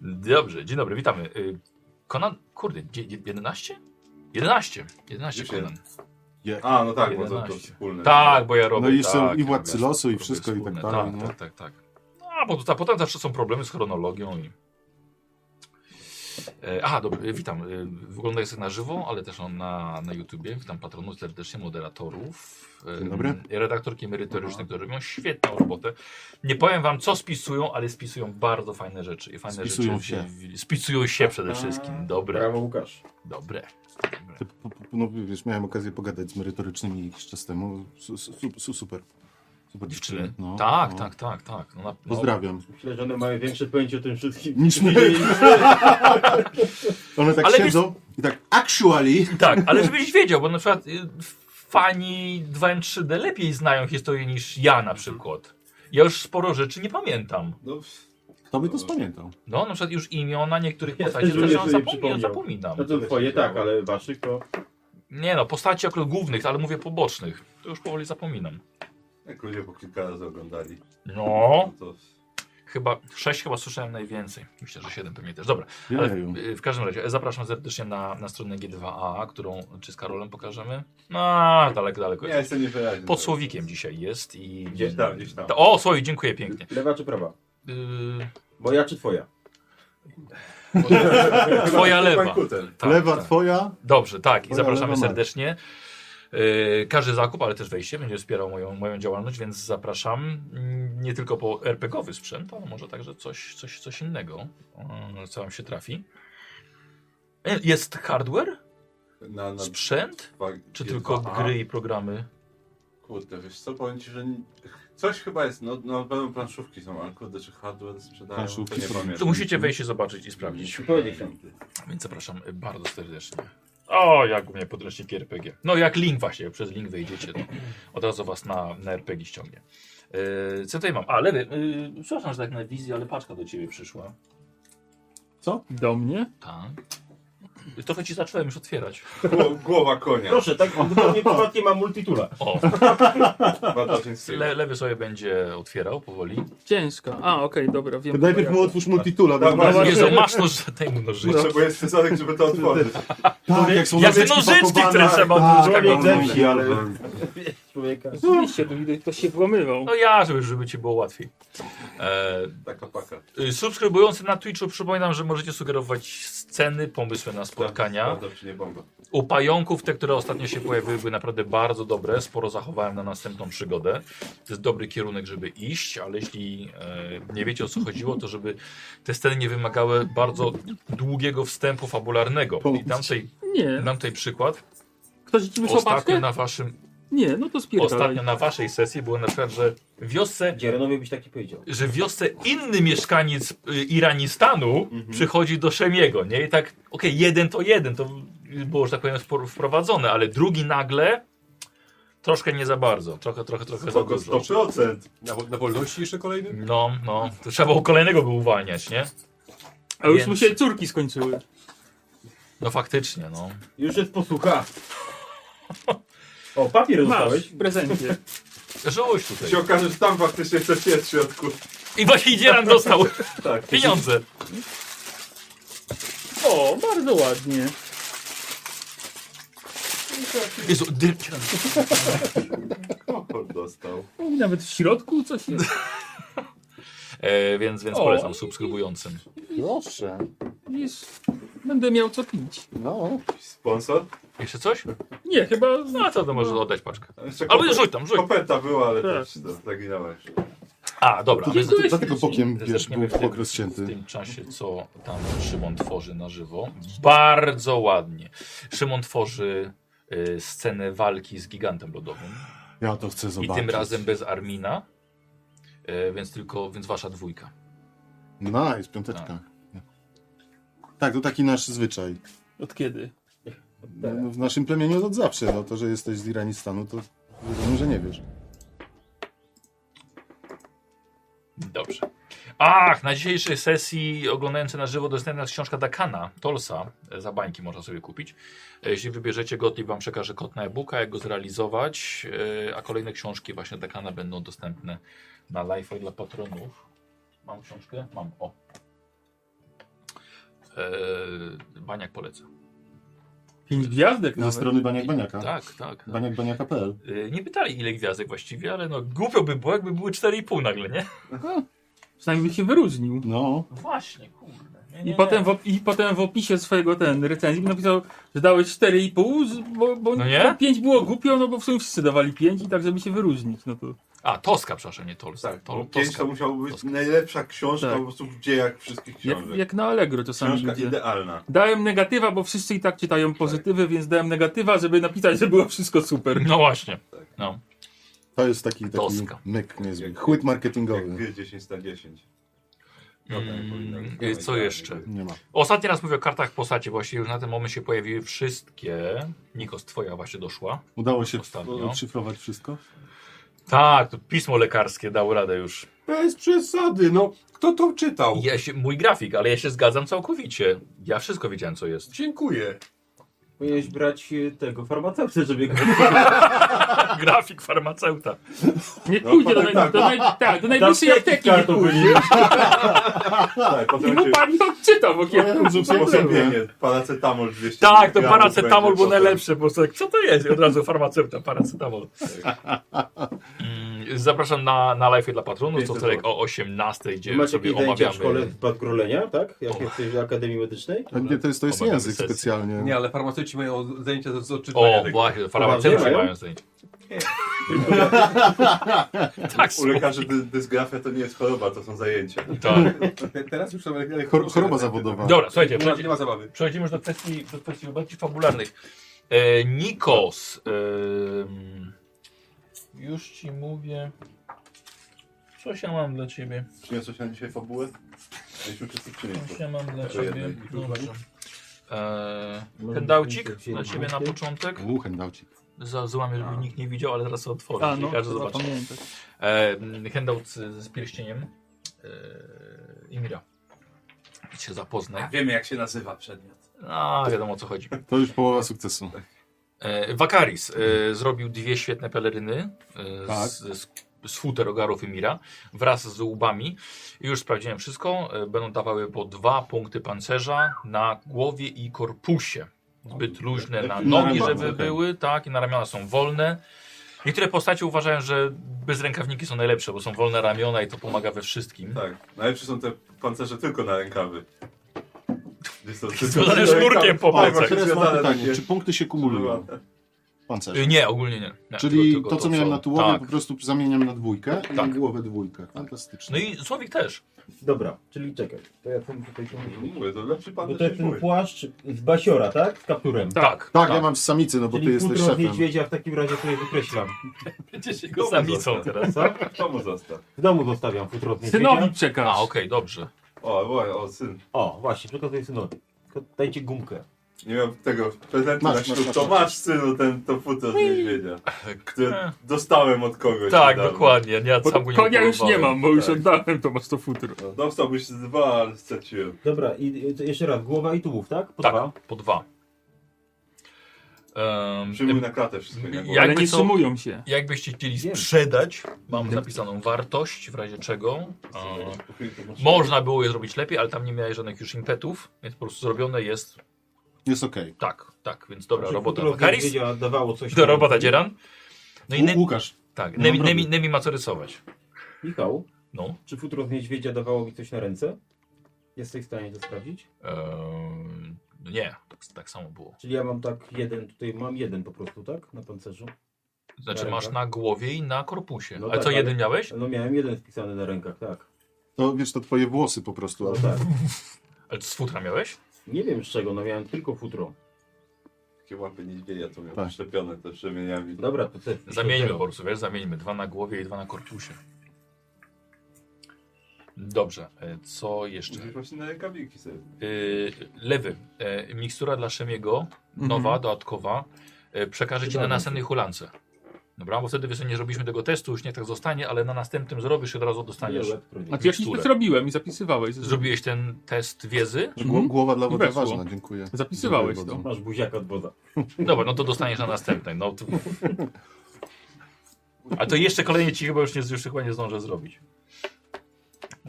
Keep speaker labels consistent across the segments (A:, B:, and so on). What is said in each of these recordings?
A: Dobrze, dzień dobry, witamy. Y, Konan, kurde, dzie- dzie- 11? 11, 11
B: Dziesięć.
A: Konan.
B: A, no tak, bo to, to
A: 11.
B: wspólne.
A: Tak, bo ja robię.
C: No i są
A: tak,
C: i władcy
A: robię-
C: losu i
A: robię
C: wszystko i tak
A: wspólne,
C: dalej,
A: Tak,
C: no.
A: tak, tak, tak. No, a bo to, a potem zawsze są problemy z chronologią i. E, A, dobra, e, witam. E, Wygląda jest na żywo, ale też on na, na YouTubie. Witam patronów serdecznie, moderatorów. e,
C: Dzień dobry.
A: i Redaktorki merytoryczne, które robią świetną robotę. Nie powiem wam, co spisują, ale spisują bardzo fajne rzeczy. I fajne
C: Spisują
A: rzeczy Spisują się przede wszystkim. Dobre,
B: Brawo Łukasz.
A: dobre. dobre.
C: Ty, po- po- No wiesz, miałem okazję pogadać z merytorycznymi jakiś czas temu. Su, su, su, super. Super
A: Dziewczyny.
C: dziewczyny. No,
A: tak,
C: no.
A: tak, tak, tak. No, na, no,
C: Pozdrawiam.
B: Myślę, że one mają większe pojęcie o tym wszystkim.
C: Niż my. One tak
A: Ale wiesz-
C: siedzą i tak actually.
A: Tak, ale żebyś wiedział, bo na przykład y, fani 2N3D lepiej znają historię niż ja
B: Mhm.
A: na przykład. Ja już sporo rzeczy nie pamiętam.
B: No, pff,
C: To by to spamiętał.
A: No, na przykład już imiona niektórych
B: Ja
A: postaci
B: też żałuję,
A: zaczynam
B: że nie
A: zapominam,
B: przypomniał.
A: zapominam.
B: no to twoje tak, ale waszych to...
A: Nie no, postaci akurat głównych, ale mówię pobocznych. To już powoli zapominam.
B: Jak ludzie po kilka razy oglądali.
A: No,
B: To...
A: chyba sześć chyba słyszałem najwięcej. Myślę, że siedem pewnie też. Dobra, ale
C: Jeju.
A: w, y, w każdym razie zapraszam serdecznie na, na stronę G2A, którą czy z Karolem pokażemy? No, daleko, daleko.
B: Ja jestem niewyraźny.
A: Pod słowikiem dzisiaj jest i.
B: Gdzieś tam, gdzieś tam.
A: O, słowik, dziękuję pięknie.
B: Lewa czy prawa?
A: Yy,
B: Moja czy twoja?
A: Twoja lewa.
B: Kutel.
A: Tak,
C: Lewa
A: tak.
C: twoja.
A: Dobrze, tak. I
C: Twoja
A: zapraszamy
C: lewa ma.
A: serdecznie. Yy, Każdy zakup, ale też wejście będzie wspierał moją, moją działalność, więc zapraszam mm, nie tylko po RPG-owy sprzęt, ale może także coś, coś, coś innego, yy, co wam się trafi. Yy, Jest hardware?
D: Na,
B: No.
D: na
A: Sprzęt?
D: dwa,
A: Czy
D: G2A?
A: tylko gry i programy?
D: Kurde, wiesz co, powiem ci, że nie- coś chyba jest, no na pewno planszówki są, ale kurde, czy hardware sprzedają,
C: Planszówki
D: to nie
C: są.
D: pamiętam.
A: To musicie wejść i zobaczyć i sprawdzić.
B: Powiedzieć tam.
A: Więc zapraszam bardzo serdecznie. O, jak u mnie podręczniki RPG. No, jak link właśnie, przez link wejdziecie, to od razu was na, na RPG ściągnie. Yy, co tutaj mam? A, lewy, yy, przepraszam, że tak na wizji, ale paczka do ciebie przyszła.
C: Co? Do mnie?
A: Tak. Trochę ci zacząłem już otwierać.
D: Gło- Głowa konia.
B: Proszę, tak zupełnie przypadkiem mam multitula.
A: O,
D: Bardzo dziękuję.
A: le, lewy sobie będzie otwierał powoli.
E: Ciężko. A, okej, dobra,
C: To
E: wiem.
C: najpierw mu otwórz multitula. bo-
D: Dobra.
C: Zobacz-
A: Jezu, masz noż, daj mu nożyczki.
D: Potrzebuję scyzoryk, żeby to otworzyć.
C: Tak, jak są
A: Jak te
C: nożyczki
A: nożyczki,
C: pakowane.
A: które trzeba odróżniać.
C: Tak, tak,
B: Człowiek
C: tak.
B: leci, ale- Człowieka.
E: Rzeczywiście, to widać, kto się włamywał.
A: No ja, żeby, żeby ci było łatwiej. E,
D: Taka paka.
A: y, subskrybujący na Twitchu przypominam, że możecie sugerować sceny, pomysły na spotkania.
D: Bardzo czy nie bomba.
A: U pająków, te, które ostatnio się pojawiły, były naprawdę bardzo dobre. Sporo zachowałem na następną przygodę. To jest dobry kierunek, żeby iść, ale jeśli e, nie wiecie o co chodziło, to żeby te sceny nie wymagały bardzo długiego wstępu fabularnego. I dam tutaj,
E: Nie.
A: dam tutaj przykład.
E: Ktoś ci wysłał
A: no, Ostatnio
E: paczkę?
A: na, waszym,
E: Nie, no to spierdalaj.
A: ostatnio na waszej sesji było na przykład, że w wiosce
B: Dzierenowie byś taki powiedział.
A: że w wiosce inny mieszkaniec y, Iranistanu
D: Mhm.
A: przychodzi do Szemiego, nie? I tak, okej, jeden to jeden, to było, że tak powiem, spor- wprowadzone, ale drugi nagle troszkę nie za bardzo, trochę, trochę, trochę za
D: Spoko,
A: dużo.
D: 100%.
F: Na, na wolności jeszcze kolejny?
A: No, no, to trzeba było kolejnego by uwalniać, nie?
E: A już
A: Więc-
E: mu się córki skończyły.
A: No faktycznie, no.
B: Już jest posłucha. O, papier
E: Masz,
B: dostałeś.
E: w prezencie.
A: Żołość
D: Się
A: tutaj.
D: okaże, że tam faktycznie coś jest w środku.
A: I właśnie Dzieran dostał
D: Tak.
A: pieniądze.
E: O, bardzo ładnie.
A: Jezu, dy- Dzieran,
D: Kopor dostał.
E: O, Nawet w środku coś jest.
A: E, więc, więc
E: O.
A: polecam subskrybującym.
G: Proszę,
E: Widzisz, będę miał co pić.
G: no.
D: Sponsor?
A: Jeszcze coś?
E: Nie, chyba...
A: No to, to może oddać paczkę.
D: A jeszcze
A: Albo
D: kopet-
A: rzuć tam, rzuć.
D: Kopeta była, ale
E: Tak.
D: też to zaginąłeś.
A: A, dobra. a więc-
E: Dziękuję.
C: Dlatego bokiem, wiesz,
A: Zaczniemy
C: był
A: w tym-
C: bok rozcięty.
A: W tym czasie, co tam Szymon tworzy na żywo. Bardzo ładnie. Szymon tworzy y, scenę walki z gigantem lodowym.
C: Ja to chcę
A: I
C: zobaczyć.
A: tym razem bez Armina. Y, więc tylko, więc wasza dwójka.
C: Nice, piąteczka. Tak, to taki nasz zwyczaj.
E: Od kiedy?
A: Tak.
C: No, W naszym plemieniu od zawsze. No to, że jesteś z Iranistanu, to wiadomo, że nie wiesz.
A: Dobrze. Ach, na dzisiejszej sesji oglądający na żywo dostępna jest książka Dakana, Tolsa, e, za bańki można sobie kupić. E, Jeśli wybierzecie go, to wam przekaże kod na e-booka, jak go zrealizować, e, a kolejne książki właśnie Dakana będą dostępne na live dla patronów. Mam książkę? Mam, o. Eee, Baniak poleca.
E: Pięć gwiazdek
C: Ze
E: nawet.
C: strony Baniak Baniaka.
A: Tak, tak. tak.
C: Baniakbaniaka.pl
A: Eee, nie pytali ile gwiazdek właściwie, ale no głupio by było, jakby były 4,5 nagle, nie?
E: Przynajmniej by się wyróżnił.
C: No,
A: Właśnie, kurde. Nie, nie,
E: I,
A: nie.
E: Potem w, op- I potem w opisie swojego ten recenzji napisał, że dałeś 4,5, z- bo, bo
A: No nie?
E: bo 5 było głupio, no bo w sumie wszyscy dawali 5 i tak, żeby się wyróżnić. No to
A: A, Toska, przepraszam, nie Tolsa.
D: Tak,
A: Tol,
D: bo kiedyś
A: Toska.
D: to musiało być
A: Toska.
D: najlepsza książka
E: Tak.
D: po prostu w dziejach wszystkich
E: jak,
D: książek.
E: jak na Allegro czasami
D: Książka
E: ludzie.
D: idealna.
E: Dałem negatywa, bo wszyscy i tak czytają pozytywy, więc dałem negatywa, żeby napisać, że było wszystko super.
A: No właśnie.
C: to jest taki, taki
A: Toska.
C: myk niezły. Chłyt marketingowy.
D: Jak gry 10 na 10.
A: Mm,
D: powinno być.
A: e, co jeszcze?
C: Nie ma.
A: Ostatni raz mówię o kartach postaci, właściwie już na ten moment się pojawiły wszystkie. Nikos, twoja właśnie doszła
C: Udało się
A: ostatnio.
C: odszyfrować wszystko?
A: Tak, to pismo lekarskie dało radę już.
F: Bez przesady, no. Kto to czytał?
A: Ja się, mój grafik, ale ja się zgadzam całkowicie. Ja wszystko wiedziałem, co jest.
F: Dziękuję.
B: Powinieneś brać e, tego farmaceutę, żeby go
A: grafik farmaceuta.
E: Nie
D: No,
E: pójdzie do,
D: potem
E: naj, do, naj, tak, do najbliższej apteki nie
B: kartą
E: pójdzie.
D: Tak,
E: I
D: potem
E: mu
D: cię-
E: pani to odczyta w okienku.
D: Sposobienie, paracetamol 200
A: Tak, to
D: miligramów
A: paracetamol
D: będzie
A: był
D: potem.
A: najlepszy. Po prostu, tak, co to jest? I Od razu farmaceuta, paracetamol. Mm, Zapraszam na, na live dla patronów, co wtorek o 18, gdzie
B: Macie
A: sobie
B: jakieś w szkole
A: omawiamy.
B: badgrolenia, tak? Jak jesteś w Akademii Medycznej?
C: A Nie, to jest, to jest
A: Obawiamy
C: język
A: sesję.
C: specjalnie.
F: Nie, ale farmaceuci mają zajęcia z odczytywania
A: O,
F: tego.
A: właśnie, farmaceuci
B: Mają?
A: mają zdjęcie. Tak,
D: U lekarzy dy, dysgrafia to nie jest choroba, to są zajęcia.
A: tak.
F: Teraz już są ele-
C: Chor choroba zawodowa.
A: Dobra, słuchajcie,
F: Nie ma,
A: przejdź-
F: nie ma zabawy.
A: przechodzimy już do kwestii, do kwestii bardziej fabularnych. E, Nikos, em, już ci mówię, coś ja mam dla ciebie.
D: Przyniosłeś na dzisiaj fabułę? Mieliśmy wszyscy przynieść.
A: Ja mam dla
D: Jeszcze
A: ciebie. No
D: jednej.
A: Dobrze. Eee, Pendaucik dla ciebie na początek.
C: U, handaucik.
A: Za- Złamię, żeby nikt nie widział, ale zaraz to otworzę.
E: A
A: czyli
E: no,
A: każdy
E: to
A: zobaczy.
E: zapamiętaj.
A: Eee, handout z, z pierścieniem e, eee, Imira. Idź się zapoznaj.
D: Wiemy jak się nazywa przedmiot.
A: A, wiadomo o co chodzi.
C: To już połowa sukcesu.
A: E, Wakaris e, zrobił dwie świetne peleryny e,
C: Tak.
A: z, z, z futer ogarów Emira wraz z łbami. Już sprawdziłem wszystko. E, będą dawały po dwa punkty pancerza na głowie i korpusie. Zbyt luźne na
C: Na
A: nogi,
C: ramiona,
A: żeby
C: okej.
A: były, tak, i na ramiona są wolne. Niektóre postacie uważają, że bez rękawniki są najlepsze, bo są wolne ramiona i to pomaga we wszystkim.
D: Tak, najlepsze są te pancerze tylko na rękawy. Gdzie są tylko
A: Związane
D: na
A: sznurkiem po
D: Tak,
A: plecach.
D: właśnie
C: Teraz mam
D: związane
C: pytanie,
D: takie. No, tak,
C: czy punkty się kumulują? Pancerze.
A: E, Nie, ogólnie nie. nie
C: Czyli
A: tylko- tylko
C: to, co miałem
A: są-
C: na tułowie,
A: tak.
C: po prostu zamieniam na dwójkę i
A: Tak.
C: głowę dwójkę. Fantastycznie.
A: No i Słowik też.
B: Dobra, czyli czekaj. Mhm. To ja tam tutaj pomyślę.
D: no Mówię, to lepszy
B: Bo
D: pancerz
B: to jest
D: niż mój.
B: ten płaszcz z basiora, tak? Z kapturem.
A: Tak,
C: tak, ja mam z samicy, no bo ty
B: Czyli
C: jesteś
B: futro z
C: szefem.
B: niedźwiedzia w takim razie sobie wykreślam.
A: Będziesz jego samicą teraz.
B: Co?
D: W domu zostaw.
B: W domu zostawiam futro z niedźwiedzia.
E: Synowi przekaż.
A: A, okej, dobrze. Tak,
D: O, o, o, syn.
B: O, właśnie, przekazuję synowi. Tylko dajcie gumkę.
D: Nie miał tego prezentu
C: Masz,
D: na ślub.
C: masz, masz,
D: to
C: masz.
D: masz synu ten to futro z niedźwiedzia,
A: Eh.
D: które dostałem od kogoś.
A: Tak,
D: niedawno.
A: dokładnie. Ja
E: Bo
A: sam go
E: konia już nie
A: kupowałem.
E: mam, bo już
D: Tak.
E: oddałem to masz to futro.
D: No, Dostałbyś z dwa, ale straciłem.
B: Dobra, i i to jeszcze raz, głowa i tułów, tak? Po
A: Tak,
B: dwa.
A: po dwa. Em,
D: Przyjmuj na klatę wszystko. nie? Bo-
A: Ja-
E: Ale
A: Jakby
E: nie
A: co-
E: sumują się.
A: Jakbyście chcieli
B: Wiem.
A: sprzedać, mam zapisaną wartość, w razie czego. em, można było je zrobić lepiej, ale tam nie miałeś żadnych już impetów, więc po prostu zrobione jest
C: Jest okej.
A: tak, tak, więc dobra
B: Czyli
A: robota
B: futro z
A: Wakaris,
B: niedźwiedzia dawało coś.
A: do robota Dzieran. No i
C: Okay.
A: Nemi,
C: Łukasz,
A: tak,
C: mam
A: Nemi,
C: problem.
A: Nemi, Nemi ma co rysować.
B: Michał,
A: No,
B: czy futro z niedźwiedzia dawało mi coś na ręce? Jesteś w stanie to sprawdzić?
A: em, nie, tak, tak samo było.
B: Czyli ja mam tak jeden, tutaj mam jeden po prostu, tak? Na pancerzu.
A: Znaczy
B: Dobra.
A: masz na głowie i na korpusie.
B: No
A: ale
B: tak,
A: co,
B: ale-
A: jeden miałeś?
B: No miałem jeden wpisany na rękach, tak.
C: to wiesz, to twoje włosy po prostu.
B: No
C: Ale...
B: tak.
A: Ale z futra miałeś?
B: Nie wiem z czego, no miałem tylko futro.
D: Takie łapy niedźwiedzia to miał
C: Tak.
D: przyczepione te przemieniami.
B: Dobra, to te...
A: Zamieńmy po prostu, wiesz, zamieńmy. Dwa na głowie i dwa na korpusie. Dobrze, e, co jeszcze?
B: Mhm.
D: Czyli właśnie na rękawiczki sobie.
A: Yy, lewy, e, mikstura dla Szemiego, nowa, dodatkowa. E, przekażę ci na
B: Przydałbym
A: następnej hulance. Dobra, bo wtedy wiesz, nie zrobiliśmy tego testu, już nie tak zostanie, ale na następnym zrobisz i od razu dostaniesz.
E: A pierwszy
A: miksturę.
E: test robiłem i zapisywałeś.
A: Zrobiłeś ten test wiedzy?
C: Gło-
E: Mhm.
C: Głowa dla wody
E: Weszło.
C: ważna, dziękuję.
E: Zapisywałeś
C: Dziękuję
E: to.
C: bardzo.
B: Masz buziaka od woda.
A: Dobra, no to dostaniesz na następnej. No to... A to jeszcze kolejne ci chyba już, nie, już chyba nie zdążę zrobić.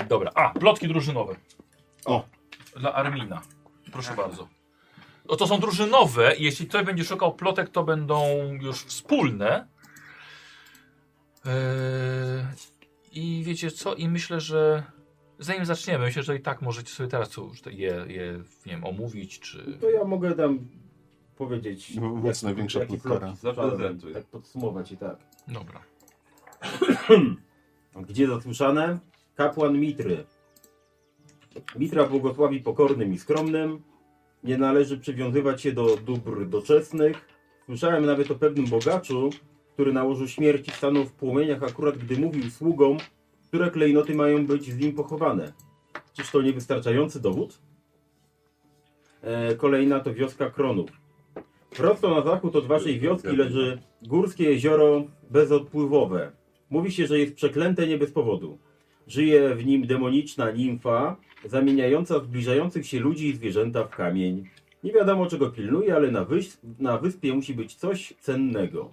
A: Dobra, a, plotki drużynowe.
C: O.
A: Dla Armina. Proszę bardzo. No to są drużynowe i jeśli ktoś będzie szukał plotek, to będą już wspólne. Eee, I wiecie co? I myślę, że zanim zaczniemy, myślę, że i tak możecie sobie teraz co, już te- je, je nie wiem, omówić, czy...
B: To ja mogę tam powiedzieć.
C: No,
B: jak-
C: mocno największa
B: jakie
C: plotkara.
B: plotki
D: Zaprezentuj.
B: słyszałem, Tak podsumować i tak.
A: Dobra.
B: Gdzie zasłyszane? Kapłan Mitry. Mitra błogosławi pokornym i skromnym. Nie należy przywiązywać się do dóbr doczesnych. Słyszałem nawet o pewnym bogaczu, który na łożu śmierci stanął w płomieniach akurat gdy mówił sługom, które klejnoty mają być z nim pochowane. Czyż to niewystarczający dowód? E, kolejna to wioska Kronów. Prosto na zachód od waszej wioski leży górskie jezioro bezodpływowe. Mówi się, że jest przeklęte nie bez powodu. Żyje w nim demoniczna nimfa, zamieniająca zbliżających się ludzi i zwierzęta w kamień. Nie wiadomo czego pilnuje, ale na, wyś- na wyspie musi być coś cennego.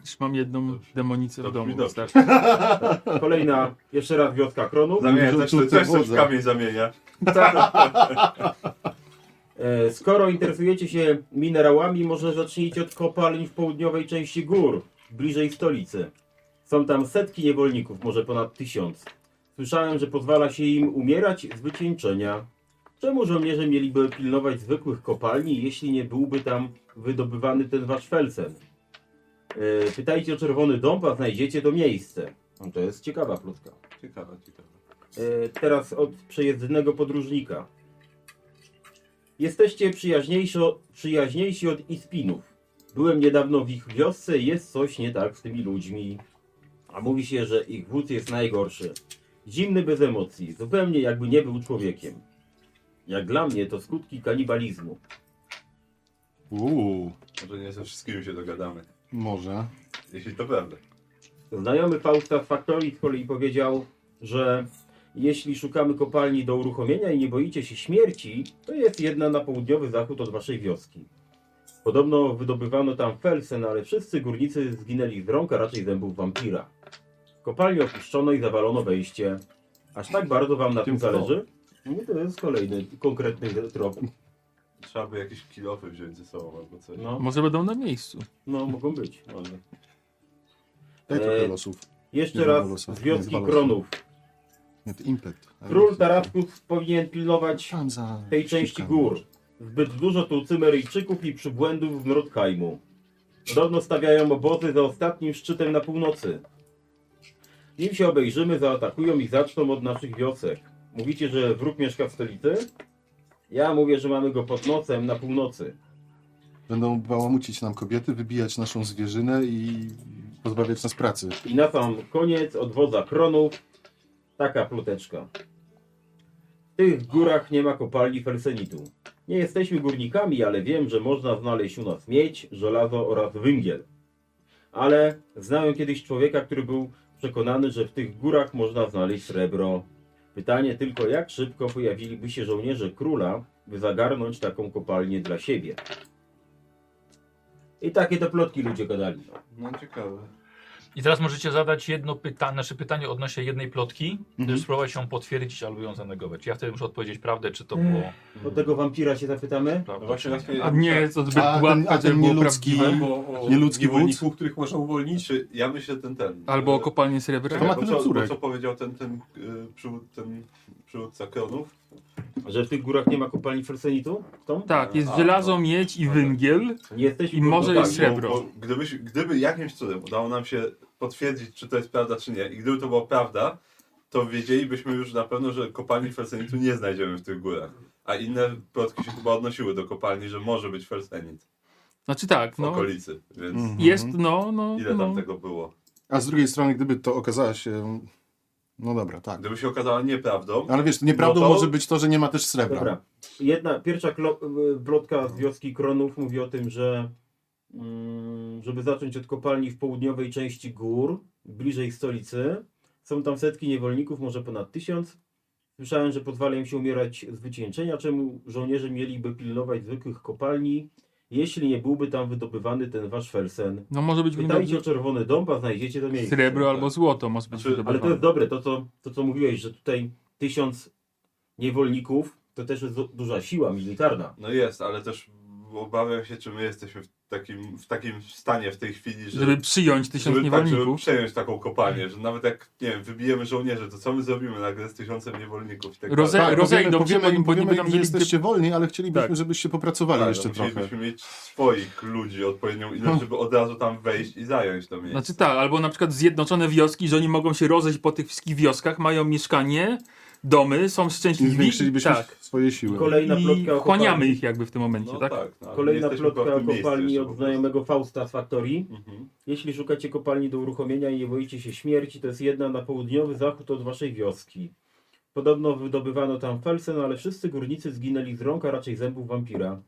E: Już mam jedną demonicę w
D: Dobrze,
E: domu.
D: dobrze.
E: wystarczy.
B: Kolejna, jeszcze raz wioska Kronów.
D: Zamienia,
C: Dużo
D: też,
C: cudów
D: też coś
C: wodza.
D: w kamień zamienia.
B: E, Skoro interesujecie się minerałami, może zacznijcie od kopalń w południowej części gór, bliżej stolicy. Są tam setki niewolników, może ponad tysiąc. Słyszałem, że pozwala się im umierać z wycieńczenia. Czemu żołnierze mieliby pilnować zwykłych kopalni, jeśli nie byłby tam wydobywany ten wasz felsen? E, Pytajcie o Czerwony Dąb, a znajdziecie to miejsce. No, To jest ciekawa plotka.
D: Ciekawe, ciekawe.
B: E, teraz od przejezdnego podróżnika. Jesteście przyjaźniejsi, przyjaźniejsi od Ispinów. Byłem niedawno w ich wiosce i jest coś nie tak z tymi ludźmi. A mówi się, że ich wódz jest najgorszy. Zimny bez emocji, zupełnie jakby nie był człowiekiem. Jak dla mnie to skutki kanibalizmu.
C: Uuu,
D: Może nie ze wszystkimi się dogadamy.
C: może.
D: Jeśli to prawda.
B: Znajomy Fausta z Factory z kolei powiedział, że jeśli szukamy kopalni do uruchomienia i nie boicie się śmierci, to jest jedna na południowy zachód od waszej wioski. Podobno wydobywano tam felsen, ale wszyscy górnicy zginęli z rąk, a raczej zębów wampira. Kopalnię opuszczono i zawalono wejście. Aż tak bardzo wam na tym zależy? No to jest kolejny konkretny trop.
D: Trzeba by jakieś kilofy wziąć ze sobą albo coś.
B: No,
E: Może będą na miejscu.
B: no mogą być.
D: Może.
C: Daj trochę
B: Eee,
C: losów.
B: Jeszcze
C: Nie ma
B: raz
C: losu.
B: z
C: Nie
B: wioski
C: ma losu.
B: Kronów.
C: Nie, to impet.
B: Król Taraskus powinien pilnować
C: Chciałem za...
B: tej części gór. Zbyt dużo tu Cymeryjczyków i przybłędów w Nordheimu. Podobno stawiają obozy za ostatnim szczytem na północy. Nim się obejrzymy, zaatakują i zaczną od naszych wiosek. Mówicie, że wróg mieszka w stolicy? Ja mówię, że mamy go pod nocem na północy.
C: Będą bałamucić nam kobiety, wybijać naszą zwierzynę i pozbawiać nas pracy.
B: I na sam koniec odwodza kronów taka pluteczka. W tych górach nie ma kopalni felsenitu. Nie jesteśmy górnikami, ale wiem, że można znaleźć u nas miedź, żelazo oraz węgiel. Ale znałem kiedyś człowieka, który był przekonany, że w tych górach można znaleźć srebro. Pytanie tylko, jak szybko pojawiliby się żołnierze króla, by zagarnąć taką kopalnię dla siebie. I takie te plotki ludzie gadali.
D: No ciekawe.
A: I teraz możecie zadać jedno pytanie, nasze pytanie odnośnie jednej plotki,
C: Mhm.
A: mhm. spróbować ją potwierdzić albo ją zanegować. Ja wtedy muszę odpowiedzieć prawdę, czy to było
B: Do No. tego wampira się zapytamy?
A: prawda.
D: No właśnie
A: czy nie.
D: właśnie...
E: A nie, to
A: Tak.
E: zbyt
C: A ten- a
E: gładka,
C: ten
E: żeby było
C: nieludzki-
E: prawdziwe.
D: Albo o
C: Nieludzki wódz?
D: niewolników, których można uwolnić. Czy ja myślę ten ten.
E: Albo o
D: e,
E: kopalnie srebra.
C: To ma
D: bo
C: tyle
D: co, bo
C: córek.
D: co powiedział ten, ten, y, przywód, ten przywódca Kronów?
B: Że w tych górach nie ma kopalni felsenitu? Tą?
E: Tak, jest
D: A,
E: żelazo,
D: no.
E: miedź i
D: No
E: węgiel.
B: Nie jesteśmy
E: I może
B: górnikami.
E: jest srebro.
D: tak, Bo gdybyś, gdyby jakimś cudem udało nam się potwierdzić, czy to jest prawda, czy nie, i gdyby to była prawda, to wiedzielibyśmy już na pewno, że kopalni felsenitu nie znajdziemy w tych górach. A inne plotki się chyba odnosiły do kopalni, że może być felsenit
E: Znaczy tak,
D: w
E: no.
D: okolicy. Więc
C: Mhm.
E: Jest, no, no.
D: ile
E: no.
D: tam tego było?
C: A z drugiej strony, gdyby to okazała się... No dobra, tak.
D: Gdyby się okazało nieprawdą,
C: Ale wiesz, nieprawdą
D: No to-
C: może być to, że nie ma też srebra.
B: Dobra. Jedna, pierwsza klo, y, plotka z wioski Kronów mówi o tym, że mm, żeby zacząć od kopalni w południowej części gór, bliżej stolicy, są tam setki niewolników, może ponad tysiąc. Słyszałem, że pozwala im się umierać z wycieńczenia, czemu żołnierze mieliby pilnować zwykłych kopalni, jeśli nie byłby tam wydobywany ten wasz felsen.
E: No może być
B: Pytajcie o
E: węgiel,
B: czerwony dąb, a znajdziecie to miejsce.
E: srebro albo złoto może być
D: Znaczy,
B: Ale to
E: wydobywane.
B: jest dobre, to co, to co mówiłeś, że tutaj tysiąc niewolników To też jest du- duża siła militarna.
D: No jest, ale też obawiam się, czy my jesteśmy w takim, w takim stanie w tej chwili, że...
E: żeby przyjąć tysiąc
D: żeby, tak, żeby
E: niewolników.
D: przejąć taką kopalnię, że nawet jak, nie wiem, wybijemy żołnierzy, to co my zrobimy nagle z tysiącem niewolników i tak
E: Roze-
D: dalej?
E: Tak, rozejdą się,
C: powiemy,
E: bo nie-
C: im,
E: bo nie
C: powiemy
E: będą
C: im, że
E: mieli
C: jesteście wolni, ale chcielibyśmy,
E: Tak.
C: żebyście popracowali
D: Tak,
C: jeszcze
D: no,
C: trochę.
D: Musielibyśmy mieć swoich ludzi odpowiednią ilość, żeby od razu tam wejść i zająć to miejsce.
E: Znaczy tak, albo Hmm. na przykład zjednoczone wioski, że oni mogą się rozejść po tych wszystkich wioskach, mają mieszkanie, domy, są
C: I
E: szczęśliwi.
C: zwiększylibyśmy
E: tak.
C: swoje siły.
B: Kolejna
E: I
B: plotka o
E: wchłaniamy
B: kopalni.
E: ich jakby w tym momencie,
D: no,
E: tak?
D: no, ale
B: Kolejna
D: jesteśmy
B: plotka
D: chyba w
B: o
D: tym miejscu
B: kopalni
D: jeszcze
B: od
D: po
B: znajomego Fausta z Factorii.
D: prostu. Mhm.
B: Jeśli szukacie kopalni do uruchomienia i nie boicie się śmierci, to jest jedna na południowy zachód od waszej wioski. Podobno wydobywano tam felsen, ale wszyscy górnicy zginęli z rąk, a raczej zębów wampira.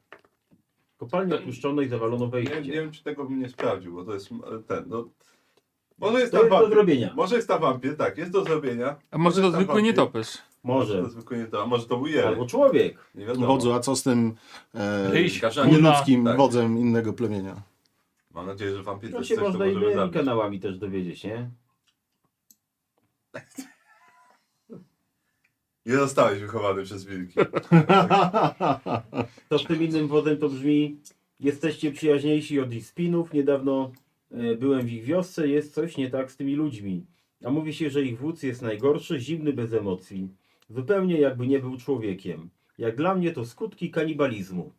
B: Kopalnię opuszczono i zawalono
D: Nie, nie
B: wejście.
D: wiem, czy tego bym nie sprawdził, bo to jest e, ten, no... Może jest
B: To
D: tam
B: jest do
D: wampir,
B: zrobienia.
D: może jest tam wampir, tak, jest do zrobienia,
E: A może to
D: Tam
E: zwykły
D: wampir.
E: nietoperz?
B: Może.
D: to zwykle nie to, a może to był jeleń,
B: Albo człowiek.
D: nie wiadomo.
C: Wodzu, a co z tym e,
A: Ryś,
D: Każanie.
C: nieludzkim
D: Tak.
C: wodzem innego plemienia?
D: Mam nadzieję, że wampir to
B: To
D: jest
B: się
D: coś, co
B: można
D: możemy
B: innymi
D: zabić.
B: kanałami też dowiedzieć, nie?
D: Nie zostałeś wychowany przez wilki.
B: To z tym innym wodem to brzmi jesteście przyjaźniejsi od ich spinów. Niedawno e, byłem w ich wiosce, jest coś nie tak z tymi ludźmi. A mówi się, że ich wódz jest najgorszy, zimny, bez emocji. Zupełnie jakby nie był człowiekiem. Jak dla mnie to skutki kanibalizmu.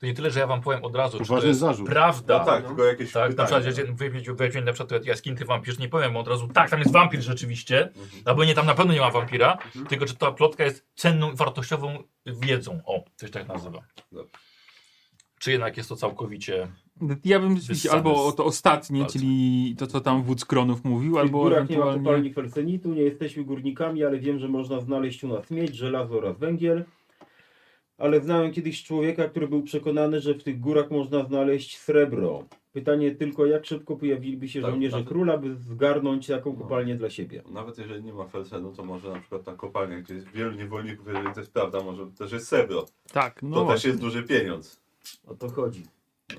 A: To nie tyle, że ja wam powiem od razu, czy to
C: Poważny
A: jest
C: zarzut.
A: prawda.
D: No tak, tylko jakieś
A: Tak, na
D: pytania.
A: przykład, ja, ja, ja, na przykład jaskinty wampirz, nie powiem od razu, tak, tam jest wampir rzeczywiście,
D: Mhm.
A: albo nie, tam na pewno nie ma wampira, tylko czy ta plotka jest cenną, wartościową wiedzą, o, coś tak nazywa.
D: Dobrze.
A: Czy jednak jest to całkowicie...
E: Ja bym
A: Wyssane
E: albo o
A: z
E: to ostatnie,
A: palca.
E: czyli to, co tam wódz Kronów mówił,
B: W tych
E: albo
B: górach nie ma
E: ewentualnie...
B: kopalni felsenitu, nie jesteśmy górnikami, ale wiem, że można znaleźć u nas miedź, żelazo oraz węgiel. Ale znałem kiedyś człowieka, który był przekonany, że w tych górach można znaleźć srebro. Pytanie tylko, jak szybko pojawiliby się
D: Tak,
B: żołnierze
D: tak.
B: króla, by zgarnąć taką kopalnię dla siebie.
D: No Nawet jeżeli nie ma felsenu, to może na przykład ta kopalnia, gdzie jest wielu niewolników, jeżeli to jest prawda, może też jest srebro.
E: Tak,
D: To
E: no
D: też
E: właśnie.
D: jest duży pieniądz.
B: O to chodzi.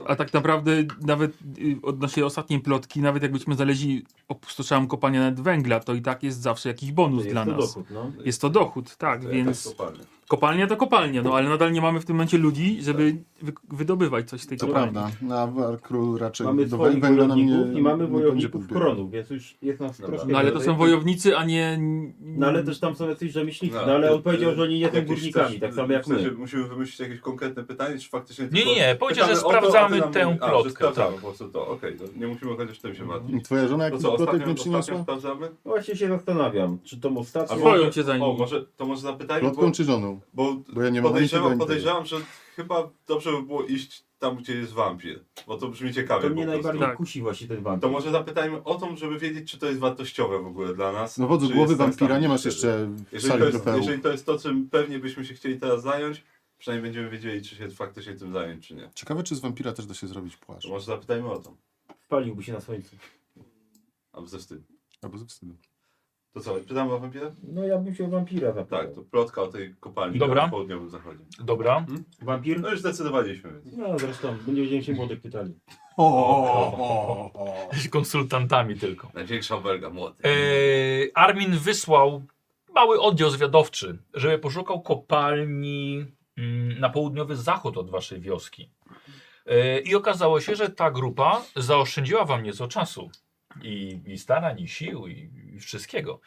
E: A tak naprawdę nawet y, odnośnie ostatniej plotki, nawet jakbyśmy znaleźli opustoszałą kopalnię nawet węgla, to i tak jest zawsze jakiś
B: To
E: bonus
B: jest
E: dla
B: to
E: nas.
B: dochód, no.
E: Jest to dochód, tak,
D: To
E: więc
D: jakaś kopalnia.
E: kopalnia to kopalnia, no ale nadal nie mamy w tym momencie ludzi, żeby
B: Tak.
E: wy wydobywać coś z tej
C: To
E: kopalni.
C: prawda. Na król raczej
B: Mamy
C: do
B: swoich
C: węgla nam
B: wojowników
C: nie,
B: i mamy
C: nie będzie
B: wojowników
C: podbierał.
B: kronów, więc już jest nas
D: Dobra.
B: troszkę.
E: No ale to
B: więcej.
E: są wojownicy, a nie...
B: No ale też tam są jacyś rzemieślnicy,
D: No,
B: no ale
D: ty-
B: on powiedział,
D: ty-
B: że oni nie są
D: jakieś
B: górnikami,
D: też-
B: tak samo jak
D: w sensie
B: my.
D: Musimy wymyślić jakieś konkretne pytanie, czy faktycznie...
A: Nie,
D: tylko-
A: nie, nie, powiedzcie, że
D: Pytamy o to, a ty
A: sprawdzamy
D: nam
A: tę
D: mówi- A, że
A: plotkę.
D: sprawdzamy
A: tak.
D: po prostu to, okej, to nie musimy chociaż tym się martwić.
C: Twoja żona
D: To
C: jakiś
D: co,
C: plotek nie
D: ostatnią,
C: przyniosła?
D: ostatnią sprawdzamy?
B: Właśnie się zastanawiam, czy tą ostatnią...
E: Swoją cię za
D: O,
E: nim.
D: może, to może zapytajmy, bo,
C: Plotką czy żoną?
D: bo,
C: Bo ja nie mam nikogo,
D: podejrzewam,
C: nikogo.
D: podejrzewam, że chyba dobrze by było iść tam, gdzie jest wampir, bo to brzmi ciekawie.
B: To
D: po
B: mnie
D: prostu.
B: najbardziej
E: Tak.
B: kusi właśnie ten wampir.
D: To może zapytajmy o to, żeby wiedzieć, czy to jest wartościowe w ogóle dla nas.
C: No wodzu
D: Czy
C: głowy
D: jest tak
C: wampira
D: samo
C: nie masz
D: wtedy.
C: jeszcze w
D: Jeżeli to,
C: sali
D: jest,
C: trofeum.
D: jeżeli to jest to, czym pewnie byśmy się chcieli teraz zająć, przynajmniej będziemy wiedzieli, czy się faktycznie tym zająć, czy nie.
C: Ciekawe, czy z wampira też da się zrobić płaszcz.
D: To może zapytajmy o to.
B: Spaliłby się na słońcu.
D: Albo ze wstydu.
C: Albo ze wstydu.
D: To co, pytamy o wampira?
B: No ja bym się o wampira zapytał.
D: Tak, to plotka o tej kopalni
A: Dobra.
D: na południowym zachodzie.
A: Dobra.
B: Wampir?
D: No już zdecydowaliśmy, więc.
B: No zresztą, będziemy się młodych pytali.
D: Mhm.
A: Z konsultantami tylko.
D: Największa belga, młody.
A: Eee, Armin wysłał mały oddział zwiadowczy, żeby poszukał kopalni mm, na południowy zachód od waszej wioski. Eee, I okazało się, że ta grupa zaoszczędziła wam nieco czasu i, i starań, i sił, i, i wszystkiego.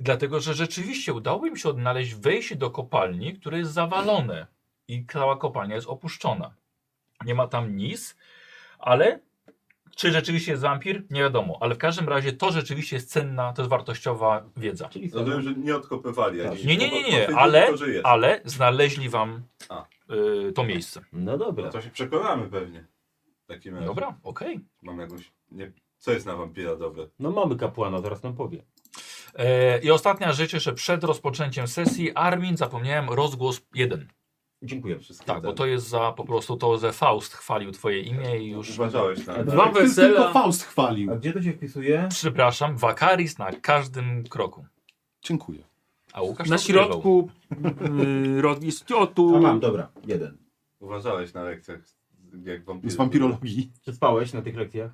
A: Dlatego, że rzeczywiście udało im się odnaleźć wejście do kopalni, które jest zawalone i cała kopalnia jest opuszczona. Nie ma tam nic, ale czy rzeczywiście jest wampir? Nie wiadomo, ale w każdym razie to rzeczywiście jest cenna, to jest wartościowa wiedza.
B: Czyli co?
D: Rozumiem, że nie odkopywali. ani
B: Tak.
D: nic.
A: Nie, nie, nie,
D: Po-
A: nie,
D: potwierdzili
A: ale-
D: tylko, że jest.
A: Ale znaleźli wam
D: A.
A: y, to miejsce.
B: No
D: No
B: dobra.
D: to się przekonamy pewnie. W takim razie.
A: Dobra, okej.
D: Mam jakąś. Nie, co jest na wampira dobre?
B: No mamy kapłana, zaraz nam powie.
A: E, I ostatnia rzecz jeszcze przed rozpoczęciem sesji. Armin, zapomniałem, rozgłos jeden.
B: Dziękuję.
D: Wszystkie
A: Tak, bo
D: te-
A: to jest za po prostu to, że Faust chwalił twoje imię i już...
D: Uważałeś na
E: Dwa
C: Tylko
E: wesela...
C: Faust chwalił.
B: A gdzie to się wpisuje?
A: Przepraszam, Wakaris na każdym kroku.
C: Dziękuję.
A: A Łukasz
E: Na
A: to wygrywał.
E: środku y, ro- jest o
B: A
E: tu...
B: mam, dobra, jeden.
D: Uważałeś na lekcjach jak wampir.
C: Z wampirologii.
B: Czy spałeś na tych lekcjach?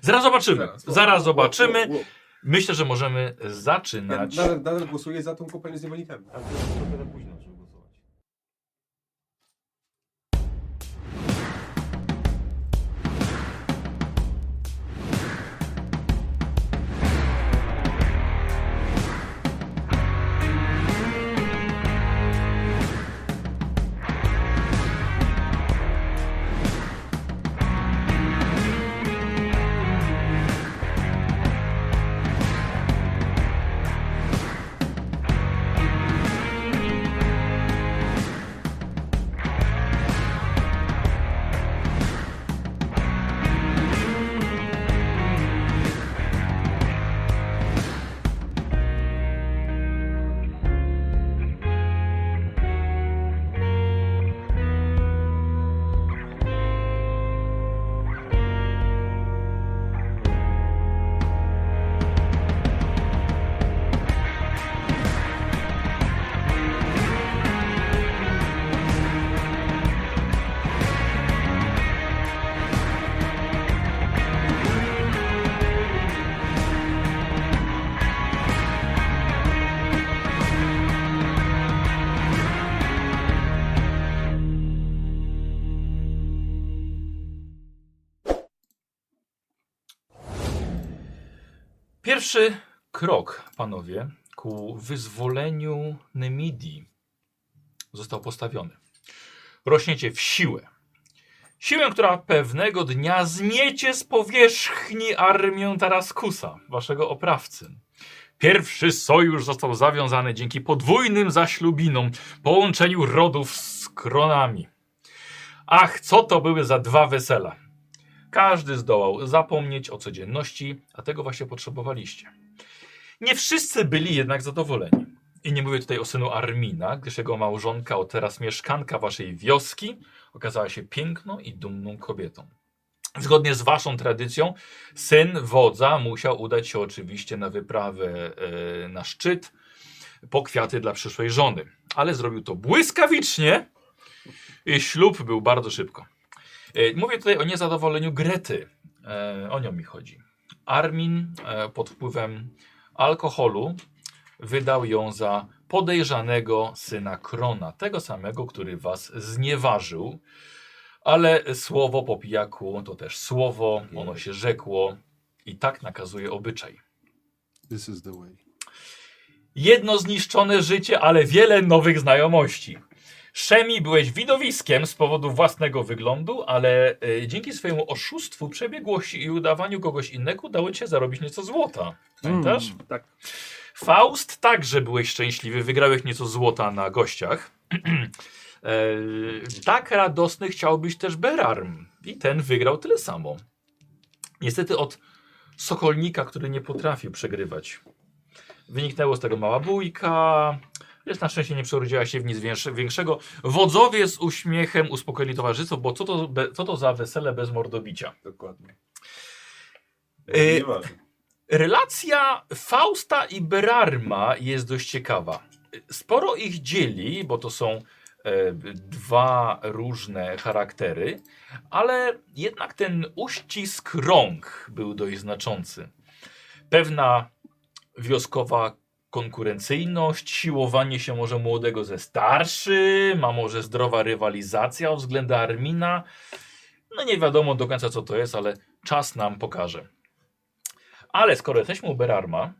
A: Zaraz zobaczymy.
F: Zaraz.
A: Zaraz zobaczymy. Myślę, że możemy
F: Ja
A: zaczynać.
F: nadal, nadal głosuję za tą kopalnię z niewolnikami.
B: A gdzie to się
A: Pierwszy krok, panowie, ku wyzwoleniu Nemidii został postawiony. Rośniecie w siłę. Siłę, która pewnego dnia zmiecie z powierzchni armię Taraskusa, waszego oprawcy. Pierwszy sojusz został zawiązany dzięki podwójnym zaślubinom, połączeniu rodów z kronami. Ach, co to były za dwa wesela. Każdy zdołał zapomnieć o codzienności, a tego właśnie potrzebowaliście. Nie wszyscy byli jednak zadowoleni. I nie mówię tutaj o synu Armina, gdyż jego małżonka, o teraz mieszkanka waszej wioski, okazała się piękną i dumną kobietą. Zgodnie z waszą tradycją, syn wodza musiał udać się oczywiście na wyprawę e, na szczyt po kwiaty dla przyszłej żony. Ale zrobił to błyskawicznie i ślub był bardzo szybko. E, Mówię tutaj o niezadowoleniu Grety. E, O nią mi chodzi. Armin e, pod wpływem alkoholu wydał ją za podejrzanego syna Krona, tego samego, który was znieważył. Ale słowo po pijaku to też słowo, ono się rzekło i tak nakazuje obyczaj.
C: This is the way.
A: Jedno zniszczone życie, ale wiele nowych znajomości. Szemi byłeś widowiskiem z powodu własnego wyglądu, ale e, dzięki swojemu oszustwu, przebiegłości i udawaniu kogoś innego udało ci się zarobić nieco złota. Pamiętasz?
E: tak.
A: Faust także byłeś szczęśliwy, wygrałeś nieco złota na gościach. e, tak radosny chciałbyś też Berarm i ten wygrał tyle samo. Niestety od Sokolnika, który nie potrafił przegrywać. Wyniknęło z tego mała bójka. Lecz na szczęście nie przerodziła się w nic większe- większego. Wodzowie z uśmiechem uspokoili towarzystwo, bo co to, be, co to za wesele bez mordobicia?
D: Dokładnie.
A: Y-
D: Nieważne.
A: Relacja Fausta i Berarma jest dość ciekawa. Sporo ich dzieli, bo to są e, dwa różne charaktery, ale jednak ten uścisk rąk był dość znaczący. Pewna wioskowa konkurencyjność, siłowanie się może młodego ze starszym, a może zdrowa rywalizacja względem Armina. No nie wiadomo do końca co to jest, ale czas nam pokaże. Ale skoro jesteśmy u Berarma,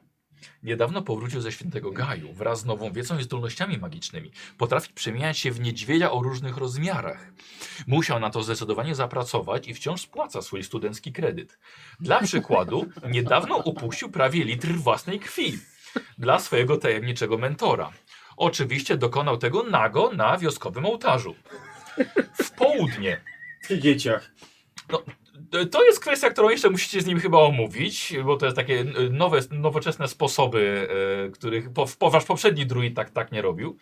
A: niedawno powrócił ze Świętego Gaju wraz z nową wiedzą i zdolnościami magicznymi. Potrafi przemieniać się w niedźwiedzia o różnych rozmiarach. Musiał na to zdecydowanie zapracować i wciąż spłaca swój studencki kredyt. Dla przykładu, niedawno upuścił prawie litr własnej krwi dla swojego tajemniczego mentora. Oczywiście dokonał tego nago na wioskowym ołtarzu. W południe.
B: Przy dzieciach.
A: To jest kwestia, którą jeszcze musicie z nim chyba omówić, bo to jest takie y, nowe, nowoczesne sposoby, y, których po, po, wasz poprzedni druid tak, tak nie robił.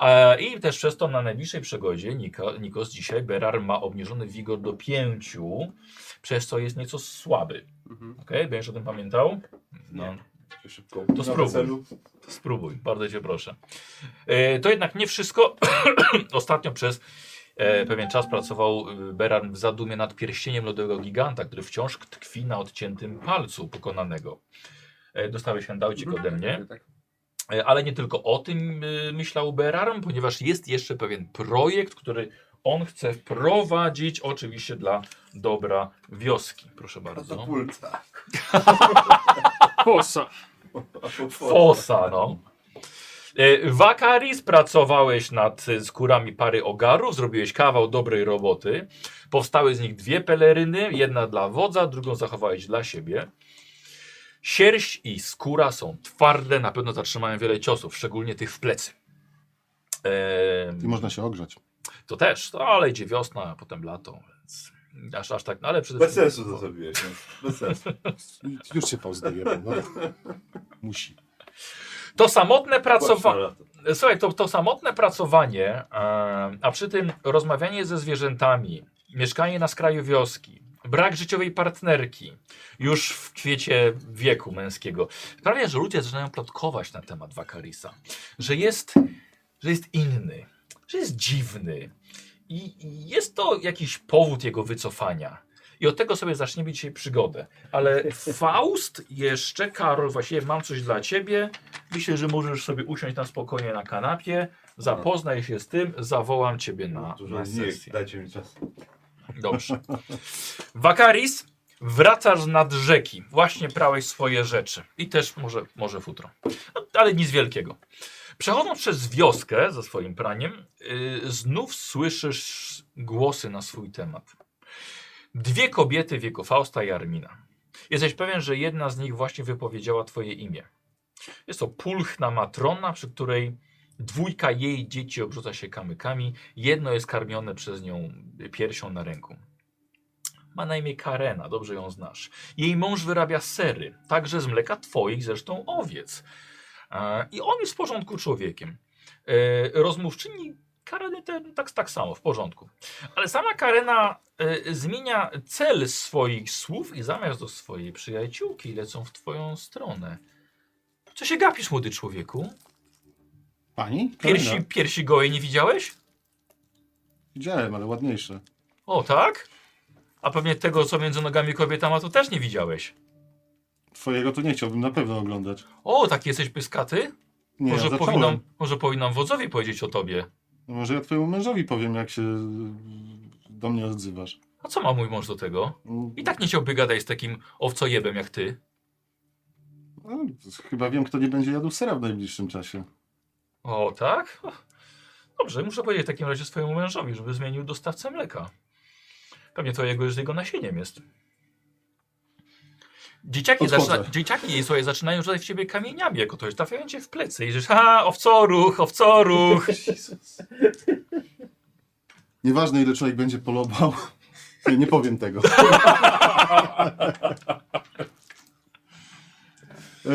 A: E, I też przez to na najbliższej przegodzie Nika, Nikos dzisiaj Berar ma obniżony wigor do 5, przez co jest nieco słaby. Okej, będziesz o tym pamiętał? No,
D: Szybko.
A: To
D: Na
A: spróbuj. No.
D: weselu.
A: Spróbuj, bardzo cię proszę. E, to jednak nie wszystko. Ostatnio przez e, pewien czas pracował e, Beran w zadumie nad pierścieniem lodowego giganta, który wciąż tkwi na odciętym palcu pokonanego. E, dostałeś handoucik ode mnie.
F: Tak.
A: E, Ale nie tylko o tym y, myślał Berarm, ponieważ jest jeszcze pewien projekt, który on chce wprowadzić, oczywiście dla dobra wioski. Proszę bardzo.
D: Katapulta.
E: Fossa.
A: Fosa, no. E, Wakaris, pracowałeś nad e, skórami pary ogarów, zrobiłeś kawał dobrej roboty. Powstały z nich dwie peleryny, jedna dla wodza, drugą zachowałeś dla siebie. Sierść i skóra są twarde, na pewno zatrzymają wiele ciosów, szczególnie tych w plecy. E,
C: I można się ogrzać.
A: to też, to, ale idzie wiosna, a potem lato, więc aż, aż tak, no ale przede
D: Bez
A: wszystkim...
D: sensu to zrobiłeś. no. Bez sensu.
C: Już się Faust dojebał, no. Musi.
A: To samotne pracowanie...
D: Płacz na lato.
A: Słuchaj, to, to samotne pracowanie, e, a przy tym rozmawianie ze zwierzętami, mieszkanie na skraju wioski, brak życiowej partnerki, już w kwiecie wieku męskiego, sprawia, że ludzie zaczynają plotkować na temat Wakarisa, że jest, że jest inny, że jest dziwny i i jest to jakiś powód jego wycofania. I od tego sobie zaczniemy dzisiaj przygodę. Ale Faust jeszcze, Karol, właściwie mam coś dla ciebie. Myślę, że możesz sobie usiąść na spokojnie na kanapie, zapoznaj się z tym, zawołam ciebie na,
D: No, Dużo
A: na
D: nie,
A: sesję.
D: dajcie mi czas.
A: Dobrze. Wakaris Wracasz nad rzeki. Właśnie prałeś swoje rzeczy. I też może, może futro. No, ale nic wielkiego. Przechodząc przez wioskę ze swoim praniem, yy, znów słyszysz głosy na swój temat. Dwie kobiety w wieku Fausta i Armina. Jesteś pewien, że jedna z nich właśnie wypowiedziała twoje imię. Jest to pulchna matrona, przy której dwójka jej dzieci obrzuca się kamykami. Jedno jest karmione przez nią piersią na ręku. Ma na imię Karena, dobrze ją znasz. Jej mąż wyrabia sery, także z mleka twoich zresztą owiec. E, I on jest w porządku człowiekiem. E, Rozmówczyni Kareny te, tak, tak samo, w porządku. Ale sama Karena e, zmienia cel swoich słów i zamiast do swojej przyjaciółki lecą w twoją stronę. Co się gapisz, młody człowieku?
C: Pani?
A: Piersi,
C: Karina.
A: piersi gołej nie widziałeś?
C: Widziałem, ale ładniejsze.
A: O, tak? A pewnie tego, co między nogami kobieta ma, to też nie widziałeś.
C: Twojego to nie chciałbym na pewno oglądać.
A: O, taki jesteś pyskaty?
C: Nie,
A: może,
C: ja zacząłem.
A: powinnam, może powinnam wodzowi powiedzieć o tobie.
C: No Może ja twojemu mężowi powiem, jak się y, do mnie odzywasz.
A: A co ma mój mąż do tego?
C: Mm,
A: I tak nie chciałby gadać z takim owcojebem jak ty.
C: no, Chyba wiem, kto nie będzie jadł sera w najbliższym czasie.
A: O, tak? Dobrze, muszę powiedzieć w takim razie swojemu mężowi, żeby zmienił dostawcę mleka. Pewnie to jego, z jego nasieniem jest. Dzieciaki,
C: Odchodzę.
A: zaczyna, dzieciaki słuchaj, zaczynają rzucać w ciebie kamieniami jako to, trafiają cię w plecy i że ha, owcoruch, owcoruch.
C: Nieważne, ile człowiek będzie polobał. Nie, nie powiem tego. Yy,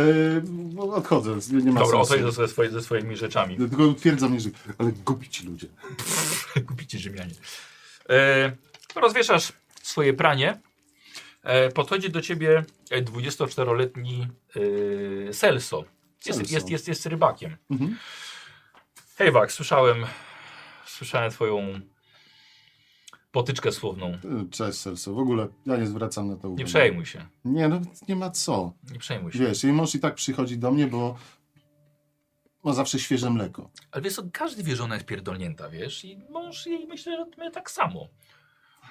C: no, Odchodzę, z- nie ma
A: Dobra,
C: sensu.
A: odchodź ze, swoje, ze swoimi rzeczami.
C: Tylko twierdzam, że ale głupi ci ludzie.
A: Kupicie Rzymianie. E, rozwieszasz swoje pranie. E, podchodzi do ciebie e, 24-letni e, Celso. Jest,
C: Celso.
A: Jest, jest, jest rybakiem.
C: Mhm.
A: Hej, Wak, słyszałem, słyszałem twoją potyczkę słowną.
C: Yy, Cześć, Serso. W ogóle ja nie zwracam na to uwagi.
A: Nie przejmuj się.
C: Nie, no nie ma co.
A: Nie przejmuj się.
C: Wiesz, jej mąż i tak przychodzi do mnie, bo ma zawsze świeże mleko.
A: Ale wiesz, co, każdy wie, że ona jest pierdolnięta, wiesz? I mąż jej myślę, że my tak samo.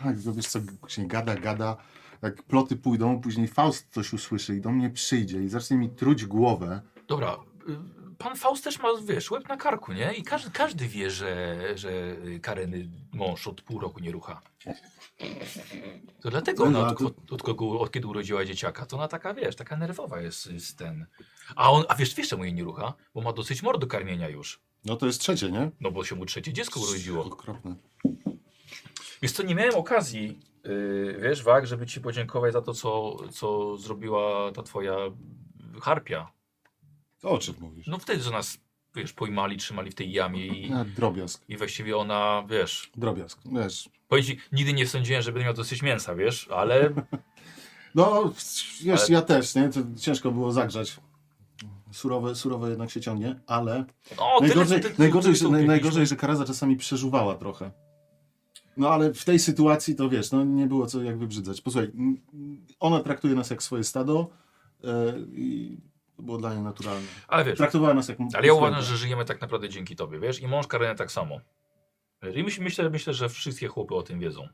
C: Tak, tylko wiesz co, się gada, gada, jak ploty pójdą, później Faust coś usłyszy i do mnie przyjdzie i zacznie mi truć głowę.
A: Dobra, y, pan Faust też ma, wiesz, łeb na karku, nie? I każdy, każdy wie, że, że Kareny mąż od pół roku nie rucha. To dlatego ona od, od, od, kogo, od kiedy urodziła dzieciaka, to ona taka, wiesz, taka nerwowa jest, jest ten. A on, a wiesz, wiesz czemu jej nie rucha? Bo ma dosyć mor do karmienia już.
C: No to jest trzecie, nie?
A: No bo się mu trzecie dziecko urodziło.
C: Okropne.
A: Wiesz co, nie miałem okazji, yy, wiesz, Wag, żeby ci podziękować za to, co, co zrobiła ta twoja harpia.
C: To o czym mówisz?
A: No wtedy, że nas, wiesz, pojmali, trzymali w tej jamie i...
C: A, drobiazg,
A: I właściwie ona, wiesz,
C: drobiazg, wiesz.
A: powiem ci, nigdy nie sądziłem, że będę miał dosyć mięsa, wiesz, ale
C: No, wiesz,
A: Ale-
C: ja też, nie? To ciężko było zagrzać. Surowe, surowe jednak się ciągnie, ale
A: no,
C: najgorzej,
A: tyle- tyle-
C: najgorzej,
A: tyle
C: że,
A: tu
C: naj,
A: mieliśmy.
C: najgorzej, że Karaza czasami przeżuwała trochę. No ale w tej sytuacji to wiesz, no nie było co jak wybrzydzać. Posłuchaj, m, m, ona traktuje nas jak swoje stado e, i to było dla niej naturalne.
A: Ale wiesz,
C: Traktowała nas jak...
A: ale ja uważam, że żyjemy tak naprawdę dzięki tobie, wiesz, i mąż Karenia tak samo. I myśl, myślę, myślę, że wszystkie chłopy o tym wiedzą.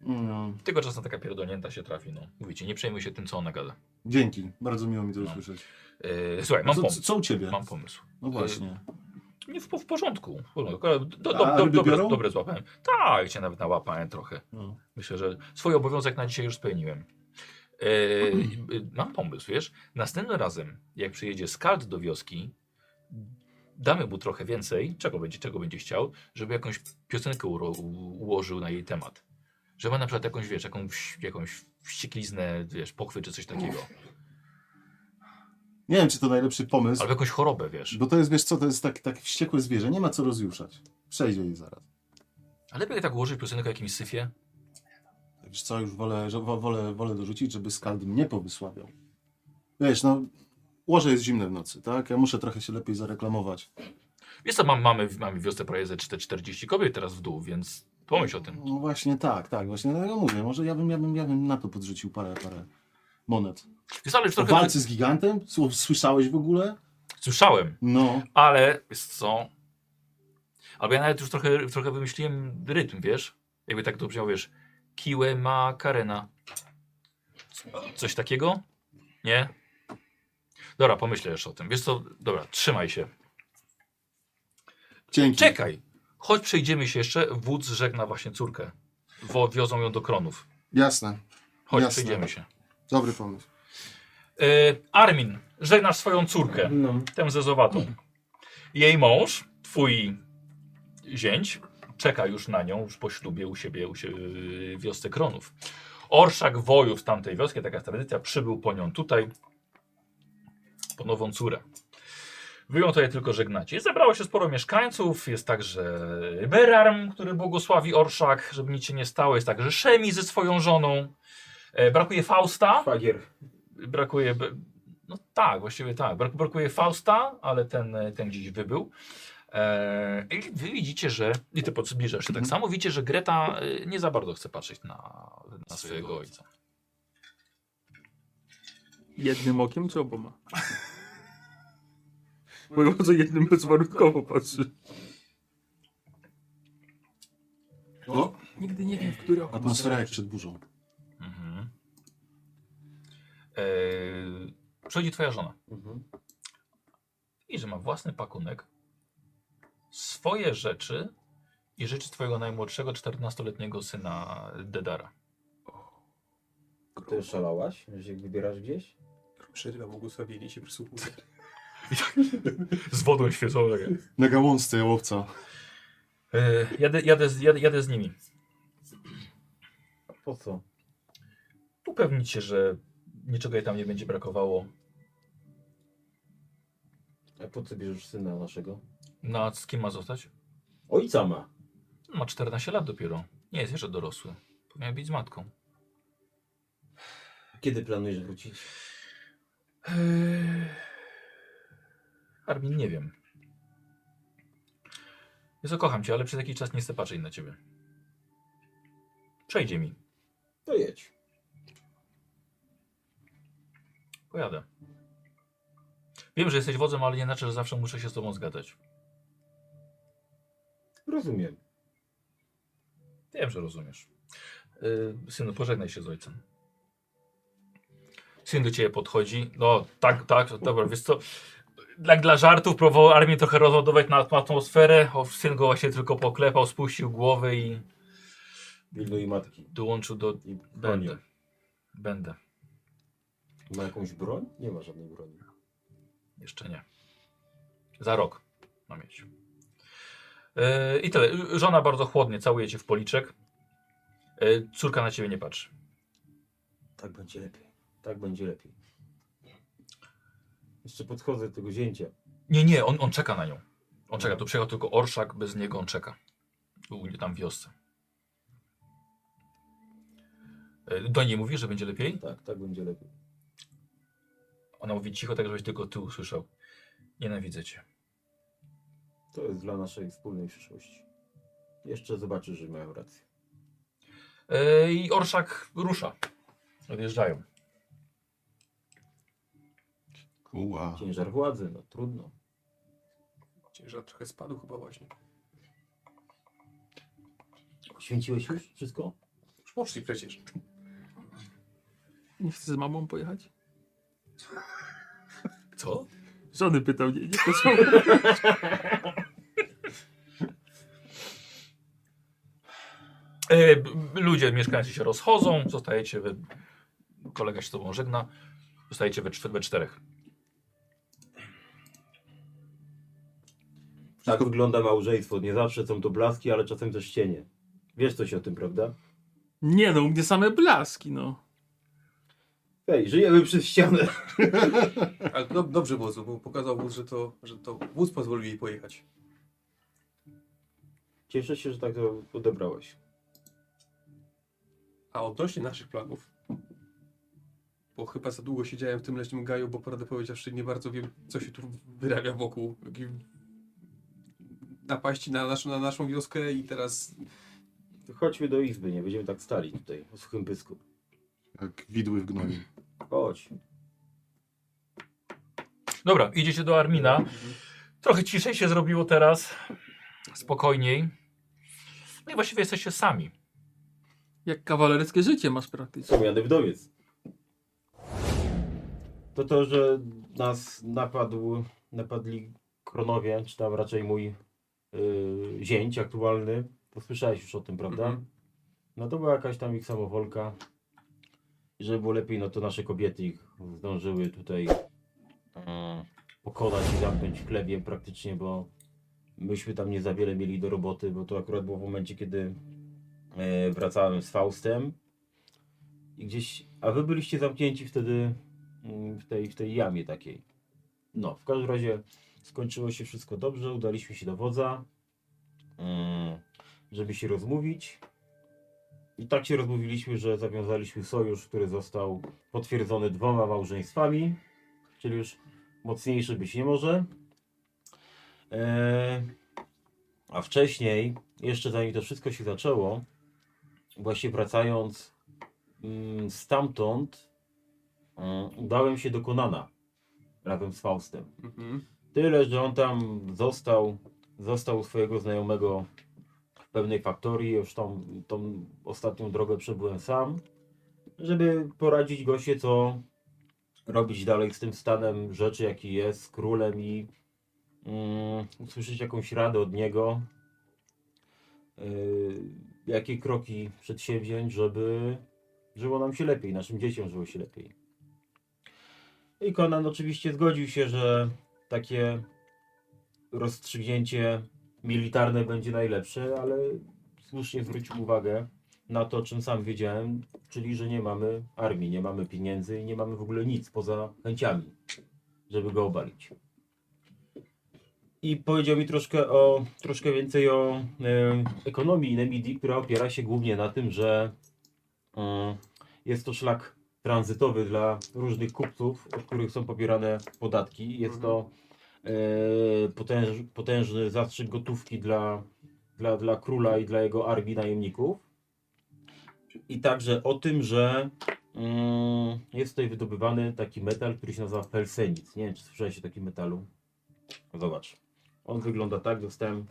C: No,
A: Tylko czasem taka pierdolnięta się trafi, no. Mówicie, nie przejmuj się tym, co ona gada.
C: dzięki, bardzo miło mi to
A: No.
C: usłyszeć.
A: Yy, słuchaj, mam
C: co, co
A: pomysł.
C: co u ciebie?
A: Mam pomysł. E,
C: No właśnie.
A: Nie, w, w porządku. W porządku. ale Do, do,
C: A
A: do,
C: ryby
A: dobre,
C: biorą?
A: dobre złapałem. Tak, cię nawet nałapałem trochę.
C: No.
A: Myślę, że swój obowiązek na dzisiaj już spełniłem. E, y, mam pomysł, wiesz? Następnym razem, jak przyjedzie skald do wioski, damy mu trochę więcej, czego będzie, czego będzie chciał, żeby jakąś piosenkę uro, u, ułożył na jej temat. Że ma na przykład jakąś, wiesz, jakąś, jakąś wściekliznę, wiesz, pochwy czy coś takiego.
C: Nie wiem, czy to najlepszy pomysł,
A: Albo jakąś chorobę, wiesz.
C: bo to jest, wiesz co, to jest tak, tak wściekłe zwierzę, nie ma co rozjuszać. Przejdzie jej zaraz.
A: Ale lepiej tak ułożyć piosenkę o jakimś syfie.
C: Wiesz co, już wolę, że, wo- wolę, wolę dorzucić, żeby skald mnie powysławiał. Wiesz, no, łoże jest zimne w nocy, tak? Ja muszę trochę się lepiej zareklamować.
A: Wiesz co, mam, mamy, mamy w wiosce prawie ze 40 kobiet teraz w dół, więc pomyśl o tym.
C: No właśnie tak, tak, właśnie no, ja mówię, może ja bym, ja bym, ja bym na to podrzucił parę, parę monet.
A: Wiesz, ale już
C: O
A: trochę... tak.
C: walce z gigantem? Sło- Słyszałeś w ogóle?
A: Słyszałem,
C: No,
A: Ale wiesz co? Albo ja nawet już trochę, trochę wymyśliłem rytm, wiesz? Jakby tak to brzmiało, wiesz? Kiłe ma karena. Coś takiego? Nie? Dobra, pomyślę jeszcze o tym. Wiesz co, dobra, trzymaj się.
C: Dzięki.
A: Czekaj! Chodź, przejdziemy się jeszcze. Wódz żegna właśnie córkę. Wo, wiozą ją do kronów.
C: Jasne.
A: Chodź,
C: Jasne.
A: przejdziemy się.
C: Dobry pomysł.
A: E, Armin, żegnasz swoją córkę,
B: No.
A: tę zezowatą. Jej mąż, twój zięć, czeka już na nią, już po ślubie u siebie, u siebie w wiosce Kronów. Orszak Wojów z tamtej wioski, taka jest tradycja, przybył po nią tutaj, po nową córę. Wy ją tutaj tylko żegnacie. Zebrało się sporo mieszkańców, jest także Berarm, który błogosławi Orszak, żeby nic się nie stało, jest także Szemi ze swoją żoną. E, brakuje Fausta
B: Szwagier.
A: brakuje. b- No tak, właściwie tak. Brak, brakuje Fausta, ale ten, e, ten gdzieś wybył. Eee, I wy widzicie, że. I ty podzbliżasz się tak samo. Widzicie, że Greta e, nie za bardzo chce patrzeć na, na swojego ojca.
E: Jednym okiem czy oboma? Bo bardzo jednym bezwarunkowo patrzy.
A: No.
C: O,
E: Nigdy nie wiem, w które oko ma
C: atmosfera jak przed burzą.
A: Mhm. Eee, przychodzi twoja żona.
B: Mhm.
A: I że ma własny pakunek, swoje rzeczy i rzeczy twojego najmłodszego 14-letniego syna Dedara.
B: Ty szalałaś, że się wybierasz gdzieś?
F: Przerywa błogosławienie i się przysłuchuje.
A: Z wodą tak świecą.
C: Na gałązce jałowca.
A: Eee, jadę, jadę, z- jadę, jadę z nimi.
B: Po co?
A: Upewnić się, że niczego jej tam nie będzie brakowało.
B: A po co bierzesz syna naszego?
A: No a z kim ma zostać?
B: Ojca ma.
A: Ma 14 lat dopiero. Nie jest jeszcze dorosły. Powinien być z matką.
B: Kiedy planujesz wrócić?
A: Eee, Armin, nie wiem. Jezu, kocham cię, ale przez jakiś czas nie chcę patrzeć na ciebie. Przejdzie mi.
B: To jedź.
A: Pojadę. Wiem, że jesteś wodzem, ale nie znaczy, że zawsze muszę się z tobą zgadzać.
B: Rozumiem.
A: Wiem, że rozumiesz. Yy, synu, pożegnaj się z ojcem. Syn do ciebie podchodzi. No, tak, tak, dobra, wiesz co? Dla, dla żartów próbował armię trochę rozładować na atmosferę. O, syn go właśnie tylko poklepał, spuścił głowę i
B: Pilnuj matki.
A: dołączył do.
B: I broni.
A: Będę. Będę.
B: Ma jakąś broń? Nie ma żadnej broni.
A: Jeszcze nie. Za rok mam mieć. Yy, I tyle. Żona bardzo chłodnie całuje cię w policzek. Yy, córka na ciebie nie patrzy.
B: Tak będzie lepiej. Tak będzie lepiej. Jeszcze podchodzę do tego zięcia.
A: Nie, nie, on, on czeka na nią. On
F: Mhm.
A: czeka, tu przyjechał tylko orszak, bez niego on czeka. U mnie tam w wiosce. E, Do niej mówi, że będzie lepiej?
B: Tak, tak będzie lepiej.
A: Ona mówi cicho, tak żebyś tylko ty usłyszał. Nienawidzę cię.
B: To jest dla naszej wspólnej przyszłości. Jeszcze zobaczysz, że miałem rację.
A: E, I orszak rusza. Odjeżdżają.
C: Uła.
B: Ciężar władzy, no trudno.
F: Ciężar trochę spadł chyba właśnie.
B: Święciłeś już wszystko?
F: Już poszli przecież.
E: Nie chcę z mamą pojechać?
A: Co?
E: Żony pytał, nie, nie poszło.
A: E, b- b- ludzie, mieszkańcy się rozchodzą, zostajecie wy... Kolega się z tobą żegna. Zostajecie we, czw- we czterech.
B: Tak wygląda małżeństwo. Nie zawsze są to blaski, ale czasem też cienie. Wiesz coś o tym, prawda?
E: Nie no, u mnie same blaski, no.
B: Hej, żyjemy przez ścianę.
F: Ale dob- dobrze wozu, bo pokazał wóz, że to, że to wóz pozwolił jej pojechać.
B: Cieszę się, że tak to odebrałeś.
F: A odnośnie naszych planów, bo chyba za długo siedziałem w tym leśnym gaju, bo prawdę powiedziawszy nie bardzo wiem, co się tu wyrabia wokół. Jakie Napaści na naszą, na naszą wioskę i teraz
B: To chodźmy do izby, nie będziemy tak stali tutaj, o suchym pysku.
C: Jak widły w gnoi.
B: Chodź.
A: Dobra, idziecie do Armina.
E: Mhm.
A: Trochę ciszej się zrobiło teraz. Spokojniej. No i właściwie jesteście sami.
E: Jak kawalerskie życie masz praktycznie.
B: Są jadę wdowiec. to to, że nas napadł, napadli kronowie, czy tam raczej mój yy, zięć aktualny. To słyszałeś już o tym, prawda?
F: Mhm.
B: No to była jakaś tam ich samowolka. I żeby było lepiej, no to nasze kobiety ich zdążyły tutaj mm, pokonać i zamknąć w chlebie praktycznie, bo myśmy tam nie za wiele mieli do roboty, bo to akurat było w momencie, kiedy e, wracałem z Faustem i gdzieś, a wy byliście zamknięci wtedy mm, w tej, w tej jamie takiej. No, w każdym razie skończyło się wszystko dobrze, udaliśmy się do wodza, mm, żeby się rozmówić. I tak się rozmówiliśmy, że zawiązaliśmy sojusz, który został potwierdzony dwoma małżeństwami, czyli już mocniejszy być nie może. Eee, a wcześniej, jeszcze zanim to wszystko się zaczęło, właśnie wracając mm, stamtąd, mm, udałem się do Konana razem z Faustem.
F: Mhm.
B: Tyle, że on tam został, został u swojego znajomego w pewnej faktorii, już tą, tą ostatnią drogę przebyłem sam, żeby poradzić go się, co robić dalej z tym stanem rzeczy, jaki jest, z królem i mm, usłyszeć jakąś radę od niego, yy, jakie kroki przedsięwziąć, żeby żyło nam się lepiej, naszym dzieciom żyło się lepiej. I Conan oczywiście zgodził się, że takie rozstrzygnięcie militarne będzie najlepsze, ale słusznie zwrócił uwagę na to, o czym sam wiedziałem, czyli że nie mamy armii, nie mamy pieniędzy i nie mamy w ogóle nic poza chęciami, żeby go obalić. I powiedział mi troszkę, o, troszkę więcej o em, ekonomii Nemidii, która opiera się głównie na tym, że mm, jest to szlak tranzytowy dla różnych kupców, od których są pobierane podatki. Jest to e, potęż, potężny zastrzyk gotówki dla, dla, dla króla i dla jego armii najemników. I także o tym, że mm, jest tutaj wydobywany taki metal, który się nazywa felsenit. Nie wiem, czy słyszałeś o takim metalu. Zobacz. On wygląda tak, dostałem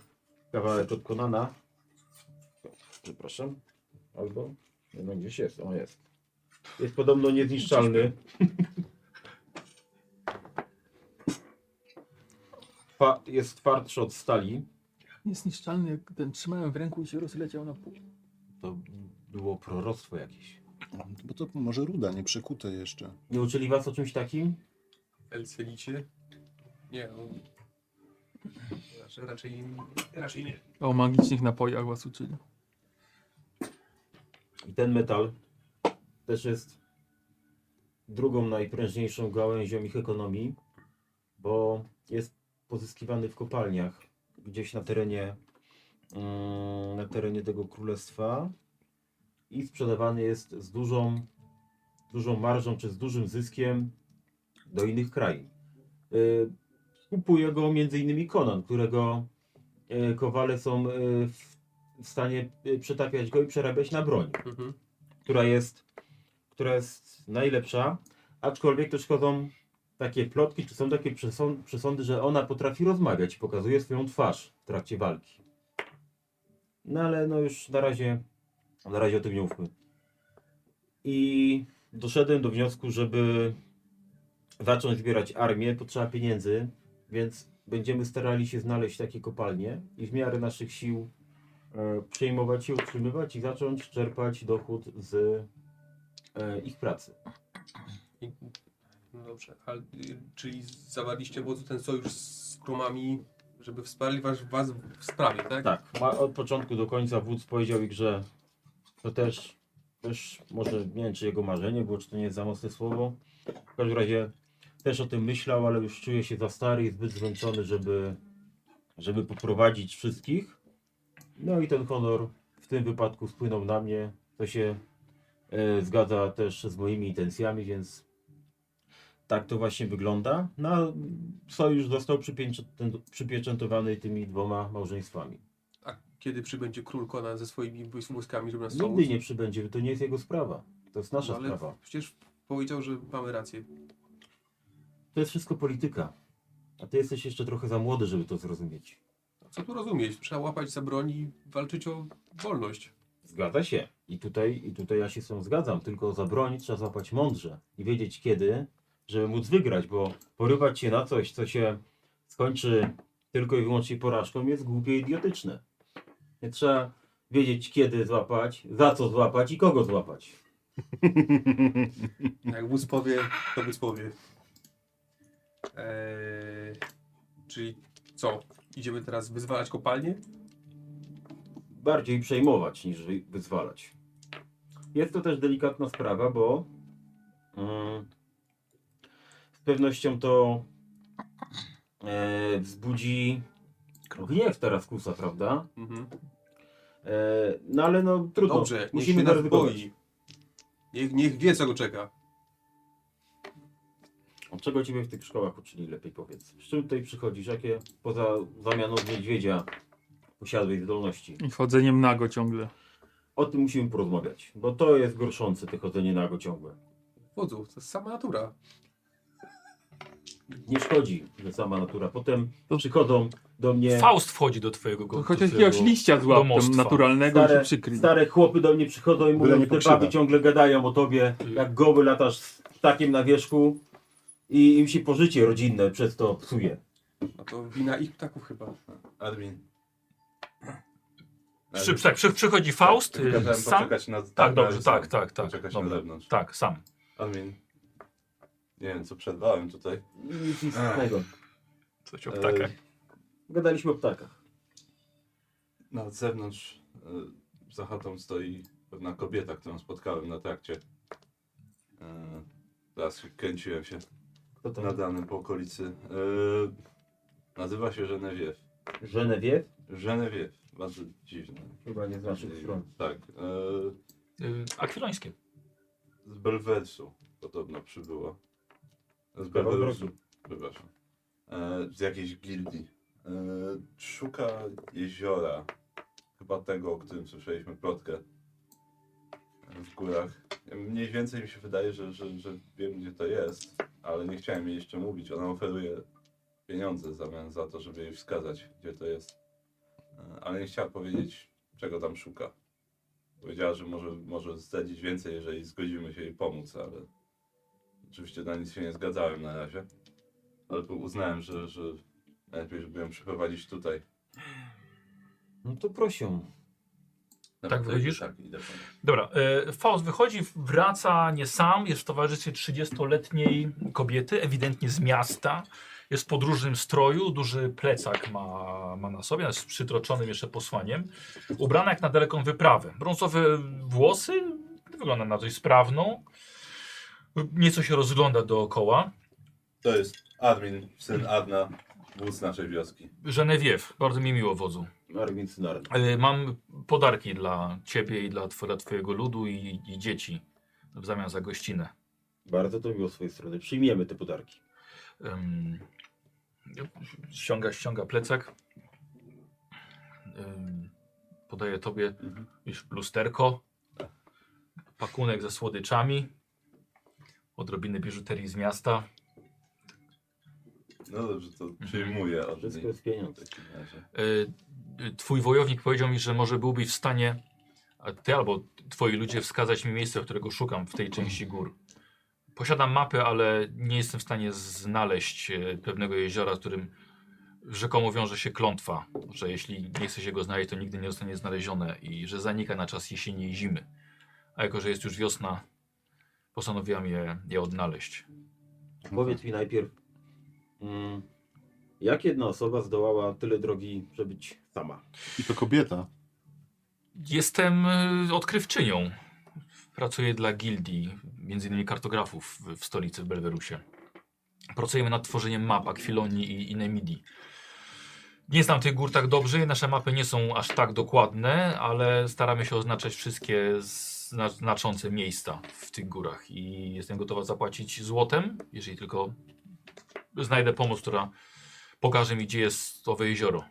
B: kawałek od Konana. Przepraszam. Albo nie wiem, gdzieś jest. O, jest. Jest podobno niezniszczalny. Twa- jest twardszy od stali.
E: Niezniszczalny, jak ten trzymałem w ręku i się rozleciał na pół.
B: To było proroctwo jakieś.
C: Bo to może ruda, nie przekute jeszcze.
B: Nie uczyli was o czymś takim?
F: Elselicie? Nie, no. Raczej, raczej, raczej nie.
E: O magicznych napojach was uczyli.
B: I ten metal też jest drugą najprężniejszą gałęzią ich ekonomii, bo jest pozyskiwany w kopalniach gdzieś na terenie mm, na terenie tego królestwa i sprzedawany jest z dużą, dużą marżą czy z dużym zyskiem do innych krajów. Y, Kupuje go m.in. Conan, którego y, kowale są y, w- w stanie y, przetapiać go i przerabiać na broń
F: Mhm.
B: która jest, która jest najlepsza, aczkolwiek też chodzą takie plotki, czy są takie przesą- przesądy, że ona potrafi rozmawiać i pokazuje swoją twarz w trakcie walki. No ale no już na razie, na razie o tym nie mówmy. I doszedłem do wniosku, żeby zacząć zbierać armię, potrzeba pieniędzy, więc będziemy starali się znaleźć takie kopalnie i w miarę naszych sił e, przejmować się, utrzymywać i zacząć czerpać dochód z e, ich pracy.
F: I, no dobrze, ale, y, czyli zawarliście wodzu ten sojusz z krumami, żeby wsparli was, was w sprawie, tak?
B: Tak, ma, od początku do końca wódz powiedział ich, że to też, też może nie wiem, czy jego marzenie było, czy to nie jest za mocne słowo. W każdym razie też o tym myślał, ale już czuje się za stary i zbyt zmęczony, żeby, żeby poprowadzić wszystkich. No i ten honor w tym wypadku spłynął na mnie. To się e, zgadza też z moimi intencjami, więc tak to właśnie wygląda. No, a sojusz został przypieczę- przypieczętowany tymi dwoma małżeństwami.
F: A kiedy przybędzie król Conan ze swoimi błys- błyskami, żeby nas
B: Nigdy
F: pomóc?
B: nie przybędzie, to nie jest jego sprawa. To jest nasza
F: No, ale
B: sprawa.
F: Przecież powiedział, że mamy rację.
B: To jest wszystko polityka. A ty jesteś jeszcze trochę za młody, żeby to zrozumieć.
F: No, Co tu rozumieć? Trzeba łapać za broń i walczyć o wolność.
B: Zgadza się. I tutaj, I tutaj ja się z tym zgadzam, tylko za broń trzeba zapłać mądrze i wiedzieć kiedy, żeby móc wygrać, bo porywać się na coś, co się skończy tylko i wyłącznie porażką, jest głupie i idiotyczne. Więc Trzeba wiedzieć, kiedy złapać, za co złapać i kogo złapać.
F: Jak wóz powie, to wóz powie. Eee, czyli co? Idziemy teraz wyzwalać kopalnię?
B: bardziej przejmować niż wy- wyzwalać. Jest to też delikatna sprawa, bo mm, z pewnością to e, wzbudzi gniew teraz kusa, prawda?
F: Mhm.
B: E, no ale no trudno.
F: Dobrze, niech się nas boi. Niech, niech wie, co go czeka.
B: O Czego ciebie w tych szkołach uczyli lepiej powiedz? Z czym tutaj przychodzisz? Jakie poza zamianą niedźwiedzia posiadłeś zdolności?
E: I chodzeniem nago ciągle.
B: O tym musimy porozmawiać, bo to jest gorszące, te chodzenie nago ciągłe.
F: Wodzu, to jest sama natura.
B: Nie szkodzi, że sama natura. Potem
E: To-
B: przychodą do mnie
A: Faust wchodzi do twojego go- do
E: Chociaż
A: twojego-
E: jakiegoś liścia złap tam
A: domostwa.
E: naturalnego i się
B: stare,
E: przykryj.
B: stare chłopy do mnie przychodzą i mówią,
C: nie
B: że te
C: pokrzywa.
B: baby ciągle gadają o tobie, jak goły latasz z takim na wierzchu i im się pożycie rodzinne przez to psuje.
F: A No to wina ich ptaków chyba.
D: Admin.
A: Przy, tak, przy, przychodzi Faust, y,
D: Kazałem
A: sam.
D: poczekać na,
A: Tak, dobrze,
D: ale sam.
A: tak, tak, tak.
D: Poczekać na
A: Dobra.
D: zewnątrz.
A: Tak, sam.
D: Admin. Nie wiem, co przerwałem tutaj. E,
B: Nic istotnego.
A: Coś o ptakach.
B: Gadaliśmy o ptakach.
D: Na zewnątrz y, za chatą stoi pewna kobieta, którą spotkałem na trakcie. Y, Teraz kręciłem się
B: Kto to?
D: na danym po okolicy. Y, Nazywa się Genevieve.
B: Genevieve?
D: Genevieve. Bardzo dziwne.
B: Chyba nie z naszych stron.
D: Tak. y,
E: E.
A: Y, Akwilońskie.
D: Z Belwersu podobno przybyła. Z
B: Kawał
D: Belwersu.
B: drogi.
D: Przepraszam. E, z jakiejś gildii. E, szuka jeziora. Chyba tego, o którym słyszeliśmy plotkę. E, W górach. Ja Mniej więcej mi się wydaje, że, że, że wiem gdzie to jest, ale nie chciałem jej jeszcze mówić. Ona oferuje pieniądze w zamian za to, żeby jej wskazać, gdzie to jest. E, Ale nie chciała powiedzieć, czego tam szuka. Powiedziała, że może, może zdradzić więcej, jeżeli zgodzimy się jej pomóc, ale oczywiście na nic się nie zgadzałem na razie. Ale tu uznałem, że, że najlepiej, żeby ją przeprowadzić tutaj.
B: No to prosią.
A: Tak wychodzisz?
D: Tak, idę po nią.
A: Dobra, y, Faust wychodzi, wraca nie sam, jest w towarzystwie 30-letniej kobiety, ewidentnie z miasta. Jest w podróżnym stroju, duży plecak ma, ma na sobie, jest przytroczonym jeszcze posłaniem. Ubrana jak na daleką wyprawę. Brązowe włosy, wygląda na dość sprawną. Nieco się rozgląda dookoła.
D: To jest admin, syn Adna, wódz naszej wioski.
A: Genevieve, bardzo mi miło wodzu.
B: Armin Synarny.
A: Y, Mam podarki dla ciebie i dla, tw- dla twojego ludu i, i dzieci w zamian za gościnę.
B: Bardzo to miło z twojej strony. Przyjmiemy te podarki.
A: Ym, ściąga, ściąga plecak. Ym, podaje tobie widzisz, lusterko, pakunek ze słodyczami, odrobiny biżuterii z miasta.
D: No dobrze, to
A: Mhm.
D: przyjmuję od
B: Wszystko
D: niej
B: jest pieniądz.
D: w takim razie.
A: Y, y, twój wojownik powiedział mi, że może byłbyś w stanie a ty albo twoi ludzie wskazać mi miejsce, którego szukam w tej części gór. Posiadam mapę, ale nie jestem w stanie znaleźć e, pewnego jeziora, z którym rzekomo wiąże się klątwa, że jeśli nie chce się go znaleźć, to nigdy nie zostanie znalezione i że zanika na czas jesieni i zimy. A jako, że jest już wiosna, postanowiłam je, je odnaleźć.
B: Powiedz mi najpierw, mm, jak jedna osoba zdołała tyle drogi przebyć sama?
C: I to kobieta.
A: Jestem y, odkrywczynią. Pracuję dla gildii, między innymi kartografów w, w stolicy w Belwerusie. Pracujemy nad tworzeniem map Akwilonii i, i Nemidii. Nie znam tych gór tak dobrze, nasze mapy nie są aż tak dokładne, ale staramy się oznaczać wszystkie zna znaczące miejsca w tych górach i jestem gotowa zapłacić złotem, jeżeli tylko znajdę pomoc, która pokaże mi, gdzie jest owe jezioro.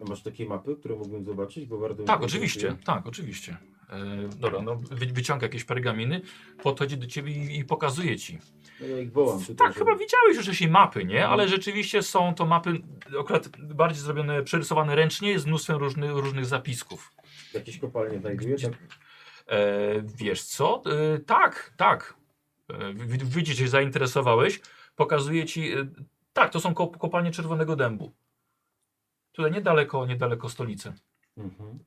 B: A Masz takie mapy, które mógłbym zobaczyć? Bo bardzo mnie
A: Tak,
B: to
A: oczywiście,
B: interesuje.
A: tak, oczywiście. E, dobra, no wy, wyciąga jakieś pergaminy, podchodzi do ciebie i, i pokazuje ci.
B: No ja ich wołam. Tutaj,
A: Tak,
B: żeby-
A: chyba widziałeś już wcześniej mapy, nie? Ale rzeczywiście są to mapy akurat bardziej zrobione, przerysowane ręcznie z mnóstwem różnych, różnych zapisków.
B: tak? Jakieś kopalnie znajdujesz?
A: Gdzie-
B: Tak?
A: E, wiesz co? E, tak, tak. e, wi- widzicie, zainteresowałeś, pokazuję ci, e, tak, to są kop kopalnie Czerwonego Dębu. Tutaj niedaleko, niedaleko stolicy.
B: Mhm.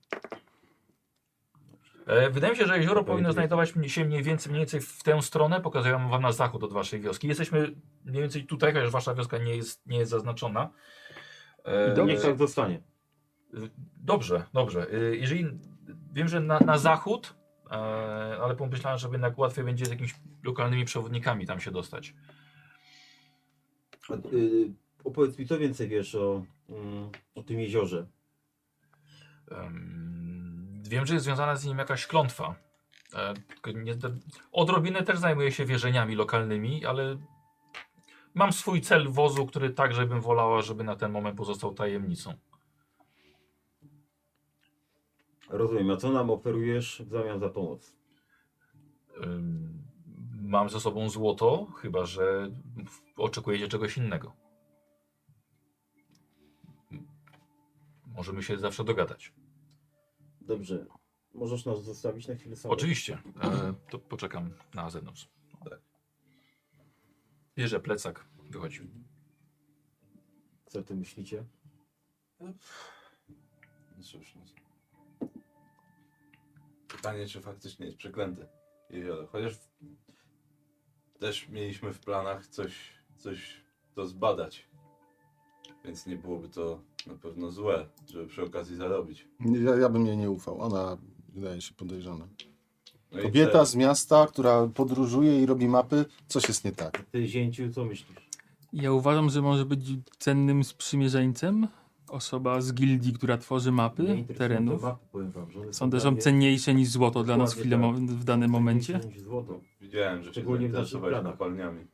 A: E, Wydaje mi się, że jezioro powinno
B: idzie.
A: znajdować mi- się mniej więcej, mniej więcej w tę stronę. Pokazuję wam na zachód od waszej wioski. Jesteśmy mniej więcej tutaj, chociaż wasza wioska nie jest, nie jest zaznaczona. E,
B: Niech tak zostanie.
A: Dobrze, dobrze. Y, Jeżeli wiem, że na, na zachód, e, ale pomyślałem, że jednak łatwiej będzie z jakimiś lokalnymi przewodnikami tam się dostać.
B: A, y, opowiedz mi, co więcej wiesz o, mm, o tym jeziorze.
A: Em, Wiem, że jest związana z nim jakaś klątwa. E, tylko nie zda- Odrobinę też zajmuję się wierzeniami lokalnymi, ale mam swój cel wozu, który także bym wolała, żeby na ten moment pozostał tajemnicą.
B: Rozumiem, a co nam oferujesz w zamian za pomoc?
A: Em, Mam ze sobą złoto, chyba że oczekujecie czegoś innego. Możemy się zawsze dogadać.
B: Dobrze. Możesz nas zostawić na chwilę samego?
A: Oczywiście, e, to poczekam na zewnątrz. Bierze plecak, wychodzi.
B: Co o tym myślicie?
D: No Cóż, no. Pytanie, czy faktycznie jest przeklęte jezioro. Chociaż w... też mieliśmy w planach coś, coś to zbadać. Więc nie byłoby to na pewno złe, żeby przy okazji zarobić.
C: Nie, Ja, ja bym jej nie ufał. Ona wydaje się podejrzana.
D: No i
C: Kobieta
D: te-
C: z miasta, która podróżuje i robi mapy, coś jest nie tak.
B: Ty, zięciu, co myślisz?
E: Ja uważam, że może być cennym sprzymierzeńcem osoba z gildii, która tworzy
B: Mnie
E: mapy
B: interesują
E: terenów.
B: te mapy, powiem wam, że one
E: Są też
B: dla
E: są
B: mnie
E: cenniejsze niż złoto dla nas w, chwilę,
B: Dokładnie tak.
E: w danym momencie.
B: cenniejsze niż Złoto.
D: Widziałem, że się
B: Szczególnie w naszych
D: zainteresowałeś
B: planach.
D: kopalniami.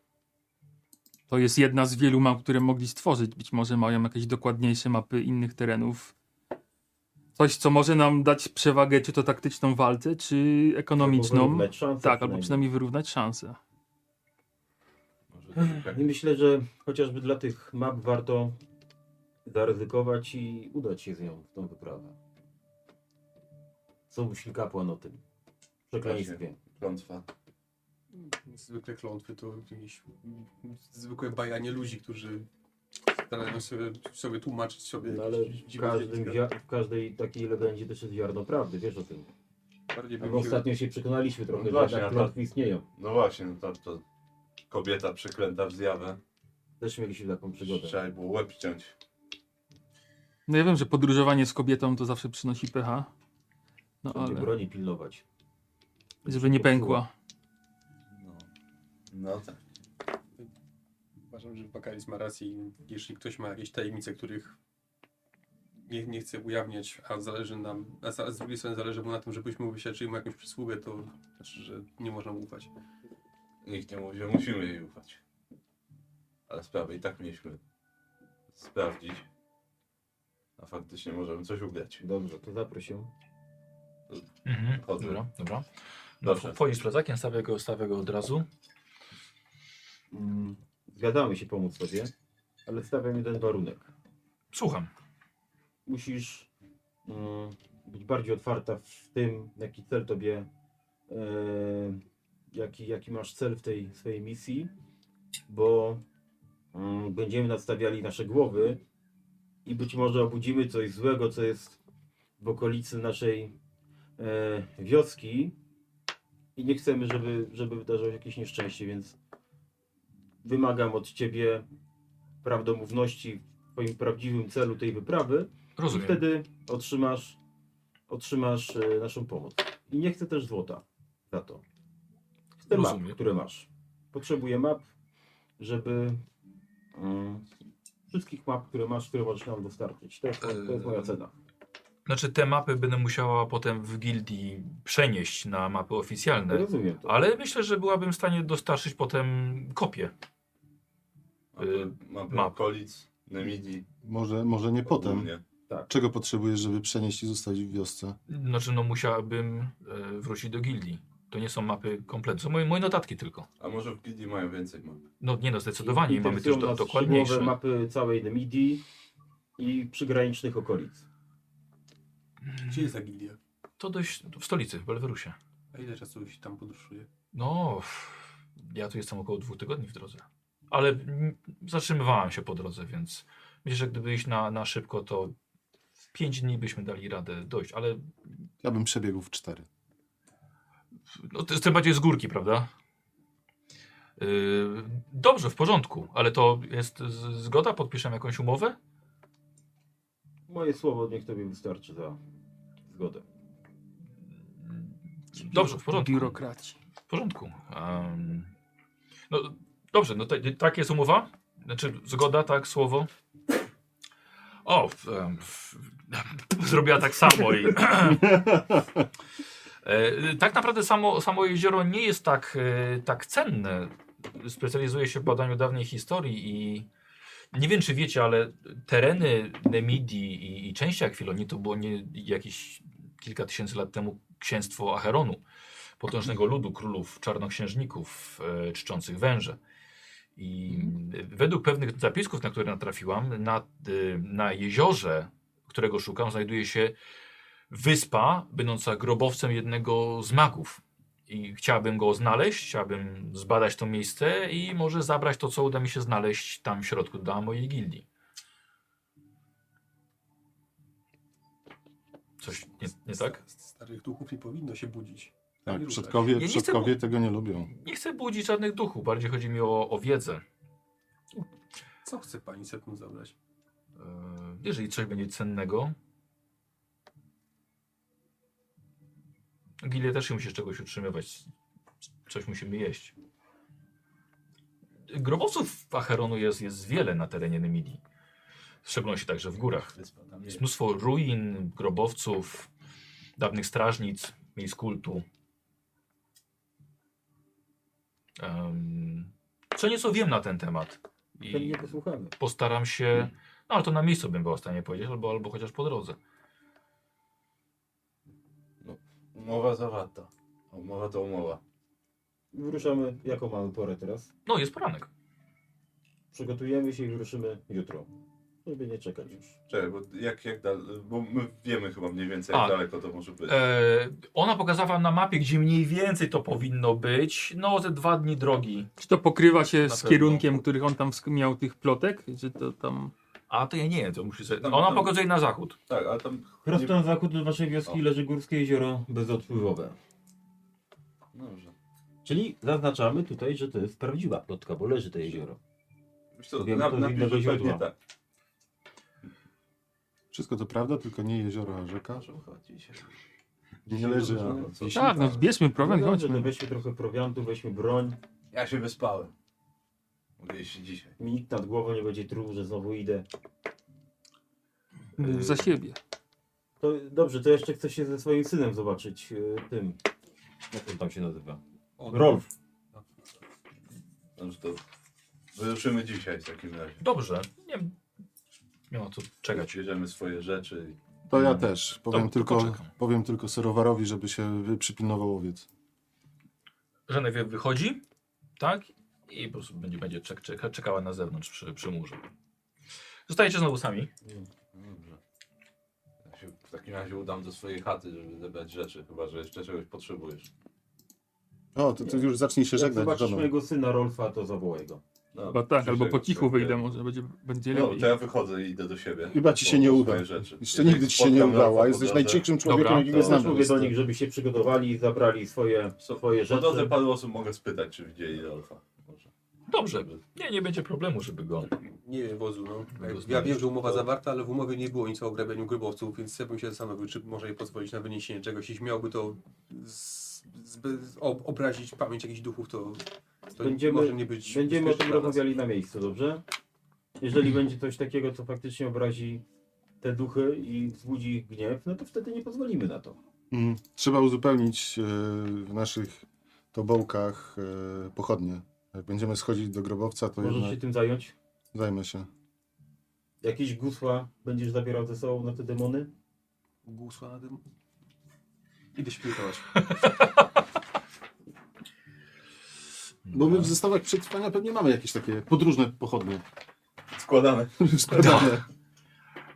E: To jest jedna z wielu map, które mogli stworzyć. Być może mają jakieś dokładniejsze mapy innych terenów. Coś, co może nam dać przewagę, czy to taktyczną w walce, czy
B: Albo
E: ekonomiczną.
B: wyrównać szanse
E: Tak, albo przynajmniej wyrównać szanse.
D: Może to tak-
B: I myślę, że chociażby dla tych map warto zaryzykować i udać się z nią w tą wyprawę. Co myśli kapłan o tym? Przekleństwie.
D: klątwa.
F: Zwykle klątwy to jakieś zwykłe bajanie ludzi, którzy starają sobie, sobie tłumaczyć sobie
B: No ale
F: jakieś
B: w, każdym,
F: zjawiska.
B: zia- w każdej takiej legendzie też jest ziarno prawdy, wiesz o tym.
F: Bardziej
B: Albo
F: bym się...
B: ostatnio się przekonaliśmy trochę,
D: No
B: że
D: właśnie,
B: jednak
D: a to-
B: klątwy istnieją.
D: No właśnie, no to, to kobieta przeklęta w zjawę.
B: Też mieliśmy taką przygodę.
D: Trzeba jej było łeb ciąć.
E: No ja wiem, że podróżowanie z kobietą to zawsze przynosi pecha. No
B: Będzie
E: ale,
B: broni pilnować.
E: żeby nie pękła.
D: No. no tak.
F: Uważam, że Bakaris ma rację i jeśli ktoś ma jakieś tajemnice, których nie, nie chce ujawniać, a zależy nam, a za- z drugiej strony zależy mu na tym, żebyśmy uwyśledczyli mu jakąś przysługę, to znaczy, że nie można mu ufać.
D: Nikt nie mówi, że musimy jej ufać. Ale sprawę i tak mieliśmy sprawdzić. A faktycznie możemy coś ugrać.
B: Dobrze, to zaproś ją.
A: Mhm.
D: Chodzę.
A: Dobra, dobra.
D: Dobrze.
A: Dobrze. Twoim plecakiem stawię go, stawię go od razu.
B: Mm, Zgadzamy się pomóc sobie, ale stawiam jeden warunek.
A: Słucham.
B: musisz mm, być bardziej otwarta w tym, jaki cel tobie, e, jaki, jaki masz cel w tej swojej misji, bo mm, będziemy nadstawiali nasze głowy i być może obudzimy coś złego, co jest w okolicy naszej e, wioski i nie chcemy, żeby, żeby wydarzyło się jakieś nieszczęście, więc wymagam od ciebie prawdomówności w twoim prawdziwym celu tej wyprawy, i
A: Rozumiem.
B: wtedy otrzymasz, otrzymasz e, naszą pomoc. I nie chcę też złota za to. Chcę map,
A: Rozumiem.
B: które masz. Potrzebuję map, żeby mm, wszystkich map, które masz, które możesz nam dostarczyć. To jest, to jest moja
A: Eee,
B: cena.
A: Znaczy te mapy będę musiała potem w gildii przenieść na mapy oficjalne.
B: Rozumiem to.
A: no Ale myślę, że byłabym w stanie dostarczyć potem kopię.
D: Mamy,
A: Y,
D: mamy
A: map.
D: okolic, Nemidii.
C: Może, może nie potem.
D: ogólnie.
C: Czego potrzebujesz, żeby przenieść i zostawić w wiosce?
A: Znaczy, no musiałabym e, wrócić do gildii. To nie są mapy kompletne. Są moje, moje notatki tylko.
D: A może w Gildii mają więcej map?
A: No nie no, zdecydowanie.
B: I-
A: Mamy też
B: interesują
A: do,
B: nas
A: dokładniejsze.
B: szczegółowe mapy całej Nemidii i przygranicznych okolic.
F: Gdzie jest ta gildia?
A: To dość w stolicy, w Belwerusie.
F: A ile czasu się tam podróżuje?
A: No, pff, Ja tu jestem około dwóch tygodni w drodze. Ale mm, zatrzymywałem się po drodze, więc myślę, że gdyby iść na, na szybko, to w pięć dni byśmy dali radę dojść. Ale
C: Ja bym przebiegł w cztery.
A: no, to jest tym bardziej z górki, prawda? Yy, dobrze, w porządku, ale to jest z- zgoda? Podpiszemy jakąś umowę?
B: Moje słowo niech tobie wystarczy za zgodę.
A: Dobrze, w porządku.
E: Biurokraci.
A: W porządku. Em, no dobrze, no tak- tak jest umowa? Znaczy zgoda, tak, słowo? O, w- em, w- zrobiła tak samo i... E, tak naprawdę samo, samo jezioro nie jest tak, e, tak cenne. Specjalizuje się w badaniu dawnej historii i nie wiem, czy wiecie, ale tereny Nemidii i, i części Akwilonii to było nie, jakieś kilka tysięcy lat temu księstwo Acheronu potężnego ludu królów czarnoksiężników e, czczących węże. I e, według pewnych zapisków, na które natrafiłam, na, y, na jeziorze, którego szukam, znajduje się wyspa będąca grobowcem jednego z magów. I chciałabym go znaleźć, chciałabym zbadać to miejsce i może zabrać to, co uda mi się znaleźć tam w środku dla mojej gildii. Coś nie, nie tak?
F: Starych duchów nie powinno się budzić.
C: Tak,
F: ruszać.
C: przodkowie,
A: Ja nie chcę
C: przodkowie
A: bu-
C: tego nie lubią.
A: Nie chcę budzić żadnych duchów, bardziej chodzi mi o, o wiedzę.
F: Co chce pani setną zabrać?
A: Yy, Jeżeli coś będzie cennego. Gilia też się musi z czegoś utrzymywać. Coś musimy jeść. Grobowców Acheronu jest, jest wiele na terenie Nemidii. W szczególności także w górach. Jest mnóstwo ruin, grobowców, dawnych strażnic, miejsc kultu. Em, co nieco wiem na ten temat. I-
B: Ten nie posłuchamy.
A: postaram się. No ale to na miejscu bym był w stanie powiedzieć, albo, albo chociaż po drodze.
D: Umowa zawarta. Umowa to umowa.
B: Wyruszamy, jaką mamy porę teraz?
A: No jest poranek.
B: Przygotujemy się i wyruszymy jutro. Żeby nie czekać już.
D: Czekaj, bo jak, jak dal... Bo my wiemy chyba mniej więcej,
A: A.
D: jak
E: Tak.
D: daleko to może być.
A: E, ona pokazała na mapie, gdzie mniej więcej to powinno być. No ze dwa dni drogi.
E: Czy to pokrywa się
A: Na
E: z
A: pewno.
E: kierunkiem, których on tam wsk- miał tych plotek? Czy to tam...
A: A to ja nie wiem, to musi sobie...
D: Tam-
A: Ona
D: tam-
A: pokazuje na zachód.
D: Tak, ale tam...
B: Prosto na zachód od waszej wioski
D: O.
B: leży górskie jezioro bezodpływowe.
D: no Dobrze.
B: Czyli zaznaczamy tutaj, że to jest prawdziwa plotka, bo leży to jezioro.
D: Wiesz co,
B: Wiem,
D: na,
B: to z
D: napisz,
B: innego
D: że pewnie
B: źródła.
D: tak.
C: Wszystko to prawda, tylko nie jezioro, a rzeka.
D: Może chodzi się.
C: Nie leży, a
D: No, co?
C: wisi.
E: Tak, no zbierzmy prowiant,
B: no dobrze, to
E: chodźmy.
B: weźmy trochę prowiantu, weźmy broń.
D: Ja się wyspałem. Mogę iść dzisiaj.
B: Mi nikt nad głową nie będzie truł, że znowu idę.
E: Mów no, Za siebie.
B: To dobrze, to jeszcze chcę się ze swoim synem zobaczyć. y, Tym. Jak on tam się nazywa?
F: On-
B: Rolf.
D: Dobrze, No to wyruszymy dzisiaj w takim razie.
A: Dobrze. Nie, nie ma co czekać.
D: Bierzemy swoje rzeczy i...
C: To ja też. Powiem,
A: Dobra, to
C: tylko,
A: poczekam.
C: powiem tylko serowarowi, żeby się wy- przypilnował owiec.
A: Żenewie wychodzi, tak? I po prostu będzie, będzie czek, czeka, czekała na zewnątrz przy, przy murze. Zostajecie znowu sami.
D: Dobrze. Ja się w takim razie udam do swojej chaty, żeby zebrać rzeczy, chyba że jeszcze czegoś potrzebujesz.
C: O, to, to już zacznij się
B: Jak
C: żegnać z
B: zobaczysz
C: żoną.
B: mojego syna Rolfa, to zawołaj go.
D: No,
E: Chyba tak, albo po cichu
D: czegoś-
E: wyjdę, może będzie, będzie
D: No,
E: lepiej.
D: to ja wychodzę i idę do siebie.
C: Chyba ci
D: Po-
C: się nie
D: po
C: uda.
D: swoje rzeczy.
C: Jeszcze
D: Jeżeli
C: nigdy ci się nie
D: spotkam Rolfa
C: udało,
D: po
C: a jesteś
D: drodze-
C: najciększym człowiekiem,
A: Dobra,
C: jakiego
D: to-
B: Też
C: znam.
B: No, mówię do nich, żeby się przygotowali i zabrali swoje, swoje
D: Po drodze
B: rzeczy.
D: paru osób mogę spytać, czy widzieli Rolfa. Może.
A: Dobrze. Nie, nie będzie problemu, żeby go...
F: Nie wiem, wozu, no. Ja- Ja
A: Rozumiem.
F: wiem, że umowa zawarta, ale w umowie nie było nic o ograbianiu grobowców, więc ja bym się zastanowił, czy może jej pozwolić na wyniesienie czegoś. Jeśli miałby to z, zby- ob, obrazić pamięć jakichś duchów, to, to
B: Będziemy-
F: może nie być
B: Będziemy o
F: bezpieczne
B: tym
F: dla nas.
B: rozmawiali na miejscu, dobrze? Jeżeli będzie coś takiego, co faktycznie obrazi te duchy i wzbudzi ich gniew, no to wtedy nie pozwolimy na to.
C: Mm, Trzeba uzupełnić e, w naszych tobołkach e, pochodnie. Jak będziemy schodzić do grobowca, to
B: Możesz się
C: jednak
B: tym zająć?
C: zajmę się.
B: Jakieś gusła będziesz zabierał ze sobą na te demony?
F: Gusła na tym. Idę śpiewać.
C: Bo my w zestawach przetrwania pewnie mamy jakieś takie podróżne pochodnie. Tak.
D: Składane.
C: Składane.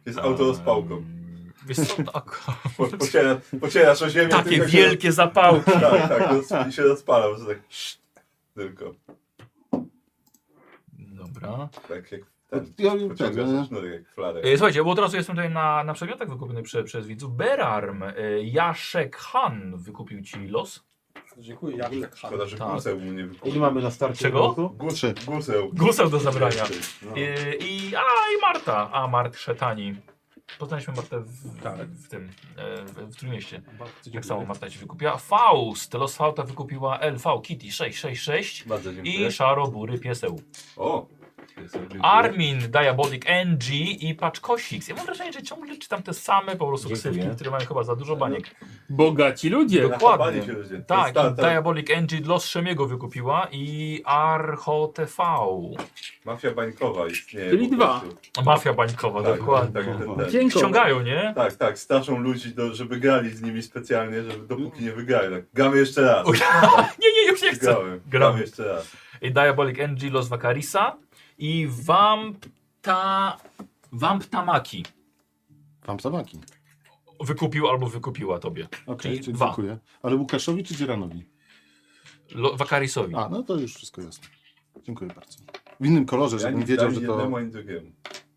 D: Jest
A: Ehm,
D: auto z pałką.
A: Em, e, Wiesz co, tak,
D: Po- Pociera, pocierasz o ziemię.
A: takie
D: tym tak-
A: wielkie zapałki.
D: Tak, tak. roz- I się rozpala, bo to tak... Tylko
A: Dobra.
D: tak jak ten.
C: Ja, ja, tak,
D: Pociąga
C: ja,
D: za sznurek, jak flarek.
A: E, Słuchajcie, bo od razu jestem tutaj na, na przedmiotach wykupionych prze, przez widzów. Berarm, e, Jaszek Han wykupił ci los.
F: Dziękuję, ja tak
D: Szkoda, że
A: Tak.
D: guseł mu nie wykupił.
B: Ile mamy na starcie?
A: Czego?
B: roku?
D: Guseł. Guseł.
A: Guseł do zabrania.
D: No.
A: E, I, a, i Marta. A, Mart Szetani. Poznaliśmy Martę w,
F: Tak.
A: w tym, e, w, w Trójmieście.
F: Bardzo
A: Tak samo
F: dziękuję.
A: Marta ci wykupiła. Faust, los Fausta wykupiła LV Kitty 666
D: Bardzo dziękuję.
A: i szarobury pieseł.
D: O! Dziękuję.
A: Armin, Diabolic NG i Paczkosix. Ja mam wrażenie, że ciągle czytam te same po prostu
B: Dziękuję.
A: ksywki, które mają chyba za
D: No,
A: dużo baniek.
E: Bogaci ludzie.
A: Dokładnie.
D: Zapali się ludzie. To
A: Tak,
D: jest ta-
A: i
D: ta-
A: Diabolic NG Los Szemiego wykupiła i Archo TV.
D: Mafia bańkowa istnieje.
E: Czyli
D: po
E: dwa.
D: prostu.
A: Mafia bańkowa,
D: Tak,
A: dokładnie.
D: Tak, ten, ten.
E: Dzięki.
A: Ściągają, nie?
D: Tak, tak, staczą ludzi, do, żeby grali z nimi specjalnie, żeby dopóki nie wygrają. Tak, gramy jeszcze raz.
A: Uj, nie, nie, już nie chcę.
D: Gramy,
A: Gramy.
D: gramy jeszcze raz.
A: I Diabolic NG Los Vacarisa i Vampta... Vamptamaki
C: tam tabaki.
A: wykupił albo wykupiła tobie.
C: Okej,
A: Czyli
C: czyli
A: dwa.
C: dziękuję. Ale Łukaszowi czy Dzieranowi?
A: Lo- Vakarisowi.
C: A, no to już wszystko jasne. Dziękuję bardzo. W innym kolorze,
D: Ja
C: żebym
D: nie
C: wiedział,
D: wiedział,
C: że to
D: jednemu, ani drugiemu.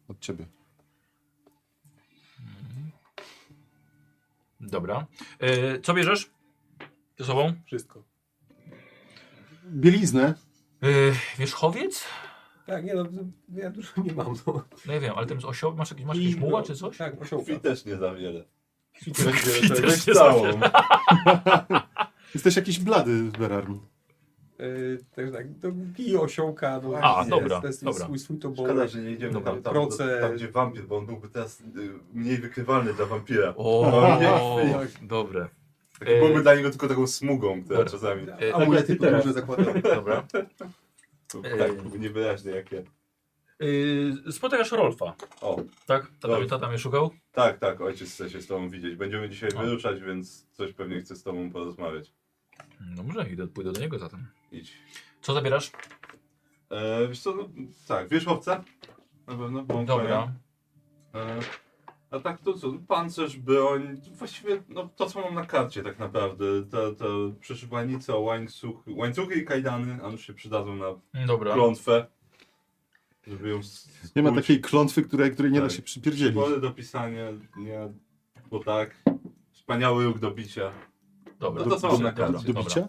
C: od ciebie.
A: Dobra. E, co bierzesz? Ze sobą?
F: Wszystko.
C: Bieliznę.
A: E, wierzchowiec?
F: Tak, nie no, ja dużo nie mam. No.
A: No ja wiem, ale ten z osioł, masz jakiś, masz jakiś
F: I-
A: muła czy coś?
F: Tak, osiołka.
D: Krwi też nie za wiele.
A: Krwi
D: Będzie
A: też
D: czegoś
A: nie
D: całą.
A: za
C: Jesteś jakiś blady, Berarm.
F: Yy, także tak, to i osiołka. No,
A: A,
F: jest-
A: dobra,
F: jest, jest
A: dobra.
F: Swój, swój to bo... No tak,
D: Szkoda, że nie idziemy
A: Dobra.
D: tam, tam,
F: Proces.
D: tam, gdzie wampir, bo on byłby teraz y, mniej wykrywalny dla wampira.
A: O, dobre.
D: Taki
A: E,
D: byłby dla niego tylko taką smugą
A: dobra.
D: teraz czasami. Tak,
A: E,
F: Amulety
B: Tak,
F: to
B: teraz.
F: może zakładam.
A: Dobra. e-
D: byłby niewyraźny jak ja.
A: Y, spotykasz Rolfa,
D: O,
A: tak? Tata,
D: Rolf.
A: tata mnie szukał?
D: tak, tak, ojciec chce się z tobą widzieć. Będziemy dzisiaj
A: O.
D: wyruszać, więc coś pewnie chce z tobą porozmawiać.
A: No może idę, pójdę do niego zatem.
D: Idź.
A: Co zabierasz?
D: E, wiesz co, no, tak, wierzchowca? Na pewno, bo
A: Dobra.
D: E, A tak to co, pancerz, broń, właściwie no, to co mam na karcie tak naprawdę, ta, ta przeszywanica, łańcuchy, łańcuchy i kajdany, a już się przydadzą na
A: Dobra.
D: klątwę, żeby ją
C: Nie ma
D: skłuć.
C: takiej klątwy, której, której nie da
D: Tak.
C: się przypierdzielić.
D: Wolę do pisania, nie, bo tak, wspaniały łuk do bicia,
A: Dobra.
D: No to są
A: Dobrze,
D: na karcie.
A: dobra,
C: Do
A: dobra.
C: bicia?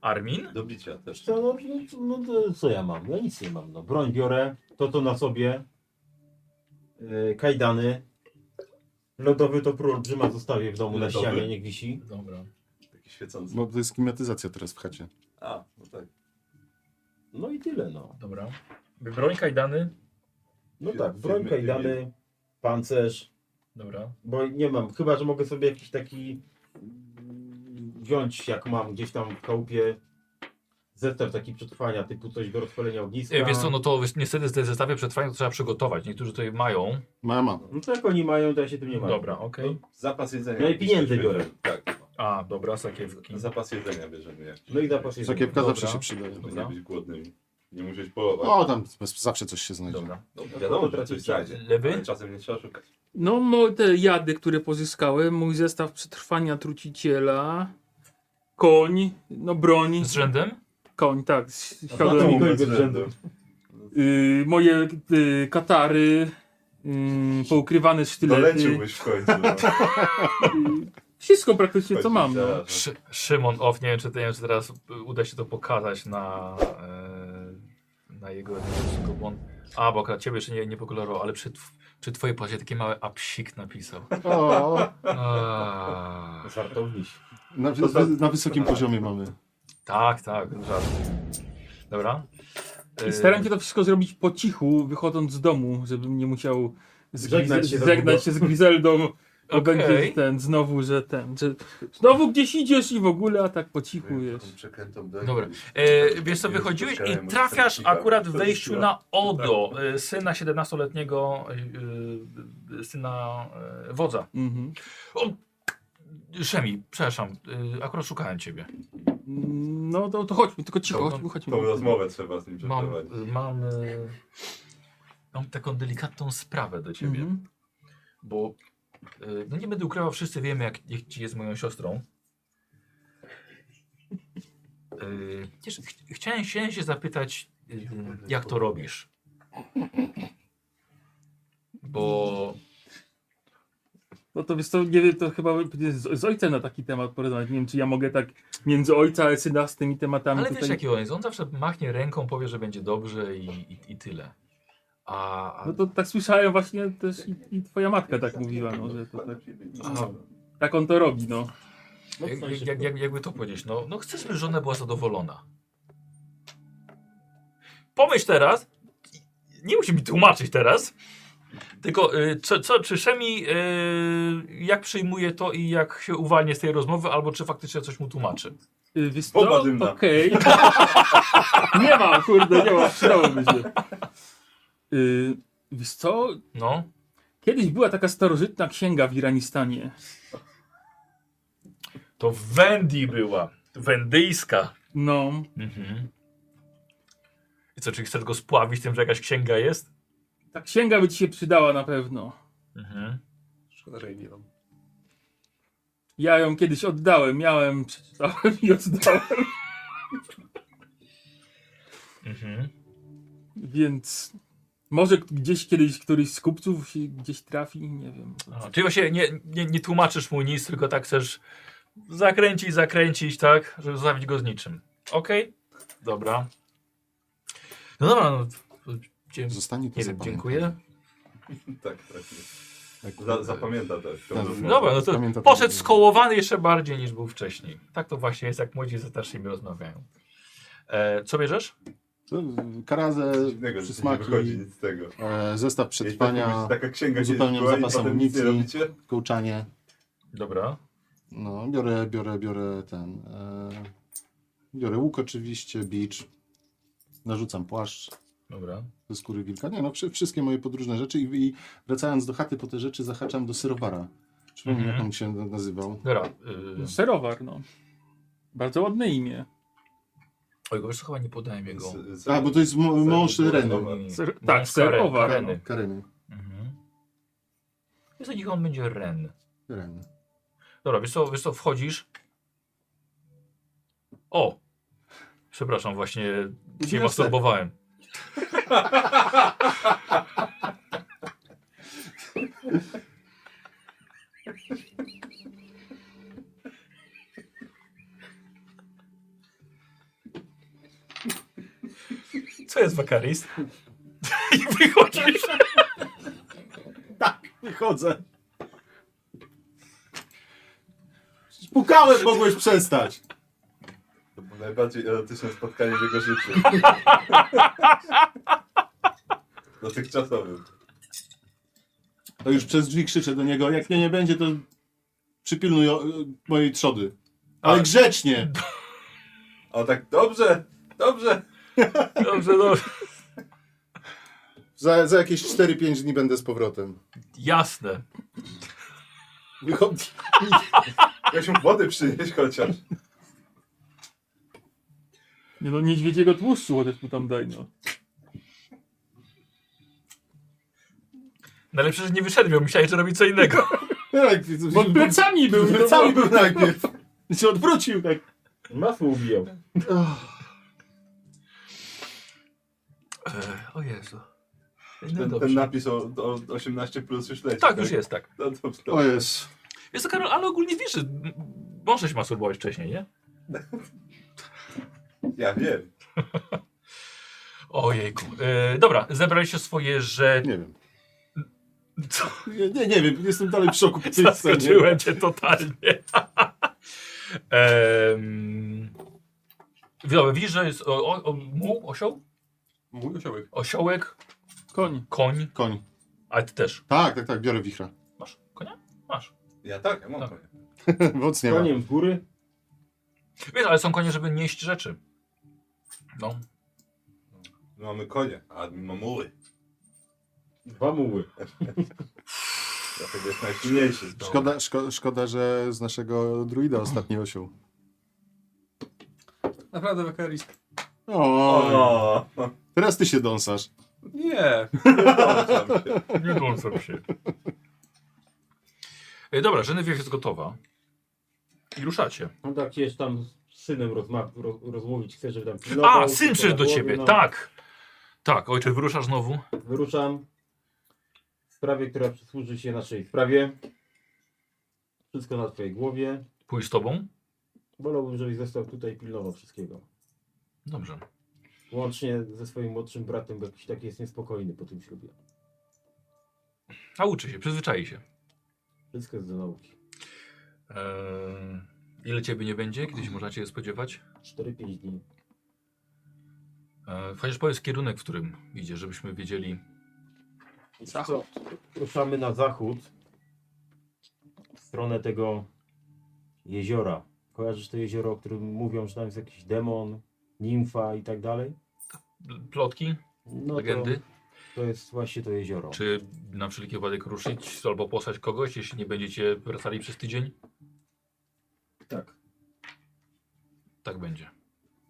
A: Armin?
D: do bicia też.
B: Co, no, no, to co ja mam? No nic nie mam. No. Broń biorę, to to na sobie, yy, kajdany, lodowy topór olbrzyma zostawię w domu
D: Lodowy?
B: na ścianie, niech wisi.
A: Dobra.
D: Taki świecący.
C: Bo to jest klimatyzacja teraz w chacie.
D: A, no tak.
B: No i tyle no.
A: Dobra. Broń kajdany?
B: No
D: Fir-
B: tak, broń,
D: firmy,
B: kajdany, pancerz,
A: Dobra.
B: bo nie mam, chyba że mogę sobie jakiś taki mm, wziąć jak mam gdzieś tam w chałupie zestaw taki przetrwania typu coś do rozpalenia ogniska.
A: E, wiesz co, no to wiesz, niestety z zestawie przetrwania to trzeba przygotować. Niektórzy tutaj mają.
C: Mama.
B: No to jak oni mają, to ja się tym nie mam.
A: Dobra, okej.
D: Zapas jedzenia.
B: No i pieniędzy
D: jakiś też
B: biorę.
D: będzie. Tak,
A: A, dobra, sakiewki.
D: zapas jedzenia bierzemy jak
B: No i zapas jest.
C: Sakiewka
A: Dobra.
C: zawsze się
B: No
C: przydaje.
D: żeby
A: Dobra.
D: nie być głodnymi. Nie musieć polować.
C: O, tam bez- zawsze coś się znajdzie.
A: Dobra.
D: No, wiadomo, że coś znajdzie.
A: Lewy?
D: Ale czasem nie trzeba szukać.
E: No, mo- te jady, które pozyskałem, mój zestaw przetrwania truciciela, koń, no broń,
A: Z rzędem?
E: koń, tak, z z
B: No
E: siodłem.
B: mi
D: bez
B: kończy
D: rzędu.
B: rzędu.
E: Y, moje y, katary, y, poukrywane sztylety,
D: Doleciłbyś w końcu. No.
E: wszystko praktycznie co mam. No.
D: Teraz,
A: Szy Szymon Off, nie wiem, czy, nie wiem, czy teraz y, uda się to pokazać na, e, na jego odcinku, bo on... A, bo akurat ciebie jeszcze nie, nie pokolorował, ale przy, tw przy twojej płacie takie małe apsik napisał.
C: O,
A: A,
B: Żartowniś.
C: na, wy- wy- na wysokim poziomie mamy.
A: tak, tak, żart. Dobra. E,
E: I staram się to wszystko zrobić po cichu, wychodząc z domu, żebym nie musiał z
B: Żegnać
E: Griz-
B: się za
E: żegnać
B: długo.
E: się z Grizeldą, bo
A: Okej.
E: będzie ten, znowu, że ten, że znowu gdzieś idziesz i w ogóle, a tak po cichu
D: Taką
E: wiesz.
D: przeklętą broń.
A: Dobra. E, wiesz co, wychodziłeś i trafiasz akurat w wejściu na Odo, e, syna 17-letniego, e, e, syna e, wodza.
E: Mhm.
A: O, Szemi, przepraszam, y, akurat szukałem ciebie.
E: No to, to chodźmy, tylko cicho,
A: Dobra.
E: chodźmy, chodźmy.
D: Tą rozmowę trzeba z nim
A: Mam,
D: przeprowadzić.
A: y, mam, y, mam taką delikatną sprawę do ciebie,
E: Mhm.
A: bo y, no nie będę ukrywał, wszyscy wiemy, jak, jak ci jest moją siostrą. Yy, wiesz, ch- chciałem, chciałem się zapytać, y, jak to robisz? Bo
E: No to wiesz co, nie wiem, to chyba będzie z, z ojcem na taki temat porozmawiać. Nie wiem, czy ja mogę tak między ojca a syna z tymi tematami
A: Ale
E: tutaj...
A: wiesz jaki on jest, on zawsze machnie ręką, powie, że będzie dobrze i, i, i tyle. A, a
E: No to tak słyszałem właśnie też i, i twoja matka tak mówiła, no, że to tak, tak on to robi, no.
B: No,
A: jak,
B: co
A: jak,
B: się
A: jak, jak, jakby to powiedzieć, no, no chcę, żeby żona była zadowolona. Pomyśl teraz, nie musi mi tłumaczyć teraz, tylko y, co, co, czy Szemi, y, jak przyjmuje to i jak się uwalnia z tej rozmowy, albo czy faktycznie coś mu tłumaczy.
E: Y, Wiesz
D: Bomba
E: co,
D: dymna.
E: okej. nie mam, kurde, nie mam, przydałoby się. Y, Wiesz co,
A: No,
E: kiedyś była taka starożytna księga w Iranistanie.
A: to w Wendii była, wendyjska.
E: No,
A: Mhm. I co, czy chcesz go spławić tym, że jakaś księga jest?
E: ta księga by ci się przydała na pewno.
A: Mhm.
F: Szkoda, że jej nie mam.
E: Ja ją kiedyś oddałem, miałem, przeczytałem i oddałem,
A: Mhm.
E: więc może k- gdzieś kiedyś któryś z kupców się gdzieś trafi, nie wiem.
A: A, No, czyli właśnie nie, nie, nie tłumaczysz mu nic, tylko tak chcesz zakręcić, zakręcić, tak, żeby zostawić go z niczym. Okej, dobra. No dobra, no, dzie-
C: Zostanie to
A: nie wiem,
C: zapamiętane.
A: dziękuję.
D: Tak, tak.
C: Tak,
D: Za, zapamięta tak. tą
C: Tak.
D: rozmowę.
A: Dobra, no to
C: Pamiętam,
A: poszedł
C: że-
A: skołowany jeszcze bardziej niż był wcześniej. Tak to właśnie jest, jak młodzi ze starszymi rozmawiają. E, co bierzesz?
C: To, y, Karazę,
D: Coś dziwnego, że nie
C: przysmaki,
D: wychodzi nic z tego.
C: e, zestaw
D: Jeśli tak
C: przetrwania,
D: mówisz, taka księga kiedyś
C: uzupełniam
D: była i
C: zapas
D: potem nic nie
C: amunicji.
D: robicie?
C: kołczanie.
A: Dobra.
C: No, biorę, biorę, biorę ten. E, biorę łuk oczywiście, bicz. Narzucam płaszcz
A: Dobra.
C: ze skóry wilka. Nie no, wszy- wszystkie moje podróżne rzeczy i, i wracając do chaty po te rzeczy zahaczam do syrowara. Przypomnij,
A: Mhm.
C: jak on się na- nazywał.
A: Dobra. Y,
E: No, Serowar, no. Bardzo ładne imię.
A: oj, go wiesz, co, chyba nie podałem jego.
D: Z- z-
C: A, Tak, bo to jest m- mąż
D: Serowar.
C: Reny.
E: Ser-
A: No,
E: tak,
A: Karen-
E: serowar.
A: Kareny.
C: Kareny.
A: Mhm. Wiesz, co, niech on będzie Ren.
C: Reny.
A: Dobra, wiesz co, wiesz co, wchodzisz. O! Przepraszam, właśnie się
C: Wniosek.
A: masturbowałem. Co jest wakarist? I wychodzisz.
C: Wychodzę. Pukałem, mogłeś przestać.
D: To było najbardziej erotyczne spotkanie w jego życiu. Dotychczasowym.
C: To już przez drzwi krzyczę do niego, jak mnie nie będzie, to przypilnuj o, e, mojej trzody. Ale
A: A-
C: grzecznie.
D: A on tak, dobrze, dobrze.
A: Dobrze, dobrze.
C: Za, za jakieś 4-5 dni będę z powrotem.
A: Jasne.
C: Wychodzi.
D: Weź mu wody przynieść chociaż.
A: No
E: Nie no, niedźwiedziego tłuszczu chociaż mu tam daj, no.
A: No ale przecież nie wyszedłem, myślałem, że robi co innego.
C: Tak,
E: Bo plecami był. no.
C: cały był najpierw. I się odwrócił tak.
B: Masło ubijał.
A: E, o Jezu. No
D: Ten,
A: dobrze.
D: ten napis o, o 18 plus już leci.
A: Tak, już jest tak.
D: No dobrze.
C: O jest.
A: Jest to Karol, ale ogólnie wiesz, że m- można się masturbować wcześniej, nie?
D: Ja wiem.
A: Ojejku. E, dobra, zebraliście swoje rzeczy.
C: Nie wiem.
A: Co?
C: Nie, nie, nie wiem, jestem dalej w szoku po tej scenie.
A: Zaskoczyłem cię totalnie. Ehm, Dobra, widzisz, że jest o, o, o, muł, osioł?
F: Mój osiołek.
A: Osiołek,
E: Koń.
A: koń,
C: Koń.
A: a ty też.
C: Tak, tak, tak, biorę wichra.
A: Masz konia? Masz.
D: Ja tak, ja mam
A: Tak.
D: tak.
C: Woc nie ma.
B: Koniem z góry.
A: Wiesz, ale są konie, żeby nieść rzeczy. No.
D: My mamy konie, a my mamy muły.
B: Dwa muły.
D: Dlatego jest najsilniejszy.
C: Szkoda, szko, szkoda, że z naszego druida ostatni osioł.
F: Naprawdę wakaris.
C: O,
D: O,
C: teraz ty się dąsasz.
F: Nie.
D: połączam się.
A: Nie kłamcą się. E, Dobra, Genevieve jest gotowa. I ruszacie.
B: On No tak się tam synem rozma- ro- rozmówić, chcę, żeby tam
A: A,
B: pilnował,
A: syn
B: co
A: przyszedł do
B: było,
A: ciebie,
B: no.
A: tak. Tak, ojcze, wyruszasz znowu?
B: Wyruszam w sprawie, która przysłuży się naszej sprawie. Wszystko na twojej głowie.
A: Pójdź z tobą?
B: Wolałbym, żebyś został tutaj i pilnował wszystkiego.
A: Dobrze.
B: Łącznie ze swoim młodszym bratem, bo jakiś taki jest niespokojny po tym ślubie.
A: A uczy się, przyzwyczai się.
B: Wszystko jest do nauki.
A: Eee, ile ciebie nie będzie? Kiedyś można cię spodziewać?
B: 4-5 dni.
A: Eee, chociaż powiedz kierunek, w którym idzie, żebyśmy wiedzieli.
E: Zachód.
B: Co? Ruszamy na zachód. W stronę tego jeziora. Kojarzysz to jezioro, o którym mówią, że tam jest jakiś demon, nimfa i tak dalej?
A: Plotki,
B: No
A: legendy?
B: To, to jest właśnie to jezioro.
A: Czy na wszelki wypadek ruszyć albo posłać kogoś, jeśli nie będziecie wracali przez tydzień?
B: Tak.
A: Tak będzie.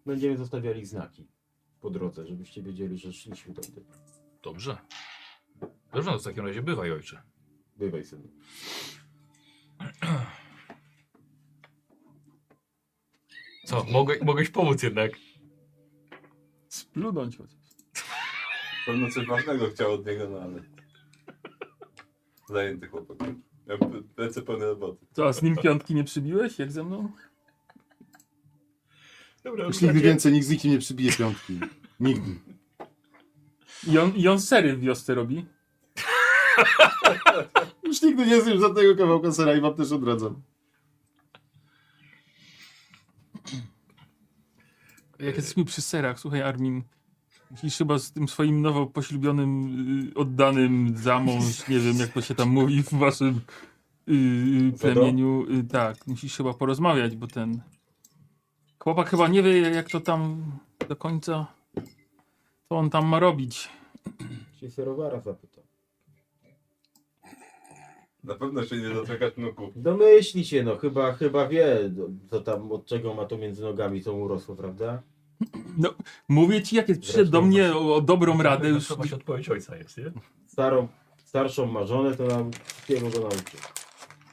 B: Będziemy zostawiali znaki po drodze, żebyście wiedzieli, że szliśmy tędy.
A: Dobrze. Dobrze, no w takim razie bywaj, ojcze.
B: Bywaj, synu.
A: Co, mogę, mogłeś pomóc jednak?
E: Splunąć chociaż.
D: Pewno coś ważnego chciał od niego, no ale... Zajęty chłopak. Miał p- ręce pełne roboty.
E: Co, a z nim piątki nie przybiłeś, jak ze mną?
A: Dobra,
C: Już nigdy więcej nikt z nikim nie przybije piątki. Nigdy.
E: I on, i on sery w wiosce robi.
C: Już nigdy nie zjem żadnego kawałka sera i wam też odradzam.
E: Jak jesteśmy przy serach, słuchaj Armin, musisz chyba z tym swoim nowo poślubionym, y, oddanym za mąż, nie wiem jak to się tam mówi w waszym y, y, plemieniu, y, tak, musisz chyba porozmawiać, bo ten chłopak chyba nie wie jak to tam do końca, co on tam ma robić.
B: Się serowara zapytał.
D: Na pewno się nie doczekać nuku.
B: Domyśli się, no chyba, chyba wie, co tam, od czego ma to między nogami, co mu rosło, prawda?
E: Mówię ci, jak jest przyszedł do mnie o, o dobrą radę, już
A: Chyba się odpowiedź ojca jest, nie?
B: Starą, starszą ma żonę, to nam wszystkiego go nauczy.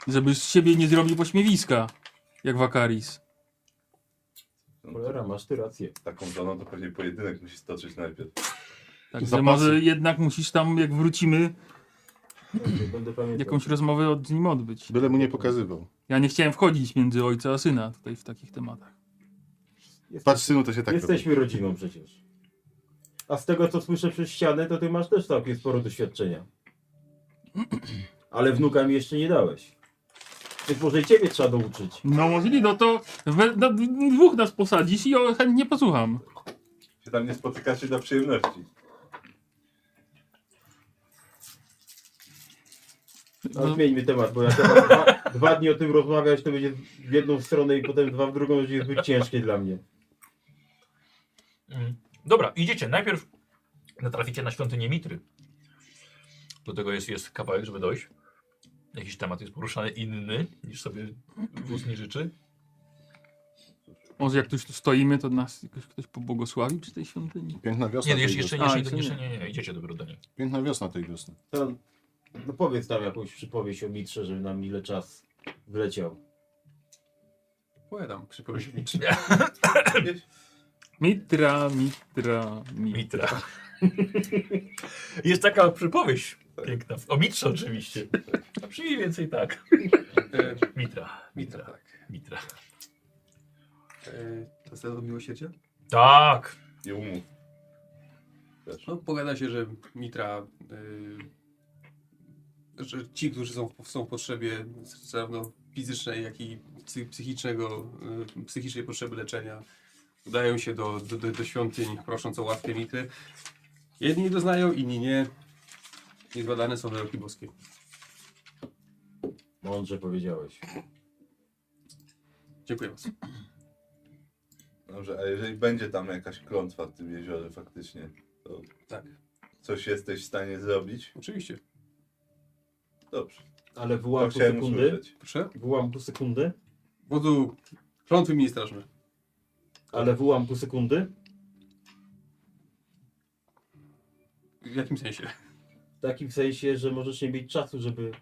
E: żeby z siebie nie zrobił pośmiewiska, jak Wakaris.
B: Cholera, masz ty rację.
D: No Taką żoną to pewnie pojedynek musi stoczyć najpierw.
E: Także
C: Zapasy.
E: może jednak musisz tam, jak wrócimy,
B: Dobrze, Będę pamiętał.
E: jakąś rozmowę od, z nim odbyć.
C: Byle mu nie pokazywał.
E: Ja nie chciałem wchodzić między ojca a syna tutaj w takich tematach.
B: Jesteś-
C: Patrz synu, to się tak robi.
B: Jesteśmy rodziną przecież. A z tego, co słyszę przez ścianę, to ty masz też całkiem sporo doświadczenia. Ale wnuka mi jeszcze nie dałeś. Więc może i ciebie trzeba douczyć.
E: No możliwe, no to we, na, dwóch nas posadzisz i o, chętnie posłucham.
D: Się tam nie spotykacie dla przyjemności.
B: No,
E: No.
B: zmieńmy temat, bo jak ja dwa, dwa dni o tym rozmawiać, to będzie w jedną stronę i potem dwa w drugą, będzie zbyt ciężkie dla mnie.
A: Mm. Dobra, idziecie. Najpierw natraficie na świątynię Mitry. Do tego jest, jest kawałek, żeby dojść. Jakiś temat jest poruszany inny niż sobie wóz nie życzy.
E: Może jak tu już tu stoimy, to nas jakoś ktoś pobłogosławi przy tej świątyni.
C: Piękna wiosna
A: Nie, no
C: tej
A: jeszcze,
C: wiosny.
A: jeszcze, jeszcze,
E: A, jeszcze
A: jeszcze,
E: nie.
A: jeszcze nie, nie, nie, idziecie dopiero do niej.
C: Piękna wiosna tej wiosny.
B: To, no powiedz nam jakąś przypowieść o Mitrze, żeby nam ile czas wleciał.
F: Powiadam, przypowieść mi.
E: Mitra, mitra,
A: Mitra.
E: mitra.
A: jest taka przypowieść piękna. O Mitrze oczywiście. A mniej więcej tak.
F: E,
A: Mitra, Mitra,
F: Mitra, tak.
A: Mitra.
F: E, to zero miłosierdzia?
A: Tak.
D: I umów.
F: No, powiada się, że Mitra, y, że ci, którzy są, w- są w potrzebie zarówno fizycznej, jak i psy- psychicznego, y, psychicznej potrzeby leczenia, udają się do, do, do, do świątyń, prosząc o łaskę Mitry. Jedni doznają, inni nie. Niezbadane są wyroki boskie.
B: Mądrze powiedziałeś.
F: Dziękuję bardzo.
D: Dobrze, a jeżeli będzie tam jakaś klątwa w tym jeziorze faktycznie, to
F: Tak,
D: coś jesteś w stanie zrobić?
F: oczywiście.
D: Dobrze.
B: Ale w
D: To
B: ułamku
D: Tak chciałem
B: sekundy,
D: usłyszeć.
F: Proszę.
B: w ułamku sekundy,
F: Wodzu, klątwy mi strażne.
B: ale w ułamku sekundy,
F: W jakim sensie?
B: w takim sensie, że możesz nie mieć czasu, żeby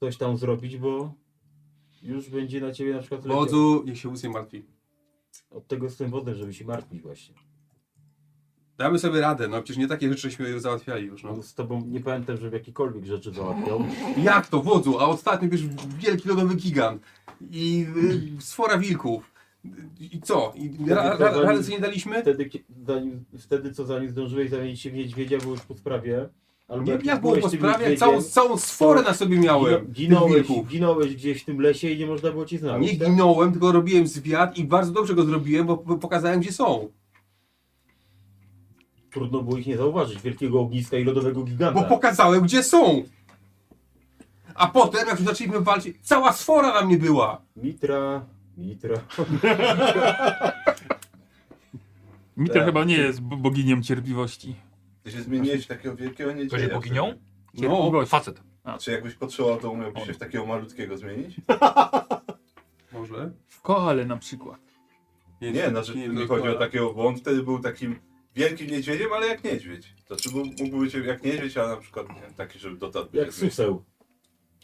B: coś tam zrobić, bo już będzie na ciebie na przykład leciał.
F: Wodzu, niech się wóz nie martwi.
B: Od tego jestem wodem, żeby się martwić właśnie.
F: Damy sobie radę, no przecież nie takie rzeczyśmy załatwiali już, no.
B: No, z tobą nie pamiętam, żeby jakikolwiek rzeczy załatwiał.
F: Jak to, wodzu? A ostatnio wiesz, wielki lodowy gigant i y, sfora wilków. I co? I ra, ra, rady sobie nie daliśmy?
B: Wtedy, kie- zanim, wtedy co zanim zdążyłeś zamienić się w niedźwiedzia, było już po sprawie. Albo
F: Nie,
B: jak
F: jak
B: już
F: było
B: byłeś
F: po
B: tym
F: sprawie?
B: niedźwiedziem,
F: Całą, całą sforę na sobie
B: gino-
F: miałem. tych
B: Ginąłeś,
F: wilków.
B: ginąłeś gdzieś w tym lesie i nie można było ci znaleźć.
F: Nie
B: tak?
F: ginąłem, tylko robiłem zwiat i bardzo dobrze go zrobiłem, bo p- pokazałem gdzie są.
B: Trudno było ich nie zauważyć, wielkiego ogniska i lodowego
F: Bo
B: giganta.
F: pokazałem gdzie są. A potem, jak już zaczęliśmy walczyć, cała sfora na mnie była.
B: Mitra, Mitra.
E: Mitra
D: Tak.
E: chyba nie jest bo- boginiem cierpliwości.
D: Ty się zmieniłeś w takiego wielkiego
A: Ktoś jest
D: niedźwiedzia.
A: boginią?
F: No,
E: Cierpliwość.
A: Facet.
D: Czy jakbyś potrzebował, to umiałbyś się w takiego malutkiego zmienić?
F: Może?
E: W koale na przykład.
D: Nie, znaczy nie,
F: wiem,
D: chodzi o
F: koala.
D: takiego, bo on wtedy był takim wielkim niedźwiedziem, ale jak niedźwiedź. To czy był- mógłby być jak niedźwiedź, a na przykład nie, wiem, taki, żeby dotarł.
B: Jak suseł.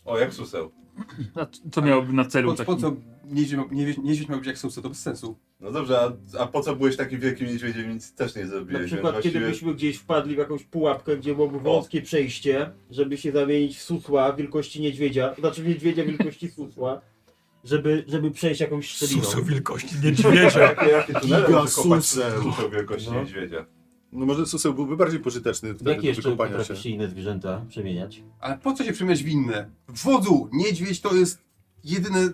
D: O, jak suseł.
E: A c- co miałoby na celu
F: Po, po
E: taki?
F: co niedźwiedź ma- niedźwiedź- niedźwiedź miał być jak sąsed? To bez sensu.
D: No dobrze, a, a po co byłeś takim wielkim niedźwiedziem, nic też nie
B: Na
D: zrobiłeś.
B: przykład
D: więc
B: kiedy byśmy gdzieś wpadli w jakąś pułapkę, gdzie byłoby wąskie przejście, żeby się zamienić w susła wielkości niedźwiedzia, znaczy w niedźwiedzia wielkości susła, żeby, żeby przejść jakąś Tak, szczeliną.
A: Susu wielkości niedźwiedzia.
D: Jakie, jakie tunele
C: Giga
D: może kopać
C: suseł.
D: suseł wielkości
B: No.
D: niedźwiedzia?
C: No może suseł byłby bardziej pożyteczny wtedy
B: Jak
C: do
B: jeszcze
C: wykopania się.
B: potrafisz się inne zwierzęta przemieniać?
F: Ale po co się przemiać w inne? W wodzu! Niedźwiedź to jest jedyne,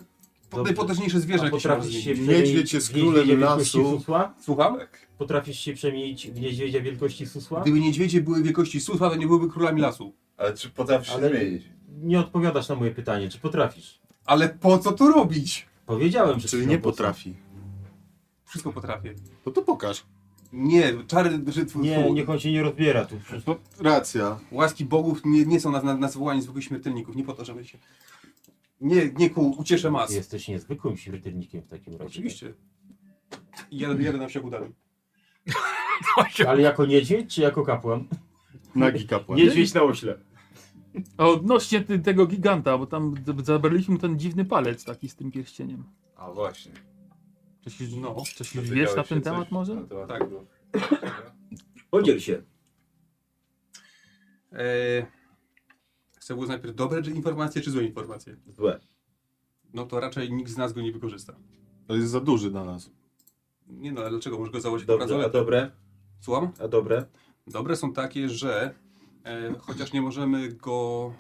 F: po-
B: Dobrze.
F: najpotężniejsze zwierzę,
B: A
F: jakie się może
B: potrafisz się Tak?
F: zmienić.
C: zmieni.
B: przemienić
C: Niedźwiedź jest
B: w
C: królem
B: niedźwiedzia wielkości
C: lasu.
B: susła?
F: Słucham?
B: Potrafisz się przemienić w niedźwiedzia wielkości susła?
F: Gdyby niedźwiedzie były wielkości susła, to nie byłyby królami lasu.
D: Ale czy potrafisz się
B: Ale-
D: zmienić?
B: Nie odpowiadasz na moje pytanie, czy potrafisz?
F: Ale po co to robić?
B: Powiedziałem, że
C: Czyli nie potrafi.
F: Wszystko potrafię.
C: No to pokaż.
F: Nie, czary brzytwy,
B: Nie, niech on się nie rozbiera tu.
C: No, racja.
F: łaski bogów nie, nie są na, na, na zwołanie zwykłych śmiertelników. Nie po to, żeby się... Nie, nie ku ucieszę mas.
B: Jesteś niezwykłym śmiertelnikiem w takim razie.
F: Oczywiście. I jadę, jadę na wsiach udanym.
B: Ale jako niedźwiedź, czy jako kapłan?
C: Nagi kapłan.
G: Niedźwiedź na ośle.
E: A odnośnie ty, tego giganta, bo tam z- zabraliśmy ten dziwny palec taki z tym pierścieniem.
D: A właśnie.
E: Coś, już-
F: No,
E: coś już wiesz na ten temat może?
F: Tak.
G: Podziel się.
F: Eee, chcę uznać najpierw dobre czy informacje, czy złe informacje.
B: Złe.
F: No to raczej nikt z nas go nie wykorzysta.
C: To jest za duży dla nas.
F: Nie no, ale dlaczego? Możesz go założyć na
B: Dobrze, a
F: bransoletę.
B: dobre?
F: Słucham?
B: A dobre?
F: Dobre są takie, że e, chociaż nie możemy go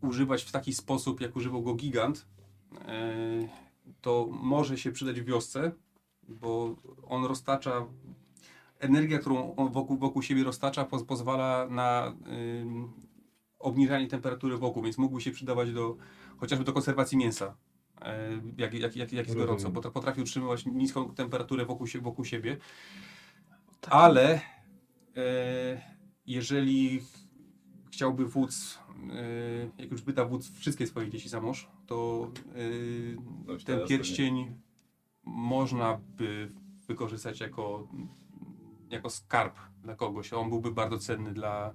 F: używać w taki sposób, jak używał go gigant, e, to może się przydać w wiosce, bo on roztacza energia, którą on wokół, wokół siebie roztacza, poz, pozwala na ym, obniżanie temperatury wokół, więc mógłby się przydawać do chociażby do konserwacji mięsa. e, Jak, jak, jak, jak jest gorąco, bo potrafi utrzymywać niską temperaturę wokół, sie- wokół siebie. Ale E, jeżeli chciałby wódz, e, jak już wyda wódz wszystkie swoje dzieci za mąż, to e,
D: No, teraz
F: ten
D: to
F: pierścień można by wykorzystać jako, jako skarb dla kogoś. On byłby bardzo cenny dla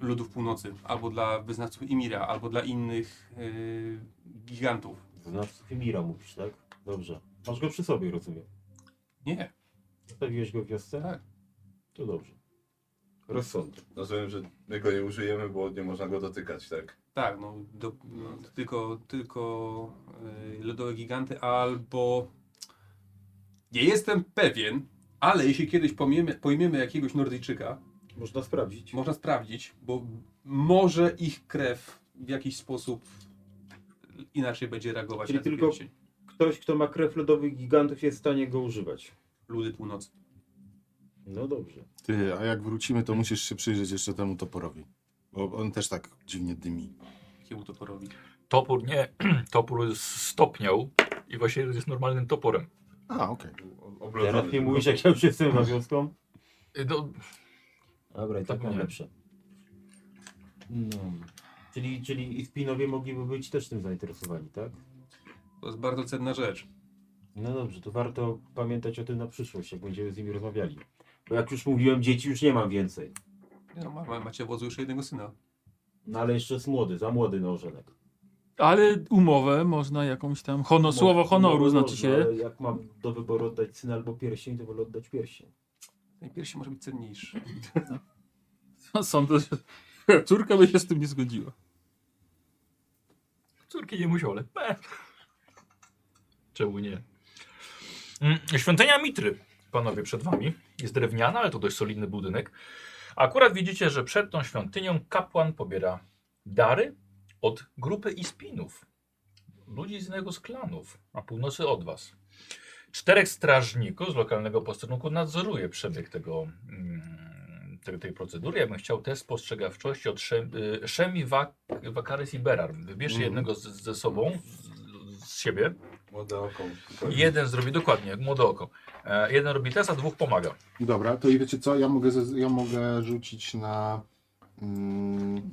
F: ludów północy, albo dla wyznawców Imira, albo dla innych e, gigantów.
B: Znasz Fimira mówisz, tak? Dobrze. Masz go przy sobie, rozumiem.
F: Nie,
B: Zostawiłeś go w wiosce?
F: Tak.
B: To dobrze. Rozsądek.
D: Rozumiem, że my go nie użyjemy, bo nie można go dotykać, tak?
F: tak, no, do, tylko, tylko e, lodowe giganty, albo Nie jestem pewien, ale jeśli kiedyś pojmiemy, pojmiemy jakiegoś Nordyjczyka,
B: Można sprawdzić.
F: można sprawdzić, bo może ich krew w jakiś sposób inaczej będzie reagować
B: Czyli
F: na ten
B: tylko-
F: pierścień.
B: Ktoś, kto ma krew lodowych gigantów jest w stanie go używać.
F: Ludy północy.
B: No dobrze.
C: Ty, a jak wrócimy, to musisz się przyjrzeć jeszcze temu toporowi. Bo on też tak dziwnie dymi.
F: Jakiemu toporowi?
A: Topór nie, topór stopniał i właśnie jest normalnym toporem.
C: A, okej.
D: Obrodzony.
B: Teraz nie mówisz, jak ja już jestem na wioską?
A: Y, No,
B: Dobra, i tak
A: Tak
B: mam
A: nie.
B: lepsze. No. Czyli, czyli i spinowie mogliby być też tym zainteresowani, tak?
F: To jest bardzo cenna rzecz.
B: No dobrze, to warto pamiętać o tym na przyszłość, jak będziemy z nimi rozmawiali. Bo jak już mówiłem, dzieci już nie mam więcej.
F: Nie No, ma, ma, macie wodzu już jednego syna.
B: No ale jeszcze jest młody, za młody na ożenek.
E: Ale umowę można jakąś tam, honor, słowo honoru
B: Może,
E: znaczy się.
B: no, ale Jak mam do wyboru oddać syna albo pierścień, to wolę oddać pierścień.
F: Najpierw może być cenniejszy.
E: Sądzę, że No, córka by się z tym nie zgodziła.
A: Córki nie musiał, ale pe. Czemu nie? Mm, Świątynia Mitry, panowie, przed wami. Jest drewniana, ale to dość solidny budynek. A Akurat widzicie, że przed tą świątynią kapłan pobiera dary od grupy Ispinów. Ludzi z innego z klanów, na północy od was. Czterech strażników z lokalnego posterunku nadzoruje przebieg tego, mm, tej, tej procedury. Ja bym chciał test spostrzegawczości od Szem, y, Szemi Wak, Wakarys i Berar. Wybierzcie jednego z, ze sobą, z, z siebie.
D: Młode oko.
C: Tak.
A: Jeden zrobi, dokładnie, jak młode oko. E, jeden robi test, a dwóch pomaga.
C: Dobra, to i wiecie co, ja mogę, ze- ja mogę rzucić na mm,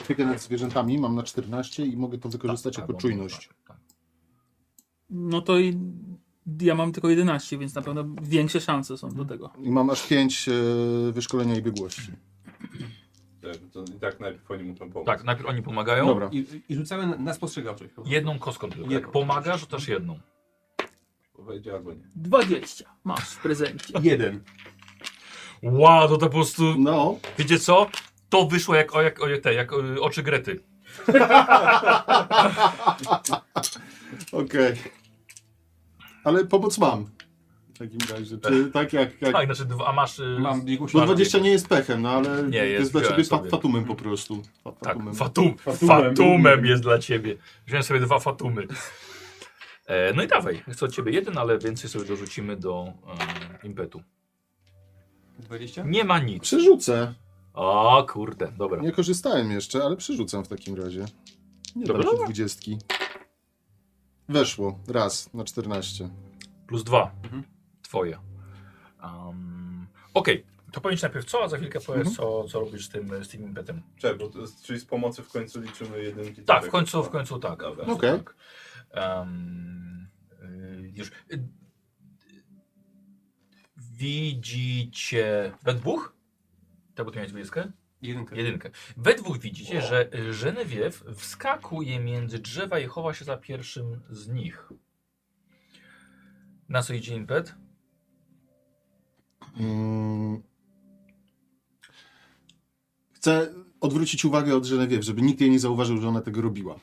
C: opiekę nad zwierzętami, mam na 14 i mogę to wykorzystać
A: Tak,
C: jako
A: tak,
C: czujność.
A: tak, tak.
E: No to i ja mam tylko 11, więc na pewno większe szanse są do tego.
C: I mam aż 5 wyszkolenia i biegłości.
D: To i tak najpierw oni muszą pomóc.
A: Tak, najpierw oni pomagają.
C: Dobra,
F: I, i rzucamy na, na spostrzegawczość. chyba.
A: Jedną kostką tylko. Jak
F: Jedną.
A: pomagasz, to też jedną.
D: Wejdzie albo nie.
E: 20 masz w prezencie.
F: Jeden.
A: Wow, to, to po prostu.
C: no,
A: Wiecie co? To wyszło jak, o, jak, o, te, jak o, oczy Grety.
C: okej. Ale pomoc mam. W takim razie, czy tak jak... jak...
A: Tak, znaczy, dwa- a masz. y,
F: Mam biegłość.
C: Bo
A: bardziej.
C: 20 nie jest pechem, no ale
A: Nie,
C: to
A: jest,
C: jest dla ciebie
A: wziąłem
C: fa-
A: sobie.
C: fatumem po prostu. Fa-
A: Tak,
C: fatumem.
A: fatum, fatumem.
B: Fatumem.
A: jest dla ciebie. Wziąłem sobie dwa fatumy. E, no i dawaj, chcę od ciebie jeden, ale więcej sobie dorzucimy do e, impetu.
F: 20?
A: Nie ma nic.
C: Przerzucę.
A: O kurde, dobra.
C: Nie korzystałem jeszcze, ale przerzucam w takim razie. Nie
A: Dobra,
C: dam ci
A: dobra.
C: dwudziestki. Weszło. Raz na 14.
A: Plus dwa.
F: Mhm.
A: Twoje. Um, Okej, Mhm. to powiedz najpierw co, a za chwilkę powiesz, co, co robisz z tym, z tym impetem.
D: Czekaj, bo to jest, czyli z pomocy w końcu liczymy jedynki.
A: Tak, w końcu, w końcu tak. W
D: Dobra.
A: końcu
C: Okej.
A: tak. Em, y, już. y, Widzicie. We dwóch? Tak, bo ty miałeś dwudziestkę?
F: Jedynkę.
A: Jedynkę. We dwóch widzicie, że Genevieve wskakuje między drzewa i chowa się za pierwszym z nich. Na co idzie impet?
C: Mm. Chcę odwrócić uwagę od Genevieve, żeby nikt jej nie zauważył, że ona tego robiła.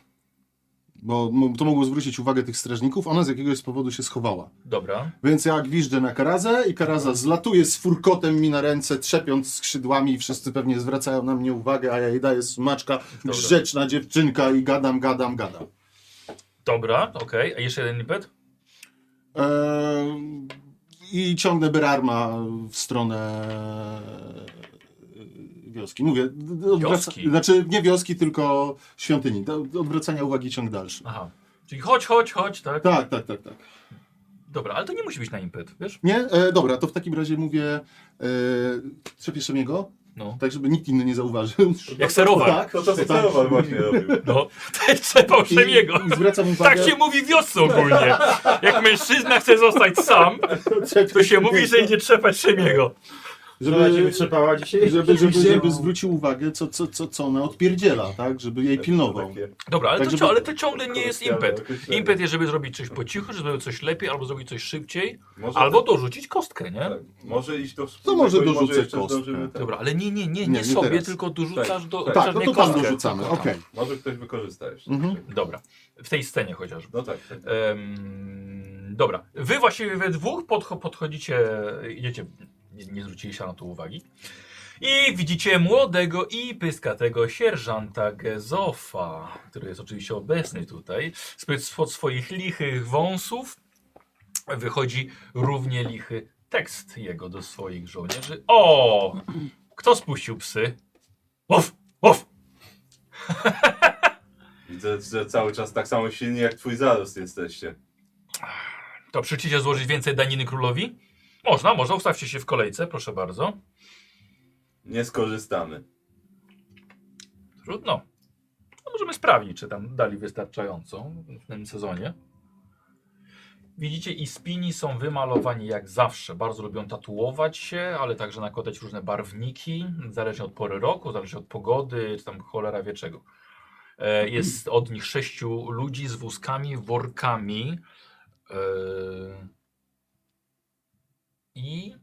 C: Bo mo- to mogło zwrócić uwagę tych strażników. Ona z jakiegoś powodu się schowała.
A: Dobra.
C: Więc ja gwiżdżę na Karazę i Karaza zlatuje z furkotem mi na ręce, trzepiąc skrzydłami i wszyscy pewnie zwracają na mnie uwagę, a ja jej daję smaczka, grzeczna dziewczynka i gadam, gadam, gadam.
A: Dobra, okej. A jeszcze jeden impet?
C: Ehm, I ciągnę Berarma w stronę e, wioski. Mówię, d- d- odwraca-
A: Wioski?
C: znaczy nie wioski, tylko świątyni. Do do odwracania uwagi ciąg dalszy.
A: Aha. Czyli chodź, chodź, chodź, tak?
C: Tak, tak, tak, tak.
A: Dobra, ale to nie musi być na impet, wiesz?
C: Nie? E, dobra, to w takim razie mówię, e, trzepieszę jego,
A: No.
C: tak żeby nikt inny nie zauważył.
A: Jak serowar.
C: Tak,
D: To to, co
C: tak.
D: Karol właśnie robił.
A: No, trzepał Szemiego.
C: I zwracam uwagę.
A: Tak się mówi w wiosce ogólnie. Jak mężczyzna chce zostać sam, to się mówi, że idzie trzepać Szemiego.
B: Żeby ona cię wytrzepała dzisiaj?
C: Żeby, żeby,
B: Oczywiście.
C: żeby zwrócił uwagę, co, co, co, co ona odpierdziela, tak? Żeby jej pilnował.
D: Takie
A: Dobra, ale
C: Tak,
A: to,
C: żeby-
A: cią- ale to ciągle nie jest impet.
D: określenie.
A: Impet jest, żeby zrobić coś po cichu, żeby zrobić coś lepiej, albo zrobić coś szybciej,
D: Może-
A: albo dorzucić kostkę, nie?
D: tak, Może iść do
C: To może
D: i
C: dorzucę
D: jeszcze
C: kostkę.
D: zdążymy ten-
A: Dobra, ale nie, nie, nie, nie,
C: Nie, nie
A: sobie,
C: teraz.
A: tylko dorzucasz
D: Tak,
A: do...
D: tak.
A: chociaż
C: Tak, no
A: nie
C: to tam
A: kostkę.
C: dorzucamy,
A: Tylko tam.
C: okej.
D: Może ktoś wykorzysta jeszcze.
C: Mhm.
A: Dobra, w tej scenie chociażby.
D: No tak, tak.
A: Em, dobra, wy właściwie we dwóch podcho podchodzicie, idziecie, nie, nie zwróciliście na to uwagi. I widzicie młodego i pyskatego sierżanta Gezofa, który jest oczywiście obecny tutaj. Spod, spod swoich lichych wąsów wychodzi równie lichy tekst jego do swoich żołnierzy. O! Kto spuścił psy? Łow! Łow!
D: Widzę, że cały czas tak samo silni jak twój zarost jesteście.
A: To przyczycie złożyć więcej daniny królowi? Można, można, ustawcie się w kolejce, proszę bardzo.
D: Nie skorzystamy.
A: Trudno. No możemy sprawdzić, czy tam dali wystarczająco w tym sezonie. Widzicie, Ispini są wymalowani jak zawsze. Bardzo lubią tatuować się, ale także nakładać różne barwniki, zależnie od pory roku, zależnie od pogody, czy tam cholera wie czego. E, Jest od nich sześciu ludzi z wózkami, workami. e, I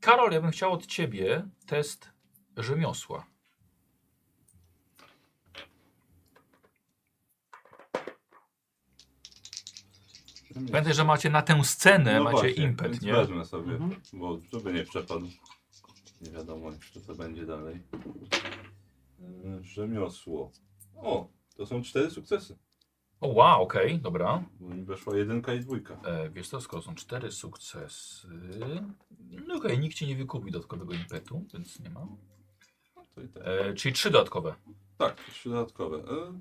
A: Karol, ja bym chciał od ciebie test rzemiosła. Pamiętaj, że macie na tę scenę, No macie
D: No właśnie,
A: impet,
D: więc
A: nie?
D: Wezmę sobie, bo żeby nie przepadł. Nie wiadomo jeszcze co będzie dalej. E, Rzemiosło. O, to są cztery sukcesy.
A: O, wow, okej, dobra.
D: Bo mi weszła jedynka i dwójka.
A: E, wiesz co, skoro są cztery sukcesy... No okej, nikt ci nie wykupi dodatkowego impetu, więc nie ma.
D: To i tak.
A: E, czyli trzy dodatkowe.
D: Tak, trzy dodatkowe. E,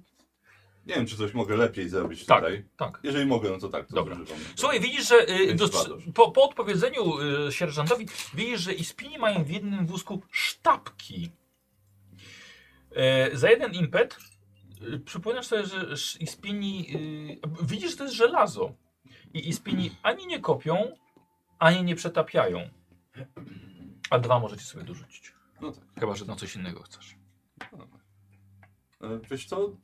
D: Nie wiem, czy coś mogę lepiej zrobić
A: Tak.
D: tutaj.
A: Tak.
D: Jeżeli mogę, no to tak, to
A: Dobra.
D: używam.
A: Słuchaj, widzisz, że y,
D: Więc
A: dostrz-
D: bardzo.
A: po, po odpowiedzeniu y, sierżantowi, widzisz, że Ispini mają w jednym wózku sztabki. E, za jeden impet y, przypominasz sobie, że sz- Ispini. Y, widzisz, że to jest żelazo. I Ispini ani nie kopią, ani nie przetapiają. A dwa możecie sobie dorzucić.
D: No tak.
A: Chyba, że na coś innego chcesz.
D: E, Wiesz co, e,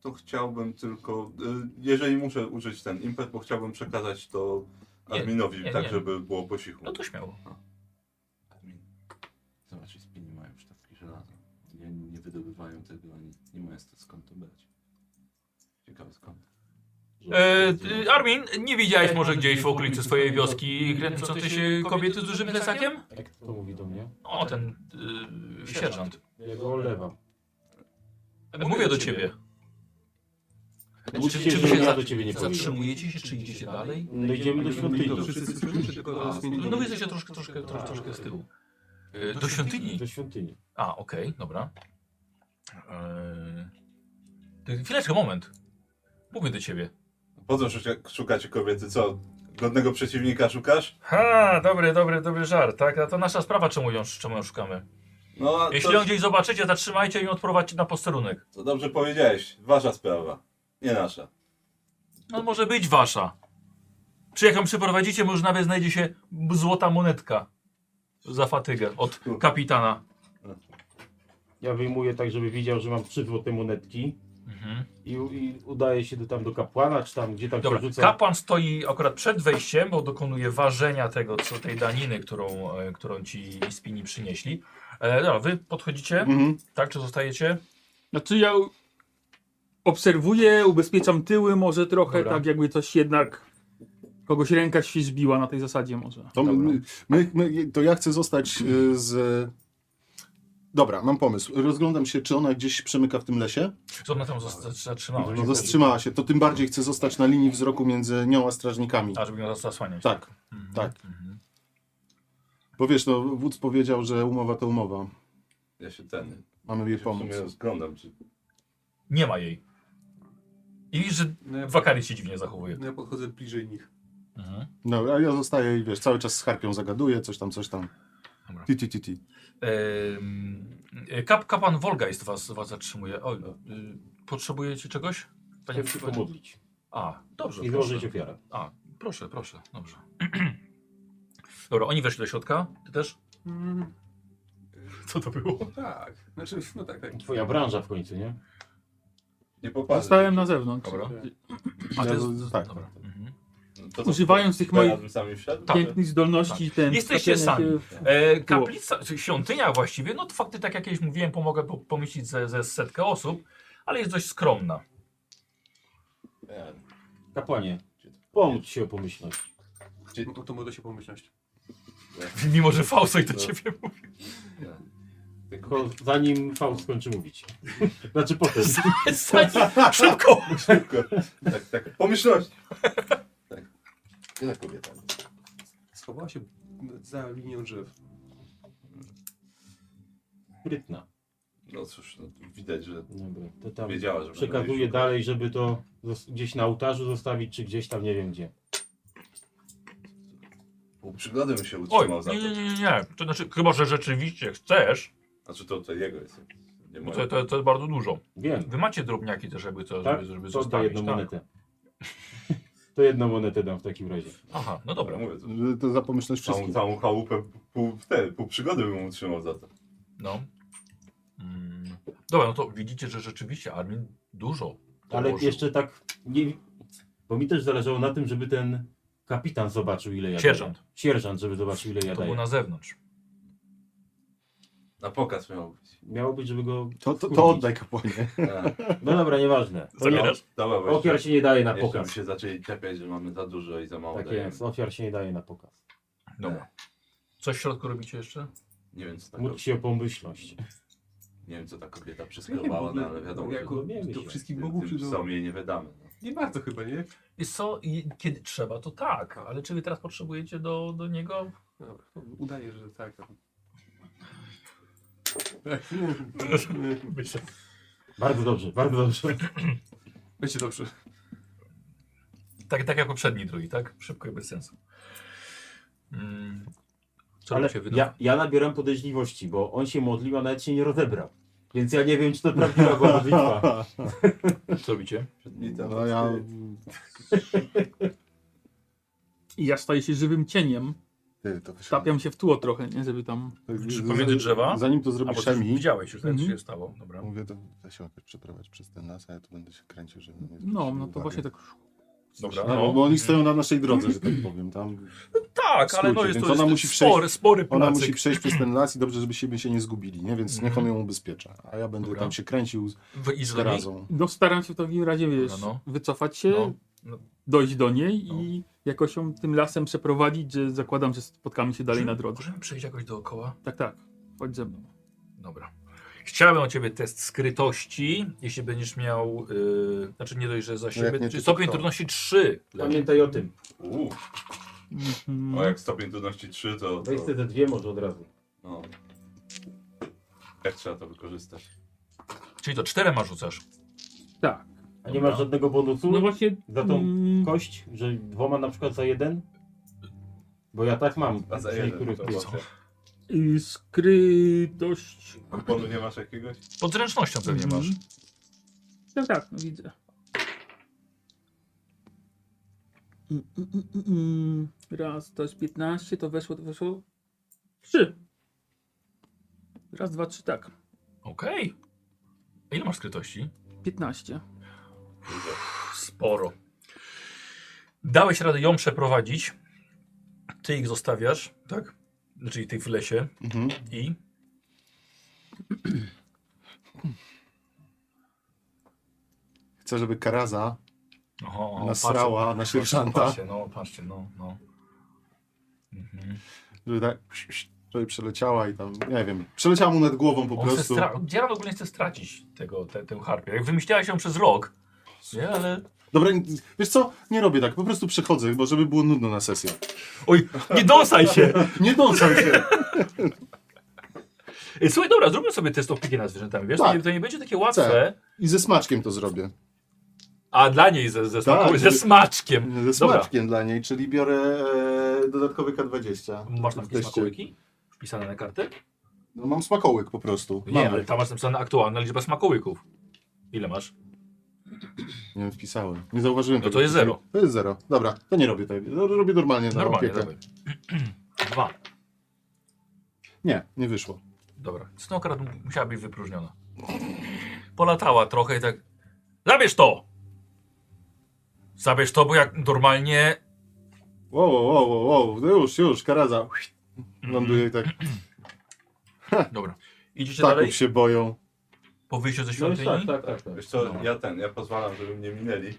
D: to chciałbym tylko, e, jeżeli muszę użyć ten impet, bo chciałbym przekazać to
A: Nie,
D: adminowi,
A: nie,
D: tak
A: nie.
D: żeby było po cichu.
A: No to śmiało.
H: Admin. Zobacz, spini mają sztabki żelaza. I oni nie wydobywają tego, ani nie mają st- skąd to brać. Ciekawe skąd.
A: E, ty, Armin, nie widziałeś E, może gdzieś w okolicy swojej wioski kręcącej no się kobiety z dużym plecakiem?
H: Jak to mówi do mnie?
A: O, ten y, sierżant.
H: Ja go olewam.
A: Mówię do ciebie.
H: Czy,
A: Znaczy, czy wy się
H: ja
A: za-
H: do ciebie nie powiem.
A: Zatrzymujecie się, czy idziecie dalej?
B: No idziemy do świątyni.
F: Wszyscy słyszymy, czy tylko
H: A,
F: nas nie
A: No wy jesteście troszkę, troszkę, troszkę, troszkę z tyłu. E, Do świątyni.
H: Do świątyni.
A: A, okej, dobra. E, ty- Chwileczkę, moment. Mówię do ciebie.
D: Po co szuka- szukacie kobiety, co? Godnego przeciwnika szukasz?
A: Ha, dobry, dobry, dobry żart, tak? A to nasza sprawa, czemu ją, czemu ją szukamy.
D: No, a
A: Jeśli
D: to,
A: ją gdzieś zobaczycie, zatrzymajcie i ją odprowadźcie na posterunek.
D: to dobrze powiedziałeś, wasza sprawa, nie nasza.
A: No może być wasza. Czy jak ją przyprowadzicie, może nawet znajdzie się b- złota monetka. Za fatygę od kapitana.
B: Ja wyjmuję tak, żeby widział, że mam trzy złote monetki.
A: Mhm.
B: I, i udaję się do, tam do kapłana, czy tam gdzie tam
A: Dobra,
B: się rzuca.
A: kapłan stoi akurat przed wejściem, bo dokonuje ważenia tego, co tej daniny, którą, e, którą ci spini przynieśli. E, dobra, wy podchodzicie,
C: Mhm.
A: tak, czy zostajecie?
E: Znaczy ja u- obserwuję, ubezpieczam tyły może trochę,
A: Dobra.
E: tak jakby coś jednak... Kogoś ręka świeżbiła na tej zasadzie może.
C: To, my, my, my, to ja chcę zostać y, z. Dobra, mam pomysł. Rozglądam się, czy ona gdzieś przemyka w tym lesie.
A: Co ona tam zosta- zatrzymała się?
C: No, zatrzymała się. To tym bardziej chcę zostać na linii wzroku między nią a strażnikami.
A: A, żeby ją zasłaniać.
C: Tak,
A: Mhm.
C: tak.
A: Mhm.
C: Bo wiesz, no, wódz powiedział, że umowa to umowa.
D: Ja się ten,
C: Mamy jej
D: ja się w
C: pomóc.
D: sumie rozglądam, czy
A: Nie ma jej. I widzisz, że
F: No ja,
A: Wakary się dziwnie zachowuje.
F: no ja podchodzę bliżej nich.
A: Mhm.
C: No, a ja zostaję i wiesz, cały czas z harpią zagaduję, coś tam, coś tam.
A: Dobra.
C: Ti, ti, ti, ti.
A: Em, e, Kap, kapan Wolga jest was, was zatrzymuje. O, y, potrzebujecie czegoś? Panie
G: Chcę się
A: Przypadku?
G: pomodlić
A: A, dobrze.
G: i
A: Proszę.
G: złożyć ofiarę.
A: A, proszę, proszę, dobrze. Dobra, oni weszli do środka. Ty też?
E: Mhm.
F: Mm,
A: Co to było?
F: tak, znaczy, no tak, tak.
G: Twoja branża w końcu, nie?
D: nie popatrzę.
E: Zostałem
A: no,
E: na zewnątrz.
A: Dobra.
C: Ja
A: A, to
C: z- tak.
A: Dobra. Mhm.
D: No to co,
E: Używając tych
D: teraz
E: moich
D: bym sami wszedł?
A: Tak.
E: pięknych zdolności ten...
A: Jesteście
E: trafienie się
A: E, kaplica, czy świątynia właściwie, no to fakty, tak jak kiedyś mówiłem, pomogę po- pomieścić ze, ze setkę osób, ale jest dość skromna.
D: Ja,
G: Kapłanie, pomóc się o pomyślność.
F: No to może się pomyślność.
A: Mimo, że Fausoj
C: No.
A: do ciebie mówi.
G: Tylko zanim Faust skończy mówić. Znaczy potem.
A: Szybko!
D: szybko. tak, tak, pomyślność. Tak. Ile kobieta?
F: Schowała się za linią drzew.
G: Sprytna.
D: No cóż, no, widać, że
G: Dobra, to tam
D: wiedziała, że
G: przekazuję dalej, żeby to zos- gdzieś na ołtarzu zostawić, czy gdzieś tam, nie wiem gdzie.
D: Pół przygody bym się
A: Oj,
D: utrzymał za
A: nie, nie,
D: to.
A: nie, nie. To znaczy, chyba, że rzeczywiście chcesz,
D: Znaczy to, to jego jest. Nie
A: bo
D: moje.
A: to, to, to jest bardzo dużo.
G: Wiem,
A: Wy macie drobniaki też, jakby to,
G: tak?
A: żeby, żeby
G: To da
A: zostawić.
G: jedną
A: tak.
G: monetę. To jedną monetę dam w takim razie.
A: Aha, no dobra.
D: Mówię, to
C: To za pomyślność
D: całą,
C: wszystkich.
D: całą chałupę, pół, te, pół przygody bym utrzymał za to.
A: No. Mm. Dobra, no to widzicie, że rzeczywiście Armin dużo.
G: Ale
A: dołożył.
G: jeszcze tak nie. Bo mi też zależało na tym, żeby ten kapitan zobaczył, ile ja
A: Sierżant.
G: Daję. Sierżant, żeby zobaczył, ile ja
A: To był
G: daję.
A: na zewnątrz.
D: Na pokaz miał być.
G: Miało być, żeby go.
C: To, to, to
G: Kurwa.
C: oddaj kapłanie.
D: Tak.
G: No dobra, nieważne. To nie,
A: Zabierasz?
D: Dobra, właśnie.
G: ofiar się nie daje na
D: Jeszcze by
G: pokaz.
D: się zaczęli czepiać, że mamy za dużo i za mało
G: Tak
D: dajemy.
G: jest, ofiar się nie daje na pokaz.
A: Dobra. Coś w środku robicie jeszcze?
D: Nie wiem, co ta,
G: Módl
D: kobieta,
G: się o pomyślność.
D: nie wiem, co ta kobieta
F: w
D: przeskrobała,
F: ogóle,
D: no, ale wiadomo, że
F: tak jako,
G: to wiemy
F: do
G: się.
F: wszystkich bogów,
D: tym
F: czy do...
D: psom jej nie wydamy. No.
F: Nie bardzo chyba, nie?
A: I co, i kiedy trzeba, to tak, ale czy wy teraz potrzebujecie do, do niego?
F: Dobra, to udaje, że tak.
G: Bardzo dobrze, bardzo dobrze.
F: Będzie dobrze.
A: Tak, tak jak poprzedni drugi, tak? Szybko i bez sensu. Mm. Co
G: Ale
A: robicie wy?
G: ja, ja nabieram podejrzliwości, bo on się modlił, a nawet się nie rozebrał. Więc ja nie wiem, czy to prawdziwa była modlitwa.
A: Co robicie?
C: No ja
E: I ja staję się żywym cieniem.
C: Ty, to wyszło.
E: Tapiam się w tło trochę, nie? Żeby tam...
A: Czy pomiędzy drzewa?
C: Tak, Zanim to
A: A
C: zrobi
A: bo coś
C: Szemi,
A: widziałeś już, mm
E: Mhm.
A: się stało. Dobra.
C: mówię, to weź ją przeprowadź przez ten las, a ja tu będę się kręcił, żeby nie zwrócił
E: No, no to
C: uwagi.
E: właśnie tak...
A: Dobra.
C: No, bo- bo oni stoją na naszej drodze, że tak powiem. Tam
A: Tak, ale no
C: Skrócie,
A: jest
C: więc
A: to jest
C: ona musi
A: spory, spory
C: ona
A: placyk.
C: musi przejść przez ten las i dobrze, żebyśmy się nie zgubili, nie? Więc niech on ją ubezpiecza. A ja będę
A: Dobra.
C: tam się kręcił z
A: w Izraelu.
C: razą.
E: No staram się w takim razie, wiesz,
A: No, no.
E: wycofać się,
A: No, no.
E: dojść do niej
A: No.
E: i jakoś ją tym lasem przeprowadzić, że zakładam, że spotkamy się dalej na drodze.
A: Możemy przejść jakoś dookoła?
E: Tak, tak. Chodź ze mną.
A: Dobra. Chciałbym od ciebie test skrytości, jeśli będziesz miał, yy, znaczy nie dość, że za siebie,
C: No jak nie,
A: czy
C: to
A: stopień
C: kto?
A: trudności 3.
G: Pamiętaj o tym.
D: Uuu,
E: Mhm.
D: o jak stopień trudności 3, to, to
G: Weź te dwie może od razu.
D: no. Jak trzeba to wykorzystać?
A: Czyli to 4 ma rzucasz.
E: Tak.
G: A nie masz żadnego bonusu?
E: No właśnie...
G: Za tą
E: mm,
G: kość, że dwoma na przykład za jeden? Bo ja tak mam
D: A za
G: przy
D: jeden,
G: niektórych No
D: to
G: piłach.
D: łatwo.
E: y, skrytość...
D: Kuponu nie masz jakiegoś?
A: Pod zręcznością pewnie
E: Mhm.
A: masz.
E: Tak, tak, no widzę. Mm, mm, mm, mm, mm. Raz, to jest 15, to weszło, to weszło. Trzy. Raz, dwa, trzy, tak.
A: Okej. A Ile masz skrytości?
E: 15.
A: Sporo. Dałeś radę ją przeprowadzić. Ty ich zostawiasz, tak? Czyli tych w lesie.
C: Mhm.
A: I
C: Chcę, żeby Karaza
A: Aha, aha,
C: Nasrała
A: patrzę,
C: na
A: patrzę,
C: sierżanta.
A: Patrzcie, no, patrzcie, no, no. Mhm.
C: żeby tak żeby przeleciała i tam, nie wiem, przeleciała mu nad głową po
A: On chce
C: prostu.
A: stra- Dzieran ogólnie chce stracić tego, te, tę harpię. Jak wymyślała się przez rok, nie, ale...
C: Dobra, wiesz co, nie robię tak, po prostu przechodzę, bo żeby było nudno na sesjach.
A: Oj, nie dosaj się!
C: Nie dąsam się!
A: Ej, Słuchaj, dobra, zróbmy sobie test opieki nad zwierzętami, wiesz? To
C: Tak.
A: nie- To nie będzie takie łatwe,
C: Chcę. I ze smaczkiem to zrobię.
A: a dla niej ze, ze, smaku,
C: Tak.
A: ze smaczkiem.
C: Ze smaczkiem dla niej, czyli biorę e, dodatkowy K20.
A: Masz tam
C: W
A: jakieś
C: teście.
A: smakołyki? Wpisane na kartę?
C: No, mam smakołyk po prostu.
A: Nie,
C: Mamy.
A: ale tam masz napisane aktualna liczba smakołyków. Ile masz?
C: Nie wiem, wpisałem. Nie zauważyłem
A: No
C: tego
A: to jest
C: wcześniej.
A: zero.
C: To jest zero. Dobra, to nie robię tego. No, Robię normalnie na
A: Normalnie,
C: opiekę.
A: dobra. Dwa.
C: Nie, nie wyszło.
A: Dobra, snokra musiała być wypróżniona. Polatała trochę i tak. Zabierz to! Zabierz to, bo jak normalnie.
C: Wow, wow, wow, wow. No już, już, karaza. Ląduje i tak.
A: Dobra. Idziecie Mhm. dalej
C: Ptaków Tak. się boją.
A: po wyjściu ze
G: No
A: świątyni?
G: tak, tak, tak. tak.
D: Wiesz co,
A: Dobra.
D: ja ten, ja pozwalam, żeby mnie minęli.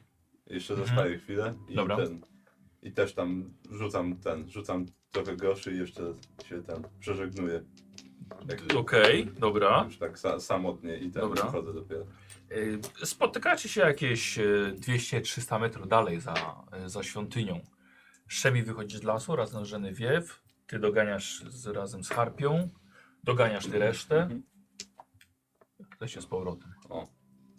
D: Jeszcze zostaję chwilę i
A: Mhm. Dobra.
D: ten. I też tam rzucam ten, rzucam trochę groszy i jeszcze się ten przeżegnuję. Jak
A: Okej, dobra.
D: już tak sa, samotnie i ten
A: Dobra.
D: wychodzę dopiero.
A: Y, Spotykacie się jakieś y, 200-300 metrów dalej za, y, za świątynią. Szemi wychodzi z lasu razem z Żenewiew. Ty doganiasz z, razem z Harpią. Doganiasz ty resztę. Ktoś się z powrotem.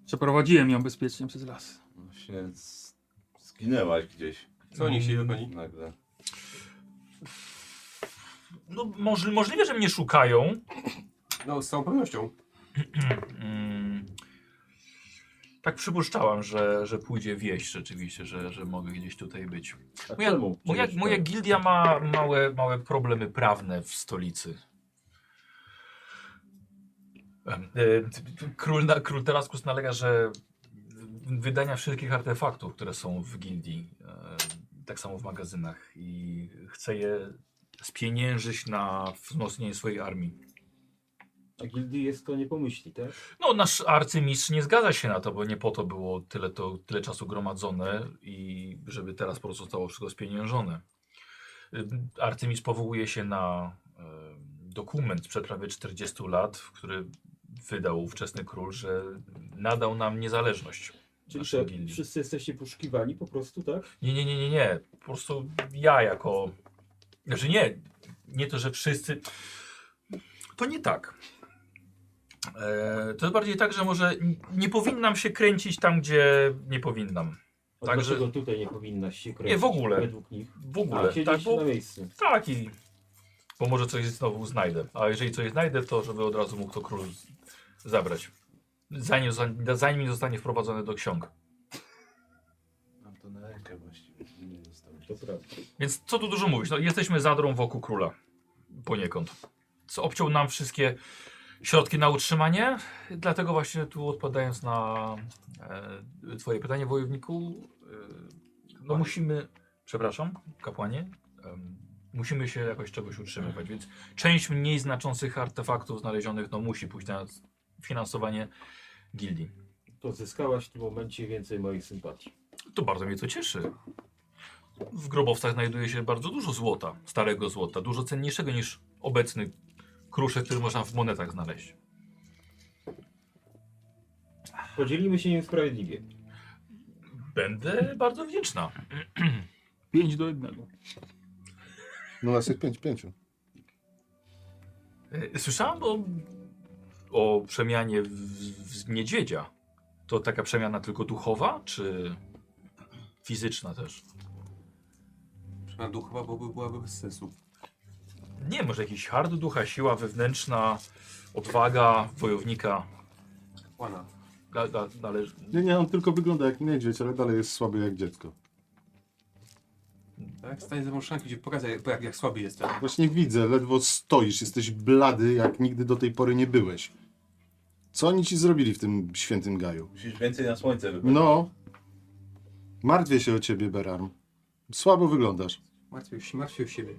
E: Przeprowadziłem ją bezpiecznie przez las.
D: Właśnie z- zginęłaś gdzieś
F: Co oni się oni?
D: nagle.
A: No, możli- możliwe, że mnie szukają.
F: No, z całą pewnością.
A: Mm. Tak przypuszczałam, że, że pójdzie wieść rzeczywiście, że, że mogę gdzieś tutaj być.
G: Tak
A: Moja,
G: czemu?
A: moja,
G: Przecież
A: moja
G: tak.
A: gildia ma małe, małe problemy prawne w stolicy. e, Król, na- król Teraskus nalega, że wydania wszystkich artefaktów, które są w gildii, e, tak samo w magazynach i chce je spieniężyć na wzmocnienie swojej armii.
G: A gildii jest to nie pomyśli, tak?
A: No, nasz arcymistrz nie zgadza się na to, bo nie po to było tyle, to, tyle czasu gromadzone i żeby teraz po prostu zostało wszystko spieniężone. Ym, Arcymistrz powołuje się na em, dokument sprzed prawie 40 lat, w który wydał ówczesny król, że nadał nam niezależność.
G: Czyli
A: naszej
G: że
A: gildii.
G: wszyscy jesteście poszukiwani po prostu, tak?
A: Nie, nie, nie, nie, nie. Po prostu ja jako. Znaczy nie, nie to, że wszyscy. To nie tak. E, to bardziej tak, że może n- nie powinnam się kręcić tam, gdzie nie powinnam.
G: A
A: Także-
G: Dlaczego tutaj nie powinnaś się kręcić?
A: w ogóle.
G: Według nich.
A: W
G: A,
A: ogóle.
G: siedzieć
A: tak, bo,
G: na miejscu.
A: tak i. Bo może coś znowu znajdę. A jeżeli coś znajdę, to żeby od razu mógł to król z- zabrać. Zanim, zosta- zanim zostanie wprowadzony do ksiąg.
H: Mam to na rękę właściwie, żeby nie zostało.
G: To prawda.
A: Więc co tu dużo mówić? No, jesteśmy zadrą wokół króla. Poniekąd. Co obciął nam wszystkie środki na utrzymanie. Dlatego właśnie tu odpowiadając na e, twoje pytanie, wojowniku, e, no musimy, przepraszam, kapłanie, em, musimy się jakoś czegoś utrzymywać. Więc część mniej znaczących artefaktów znalezionych no, musi pójść na finansowanie gildii.
G: To zyskałaś w tym momencie więcej moich sympatii.
A: To bardzo mnie to cieszy. W grobowcach znajduje się bardzo dużo złota, starego złota, dużo cenniejszego niż obecny kruszek, który można w monetach znaleźć.
G: Podzielimy się nim sprawiedliwie.
A: Będę bardzo wdzięczna.
E: 5 do 1.
I: No nas jest pięć, pięciu.
A: E, Słyszałam o, o przemianie w, w niedźwiedzia. To taka przemiana tylko duchowa, czy fizyczna też?
F: Na duchowa byłaby, byłaby bez sensu.
A: Nie, może jakiś hard ducha, siła wewnętrzna, odwaga wojownika.
F: Łana.
A: Da, da, należy-
C: Nie, nie, on tylko wygląda jak niedźwiedź, ale dalej jest słaby jak dziecko.
F: Tak? Stań za mążanki, gdzie pokazać, jak, jak, jak słaby jestem.
C: Właśnie widzę, ledwo stoisz, jesteś blady, jak nigdy do tej pory nie byłeś. Co oni ci zrobili w tym świętym gaju?
D: Musisz więcej na słońce wybrać.
C: No. Martwię się o ciebie, Beram. Słabo wyglądasz.
F: Martwił się, martwił siebie.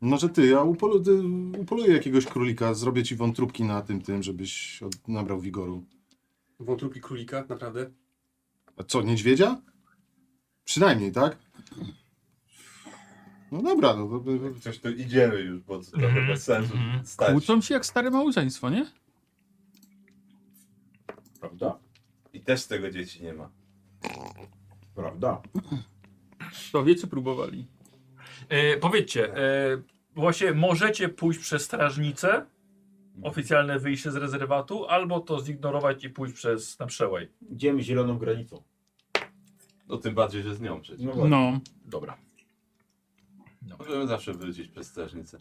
C: No, że ty, ja upolu, ty, upoluję jakiegoś królika, zrobię ci wątróbki na tym, tym, żebyś od, nabrał wigoru.
F: Wątróbki królika, naprawdę?
C: A co, niedźwiedzia? Przynajmniej, tak? No dobra, no, to-
D: Coś tu idziemy już, bo to trochę bez sensu
A: Mhm.
D: stać.
E: Kłócą się jak stare małżeństwo, nie?
G: Prawda.
D: I też z tego dzieci nie ma.
G: Prawda.
E: To wiecie, próbowali.
A: E, powiedzcie, e, właśnie możecie pójść przez strażnicę, oficjalne wyjście z rezerwatu, albo to zignorować i pójść przez na przełaj.
G: Idziemy zieloną granicą.
D: No tym bardziej, że z nią przecież.
G: No właśnie.
E: No.
A: Dobra. No.
D: Możemy zawsze wrócić przez strażnicę.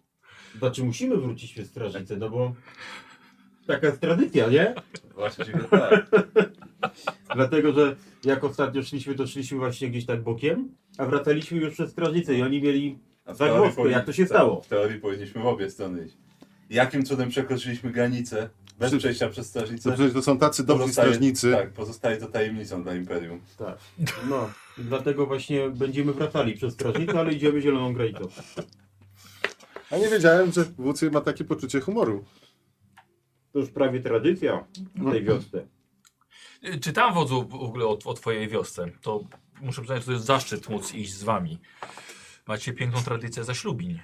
G: Znaczy musimy wrócić przez strażnicę, no bo taka jest tradycja, nie?
D: Właśnie tak.
G: Dlatego, że jak ostatnio szliśmy, to szliśmy właśnie gdzieś tak bokiem, a wracaliśmy już przez strażnicę i oni mieli...
D: A w
G: Za
D: teorii Tak,
G: głowkę, jak to się stało?
D: W teorii powinniśmy w obie strony iść. Jakim cudem przekroczyliśmy granicę? Bez
C: Przy-
D: przejścia przez
C: to,
D: strażnicę?
C: przecież to są tacy dobrzy
D: Pozostaje-
C: strażnicy.
D: Tak, pozostaje to tajemnicą dla Imperium.
G: Tak. No. I Dlatego właśnie będziemy wracali przez strażnicę, ale idziemy zieloną granicą.
C: A nie wiedziałem, że Wócy ma takie poczucie humoru.
G: To już prawie tradycja w tej wiosce.
A: E, Czytałem wodzu w ogóle o, o twojej wiosce. To muszę przyznać, że to jest zaszczyt móc iść z wami. Macie piękną tradycję zaślubin.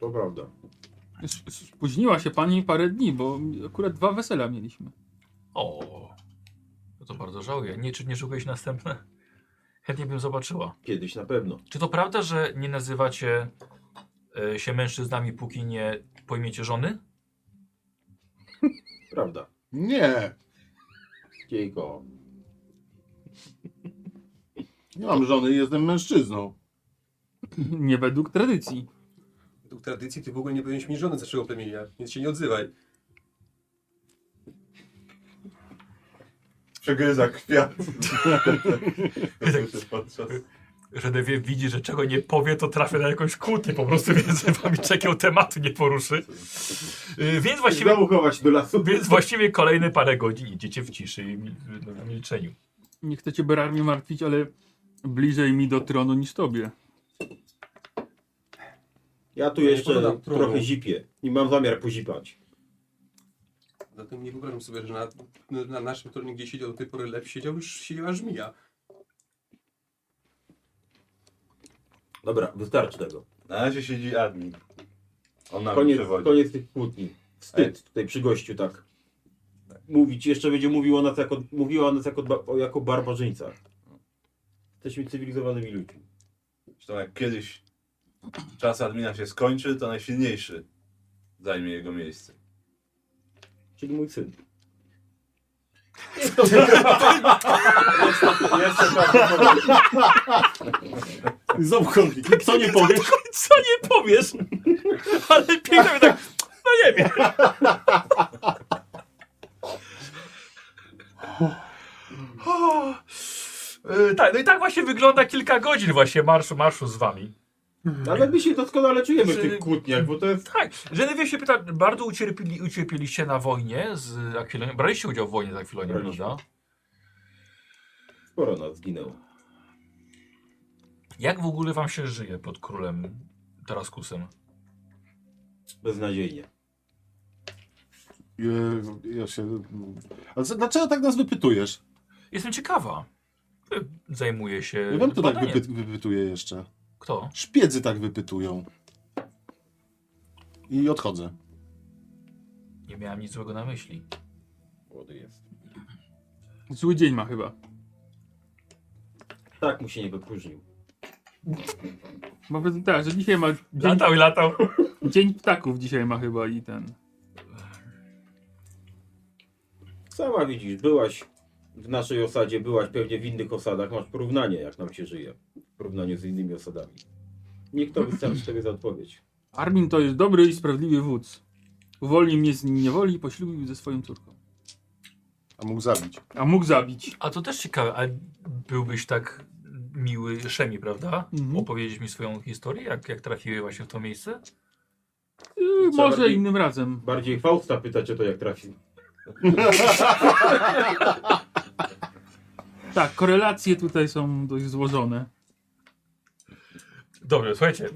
G: To prawda.
E: S- s- Spóźniła się pani parę dni, bo akurat dwa wesela mieliśmy.
A: O, no to bardzo żałuję. Nie, czy nie szukałeś następne? Chętnie bym zobaczyła.
G: Kiedyś na pewno.
A: Czy to prawda, że nie nazywacie e, się mężczyznami, póki nie pojmiecie żony?
G: Prawda.
C: Nie,
G: Jego.
C: nie mam żony i jestem mężczyzną.
E: Nie według tradycji.
F: Według tradycji ty w ogóle nie powinieneś mieć żony z naszego plemienia, więc się nie odzywaj.
D: Przegryza kwiat. Podczas
A: Genewie widzi, że czego nie powie, to trafia na jakąś kłótnię po prostu między wami, czekiego tematu nie poruszy. Y, Więc właściwie,
B: Znowu chować do lasu.
A: więc właściwie kolejne parę godzin idziecie w ciszy i mi- w milczeniu.
E: Nie chcę cię Berarmie martwić, ale bliżej mi do tronu niż tobie.
B: Ja tu
F: Ja
B: jeszcze
F: podam trudno.
B: trochę zipię i mam zamiar pozipać.
F: Zatem nie wyobrażam sobie, że na, na naszym tronie, gdzie siedział do tej pory lew, siedział już siedziała żmija.
B: Dobra, wystarczy tego.
D: Na razie siedzi admin. On nam
B: Koniec,
D: przewodzi.
B: koniec tych kłótni. Wstyd tutaj przy gościu, tak. Mówić, jeszcze będzie mówił o nas jako, mówiła o nas jako, ba- o- jako barbarzyńcach. Jesteśmy cywilizowanymi ludźmi.
D: Zresztą jak kiedyś czas admina się skończy, to najsilniejszy zajmie jego miejsce.
B: Czyli mój syn.
D: Jeszcze prawdopodobnie.
B: Znowu konflikt. Co nie powiesz?
A: Co nie powiesz? Ale pięknie tak, no nie wiem. O, y, tak, no i tak właśnie wygląda kilka godzin właśnie marszu, marszu z wami.
B: Ale my się doskonale czujemy w
A: Czy-
B: tych kłótniach, bo to jest...
A: Tak, Genevieve się pyta, bardzo ucierpieli, ucierpieliście na wojnie z Akwiloniem? Braliście udział w wojnie z Akwiloniem,
B: Braliśmy.
A: prawda?
B: Sporo nas zginęło.
A: Jak w ogóle wam się żyje pod królem Taraskusem?
B: Beznadziejnie.
C: Je, ja się... Ale co, dlaczego tak nas wypytujesz?
A: Jestem ciekawa. Y, Zajmuję się
C: Ja wiem, kto tak
A: badaniem.
C: wypy, wypytuje jeszcze.
A: Kto?
C: Szpiedzy tak wypytują. I odchodzę.
A: Nie miałem nic złego na myśli.
B: Młody jest.
E: Zły dzień ma chyba.
B: Tak mu się nie wypróżnił.
E: Mam wrażenie, tak, że dzisiaj ma dzień,
A: Latał i latał.
E: dzień ptaków dzisiaj ma chyba i ten.
B: Sama widzisz, byłaś w naszej osadzie, byłaś pewnie w innych osadach, masz porównanie, jak nam się żyje. W porównaniu z innymi osadami. Niech to wystarczy tobie za odpowiedź.
E: Armin to jest dobry i sprawiedliwy wódz. Uwolnił mnie z niewoli i poślubił ze swoją córką.
I: A mógł zabić.
E: A mógł zabić.
A: A to też ciekawe, ale byłbyś tak miły Szemi, prawda?
E: Mhm.
A: Opowiedzieć mi swoją historię, jak, jak trafiłeś właśnie w to miejsce?
E: Yy,
B: Co,
E: może
B: bardziej-
E: innym razem.
B: Bardziej Fausta pytać o to, jak trafił.
E: Tak, korelacje tutaj są dość złożone.
A: Dobrze, słuchajcie.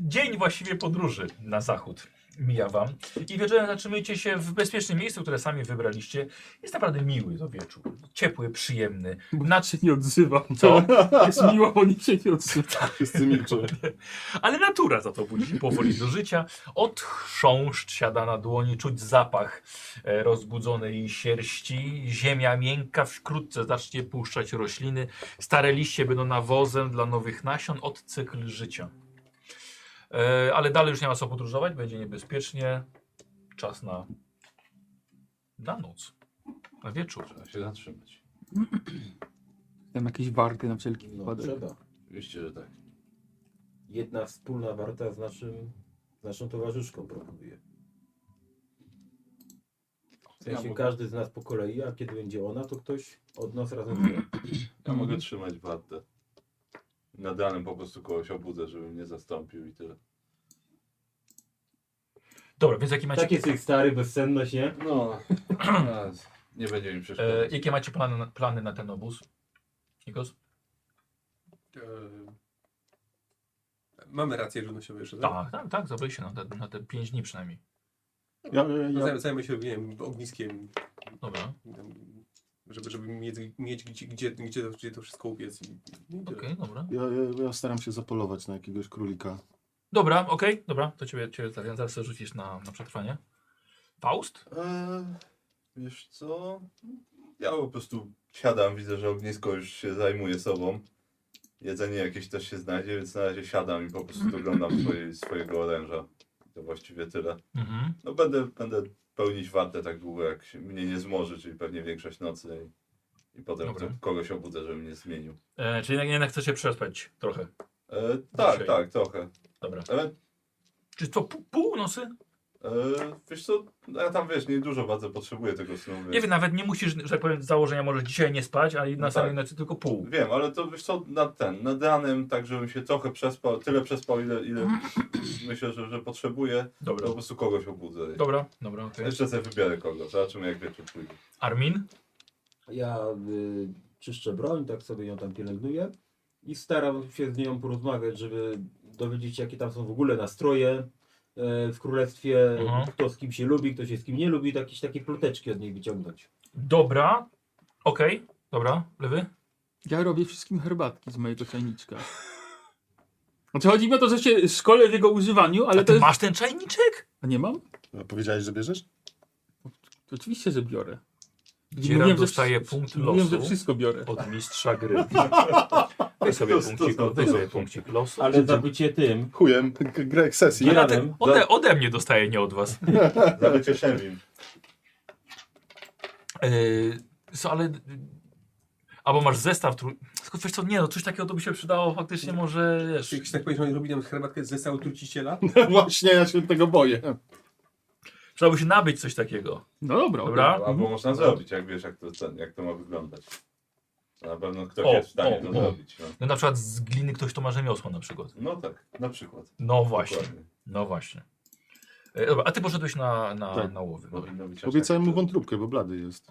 A: Dzień właściwie podróży na zachód mija wam. I wieczorem zatrzymujecie się w bezpiecznym miejscu, które sami wybraliście. Jest naprawdę miły to wieczór. Ciepły, przyjemny.
E: Bo
A: Na-
E: na się nie odzywam.
A: Co?
E: Jest miło, bo nikt się nie odzywa.
I: Wszyscy milczą.
A: Ale natura za to budzi powoli do życia. Odchrząszcz siada na dłoni, czuć zapach e, rozbudzonej sierści. Ziemia miękka, wkrótce zacznie puszczać rośliny. Stare liście będą nawozem dla nowych nasion. Odcykl życia. E, ale dalej już nie ma co podróżować, będzie niebezpiecznie. Czas na, na noc, na wieczór.
H: Trzeba się zatrzymać.
E: Tam jakieś warty na wszelki
B: No,
E: wypadek.
B: trzeba.
H: Oczywiście, że tak.
B: Jedna wspólna warta z, naszym, z naszą towarzyszką proponuje. W
H: Ja,
B: sensie
H: mo-
B: każdy z nas po kolei, a kiedy będzie ona, to ktoś od nas razem z nią.
D: Ja mogę trzymać wartę. Nad ranem po prostu kogoś obudzę, żeby mnie zastąpił i tyle.
A: Dobra, więc jaki macie,
B: Tak jest ich stary, bezsenność, nie?
D: No, a, nie będzie mi
A: e,
D: przeszkadzać.
A: jakie macie plany, na- plany na ten obóz? Nikos?
F: E, Mamy rację żywnościową jeszcze, tak?
A: Tak, tak, tak, zabrali się na te, na te 5 dni przynajmniej.
C: Ja, ja, ja,
F: Zaj- No, Zajmę się, nie wiem, ogniskiem,
A: Dobra,
F: tam, żeby, żeby mieć, mieć gdzie, gdzie, gdzie, to, gdzie to wszystko upiec. i- i
A: okej,
F: tyle.
A: dobra.
C: ja, ja, ja staram się zapolować na jakiegoś królika.
A: Dobra, okej, dobra, to ciebie, ciebie zaraz zaraz sobie rzucisz na, na przetrwanie. Faust?
D: E, wiesz co? Ja po prostu siadam, widzę, że ognisko już się zajmuje sobą. Jedzenie jakieś też się znajdzie, więc na razie siadam i po prostu doglądam swojej, swojego oręża. To właściwie tyle.
A: Mhm.
D: No będę, będę pełnić wartę tak długo, jak się mnie nie zmoży, czyli pewnie większość nocy. I, i potem
A: Dobra.
D: to kogoś obudzę, żeby mnie zmienił.
A: E, czyli jednak, jednak chcecie przespać trochę.
D: E, tak,
A: Dzisiaj.
D: tak, trochę.
A: Dobra.
D: Ale
A: Czy to pół, pół nocy?
D: E, E, wiesz co, no ja tam wiesz, nie dużo bardzo potrzebuję tego snu. Więc...
A: Nie wiem, nawet nie musisz, że tak powiem, z założenia możesz dzisiaj nie spać, a i na
D: No
A: samej
D: tak.
A: nocy tylko pół.
D: Wiem, ale to wiesz co, nad ten, nad ranem, tak żebym się trochę przespał, tyle przespał, ile, ile myślę, że, że potrzebuję, to
A: Dobra,
D: po prostu kogoś obudzę.
A: dobra, dobra, okej.
D: Jeszcze sobie wybiorę kogo, zobaczymy jak wieczór pójdzie.
A: Armin?
B: Ja y, czyszczę broń, tak sobie ją tam pielęgnuję i staram się z nią porozmawiać, żeby dowiedzieć się, jakie tam są w ogóle nastroje e, w królestwie,
A: Mhm.
B: kto z kim się lubi, kto się z kim nie lubi, to jakieś takie ploteczki od niej wyciągnąć.
A: Dobra, okej, dobra, lewy?
E: Ja robię wszystkim herbatki z mojego czajniczka. Znaczy chodzi mi o to, że się szkole w jego używaniu, ale
A: A
E: to
A: ty
E: jest...
A: masz ten czajniczek?
E: A nie mam?
I: Powiedziałeś, że bierzesz?
E: To oczywiście, że biorę.
A: Dzieran dostaje
E: wszy-
A: punkt
E: Mówiłem, że
A: losu.
E: wszystko biorę.
A: Od mistrza gry. Daj sobie punkcik, daj sobie punkcik losu.
B: Ale za bycie tym,
I: Chujem, g- grek sesji.
A: Ale
B: Dzieradem.
A: te- Ode, ode mnie dostaje, nie od was.
D: Zabycie Szemwin.
A: Yy, so, ale... Albo masz zestaw, tru... Tylko wiesz co, nie no, coś takiego to by się przydało faktycznie może, wiesz...
F: Czy jakiś tak powiedzieć, że oni robi tam herbatkę ze stału truciciela?
I: Właśnie, ja się tego boję.
A: Przydałoby się nabyć coś takiego.
E: No dobra.
A: mhm. Dobra?
D: Albo można zrobić, jak wiesz, jak to, ten, jak to ma wyglądać. To na pewno ktoś
A: O,
D: jest w stanie
A: o,
D: to
A: o.
D: zrobić. No.
A: No na przykład z gliny ktoś to ma rzemiosło na przykład.
D: no tak, na przykład.
A: No właśnie,
D: Dokładnie.
A: no właśnie. E, dobra, a ty poszedłeś na, na,
I: Tak.
A: na łowy. Dobra.
D: Powinno być aż
I: Obiecałem
D: tak,
I: mu
D: że-
I: wątróbkę, bo blady jest.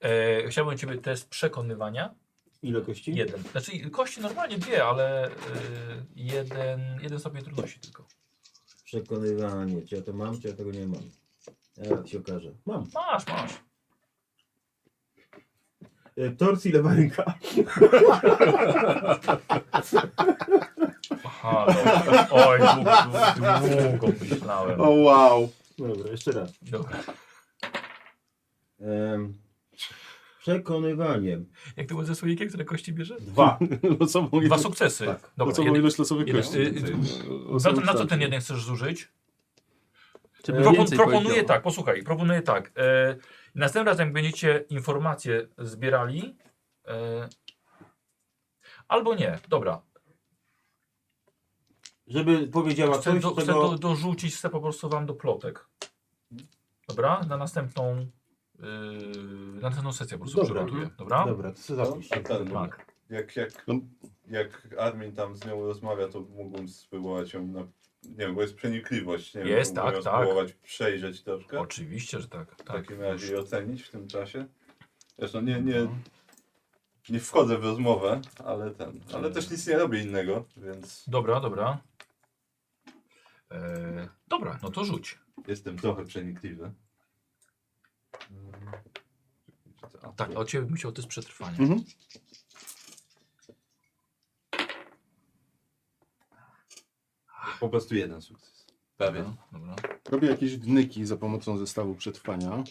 A: E, chciałbym ciebie test przekonywania.
B: ile kości?
A: Jeden. Znaczy kości normalnie dwie, ale e, jeden, jeden stopień trudności tylko.
B: Przekonywanie, czy ja to mam, czy ja tego nie mam. Jak się okaże. Mam.
A: Masz, masz.
B: E, Tors i lewa ręka.
A: Aha, dobra. Oj, długo, długo myślałem.
I: O wow.
B: Dobra, jeszcze raz.
A: Dobra.
B: Em, przekonywanie.
A: Jak to było ze słoikiem, które kości bierze?
B: Dwa.
I: Losową
A: Dwa
I: ilość,
A: sukcesy.
B: Tak.
A: Dobra,
I: losową
A: jeden,
I: ilość losowych
A: jeden,
I: kości. tak.
A: y, y, na, to, na co ten jeden chcesz zużyć?
E: Czy
A: Propon-
E: E, więcej
A: proponuję
E: powiedział?
A: tak, posłuchaj, proponuję tak. E, następnym razem jak będziecie informacje zbierali. E, albo nie, dobra.
B: Żeby powiedziała
A: Chcę,
B: coś,
A: do, chcę
B: czego...
A: do, dorzucić chcę po prostu wam do plotek. Dobra? Na następną. y, na następną sesję po prostu
B: Dobra.
A: przygotuję. Dobra?
B: Dobra, to sobie zapisz.
D: A ten,
A: Tak.
D: Jak, jak,
I: No.
D: jak admin tam z nią rozmawia, to mógłbym spróbować ją na. Nie wiem, bo jest przenikliwość. Nie
A: Jest,
D: wiem, mógłbym
A: tak,
D: ją
A: tak.
D: spróbować przejrzeć troszkę.
A: Oczywiście, że tak.
D: W
A: tak.
D: takim razie i ocenić w tym czasie. Zresztą nie, nie,
A: Mhm.
D: nie wchodzę w rozmowę, ale ten. Ale też
A: Mhm.
D: nic nie robię innego, więc
A: Dobra, dobra. E, dobra, no to rzuć.
D: jestem trochę przenikliwy. A,
A: Tak, o ciebie musiał to jest przetrwanie.
I: Mhm.
D: Po prostu jeden sukces. Prawie.
A: Dobra, dobra.
I: Robię jakieś wnyki za pomocą zestawu przetrwania.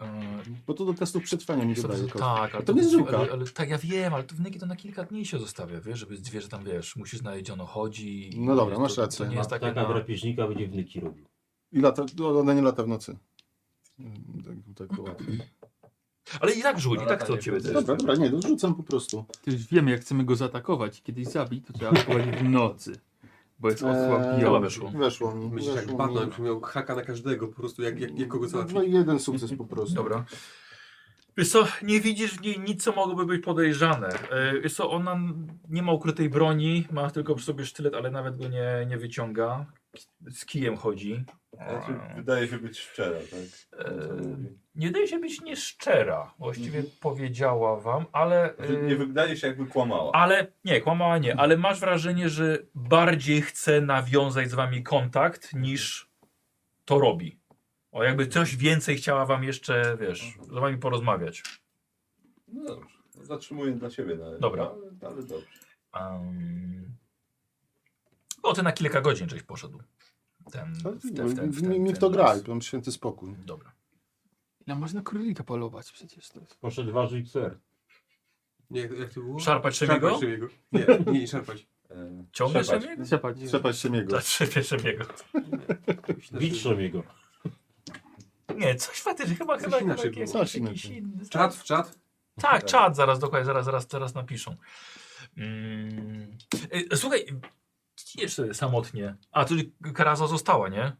A: E,
I: Bo to do testów przetrwania mi
A: Niestety,
I: dodaje kost.
A: tak, ale
I: To nie jest żółka.
A: Ale, ale, tak, ja wiem, ale to wnyki to na kilka dni się zostawia, wiesz, żeby zwierzę tam, wiesz, musisz znaleźć, ono chodzi. i
I: No dobra,
A: to-
I: masz
A: To
I: rację.
A: nie jest takie
B: Taka
A: na...
B: drapieżnika będzie wnyki robił.
I: I lata, no, ona nie lata w nocy. Mm, Tak, tak łatwiej.
A: Ale i tak żółć, i tak to od ciebie też.
I: Dobra, dobra, nie, to rzucam po prostu.
E: To już wiemy, no, jak chcemy go zaatakować. Kiedyś zabić, to trzeba prowadzić w nocy. Bo jest
A: Chyba
E: osłabiony.
A: weszło.
I: Weszło mi.
F: Myślisz, jak
I: weszło mi.
F: Batman, że miał haka na każdego, po prostu jak, jak, jak kogo załatwi.
I: No i jeden sukces po prostu.
A: Dobra. Wiesz co, nie widzisz w niej nic, co mogłoby być podejrzane. E, Wiesz co, ona nie ma ukrytej broni, ma tylko przy sobie sztylet, ale nawet go nie, nie wyciąga. Z kijem chodzi.
D: Znaczy, wydaje się być szczera, tak?
A: E, Nie daje się być nieszczera. Właściwie powiedziała wam, ale...
D: Znaczy,
A: e,
D: nie wydaje się, jakby kłamała.
A: Ale nie, kłamała nie, ale masz wrażenie, że bardziej chce nawiązać z wami kontakt niż to robi. O, jakby coś więcej chciała wam jeszcze, wiesz, z wami porozmawiać.
D: No dobrze. No Zatrzymuję dla siebie na razie.
A: Dobra.
D: Ale, ale dobrze.
A: Um... O, ty na kilka godzin żeś poszedł. Ten,
C: No,
A: w ten, w ten, w
F: tak,
A: ten, w ten,
I: Niech to gra, i mam święty spokój.
A: Dobra.
E: Ja No, można królika polować przecież to jest.
B: Poszedł ważyć ser.
F: Nie, jak, jak to było?
A: Szarpać Szemiego?
F: Szarpać Szemiego. Nie, nie, nie szarpać.
D: E,
A: Ciągnie
D: Szepać.
A: Szemiego?
E: Trzepać.
I: Trzepać się
F: tak.
I: jego.
A: Zatrzymie Szemiego.
B: Witrzą jego.
A: Nie, coś faktycznie, chyba,
F: Coś
A: chyba, chyba
F: inaczej
A: jakiś,
F: było.
I: Coś
A: jakiś
I: inaczej.
A: inny...
F: Czat w czat?
A: Tak, czat zaraz, dokładnie, zaraz, zaraz, zaraz napiszą. Mm. Y, Słuchaj, Idziesz sobie samotnie. A, czyli Karaza została, nie?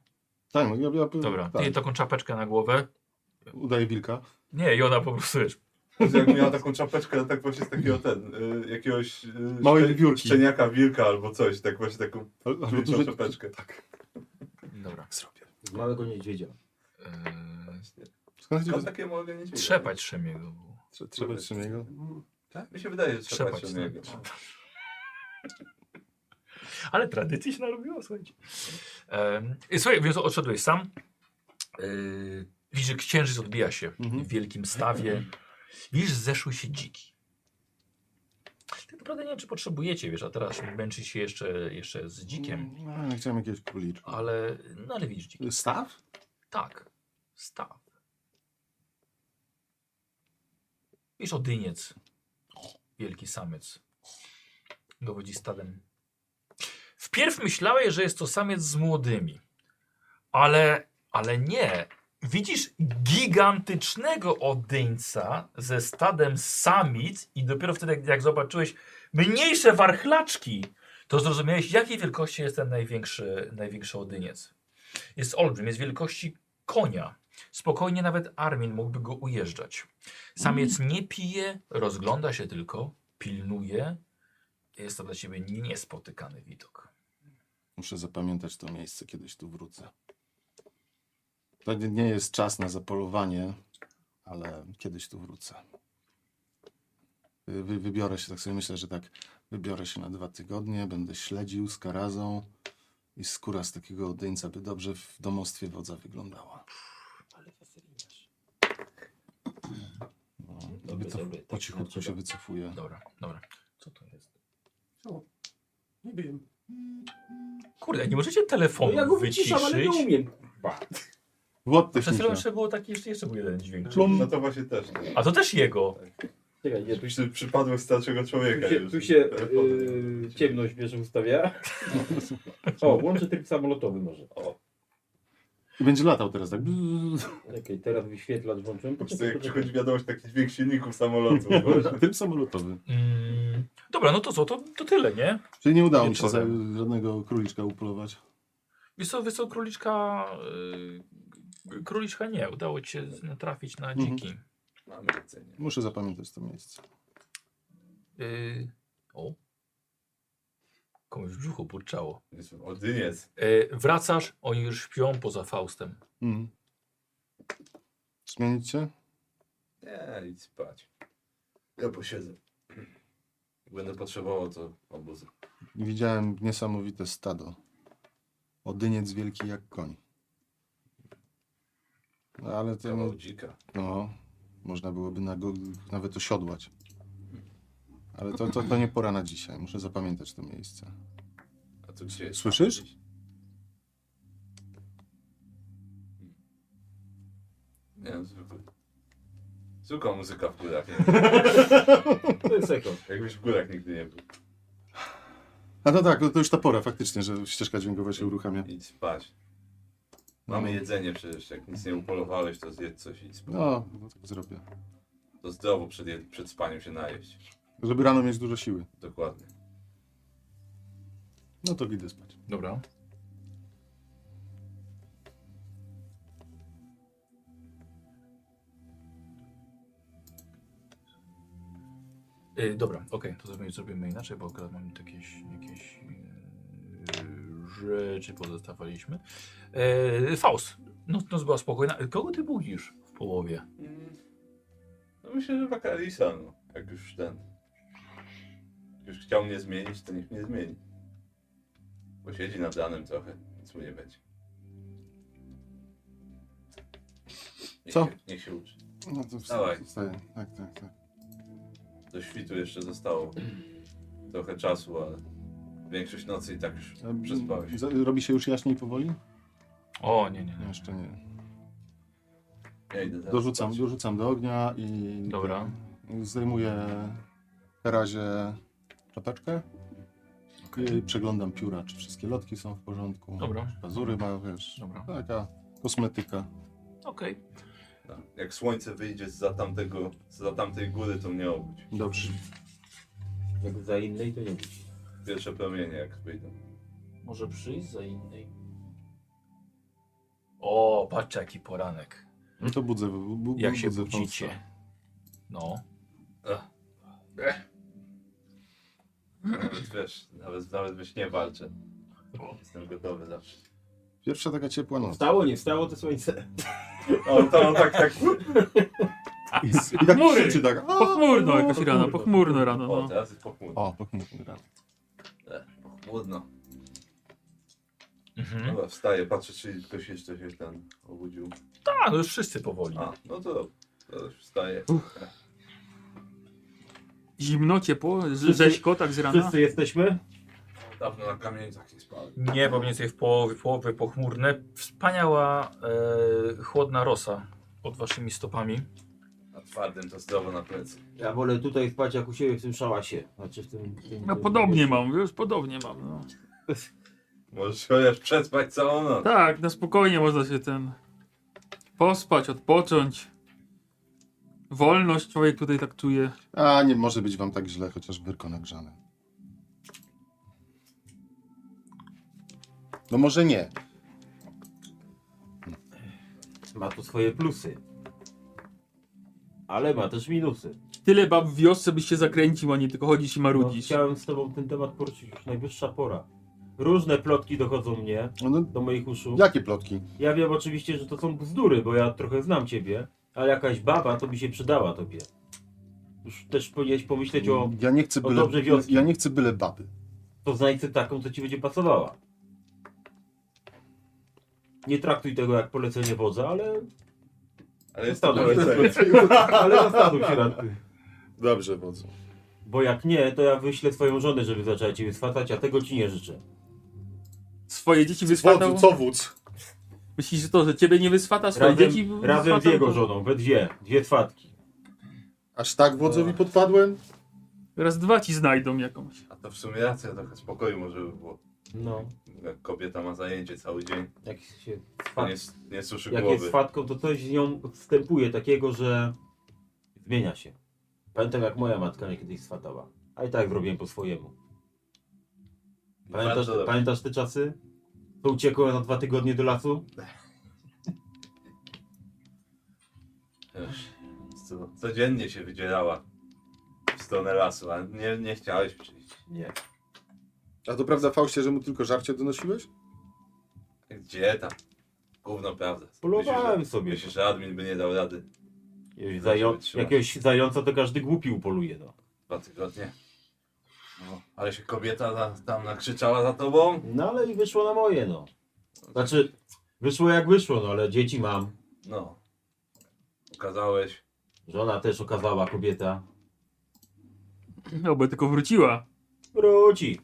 C: Tak, no ja, ja
A: Dobra.
C: Tak,
A: Jej taką czapeczkę na głowę.
C: udaję wilka.
A: Nie, i ona po prostu, wiesz,
D: Że jak miała taką czapeczkę, tak właśnie z takiego ten, y, jakiegoś y,
C: Małej
D: szczen-
C: wiewiórki.
D: szczeniaka, wilka albo coś, tak właśnie taką
C: Albo
D: wielką
C: duży-
D: czapeczkę. Tak.
A: dobra.
B: Z małego niedźwiedzia.
A: Eee,
C: Skąd
D: Tylko
C: chcecie-
D: takiemu organizmowi.
A: trzepać Szemiego było.
C: trze- Trzeba się niego.
D: Tak? Mi się wydaje, że trzepać
A: Trzepać,
D: się
A: tak.
D: niego.
A: Ale tradycji się narobiło, słuchajcie. Em, i słuchaj, więc odszedłeś sam. Yy, widzisz, że księżyc odbija się
C: Mhm.
A: w wielkim stawie. Widzisz, zeszły się dziki. Tak naprawdę nie wiem, czy potrzebujecie, wiesz, a teraz męczy się jeszcze, jeszcze z dzikiem.
C: No, ja chciałem jakiegoś króliczka.
A: Ale, no ale widzisz dziki.
C: Staw?
A: Tak, staw. Widzisz, odyniec. Wielki samec. Dowodzi stadem. Wpierw myślałeś, że jest to samiec z młodymi. Ale, ale nie. Widzisz gigantycznego odyńca ze stadem samic i dopiero wtedy, jak- jak zobaczyłeś mniejsze warchlaczki, to zrozumiałeś, jakiej wielkości jest ten największy, największy odyniec. Jest olbrzym, jest wielkości konia. Spokojnie nawet Armin mógłby go ujeżdżać. Samiec nie pije, rozgląda się tylko, pilnuje. Jest to dla ciebie niespotykany widok.
C: Muszę zapamiętać to miejsce, kiedyś tu wrócę. To nie- nie jest czas na zapolowanie, ale kiedyś tu wrócę. Wy- Wy, wybiorę się, tak sobie myślę, że tak, wybiorę się na dwa tygodnie, będę śledził z karazą i skóra z takiego odyńca by dobrze w domostwie wodza wyglądała. No,
A: Dobry,
C: wycof-
A: dobry, tak
C: po cichutku
A: znaczy,
C: się
A: tak.
C: wycofuję.
A: Dobra, dobra. Co to jest?
F: Nie wiem.
A: Kurde, nie możecie
B: No
A: telefonu
B: ja go
A: wyciszyć.
B: wyciszam, ale nie umiem. Ba.
C: What
A: Przed
C: technika.
A: chwilą jeszcze było taki, jeszcze, jeszcze był jeden dźwięk.
D: No to właśnie też. nie.
A: A to też jego.
B: Tak. Czekaj, nie, tu
D: Jakbyś ten przypadłek starszego człowieka.
B: tu się,
D: już.
B: tu się yy, ciemność wiesz, ustawia. O, włączę tryb samolotowy może. O,
C: I będzie latał teraz, tak?
B: okej, teraz wyświetlacz włączyłem.
D: Po prostu
B: Poczekaj,
D: jak
B: poczekaj.
D: przychodzi wiadomość, taki dźwięk silników samolotu. no
C: Tym samolotowym.
A: Mm, dobra, no to co? To, to tyle, nie?
C: Czyli nie udało mi się za,
A: Wieczorem.
C: żadnego króliczka upolować.
A: Wiesz co, wiesz co króliczka... Yy, króliczka nie. Udało ci się natrafić na
C: Mhm.
A: dziki.
D: Mamy jedzenie.
C: Muszę zapamiętać to miejsce.
A: Yy, o. Komuś w brzuchu burczało.
D: Jezu, Odyniec.
A: Yy, wracasz, oni już śpią poza Faustem.
C: Mm. Zmienić się?
D: Nie, idź spać. Ja posiedzę.
H: Jak Będę potrzebował to obuzy.
C: Widziałem niesamowite stado. Odyniec wielki jak koń. No, Ale to
H: Kawał dzika.
C: no, można byłoby na go nawet osiodłać. Ale to, to, to nie pora na dzisiaj. Muszę zapamiętać to miejsce.
H: A tu gdzie jest?
C: Słyszysz?
D: Nie wiem, zwykły. Zwykła muzyka w górach. nie?
B: To jest eko.
D: Jakbyś w górach nigdy nie był.
C: A to tak, no to już ta pora faktycznie, że ścieżka dźwiękowa się uruchamia.
D: Idź spać. Mamy jedzenie przecież, jak nic nie upolowałeś, to zjedz coś i idź spać.
C: No, no tak zrobię.
D: To zdrowo przed, je- przed spaniem się najeść.
C: Żeby rano mieć dużo siły.
D: Dokładnie.
C: No to idę spać.
A: Dobra. Yy, dobra, okej, to zrobimy, zrobimy inaczej, bo akurat mamy tu jakieś, jakieś yy, rzeczy pozostawaliśmy. Yy, Faust, noc, noc była spokojna. Kogo ty budzisz w połowie?
D: Mm. No myślę, że Bakalisa, no. Jak już ten... jak Już chciał mnie zmienić, to niech mnie zmieni. Bo siedzi nad ranem trochę, nic mu nie będzie. Niech
C: Co?
D: Się, niech się uczy.
C: No to
D: Dawaj.
C: wstaję. wstaję. Tak, tak, tak.
D: Do świtu jeszcze zostało trochę czasu, ale większość nocy i tak już
C: A,
D: przespałeś.
C: za- Robi się już jaśniej powoli?
A: O, nie, nie, nie.
C: Jeszcze nie.
D: Ja idę teraz
C: Dorzucam,
D: spać.
C: dorzucam do ognia i
A: Dobra,
C: zdejmuję na razie czapeczkę. I przeglądam pióra, czy wszystkie lotki są w porządku.
A: dobra,
C: Pazury ma, wiesz,
A: dobra.
C: taka kosmetyka.
A: Okej.
D: Tak. Jak słońce wyjdzie za tamtego, za tamtej góry, to mnie obudź.
C: Dobrze.
B: Jak za innej to nie wiem.
D: Pierwsze promienie jak wyjdą.
A: Może przyjść za innej. O, patrzcie jaki poranek.
C: No to budzę, bu, bu,
A: Mhm. Jak się
C: budzę
A: budzicie. No.
D: Nawet wiesz, nawet, nawet byś nie walczę. Jestem gotowy zawsze.
C: Fausta. Pierwsza taka ciepła noc.
A: Tak.
B: Wstało, nie wstało, to słońce.
D: O, to tak, tak.
C: I tak
E: Mury!
C: krzyczy tak.
E: Pochmurno jakaś rano, pochmurno rano.
D: O,
E: No.
D: teraz jest pochmurno.
C: O, pochmurny rano.
D: Pochmurno.
A: Mhm.
D: Dobra, wstaję, patrzę, No, czy ktoś jeszcze się ten obudził.
A: Tak, no już wszyscy powoli.
D: A, no to, to wstaję.
E: Zimno, ciepło, z- rzeźko tak z rana.
B: Wszyscy jesteśmy?
D: Dawno na kamienicach nie spałem.
A: Nie, bo mniej więcej w połowie, połowy pochmurne. Wspaniała e, chłodna rosa pod waszymi stopami.
D: Na twardym to zdrowo na plecy.
B: Ja wolę tutaj spać jak u siebie w tym szałasie. Znaczy w tym... w tym
E: No
B: tym-
E: podobnie mam, wiesz, podobnie mam. No.
D: Możesz się chociaż przespać całą noc.
E: Tak, na spokojnie można się ten pospać, odpocząć. Wolność człowiek tutaj tak czuje.
C: A nie może być wam tak źle, chociaż wyrko nagrzane. No może nie.
B: Ma tu swoje plusy. Ale ma też minusy.
E: Tyle bab w wiosce byś się zakręcił, a nie tylko chodzić i
B: No,
E: marudzić.
B: chciałem z tobą ten temat poruszyć już najwyższa pora. Różne plotki dochodzą mnie,
C: No, No,
B: do moich uszu.
C: jakie plotki?
B: Ja wiem oczywiście, że to są bzdury, bo ja trochę znam ciebie, ale jakaś baba to by się przydała tobie. Już też powinieneś pomyśleć o
C: Ja nie chcę
B: o
C: byle,
B: dobrze wioski.
C: ja nie chcę byle baby.
B: poznajce taką, co ci będzie pasowała. Nie traktuj tego jak polecenie wodza, ale,
D: Ale jest to
B: Zastanów się.
D: polecenie.
B: ale zastanów się nad tym.
C: Dobrze, wodzu.
B: Bo jak nie, to ja wyślę swoją żonę, żeby zaczęła ciebie swatać, a tego ci nie życzę.
E: Swoje dzieci
C: Wodzu,
E: wyswatał?
C: co wódz?
E: Myślisz, że to, że ciebie nie wyswata, swoje
B: Razem,
E: dzieci
B: razem z
E: wyswatał,
B: jego
E: to-
B: żoną, we dwie, dwie swatki.
C: Aż tak wodzowi podpadłem?
E: Raz dwa ci znajdą jakąś.
D: A to w sumie racja, trochę spokoju może by było.
B: No,
D: Jak kobieta ma zajęcie cały dzień,
B: jak się
D: to
B: swat...
D: nie, s- nie suszy
B: jak jest
D: głowy.
B: swatką, to coś z nią wstępuje takiego, że zmienia się. Pamiętam jak moja matka mnie kiedyś swatała, a i tak zrobiłem po swojemu. Pamiętasz,
D: Bardzo dobrze.
B: pamiętasz te czasy? To uciekłem na dwa tygodnie do lasu?
D: Wiesz, co- Codziennie się wydzierała w stronę lasu, a nie, nie chciałeś przyjść.
B: Nie.
C: A to prawda, Faustie, że mu tylko żarcie donosiłeś?
D: Gdzie tam? Tak Gówno prawda.
B: Polowałem
D: Myślisz, że-
B: sobie.
D: Myślisz, że admin by nie dał rady
B: Jakiegoś
D: Zawsze
B: Zają-
D: wytrzyma.
B: jakiegoś zająca to każdy głupi upoluje. No.
D: dwa tygodnie. No, ale się kobieta na, tam nakrzyczała za tobą.
B: no ale i wyszło na moje, no. Znaczy, wyszło jak wyszło, no ale dzieci mam.
D: No. Ukazałeś.
B: Żona też okazała kobieta.
E: No, bo tylko wróciła.
B: Wróci.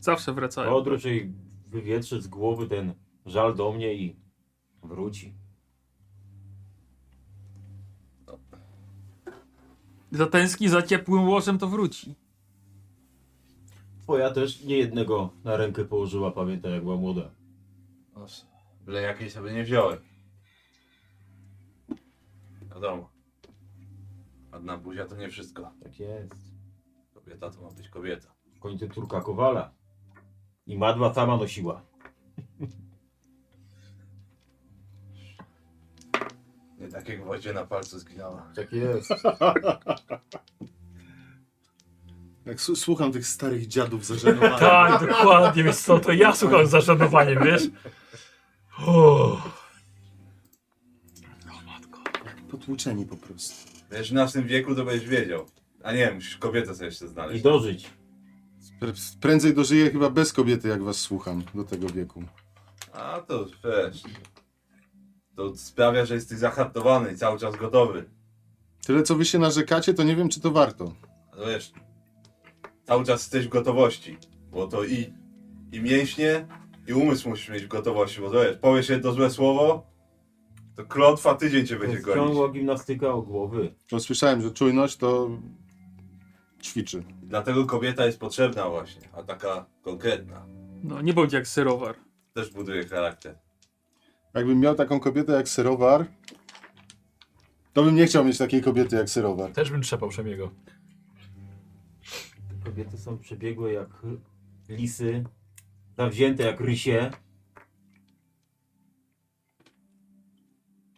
E: Zawsze
D: Tak.
E: wracają.
B: Odróż i wywietrzy z głowy ten żal do mnie i wróci.
E: Zatęskni za ciepłym łożem, to wróci.
B: Twoja też nie jednego na rękę położyła, pamiętam jak była młoda.
D: No, Byle jakiej sobie nie wziąłem. Wiadomo. Ładna buzia to nie wszystko.
B: Tak jest.
D: Kobieta to ma być kobieta.
B: W końcu Turka Kowala. I madła sama nosiła.
D: Nie takie gwoździe na palcu zginęła.
B: Tak jest.
C: Jak s- słucham tych starych dziadów zażenowanych.
A: Tak, dokładnie, więc co, to ja słucham z zaszanowaniem, wiesz? O.
C: Potłuczeni po prostu.
D: Wiesz, w naszym wieku to będziesz wiedział. A nie, musisz kobietę sobie jeszcze
B: I
D: znaleźć.
B: dożyć.
C: Pr- Prędzej dożyję chyba bez kobiety, jak was słucham do tego wieku.
D: A to już wiesz. To sprawia, że jesteś zahartowany i cały czas gotowy.
C: Tyle, co wy się narzekacie, to nie wiem, czy to warto.
D: Ale wiesz, cały czas jesteś w gotowości, bo to i, i mięśnie, i umysł musisz mieć w gotowości, bo to wiesz, powiesz jedno złe słowo, to klątwa tydzień cię będzie
B: Ciągła
D: gonić.
B: gimnastyka o głowy.
C: Bo słyszałem, że czujność to ćwiczy.
D: Dlatego kobieta jest potrzebna właśnie, a taka konkretna.
E: No, nie bądź jak serowar.
D: Też buduje charakter.
C: Jakbym miał taką kobietę jak serowar, to bym nie chciał mieć takiej kobiety jak serowar.
A: Też bym trzepał Przemiego.
B: Kobiety są przebiegłe jak lisy zawzięte jak rysie.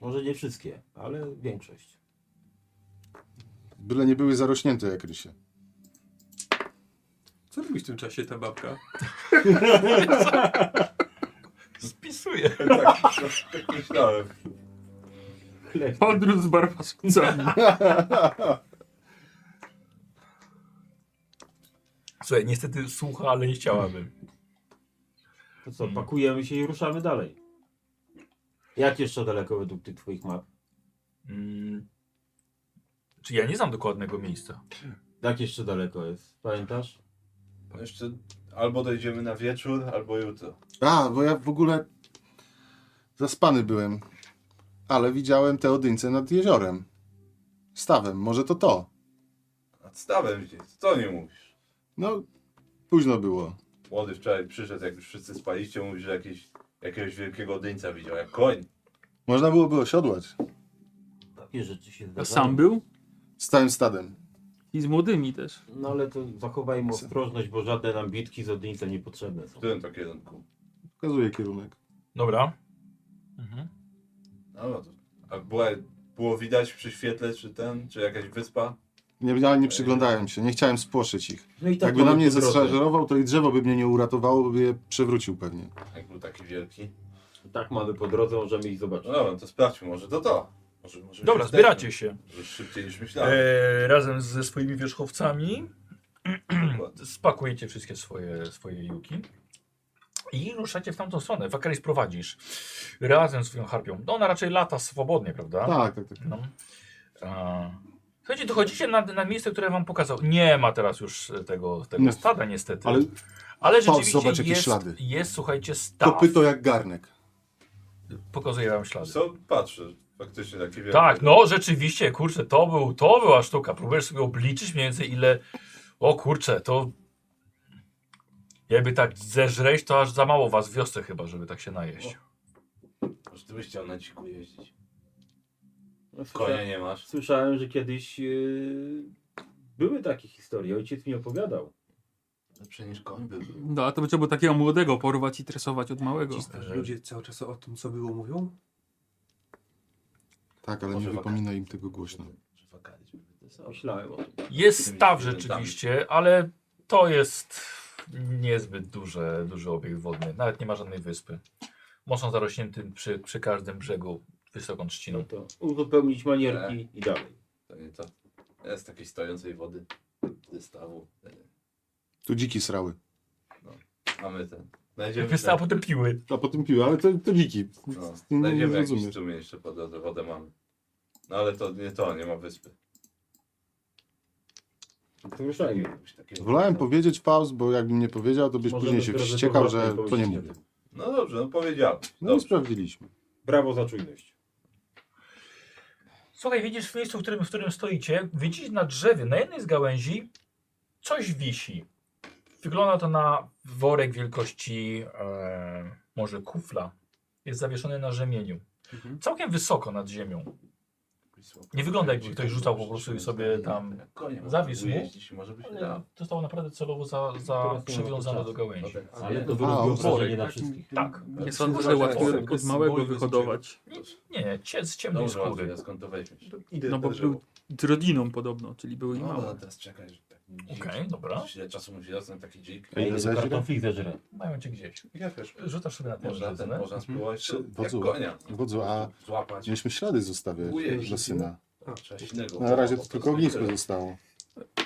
B: Może nie wszystkie, ale większość.
C: Byle nie były zarośnięte jak rysie.
F: Co robi w tym czasie ta babka?
A: Spisuję.
D: tak, tak myślałem.
E: Podróż z barbarzyńcami.
A: Słuchaj, niestety słucha, ale nie chciałabym.
B: To co, pakujemy się i ruszamy dalej. Jak jeszcze daleko według tych twoich map?
A: Mm. Czy ja nie znam dokładnego miejsca?
B: Jak jeszcze daleko jest? Pamiętasz?
D: Jeszcze albo dojdziemy na wieczór, albo jutro.
C: A, bo ja w ogóle zaspany byłem, ale widziałem te odyńce nad jeziorem. Stawem, może to to.
D: Nad stawem gdzieś, co nie mówisz?
C: No, późno było.
D: Młody wczoraj przyszedł, jak już wszyscy spaliście, mówi, że jakiś, jakiegoś wielkiego dyńca widział, jak koń.
C: Można byłoby osiodłać
B: Takie rzeczy się
E: A
B: zdarzają.
E: sam był?
C: z całym stadem.
E: I z młodymi też.
B: No ale to zachowajmy ostrożność, bo żadne nam bitki z Odyńca niepotrzebne
D: W
B: są.
D: którym to kierunku?
C: Pokazuję kierunek.
A: Dobra. Mhm.
D: No, no to, a była, było widać przy świetle, czy ten, czy jakaś wyspa?
C: Nie, ja nie przyglądałem się, nie chciałem spłoszyć ich.
B: No i
C: Jakby na
B: mamy
C: mnie
B: po drodze.
C: zestrzeżerował, to i drzewo by mnie nie uratowało, by je przewrócił pewnie.
D: Jak był taki wielki.
B: Tak mamy po drodze, możemy ich zobaczyć.
D: No dobra, to sprawdźmy, może to to. Może, może już
A: Dobra,
D: jesteśmy.
A: zbieracie się.
D: Może Szybciej niż
C: Tak.
D: myślałem.
A: E, razem ze swoimi wierzchowcami E,
D: Dokładnie.
A: spakujecie wszystkie swoje, swoje juki i ruszacie w tamtą stronę. Wakaris prowadzisz razem z swoją harpią. No ona raczej lata swobodnie, prawda?
C: Tak, tak, tak.
A: No. A. Słuchajcie, dochodzicie na, na miejsce, które wam pokazał. Nie ma teraz już tego, tego
C: Nie.
A: stada niestety.
C: Ale
A: Ale
C: patrz,
A: rzeczywiście
C: zobacz, jakie
A: jest,
C: ślady.
A: jest, słuchajcie, staw.
C: kopyto jak garnek.
A: Pokazuję wam ślady.
D: Co? Patrzę, faktycznie taki wielki.
A: Tak, no rzeczywiście, kurczę, to był, to była sztuka. Próbujesz sobie obliczyć mniej więcej ile... O kurczę, to... Jakby tak zeżreć, to aż za mało was w wiosce chyba, żeby tak się najeść.
D: Może ty byś chciał na dziku jeździć.
B: No, słysza-
D: Konia nie masz.
B: Słyszałem, że kiedyś yy, były takie historie. Ojciec mi opowiadał.
D: Lepsze niż koń by był.
E: No, a to by trzeba było takiego młodego porwać i tresować od małego.
F: Ci starzy ludzie cały czas o tym, co było, mówią?
C: Tak, ale nie
D: Może
C: wypomina im tego głośno.
D: Że wakalizm by to są.
B: Myślałem o tym.
A: Jest staw rzeczywiście, ale to jest niezbyt duże, duży obiekt wodny. Nawet nie ma żadnej wyspy. Mocno zarośnięty przy, przy każdym brzegu wysoką
B: No
A: trzciną.
B: to uzupełnić manierki i dalej.
D: To nie to. Jest takiej stojącej wody. e, Wystawu.
C: Tu dziki srały.
D: Mamy ten. Znajdziemy,
A: Wystawa potem piły.
C: A potem piła, ale to, to dziki.
D: no,
C: Nie, nie,
D: znajdziemy jakiś
C: rozumiesz.
D: strumień jeszcze po drodze. Wodę mamy. No ale to nie to, nie ma wyspy.
B: To ruszajmy. tak.
D: Jakiegoś takiego-
C: Wolałem powiedzieć pauz, bo jakbym nie powiedział, to byś
B: Możemy
C: później się
B: w drodze
C: wściekał, że
B: powrotnej
C: to nie
B: powiedzieć,
C: mówię.
B: nie wiem.
D: No dobrze, no powiedziałem.
C: No i
D: Dobrze.
C: sprawdziliśmy.
B: Brawo za czujność.
A: Słuchaj, widzisz w miejscu, w którym, w którym stoicie, widzisz na drzewie, na jednej z gałęzi coś wisi. Wygląda to na worek wielkości e, może kufla. Jest zawieszony na rzemieniu.
F: Mhm.
A: Całkiem wysoko nad ziemią. Nie wygląda, jakby ktoś rzucał po prostu i sobie tam zawisł mu.
D: Może być
A: Ale zostało naprawdę celowo za, za
B: Teraz nie ma
A: przywiązane
B: czasu.
A: do gałęzi.
B: Ale to
C: A,
B: były
C: o,
B: obrażenie na
F: taki-
B: wszystkich.
A: Tak.
E: Nie
D: Tak.
E: sądzę, że
D: Zobaczcie,
E: łatwo
D: jak
E: z małego
F: boli
E: wyhodować.
A: Nie, nie, cie, z ciemnej
D: Dobrze,
A: skóry.
D: Andrzej, a skąd to weźmiesz?
F: Idę
E: No bo był z rodziną podobno, czyli były i
D: No,
E: małe.
D: no teraz czekaj, że tak
A: Okej, No. dobra.
D: Ile czasu musi dostać taki dzik?
C: A ile
B: Ile
C: zażre?
B: kartofli zeżre?
A: Mają cię gdzieś.
D: Ja wiesz,
A: Rzucasz sobie na ten
D: można ten,
A: żyzny.
D: można spróbować
C: Czy-
D: jak
C: wodzu-
D: konia.
C: wodzu, No a-
D: Złapać.
C: Mieliśmy ślady zostawiać
D: Ujej.
C: dla syna.
F: A,
D: Coś innego.
C: Na razie
D: Po
C: to
D: prostu
C: tylko ognisko
D: tyle.
C: zostało.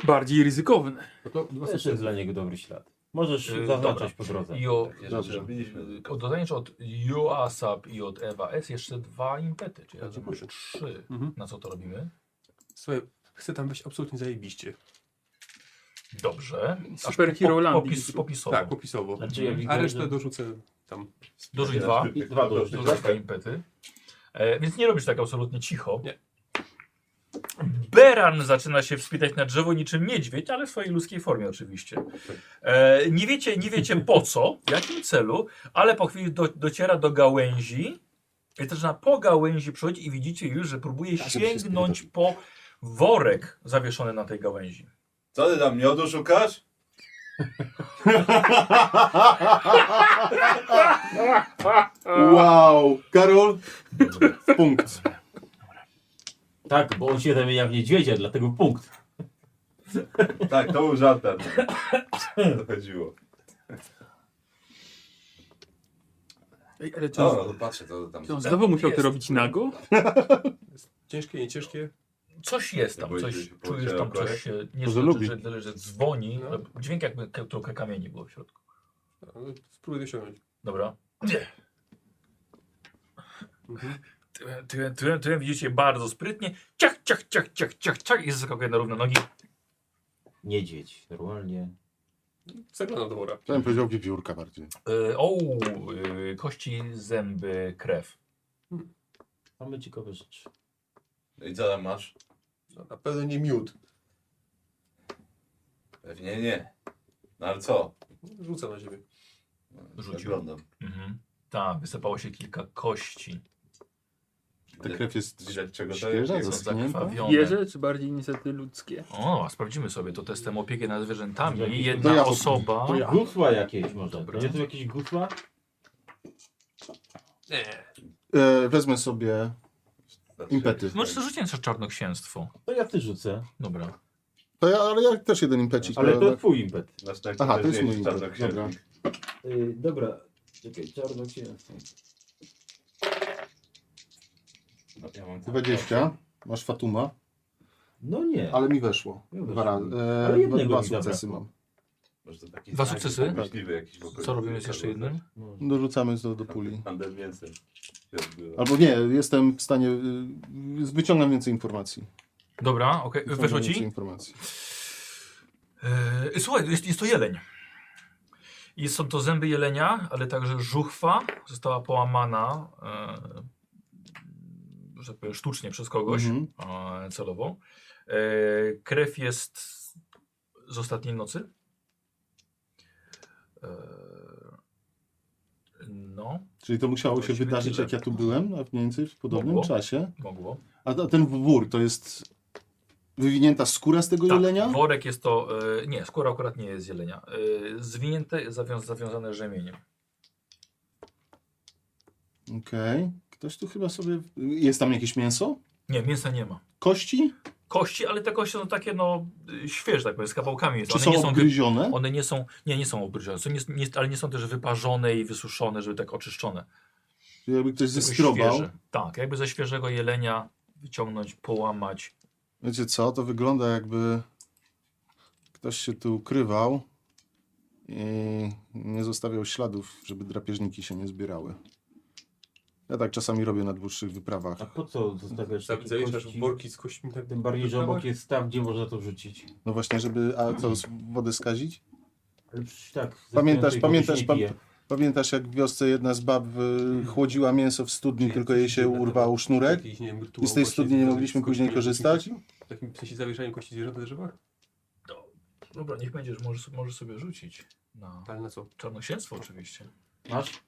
E: Bardziej ryzykowne.
B: To też jest dla niego dobry ślad. Możesz
A: Yy,
B: zaznaczać po drodze.
A: I o,
D: Takie
C: Dobrze.
D: rzeczy robiliśmy.
A: o- dostaniesz od UASAP i od EWA S jeszcze dwa impety, czyli razem masz trzy.
F: Mhm.
A: Na co to robimy?
F: Słuchaj, chcę tam być absolutnie zajebiście.
A: Dobrze. Aż
E: Super Hero
A: po,
E: Land.
A: popis, Mhm. popisowo.
F: Tak, opisowo.
B: Znaczy, jak
F: A
B: widzę,
F: resztę
B: że-
F: dorzucę tam.
A: Dorzuć dwa.
B: Dwa duże.
A: Dorzuć dwa impety. E, więc nie robisz tak absolutnie cicho.
F: Nie.
A: Beran zaczyna się wspinać na drzewo niczym niedźwiedź, ale w swojej ludzkiej formie oczywiście. E, nie, wiecie, nie wiecie po co, w jakim celu, ale po chwili do, dociera do gałęzi. I też na po gałęzi przychodzi i widzicie już, że próbuje
C: Tak, żeby się
A: sięgnąć po worek zawieszony na tej gałęzi.
D: Co ty tam miodu szukasz?
C: Wow! Karol, punkt.
B: Tak, bo on się zamienia w niedźwiedzia, dlatego punkt.
D: Tak, to był żart. Darek. To chodziło.
E: Ej, ale czy
D: Dobra,
E: on,
D: No, to patrzę, to tam.
E: czy on znowu musiał to robić nago?
F: Ciężkie, nie ciężkie?
A: Coś jest tam,
D: Ja
A: coś,
D: powiedziałem, że
A: czujesz tam
D: powiedziałem
A: coś, e, nie
J: Może
A: że,
J: lubi.
A: że, że, że dzwoni,
F: No.
A: no. dźwięk jakby k- trochę kamieni było w środku.
F: No, Spróbuj dosiągnąć.
A: Dobra.
F: Mhm.
A: Tyłem, tyłem, tyłem, tyłem widzicie bardzo sprytnie, ciach, ciach, ciach, ciach, ciach, ciach i zeskakuje na równe nogi.
B: Niedźwiedź, normalnie.
F: Zaglądam do wora.
C: Chciałem powiedzieć wiewiórka bardziej.
A: E, o, e, kości, zęby, krew.
B: Mamy ciekawe rzeczy.
D: I co tam masz?
F: No, Na pewno nie miód.
D: Pewnie nie. No ale co?
F: Rzucę na siebie.
A: Rzucił.
D: Zaglądam.
A: Mhm. Tak, wysypało się kilka kości.
C: Ta krew jest
D: Widać czego to jest.
C: świeża,
D: Jego-
C: zaschnięta.
A: zakrwawione.
E: Jeże, czy bardziej niestety ludzkie?
A: O, a sprawdzimy sobie to testem opieki nad
B: To
A: zwierzętami.
B: ja-
A: Jedna
C: to ja-
A: osoba.
C: to ja-
B: Gusła jakieś może.
A: Dobra.
B: Będzie tu jakieś gusła?
F: Nie.
C: E, wezmę sobie impety.
A: Możesz rzucić na czarnoksięstwo.
B: To ja ty rzucę.
A: Dobra.
C: To ja, ale ja też jeden impecik.
B: Ale to
C: to...
B: twój impet.
D: Nasz tak
C: Aha, to jest mój
D: najpotężniejszy
C: impet.
D: czarnoksiężnik.
C: Dobra.
B: Yy, dobra, czekaj, czarnoksięstwo.
D: No,
K: Ja mam
C: 20. Masz Fatuma.
B: No nie.
C: Ale mi weszło.
B: Nie
C: Dwa
B: weszło.
C: razy. E,
B: Ale jednego
C: dwa
B: mi
C: sukcesy mam.
D: Może to taki
A: Dwa
D: znaki,
A: sukcesy?
D: myśliwy jakiś w okolicy.
A: Co robimy z jeszcze jednym?
B: Może.
C: Dorzucamy do, do puli.
D: Handel więcej.
C: Albo nie, jestem w stanie. y, Wyciągam więcej informacji.
A: Dobra, okej.
C: Wyciągam
A: Weszło
C: więcej
A: ci?
C: informacji.
A: Yy, słuchaj, jest, jest to jeleń. I są to zęby jelenia, ale także żuchwa została połamana, yy, że tak powiem, sztucznie przez kogoś
C: Mhm.
A: e, celowo. Yy, krew jest z ostatniej nocy. Yy, no,
C: Czyli to musiało się
A: Właściwie
C: wydarzyć,
A: tyle.
C: jak ja tu byłem, a mniej więcej w podobnym
A: Mogło.
C: czasie.
A: mogło.
C: A, a ten wór to jest wywinięta skóra z tego jelenia?
A: Tak, worek jest to, e, nie, skóra akurat nie jest z jelenia. E, zwinięte, zawią zawiązane rzemieniem.
C: Okej. Ktoś tu chyba sobie. Jest tam jakieś mięso?
A: Nie, mięsa nie ma.
C: Kości?
A: Kości, ale te kości są takie, no, y, świeże, tak powiem, z kawałkami. Jest.
C: Czy
A: One
C: są
A: nie są, wy-
C: obgryzione?
A: one nie są, nie, nie są obryżone, są nie, nie, ale nie są też wyparzone i wysuszone, żeby tak oczyszczone.
C: Czy jakby ktoś
A: Tylko
C: zeskrobał?
A: świeże. Tak, jakby ze świeżego jelenia wyciągnąć, połamać.
C: Wiecie co, to wygląda jakby ktoś się tu ukrywał i nie zostawiał śladów, żeby drapieżniki się nie zbierały. Ja tak czasami robię na dłuższych wyprawach.
B: A po co zostawiasz takie
F: Zaliczasz
B: kości?
F: Tak, worki z kośćmi. tak-
B: Tym bardziej, że obok jest staw, gdzie można to wrzucić.
C: No właśnie, żeby... A co, z- wodę skazić?
B: Ale przecież tak. ze
C: Pamiętasz,
B: stojącej
C: pamiętasz,
B: kogoś
C: pam-
B: nie pije.
C: Pamiętasz jak w wiosce jedna z bab y, chłodziła mięso w studni, tylko jej się urwał sznurek?
F: Jakiś, nie wiem, rytuał
C: I z tej
F: właśnie
C: studni nie
F: związany
C: mogliśmy
F: z
C: później
F: kośćmi,
C: korzystać?
F: W takim sensie zawieszanie kości zwierząt na drzewach?
A: Dobra, niech będziesz, możesz, możesz sobie rzucić. Na
F: Ale na co?
A: czarnoksięstwo oczywiście.
B: Masz?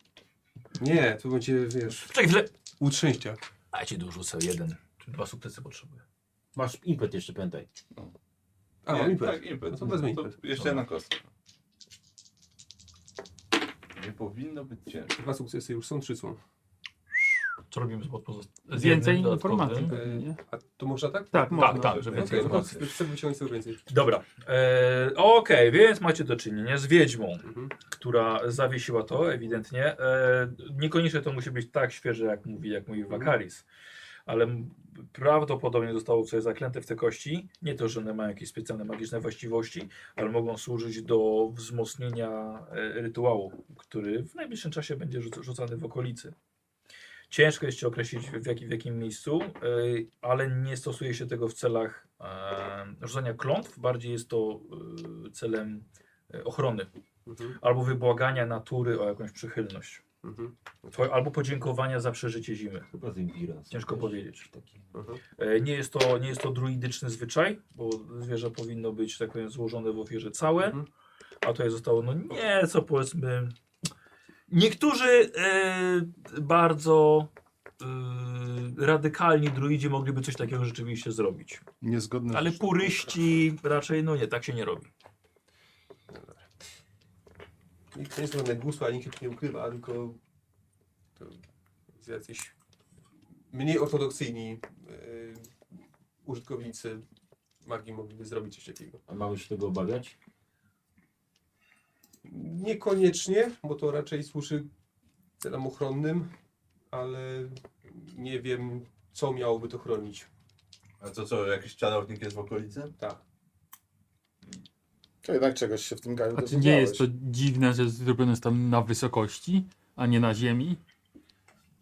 F: Nie, tu będzie, wiesz,
A: Czekaj chwilę.
F: utrzęścia.
A: A ja ci dorzucę jeden, czy dwa sukcesy potrzebuję.
B: Masz impet jeszcze, pamiętaj.
F: A,
D: nie,
F: mam impet.
D: Tak, impet.
F: No to wezmę
D: To
F: impet.
D: Jeszcze jedna kostka. Nie powinno być ciężko.
F: Dwa sukcesy już są, trzy są.
A: Co robimy z pozostałym?
E: Więcej informacji pewnie, nie?
F: E, a to można tak?
E: Tak,
A: Tak,
E: można.
A: tak, że więcej
F: Okej, no to
A: informacji.
F: chcę wyciągnąć sobie więcej.
A: Dobra. E, Okej, więc macie do czynienia z wiedźmą,
F: Mhm.
A: która zawiesiła to ewidentnie. E, niekoniecznie to musi być tak świeże, jak mówi, jak mówi Wakaris, ale m- prawdopodobnie zostało coś zaklęte w te kości. Nie to, że one mają jakieś specjalne magiczne właściwości, ale mogą służyć do wzmocnienia e, rytuału, który w najbliższym czasie będzie rzuc- rzucany w okolicy. Ciężko jest się określić w, jaki, w jakim miejscu, e, ale nie stosuje się tego w celach e, rzucania klątw, bardziej jest to e, celem e, ochrony
F: Mhm.
A: albo wybłagania natury o jakąś przychylność,
F: Mhm.
A: To- albo podziękowania za przeżycie zimy.
B: Chyba z imbira. są
A: Ciężko
B: też
A: powiedzieć.
B: Takie.
A: E, Nie jest, to, nie jest to druidyczny zwyczaj, bo zwierzę powinno być, że tak powiem, złożone w ofierze całe,
F: Mhm.
A: a tutaj zostało, no nieco powiedzmy. Niektórzy e, bardzo e, radykalni druidzi mogliby coś takiego rzeczywiście zrobić.
C: Niezgodne.
A: Ale puryści raczej, no nie, tak się nie robi.
F: Nikt nie jest żadne gusła, nikt się tu nie ukrywa, tylko to jest jacyś mniej ortodoksyjni yy, użytkownicy magii mogliby zrobić coś takiego.
B: A mamy się tego obawiać?
F: Niekoniecznie, bo to raczej służy celom ochronnym, ale nie wiem, co miałoby to chronić.
D: A to co, jakiś czarownik jest w okolicy?
F: Tak.
C: To jednak czegoś się w tym gaju
E: A czy nie
C: dowiedziałeś.
E: jest to dziwne, że zrobione jest tam na wysokości, a nie na ziemi?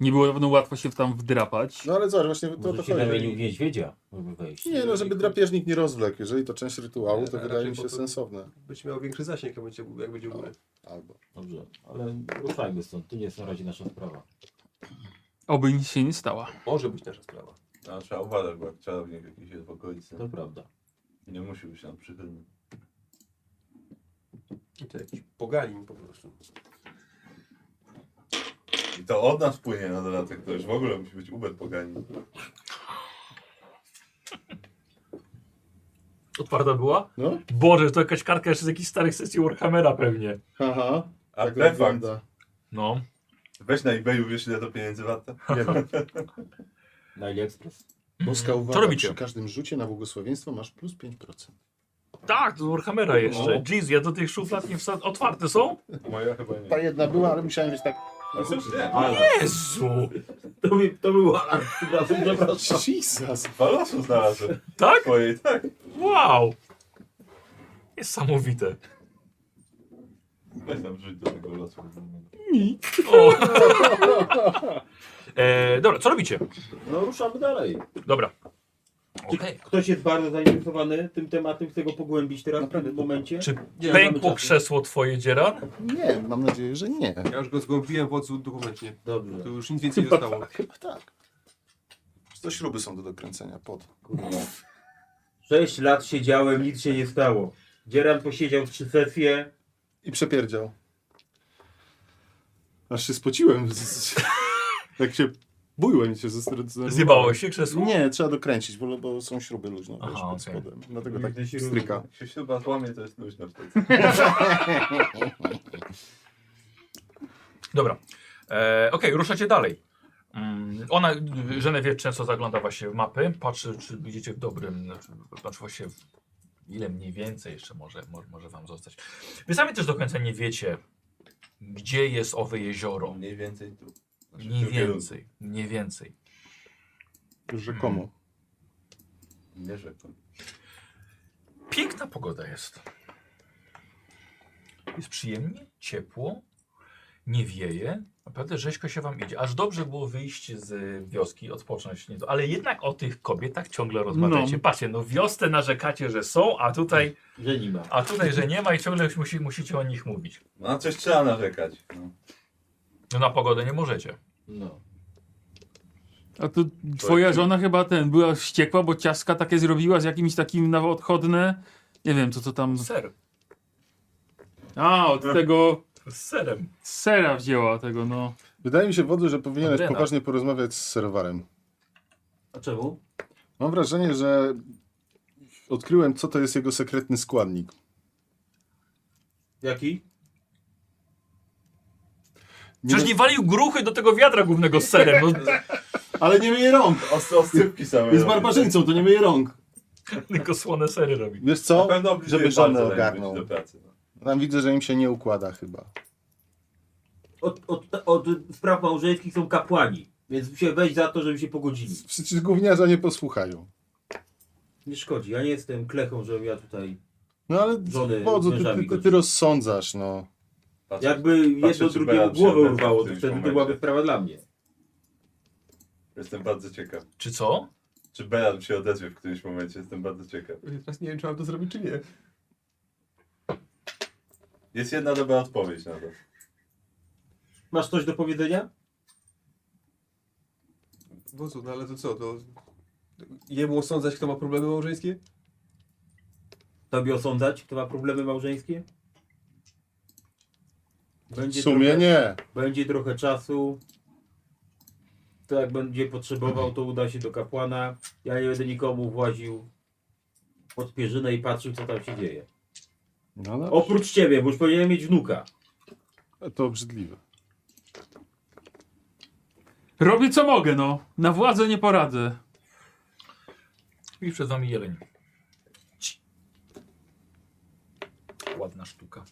E: Nie było na pewno łatwo się tam wdrapać.
C: No ale zobacz, właśnie to,
B: Może
C: to
B: się zamienił w
C: chodzi.
B: niedźwiedzia, żeby wejść.
C: Nie no, żeby drapieżnik nie rozwlekł. Jeżeli to część rytuału,
F: Nie,
C: to
F: a
C: wydaje
F: raczej
C: mi się
F: po to-
C: sensowne.
F: Będzie miał większy zasięg, jak będzie, jak będzie u góry.
C: Albo.
B: Dobrze, ale ruszajmy stąd, to nie jest na razie nasza sprawa.
E: Oby nic się nie stała.
F: Może być nasza sprawa.
D: A trzeba uważać, bo jak czarownik jakiś jest w okolicy,
B: To prawda.
D: nie musi być nam przychylny.
F: I to jakiś pogalin po prostu.
D: I to od nas płynie na dodatek, to już w ogóle musi być ubet pogani.
A: Otwarta była?
C: No?
A: Boże, to jakaś kartka jeszcze z jakichś starych sesji Warhammera pewnie.
C: Haha.
D: A
C: Tak
D: prefakt,
C: wygląda.
A: No.
D: weź na eBayu, wiesz ile to pieniędzy warte?
C: Nie wiem.
B: Na AliExpress.
C: Boska
A: Co
C: uwaga,
A: robicie?
C: przy każdym rzucie na błogosławieństwo masz plus 5%.
A: Tak, to z Warhammera jeszcze.
C: No.
A: Jeez, ja do tych szuflad nie wsadzę. Otwarte są?
D: Moja chyba nie.
C: Ta jedna była, ale musiałem mieć tak...
D: No cóż, nie.
A: Jezu!
B: To, mi, to był alarm, tym razem przepraszam.
C: Jesus!
D: Dwa losu znalazłem.
A: Tak?
D: Twojej, tak.
A: Wow! Niesamowite.
D: Weź tam rzuć do tego losu.
A: O. e, dobra, co robicie?
B: No ruszamy dalej.
A: Dobra.
B: Czy
A: Okej.
B: ktoś jest bardzo zainteresowany tym tematem, chce go pogłębić teraz w tym momencie?
A: Czy
F: Nie,
A: pękło
F: mamy czasu.
A: krzesło twoje, Dzieran?
C: Nie, mam nadzieję, że nie.
F: Ja już go zgłębiłem w odzu dokumencie.
B: Dobrze.
F: Tu już nic więcej nie zostało.
C: Chyba tak. Czy to śruby są do dokręcenia pod?
B: Kurwa. Sześć lat siedziałem, nic się nie stało. Dzieran posiedział trzy sesje.
C: I przepierdział. Aż się spociłem. z- z- Jak się bójłem i się zestresowałem.
A: Zjebało się krzesło?
C: Nie, trzeba dokręcić, bo, bo są śruby luźno
A: Aha,
C: wiesz, pod
A: okej.
C: spodem. Dlatego
B: Nigdy
C: tak
B: się
C: stryka.
D: Jak się chyba złamie, to jest luźno wtedy.
A: Dobra. E, Okej, ruszacie dalej. Mm, Ona, Genevieve często zagląda właśnie w mapy, patrzy czy idziecie w dobrym, znaczy właśnie w- ile mniej więcej jeszcze może, może, może wam zostać. Wy sami też do końca nie wiecie, gdzie jest owe
F: No
A: jezioro.
D: Mniej więcej tu. Znaczy,
A: Mniej
D: w tym kierunku.
A: więcej, mniej więcej.
C: Rzekomo.
D: Nie rzekł.
A: Piękna pogoda jest. Jest przyjemnie, ciepło, nie wieje. Naprawdę rzeźko się wam idzie. Aż dobrze było wyjść z wioski, odpocząć nieco. Ale jednak o tych kobietach ciągle rozmawiacie. Patrzcie, no wiosnę narzekacie, że są, a tutaj,
B: Że nie ma.
A: a tutaj, że nie ma i ciągle musi, musicie o nich mówić.
D: No na coś trzeba narzekać. No.
A: No na pogodę nie możecie.
B: No.
E: A to twoja żona chyba ten była wściekła, bo ciaska takie zrobiła z jakimś takim na odchodne. Nie wiem, co to tam.
A: Ser.
E: A, od tego
A: Z serem.
E: sera wzięła tego, no.
C: Wydaje mi się, Wodzy, że powinieneś
A: Adrena.
C: poważnie porozmawiać z serwarem.
B: A czemu?
C: Mam wrażenie, że odkryłem, co to jest jego sekretny składnik.
B: Jaki?
A: Przecież nie walił gruchy do tego wiadra głównego z serem. No,
C: Ale nie myje rąk!
D: Os, oscypki same.
C: Jest
D: robi,
C: barbarzyńcą, to nie myje rąk.
A: tylko słone sery robi.
C: Wiesz
D: tak. Na
C: co?
D: pewno obliguje
C: Żeby żonę
D: palce, jak
C: ogarnął.
D: wróci do pracy. No.
C: Tam widzę, że im się nie układa chyba.
B: Od, od, od spraw małżeńskich są kapłani, więc się weź za to, żeby się pogodzili.
C: Przecież gówniarza nie posłuchają.
B: Nie szkodzi, ja nie jestem klechą, żebym ja tutaj...
C: No ale
B: Żony
C: Wodzu, ty,
B: mężami
C: ty, ty
B: godzin.
C: rozsądzasz, no.
D: Patrzę,
B: Jakby jedno
D: patrzę, czy
B: drugiemu
D: Beat się
B: głowę
D: odezwie w
B: urwało, to
D: którymś
B: wtedy to
D: momencie.
B: byłaby sprawa dla mnie.
D: Jestem bardzo ciekaw.
A: Czy co?
D: Czy Beran się odezwie w którymś momencie? Jestem bardzo ciekaw.
F: Teraz nie wiem, czy mam to zrobić, czy nie.
D: Jest jedna dobra odpowiedź na to.
B: Masz coś do powiedzenia?
F: Bozu, no ale to co, to... Jemu osądzać, kto ma problemy małżeńskie?
B: Tobie osądzać, kto ma problemy małżeńskie?
C: W
B: Będzie
C: sumie
B: trochę,
C: nie.
B: Będzie trochę czasu. To jak będzie potrzebował, to uda się do kapłana. Ja nie będę nikomu właził pod pierzynę i patrzył, co tam się dzieje.
C: No, ale...
B: Oprócz ciebie, bo już powinienem mieć wnuka.
I: To obrzydliwe.
E: Robię co mogę, no. Na władzę nie poradzę.
A: I przed wami jeleń. Ci. Ładna sztuka.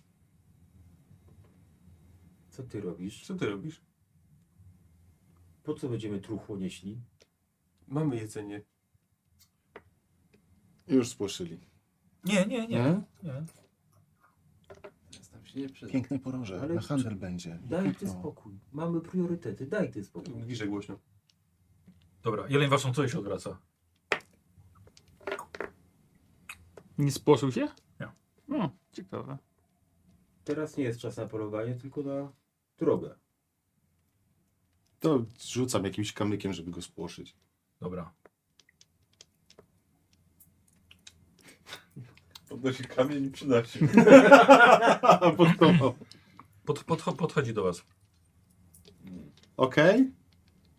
G: Co ty robisz?
D: Co ty robisz?
G: Po co będziemy truchło nieśli?
F: Mamy jedzenie.
I: Już spłoszyli.
A: Nie, nie, nie.
I: Nie?
A: nie.
H: Tam się nie przyda.
I: Piękne porąże,
G: Ale
I: na handel będzie.
G: Daj ty
C: No.
I: Piękno.
G: spokój. Mamy priorytety, daj ty spokój.
F: Bliżej głośno.
A: Dobra, jeleń waszą coś się odwraca.
E: Nie spłoszył się?
A: Nie.
E: No, ciekawe.
G: Teraz nie jest czas na polowanie, tylko na drogę.
I: To rzucam jakimś kamykiem, żeby go spłoszyć.
A: Dobra.
D: Podnosi kamień i przynosi.
I: Pod tobą.
A: Pod, podcho- podchodzi do was.
I: Okej?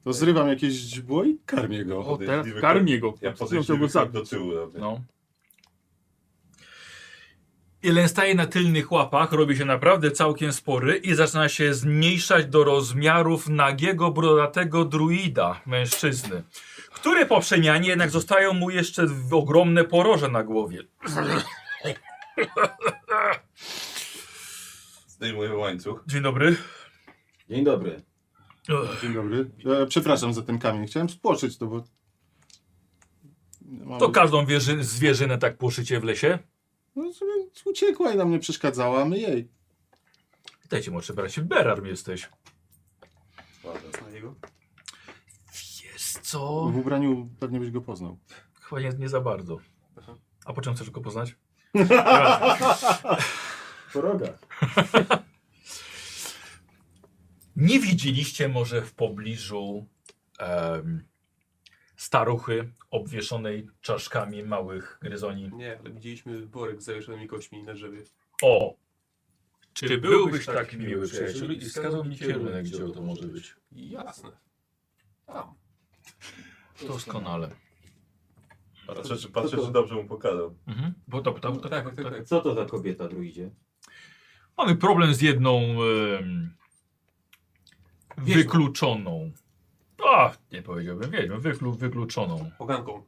I: To zrywam jakieś źdźbło i karmię go.
E: O, teraz
D: podejrzliwy
E: karmię go.
D: Ja
E: Chciał go
D: podejrzliwy krok
E: zabić.
D: do tyłu robię.
A: No. Jeleń staje na tylnych łapach, robi się naprawdę całkiem spory i zaczyna się zmniejszać do rozmiarów nagiego, brodatego druida, mężczyzny, który po przemianie jednak zostają mu jeszcze w- ogromne poroże na głowie.
D: Zdejmuję łańcuch.
A: Dzień dobry.
B: Dzień dobry.
A: Ugh.
I: Dzień dobry. E, przepraszam za ten kamień. Chciałem spłoszyć to, bo... Mam...
A: To każdą wierzy- zwierzynę tak płoszycie w lesie?
I: No, żeby uciekła i nam nie przeszkadzała, a my jej.
A: Witajcie, młodszy bracie. Berarm jesteś.
F: Na jego?
A: Jest co?
I: W ubraniu pewnie byś go poznał.
A: Chyba nie, nie za bardzo. A po czym chcesz go poznać?
B: Poroga.
A: Nie widzieliście może w pobliżu em, staruchy obwieszonej czaszkami małych gryzoni.
F: Nie, ale widzieliśmy worek z zawieszonymi kośmi na drzewie.
A: O! Czy, byłbyś tak miły przyjacielu i wskazał mi kierunek, gdzie to może być?
F: Jasne.
A: Doskonale.
D: Patrzę, czy, patrzę, czy dobrze mu pokazał.
A: Mhm. Bo to, to, to,
F: Tak, tak, tak.
B: Co to za kobieta, druidzie?
A: Mamy problem z jedną em,
F: Wiedźmą.
A: wykluczoną. A, nie powiedziałbym wiedźmą, wyklu, wykluczoną.
F: Poganką.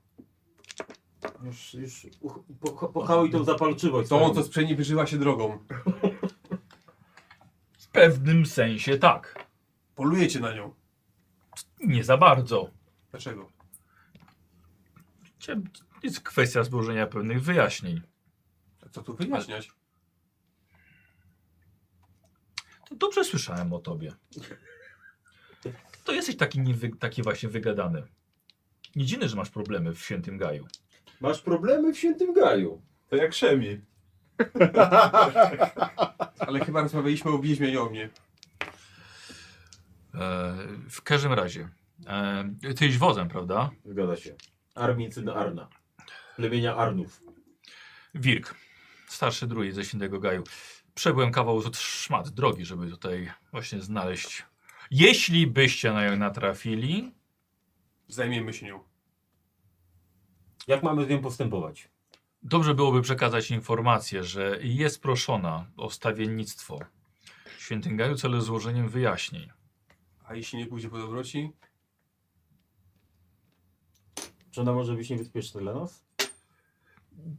B: Już, już uch- poch- pochałuj tą zapalczywość.
F: Tą, co z przedniej wyżyła się drogą.
A: W pewnym sensie tak.
F: Polujecie na nią.
A: Nie za bardzo.
F: Dlaczego?
A: Cie- Jest kwestia złożenia pewnych wyjaśnień.
F: A Co tu wyjaśniać?
A: To Dobrze słyszałem o tobie. To jesteś taki, niewy, taki właśnie wygadany. Nie dziwne, że masz problemy w świętym gaju.
B: Masz problemy w świętym gaju.
D: To jak Szemi.
F: Ale chyba rozmawialiśmy o wieźmie i o mnie.
A: E, w każdym razie, e, ty iść wozem, prawda?
B: Zgadza się. Armin, syn Arna. Plemienia Arnów.
A: Wilk, starszy druid ze Świętego Gaju. Przebyłem kawał od szmat drogi, żeby tutaj właśnie znaleźć. Jeśli byście na nią natrafili,
F: Zajmiemy się nią.
B: Jak mamy z nią postępować?
A: dobrze byłoby przekazać informację, że jest proszona o stawiennictwo w Świętym Gaju celem złożeniem wyjaśnień.
F: A jeśli nie pójdzie po dobroci,
B: Czy ona może być niebezpieczna dla nas?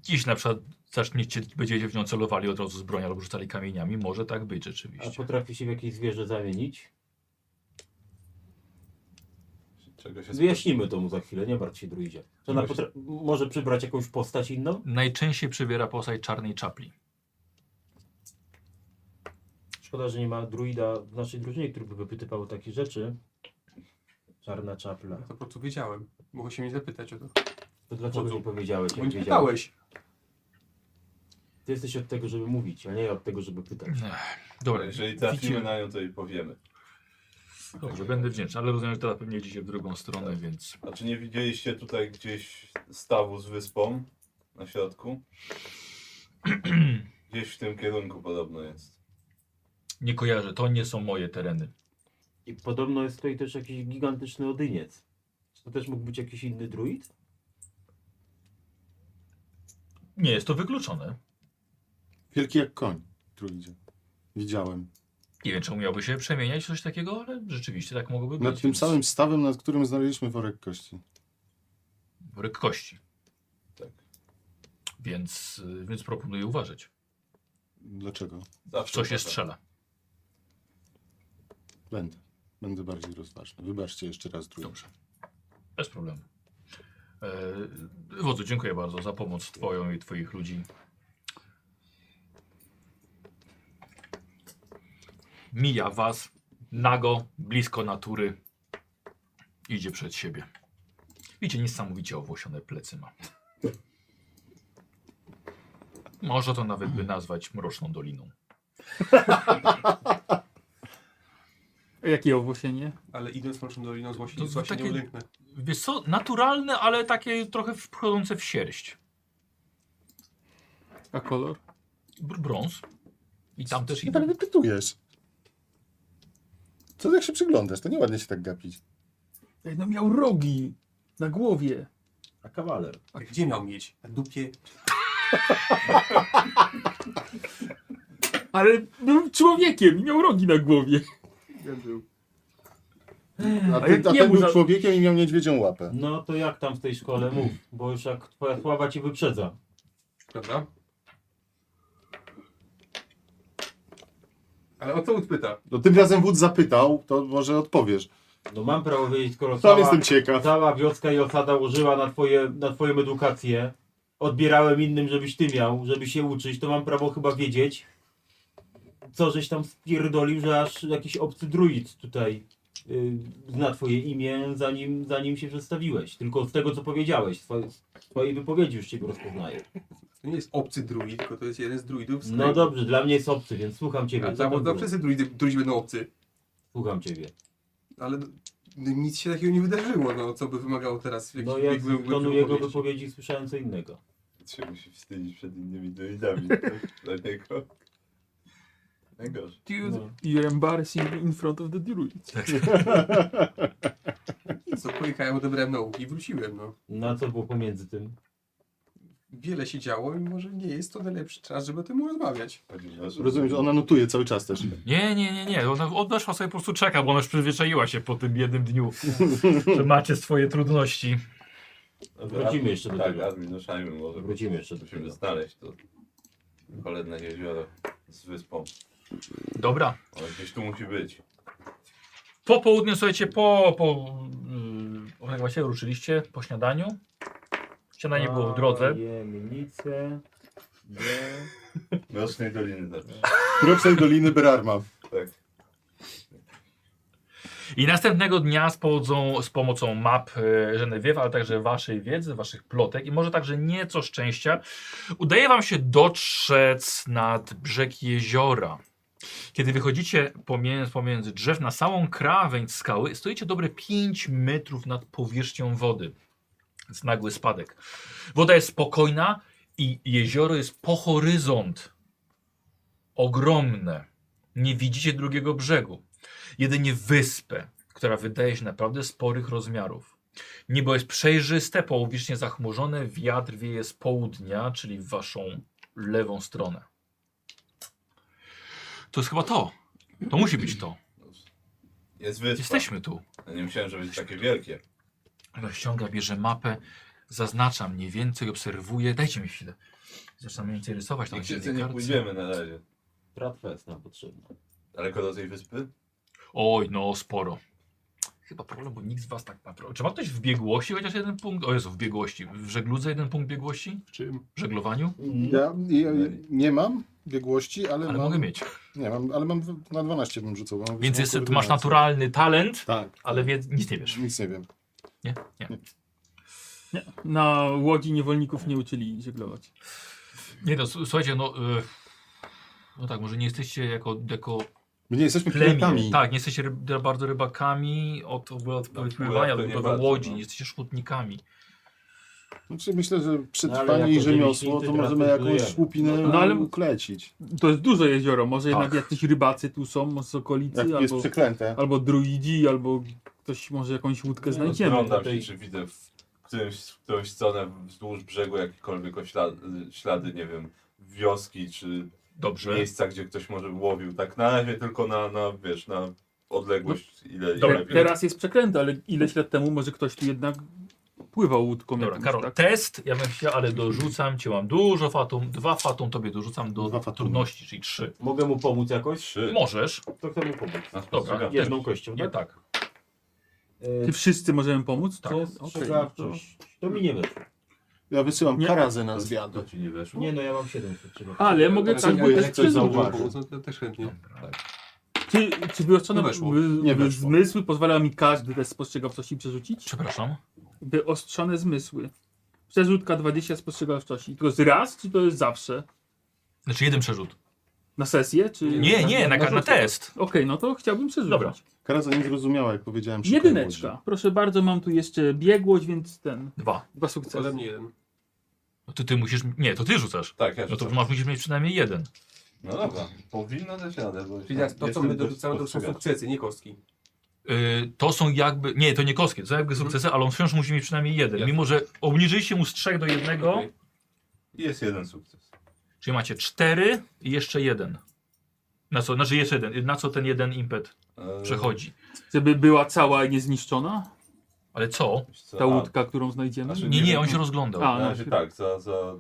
A: Dziś na przykład zaczniecie, będziecie w nią celowali od razu z broni albo rzucali kamieniami, może tak być
B: A
A: rzeczywiście.
B: potrafi się w jakieś zwierzę zamienić?
D: Czego się
B: Wyjaśnimy to mu za chwilę, nie martw się, druidzie. Czy ona
A: Właśnie.
B: potra- może przybrać jakąś postać inną?
A: Najczęściej przybiera postać czarnej czapli.
B: Szkoda, że nie ma druida w naszej drużynie, który by wypytywał takie rzeczy. Czarna czapla.
F: to po prostu wiedziałem. Mogę się mnie zapytać o to.
B: To dlaczego nie powiedziałeś?
F: Bo
B: Jak
F: nie
B: wiedziałeś?
F: pytałeś.
B: Ty jesteś od tego, żeby mówić, a nie od tego, żeby pytać.
A: Dobra,
D: Jeżeli trafimy
A: widzicie-
D: na nią, to jej powiemy.
A: Dobrze, będę wdzięczny, ale rozumiem, że teraz pewnie idziecie w drugą stronę,
C: Tak.
A: więc...
D: A czy nie widzieliście tutaj gdzieś stawu z wyspą na środku? Gdzieś w tym kierunku podobno jest.
A: Nie kojarzę, to nie są moje tereny.
B: I podobno jest tutaj też jakiś gigantyczny odyniec. Czy to też mógł być jakiś inny druid?
A: Nie jest to wykluczone.
I: Wielki jak koń, trójdzie. Widziałem.
A: Nie wiem, czemu miałby się przemieniać coś takiego, ale rzeczywiście tak mogłoby być.
C: Nad tym
A: więc-
C: samym stawem, nad którym znaleźliśmy worek kości.
A: Worek kości. Więc, y, więc proponuję uważać.
C: Dlaczego?
A: W
D: Zawsze
A: co się
D: uważam.
A: strzela.
C: Będę. Będę bardziej rozważny. Wybaczcie jeszcze raz drugi.
A: Dobrze. Bez problemu. E, wodzu, dziękuję bardzo za pomoc Twoją i Twoich ludzi. Mija Was nago, blisko natury. Idzie przed siebie. Widzicie, niesamowicie owłosione plecy ma. Można to nawet by nazwać mroczną doliną.
E: Jakie owłosienie?
F: Ale idąc Mroczną Doliną z
A: To
F: właśnie,
A: są
F: z właśnie
A: takie-
F: nie uniknę.
A: Wiesz co, naturalne, ale takie trochę wchodzące w sierść.
E: A kolor?
A: Br- brąz. I tam też
C: Ty
A: idą.
C: naprawdę pytujesz. tak Co tak się przyglądasz? To nieładnie się tak gapić.
E: Ej, no miał rogi na głowie.
L: A kawaler.
F: A gdzie miał mieć? Na dupie?
E: Ale był człowiekiem i miał rogi na głowie.
C: A
E: jak
C: ty, a
E: jemu
C: ten był
E: za-
C: człowiekiem i miał niedźwiedzią łapę.
B: No to jak tam w tej szkole mów, bo już jak twoja sława ci wyprzedza.
F: Dobra. Ale o co Ud pyta?
C: No tym razem wódz zapytał, to może odpowiesz.
B: No mam prawo wiedzieć, skoro
C: Sam
B: cała,
C: jestem ciekaw.
B: cała wioska i osada użyła na, twoje, na twoją edukację, odbierałem innym, żebyś ty miał, żeby się uczyć, to mam prawo chyba wiedzieć, co żeś tam spierdolił, że aż jakiś obcy druid tutaj y, zna twoje imię, zanim, zanim się przedstawiłeś. Tylko z tego, co powiedziałeś, z twojej, z twojej wypowiedzi już cię rozpoznaję.
F: To nie jest obcy druid, tylko to jest jeden z druidów. Z
B: No dobrze, dla mnie jest obcy, więc słucham ciebie.
F: A
B: co tam
F: tam,
B: było?
F: tam wszyscy druidy, druidzi będą obcy.
B: Słucham ciebie.
F: Ale no, nic się takiego nie wydarzyło, no co by wymagało teraz jakiejś
B: No ja
F: jakby- jakby
B: z tonu jego
F: wypowiedzi.
B: wypowiedzi słyszałem co innego.
D: Ty się musi wstydzić przed innymi druidami. Dla niego. Najgorsze.
C: No.
E: Dude, you're embarrassing in front of the druid.
F: Co pojechałem, odebrałem nauki i wróciłem, no.
B: Na co było pomiędzy tym?
F: Wiele się działo i może nie jest to najlepszy czas, żeby o tym rozmawiać.
C: Rozumiem, że ona notuje cały czas też.
A: Nie, nie, nie, nie. Ona odeszła sobie po prostu czeka, bo ona już przyzwyczaiła się po tym jednym dniu, że macie swoje trudności.
B: Wrócimy jeszcze do
D: tak,
B: tego.
D: admin, ruszajmy może.
B: Wrócimy jeszcze do
D: Musimy
B: tego.
D: znaleźć to cholerne jezioro z wyspą.
A: Dobra.
D: Ono gdzieś tu musi być.
A: Po południu, słuchajcie, po. po yy, jak właśnie ruszyliście po śniadaniu. Śniadanie było w drodze.
B: Jemnice. Nie.
D: Mrocznej Doliny zawsze.
C: Rocznej Doliny Berarma.
D: Tak.
A: I następnego dnia z pomocą, z pomocą map e, Genevieve, ale także waszej wiedzy, waszych plotek i może także nieco szczęścia, udaje wam się dotrzec nad brzeg jeziora. Kiedy wychodzicie pomiędzy, pomiędzy drzew na samą krawędź skały, stoicie dobre 5 metrów nad powierzchnią wody. Jest nagły spadek. Woda jest spokojna i jezioro jest po horyzont. Ogromne. Nie widzicie drugiego brzegu jedynie wyspę, która wydaje się naprawdę sporych rozmiarów. Niebo jest przejrzyste, połowicznie zachmurzone, wiatr wieje z południa, czyli w waszą lewą stronę. To jest chyba to. To musi być to.
D: Jest wyspa.
A: Jesteśmy tu.
D: Ja nie myślałem, że będzie takie wielkie.
A: Rozciąga, bierze mapę, zaznacza mniej więcej, obserwuje. Dajcie mi chwilę. Zaczynam mniej więcej rysować. tam
D: Nigdzie
A: na tej
D: nie
A: kartce.
D: pójdziemy na razie.
B: Tratwest nam potrzebny.
D: Daleko do tej wyspy?
A: Oj, no sporo. Chyba problem, bo nikt z was tak naprawdę. Czy ma ktoś w biegłości chociaż jeden punkt? O Jezu, w biegłości. W żegludze jeden punkt biegłości?
F: W czym?
A: W żeglowaniu?
C: Ja, ja nie mam biegłości, ale,
A: Ale
C: mam,
A: mogę mieć.
C: Nie mam, ale mam w- na 12 bym rzucał. Mam
A: Więc
C: wysoką
A: jest, ty masz
C: koordynację.
A: naturalny talent,
C: Tak.
A: ale wie, nic nie wiesz.
C: Nic nie wiem.
A: Nie? Nie.
E: Na łodzi niewolników nie uczyli żeglować.
A: Nie no, s- słuchajcie, no... y, No tak, może nie jesteście jako, jako
C: My nie jesteśmy
A: plemię.
C: piratami.
A: Tak, nie jesteście ryb, bardzo rybakami od, od, od
D: No,
A: pływania
D: to
A: do
D: nie
A: budowy
D: bardzo,
A: łodzi,
D: no.
A: nie jesteście szkutnikami.
C: Znaczy, myślę, że
B: No, ale
C: przetrwanie
B: jako
C: i rzemiosło to
B: rzemieślnicy
C: możemy
B: teraz
C: jakąś
B: budujemy.
C: słupinę
E: No, ale-
C: uklecić.
E: To jest duże jezioro, może
A: Tak.
E: jednak jacyś rybacy tu są, może z okolicy,
C: Jak jest
E: albo,
C: przeklęte.
E: albo druidzi, albo ktoś może jakąś łódkę znajdziemy.
D: Rozglądam się,
B: Tutaj-
D: czy widzę w którymś, w którąś stronę wzdłuż brzegu jakiekolwiek oślady, ślady, nie wiem, wioski, czy
A: Dobrze.
D: miejsca, gdzie ktoś może łowił. Tak na razie tylko na, na wiesz, na odległość ile, ile
E: Dobra,
D: lepiej.
E: teraz jest przeklęty, ale ileś lat temu może ktoś tu jednak pływał łódką.
A: Dobra,
E: jakąś,
A: Karol,
E: tak?
A: test, ja bym chciał, ale dorzucam cię, mam dużo fatum, dwa fatum tobie dorzucam do
C: Dwa fatum.
A: trudności, czyli trzy.
B: Mogę mu pomóc jakoś?
D: Trzy.
A: Możesz,
B: To chcę mu pomóc.
D: Na
A: dobra,
D: spostrzegawczość.
B: Jedną kością,
A: nie
B: tak?
A: tak.
B: E,
E: Czy wszyscy możemy pomóc?
A: Tak.
E: To- okej, no to-
B: Spostrzegawczość. To mi nie weszło.
C: Ja wysyłam
E: Nie.
C: karazę na
H: To
C: zwiadu.
H: ci nie weszło?
B: Nie no, ja mam 7 spostrzegawczości.
E: Ale mogę
H: Tak,
E: tak,
H: jakby
E: też
H: ktoś
E: przyznać.
C: zauważył. Uważ.
F: No, to też chętnie.
E: Czy, czy wyostrzono
H: Nie weszło.
E: wy-
C: Nie
E: wy-
C: No weszło.
E: zmysły pozwala mi każdy test spostrzegawczości przerzucić?
A: Przepraszam.
E: Wyostrzone zmysły. Przerzutka 20 spostrzegawczości. To jest raz, czy to jest zawsze?
A: Znaczy jeden przerzut.
E: Na sesję? Czy
A: Nie, nie, na, na, na
E: rzut?
A: test.
E: Okej, no to chciałbym przerzucić.
A: Dobra.
C: Karaza nie zrozumiała, jak powiedziałem. szukaj
E: Jedyneczka. Proszę bardzo, mam tu jeszcze biegłość, więc ten.
A: Dwa.
E: Dwa
F: Ode
E: sukcesy.
F: mnie
B: Tak,
F: jeden.
A: No to ty musisz, nie, to ty rzucasz.
D: Tak, ja
A: No to
D: rzucam.
A: masz, musisz mieć przynajmniej jeden.
D: No dobra, powinno dać radę, bo
F: Czyli teraz to, co
D: jestem
F: my
D: dość
F: dorzucamy, to są
D: spostrzegawczy.
F: sukcesy, nie kostki.
A: Yy, to są jakby, nie, to nie kostki, to są jakby
D: Mhm.
A: sukcesy, ale on wciąż musi mieć przynajmniej jeden. Mimo, że obniżyliście mu z trzech do jednego,
F: Okej.
D: I Jest jeden sukces.
A: czyli macie cztery i jeszcze jeden. Na co, znaczy jeszcze jeden, na co ten jeden impet
D: Eee,
A: przechodzi.
E: Żeby była cała i niezniszczona?
A: Ale co?
D: wiesz co,
E: Ta
D: a,
E: łódka, którą znajdziemy?
D: Znaczy,
A: Tak. Nie, nie, on się rozglądał.
E: A,
D: Na
E: no,
D: razie tak, za, za...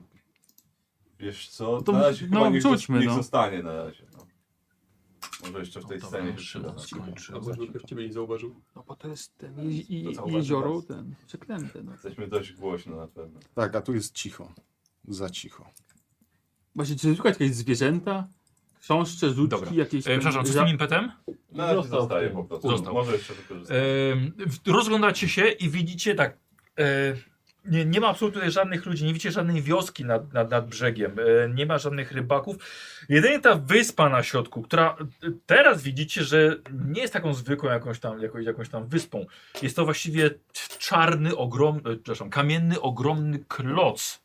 D: Wiesz co,
E: No to
D: na razie
E: no,
D: chyba niech,
E: rzućmy,
D: niech
E: no.
D: zostanie na razie. No. Może jeszcze w tej
A: Dobra, E,
D: scenie
A: jeszcze raz skończę.
F: A może by ktoś ciebie nie zauważył?
E: No bo to jest ten je, i,
F: To zauważy
E: jezioro,
F: was.
E: ten przeklęte. No.
D: Jesteśmy dość głośno na pewno.
C: Tak, a tu jest cicho. Za cicho.
E: Właśnie, czy szukać jakieś zwierzęta? Książce, żuczki,
A: Dobra.
E: jakieś...
A: E,
E: tam-
A: przepraszam, co z
E: za-
A: tym impetem?
D: Na razie
B: Został
D: zostaje
B: w
D: po
B: tym.
D: prostu.
A: Został.
D: Może jeszcze wykorzystać.
E: E,
A: Em, Yy, w- rozglądacie się i widzicie tak. e, nie, nie ma absolutnie tutaj żadnych ludzi, nie widzicie żadnej wioski nad, nad, nad brzegiem, e, nie ma żadnych rybaków. Jedynie ta wyspa na środku, która e, teraz widzicie, że nie jest taką zwykłą jakąś tam, jakąś, jakąś tam wyspą. Jest to właściwie t- czarny, ogromny, e, przepraszam, kamienny, ogromny kloc,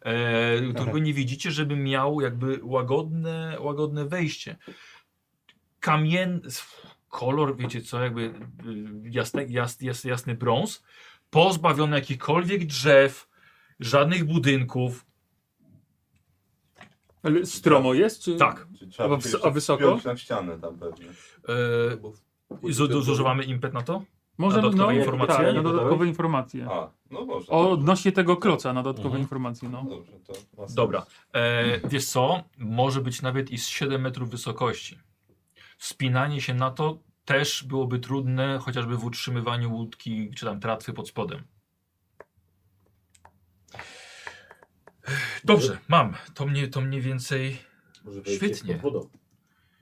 A: e, którego nie widzicie, żeby miał jakby łagodne, łagodne wejście. Kamien, kolor, wiecie co, jakby y, jasny, jas, jas, jasny brąz, pozbawiony jakichkolwiek drzew, żadnych budynków.
E: Ale stromo jest, czy...
A: Tak,
D: Czyli trzeba
E: A
D: by się
E: w- a
D: jeszcze
E: wysoko?
D: wpiąć na ścianę tam pewnie.
A: yy, zużywamy impet na to?
E: Może,
A: Na dodatkowe informacje?
E: Tak, na dodatkowe informacje.
D: A, no może.
E: O,
D: dobrze.
E: odnośnie tego kloca, na dodatkowe
A: Mhm.
E: informacje, no.
D: Dobrze, to ma sens.
A: Dobra. E, wiesz co, może być nawet i z 7 metrów wysokości. Wspinanie się na to też byłoby trudne, chociażby w utrzymywaniu łódki czy tam tratwy pod spodem. Dobrze, mam. To mnie, to mniej więcej
B: Może wejście
A: Świetnie.
B: pod wodą.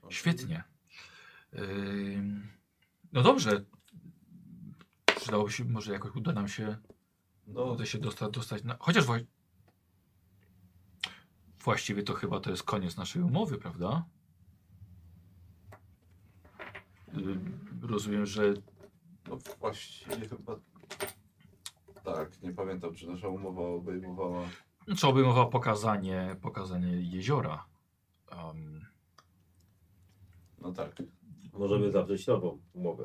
A: Świetnie. Ym, No dobrze. Przydałoby się, może jakoś uda nam się,
D: No,
A: uda się dostać, dostać na... Chociaż wła... właściwie to chyba to jest koniec naszej umowy, prawda? Ym, Rozumiem, że
D: no właściwie chyba... Tak, nie pamiętam, czy nasza umowa obejmowała...
A: co obejmowało znaczy pokazanie, pokazanie jeziora. Ym,
D: No tak.
B: Możemy zawrzeć nową umowę.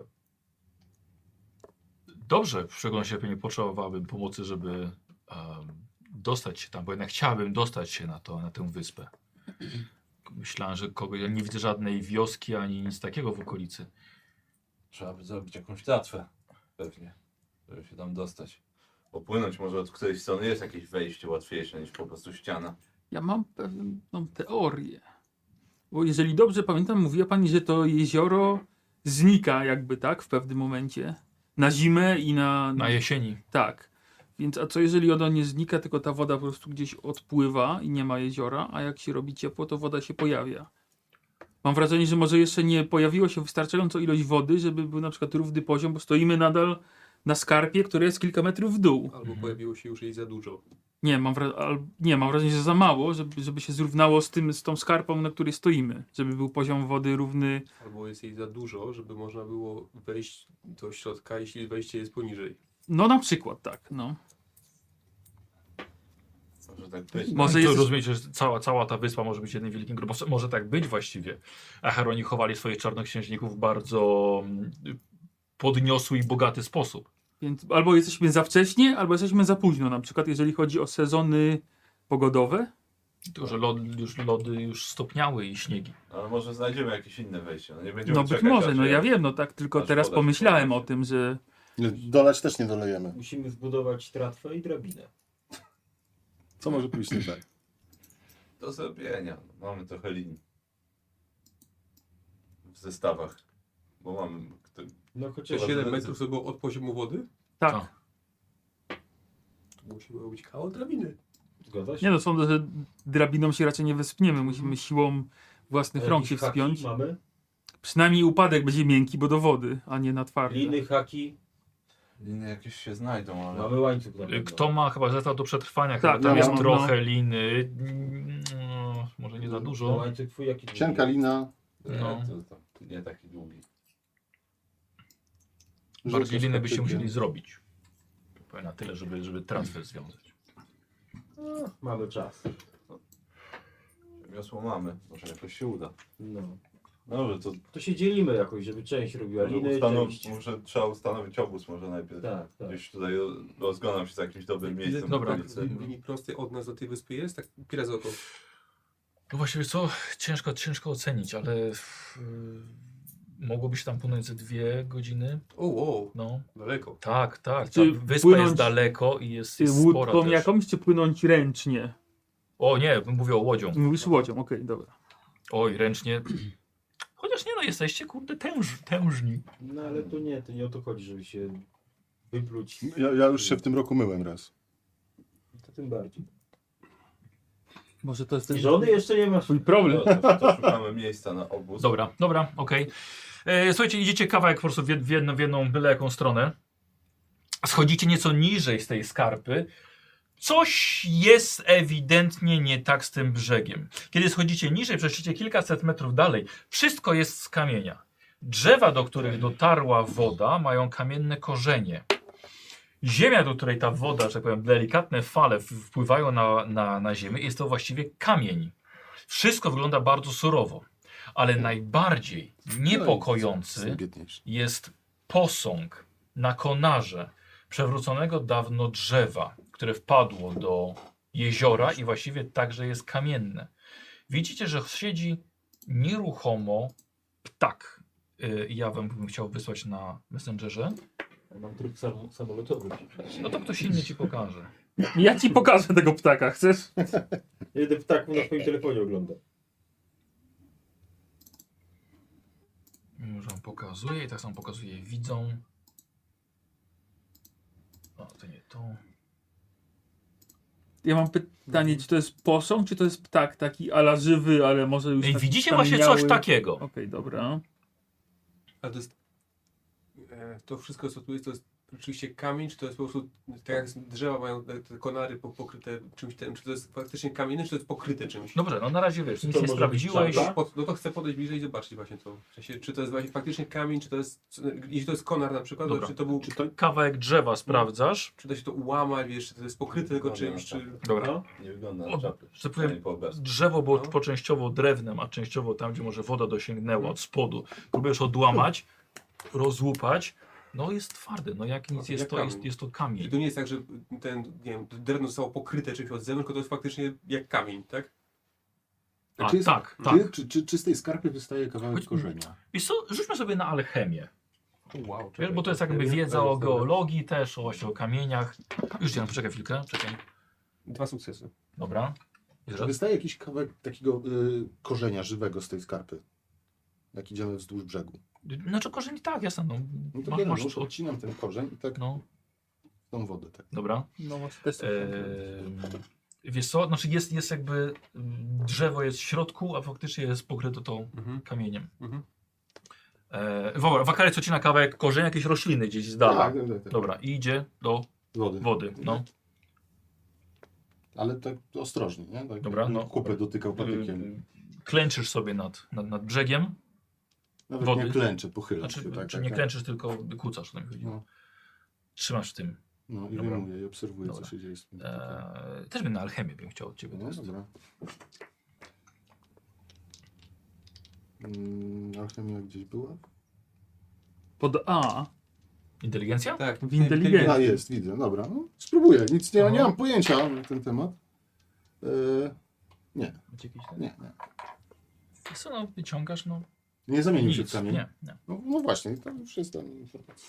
A: Dobrze, w szczególności lepiej nie potrzebowałbym pomocy, żeby em, dostać się tam, bo jednak chciałabym dostać się na, to, na tę wyspę. Myślałem, że kogoś, ja nie widzę żadnej wioski ani nic takiego w okolicy.
H: Trzeba by zrobić jakąś tratwę. Pewnie. Żeby się tam dostać.
D: Opłynąć może od którejś strony jest jakieś wejście łatwiejsze niż po prostu ściana.
E: Ja mam pewną no, teorię. Bo jeżeli dobrze pamiętam, mówiła pani, że to jezioro znika jakby, tak, w pewnym momencie. Na zimę i na...
A: Na jesieni.
E: Tak. Więc a co jeżeli ono nie znika, tylko ta woda po prostu gdzieś odpływa i nie ma jeziora, a jak się robi ciepło, to woda się pojawia. Mam wrażenie, że może jeszcze nie pojawiło się wystarczająco ilość wody, żeby był na przykład równy poziom, bo stoimy nadal na skarpie, który jest kilka metrów w dół.
F: Albo pojawiło się już jej za dużo.
E: Nie, mam, wra- al- nie, mam wrażenie, że za mało, żeby, żeby się zrównało z, tym, z tą skarpą, na której stoimy. Żeby był poziom wody równy.
F: Albo jest jej za dużo, żeby można było wejść do środka, jeśli wejście jest poniżej.
E: No na przykład tak, no.
D: Może tak być.
E: Może
A: Może jest...
E: jesteś-
A: Rozumiecie, że cała, cała ta wyspa może być jednym wielkim grobem. Może tak być właściwie. Acheroni chowali swoich czarnoksiężników w bardzo mm, podniosły i bogaty sposób.
E: Więc albo jesteśmy za wcześnie, albo jesteśmy za późno. Na przykład jeżeli chodzi o sezony pogodowe,
A: Tylko, że lody już, lody już stopniały i śniegi.
D: Ale może znajdziemy jakieś inne wejście. No, nie będziemy
E: No być
D: czekać,
E: może,
D: aż
E: no
D: je-
E: ja wiem, no tak, tylko
D: aż
E: teraz
D: podać
E: pomyślałem o
D: informacje.
E: tym, że
C: Dolać też nie dolejemy.
G: Musimy zbudować tratwę i drabinę.
C: Co może pójść nie tak?
D: Do zrobienia. Mamy trochę linii. W zestawach. Bo mamy... kto-
G: No chociaż...
D: Chyba, że-
F: 7 metrów to było od poziomu wody?
E: tak.
A: Tak.
F: To musimy robić kawał drabiny.
G: Zgadza się?
E: Nie no, sądzę, że drabiną się raczej nie wespniemy, musimy siłą własnych rąk się
G: Jakieś E, haki
E: wspiąć.
G: Mamy?
E: Przynajmniej upadek będzie miękki, bo do wody, a nie na twarde.
G: Liny, haki.
D: Linie jakieś się znajdą, ale...
G: Mamy łańcuch na
A: Y,
G: pewno.
A: Kto ma chyba zestaw do przetrwania?
E: Tak,
A: chyba
E: ja
A: tam jest
E: mam, no.
A: trochę liny. Mm, no, może nie za
E: Mm,
G: No,
A: dużo.
G: Łańcuch twój jaki?
C: Cienka lina,
A: No.
D: Nie, to, to nie taki długi.
A: Bardziej liny byście
C: praktycznie.
A: musieli zrobić. Powiem Na tyle, żeby, żeby transfer związać.
G: Mamy czas.
D: Wiosło mamy. Może jakoś się uda.
G: No.
D: Dobrze, to
G: To się dzielimy jakoś, żeby część robiła
D: może,
G: liny,
D: ustanow...
G: część...
D: może trzeba ustanowić obóz może najpierw.
G: Tak, tak.
D: Gdzieś tutaj rozglądam się za jakimś dobrym miejscem.
A: Dobra.
F: Tak,
D: w okolicy.
F: Linii prostej od nas do tej wyspy jest, tak pile z oko.
A: No właśnie, wiesz co? Ciężko, ciężko ocenić, ale f, y, mogłoby się tam płynąć ze dwie godziny.
F: O, wow,
A: No,
F: daleko.
A: tak, tak. Ta
E: Czy
A: wyspa
E: płynąć-
A: jest daleko i jest,
E: Czy
A: jest spora
E: łódką
A: też.
E: jakąś, czy płynąć ręcznie?
A: O nie, mówię o łodzią.
E: Mówisz łodzią, okej, dobra.
A: Oj, ręcznie. Chociaż nie no, jesteście kurde tęż, tężni.
G: No ale to nie, to nie o to chodzi, żeby się wypluć.
C: Ja, ja już się w tym roku myłem raz.
G: To tym bardziej.
E: Może to jest
G: I
E: ten
G: żony jeszcze nie masz.
E: twój problem.
D: No, to, to szukamy miejsca na obóz.
A: Dobra, dobra, okej. E, Słuchajcie, idziecie kawałek po prostu w, jed, w, jedną, w jedną byle jaką stronę. Schodzicie nieco niżej z tej skarpy. Coś jest ewidentnie nie tak z tym brzegiem. Kiedy schodzicie niżej, przeszliście kilkaset metrów dalej, wszystko jest z kamienia. Drzewa, do których dotarła woda, mają kamienne korzenie. Ziemia, do której ta woda, że tak powiem, delikatne fale w- wpływają na, na, na ziemię, jest to właściwie kamień. Wszystko wygląda bardzo surowo, ale najbardziej niepokojący
C: Jestem No biedniejszy.
A: jest posąg na konarze przewróconego dawno drzewa, które wpadło do jeziora i właściwie także jest kamienne. Widzicie, że siedzi nieruchomo ptak. Y, Ja bym chciał wysłać na Messengerze.
G: Ja Mam tryb sam, samolotowy.
A: No to ktoś inny ci pokaże.
E: Ja ci pokażę tego ptaka, chcesz?
G: Jeden ptak tak na swoim telefonie ogląda.
A: Już wam pokazuję i tak samo pokazuję widzą. O, to nie to.
E: Ja mam pytanie, czy to jest posąg, czy to jest ptak taki ala żywy, ale może już
A: Ej,
G: tak
E: taki
A: widzicie właśnie
E: skamieniały?
A: coś takiego.
E: Okej, dobra.
F: Ale to jest... E, to wszystko, co tu jest, to jest rzeczywiście kamień, czy to jest po prostu, tak jak drzewa mają te, te konary po, pokryte czymś tym, czy to jest faktycznie kamienny, czy to jest pokryte czymś?
A: Dobrze, no na razie wiesz, nic
G: To
A: nie
G: może
A: sprawdziłeś.
G: być
F: No, po- no to chcę podejść bliżej i zobaczyć właśnie to. W sensie, czy to jest właśnie faktycznie kamień, czy to jest, jeśli to jest konar na przykład,
A: Dobra.
F: to, czy to był, czy,
A: Czy to kawałek drzewa sprawdzasz?
F: da się to ułamać, wiesz, czy to jest pokryte tylko
D: Konar,
F: czymś,
D: tak.
F: czy...
A: Dobra.
G: No.
D: Nie wygląda
A: O,
D: na czapy.
A: że powiem-
D: Ani po obrazku.
A: Drzewo było
F: No.
A: po częściowo drewnem, a częściowo tam, gdzie może woda dosięgnęła od spodu. Próbujesz odłamać, rozłupać. No jest twardy, no jak nic
F: No,
A: jest
F: jak
A: to,
F: kamień.
A: jest, jest to
F: Czyli
A: kamień.
F: to nie jest tak, że ten, nie wiem, drewno zostało pokryte czymś od zewnątrz, tylko to jest faktycznie jak kamień, tak?
A: A,
C: Czy jest-
A: tak, tak.
C: Czy, czy, czy, czy z tej skarpy wystaje kawałek
A: Chodź-
C: korzenia?
A: I co, rzućmy sobie na alchemię.
F: Wow,
A: Wiesz, bo to jest jakby wiedza o geologii też, o, właśnie o kamieniach. Już nie, poczekaj chwilkę, czekaj.
F: Dwa sukcesy.
A: Dobra.
C: Czy wystaje jakiś kawałek takiego y, korzenia żywego z tej skarpy? Jak idziemy wzdłuż brzegu.
A: Znaczy korzeń tak, jasne. No,
C: No to
A: masz,
C: biorę,
A: masz,
C: nóż, odcinam ten korzeń i tak
A: no,
C: tą wodę. Tak.
A: dobra.
E: No może też coś
A: Ehm, Wiesz co, znaczy jest, jest jakby mm, drzewo jest w środku, a faktycznie jest pokryte tą
F: Mhm.
A: kamieniem.
F: Mhm.
A: E, dobra, wakalec odcina kawałek korzenia jakiejś rośliny gdzieś z dala.
C: Tak, tak, tak, tak.
A: Dobra, i idzie do
C: Wody.
A: wody. No.
C: Ale tak ostrożnie, nie? Tak,
A: Dobra, no.
C: Kupę dotykał patykiem.
A: Ym, Klęczysz sobie nad, nad, nad brzegiem.
C: Nawet
A: wody.
C: nie klęczę, pochylam
A: Znaczy,
C: się. Tak,
A: czy
C: tak,
A: nie
C: tak.
A: klęczysz, tylko kucasz. No, mi chodzi.
C: No.
A: Trzymasz w tym.
C: No i
A: Dobra.
C: wyjmuję i obserwuję,
A: Dobra.
C: co się dzieje z tym
A: E,
C: patykiem.
A: też bym na alchemię bym chciał od ciebie.
C: No dobra. Mm, Alchemia gdzieś była?
E: Pod A.
A: Inteligencja?
F: Tak,
E: W inteligencji.
C: A jest, widzę, dobra. No, spróbuję, nic nie,
A: Aha.
C: nie mam pojęcia na ten temat. E, Nie. Nie, nie.
A: Wiesz Co, no, wyciągasz, no
C: Nie zamienił się w
A: nic,
C: kamień.
A: nie, nie.
C: No, no właśnie, tam już jest tam informacja.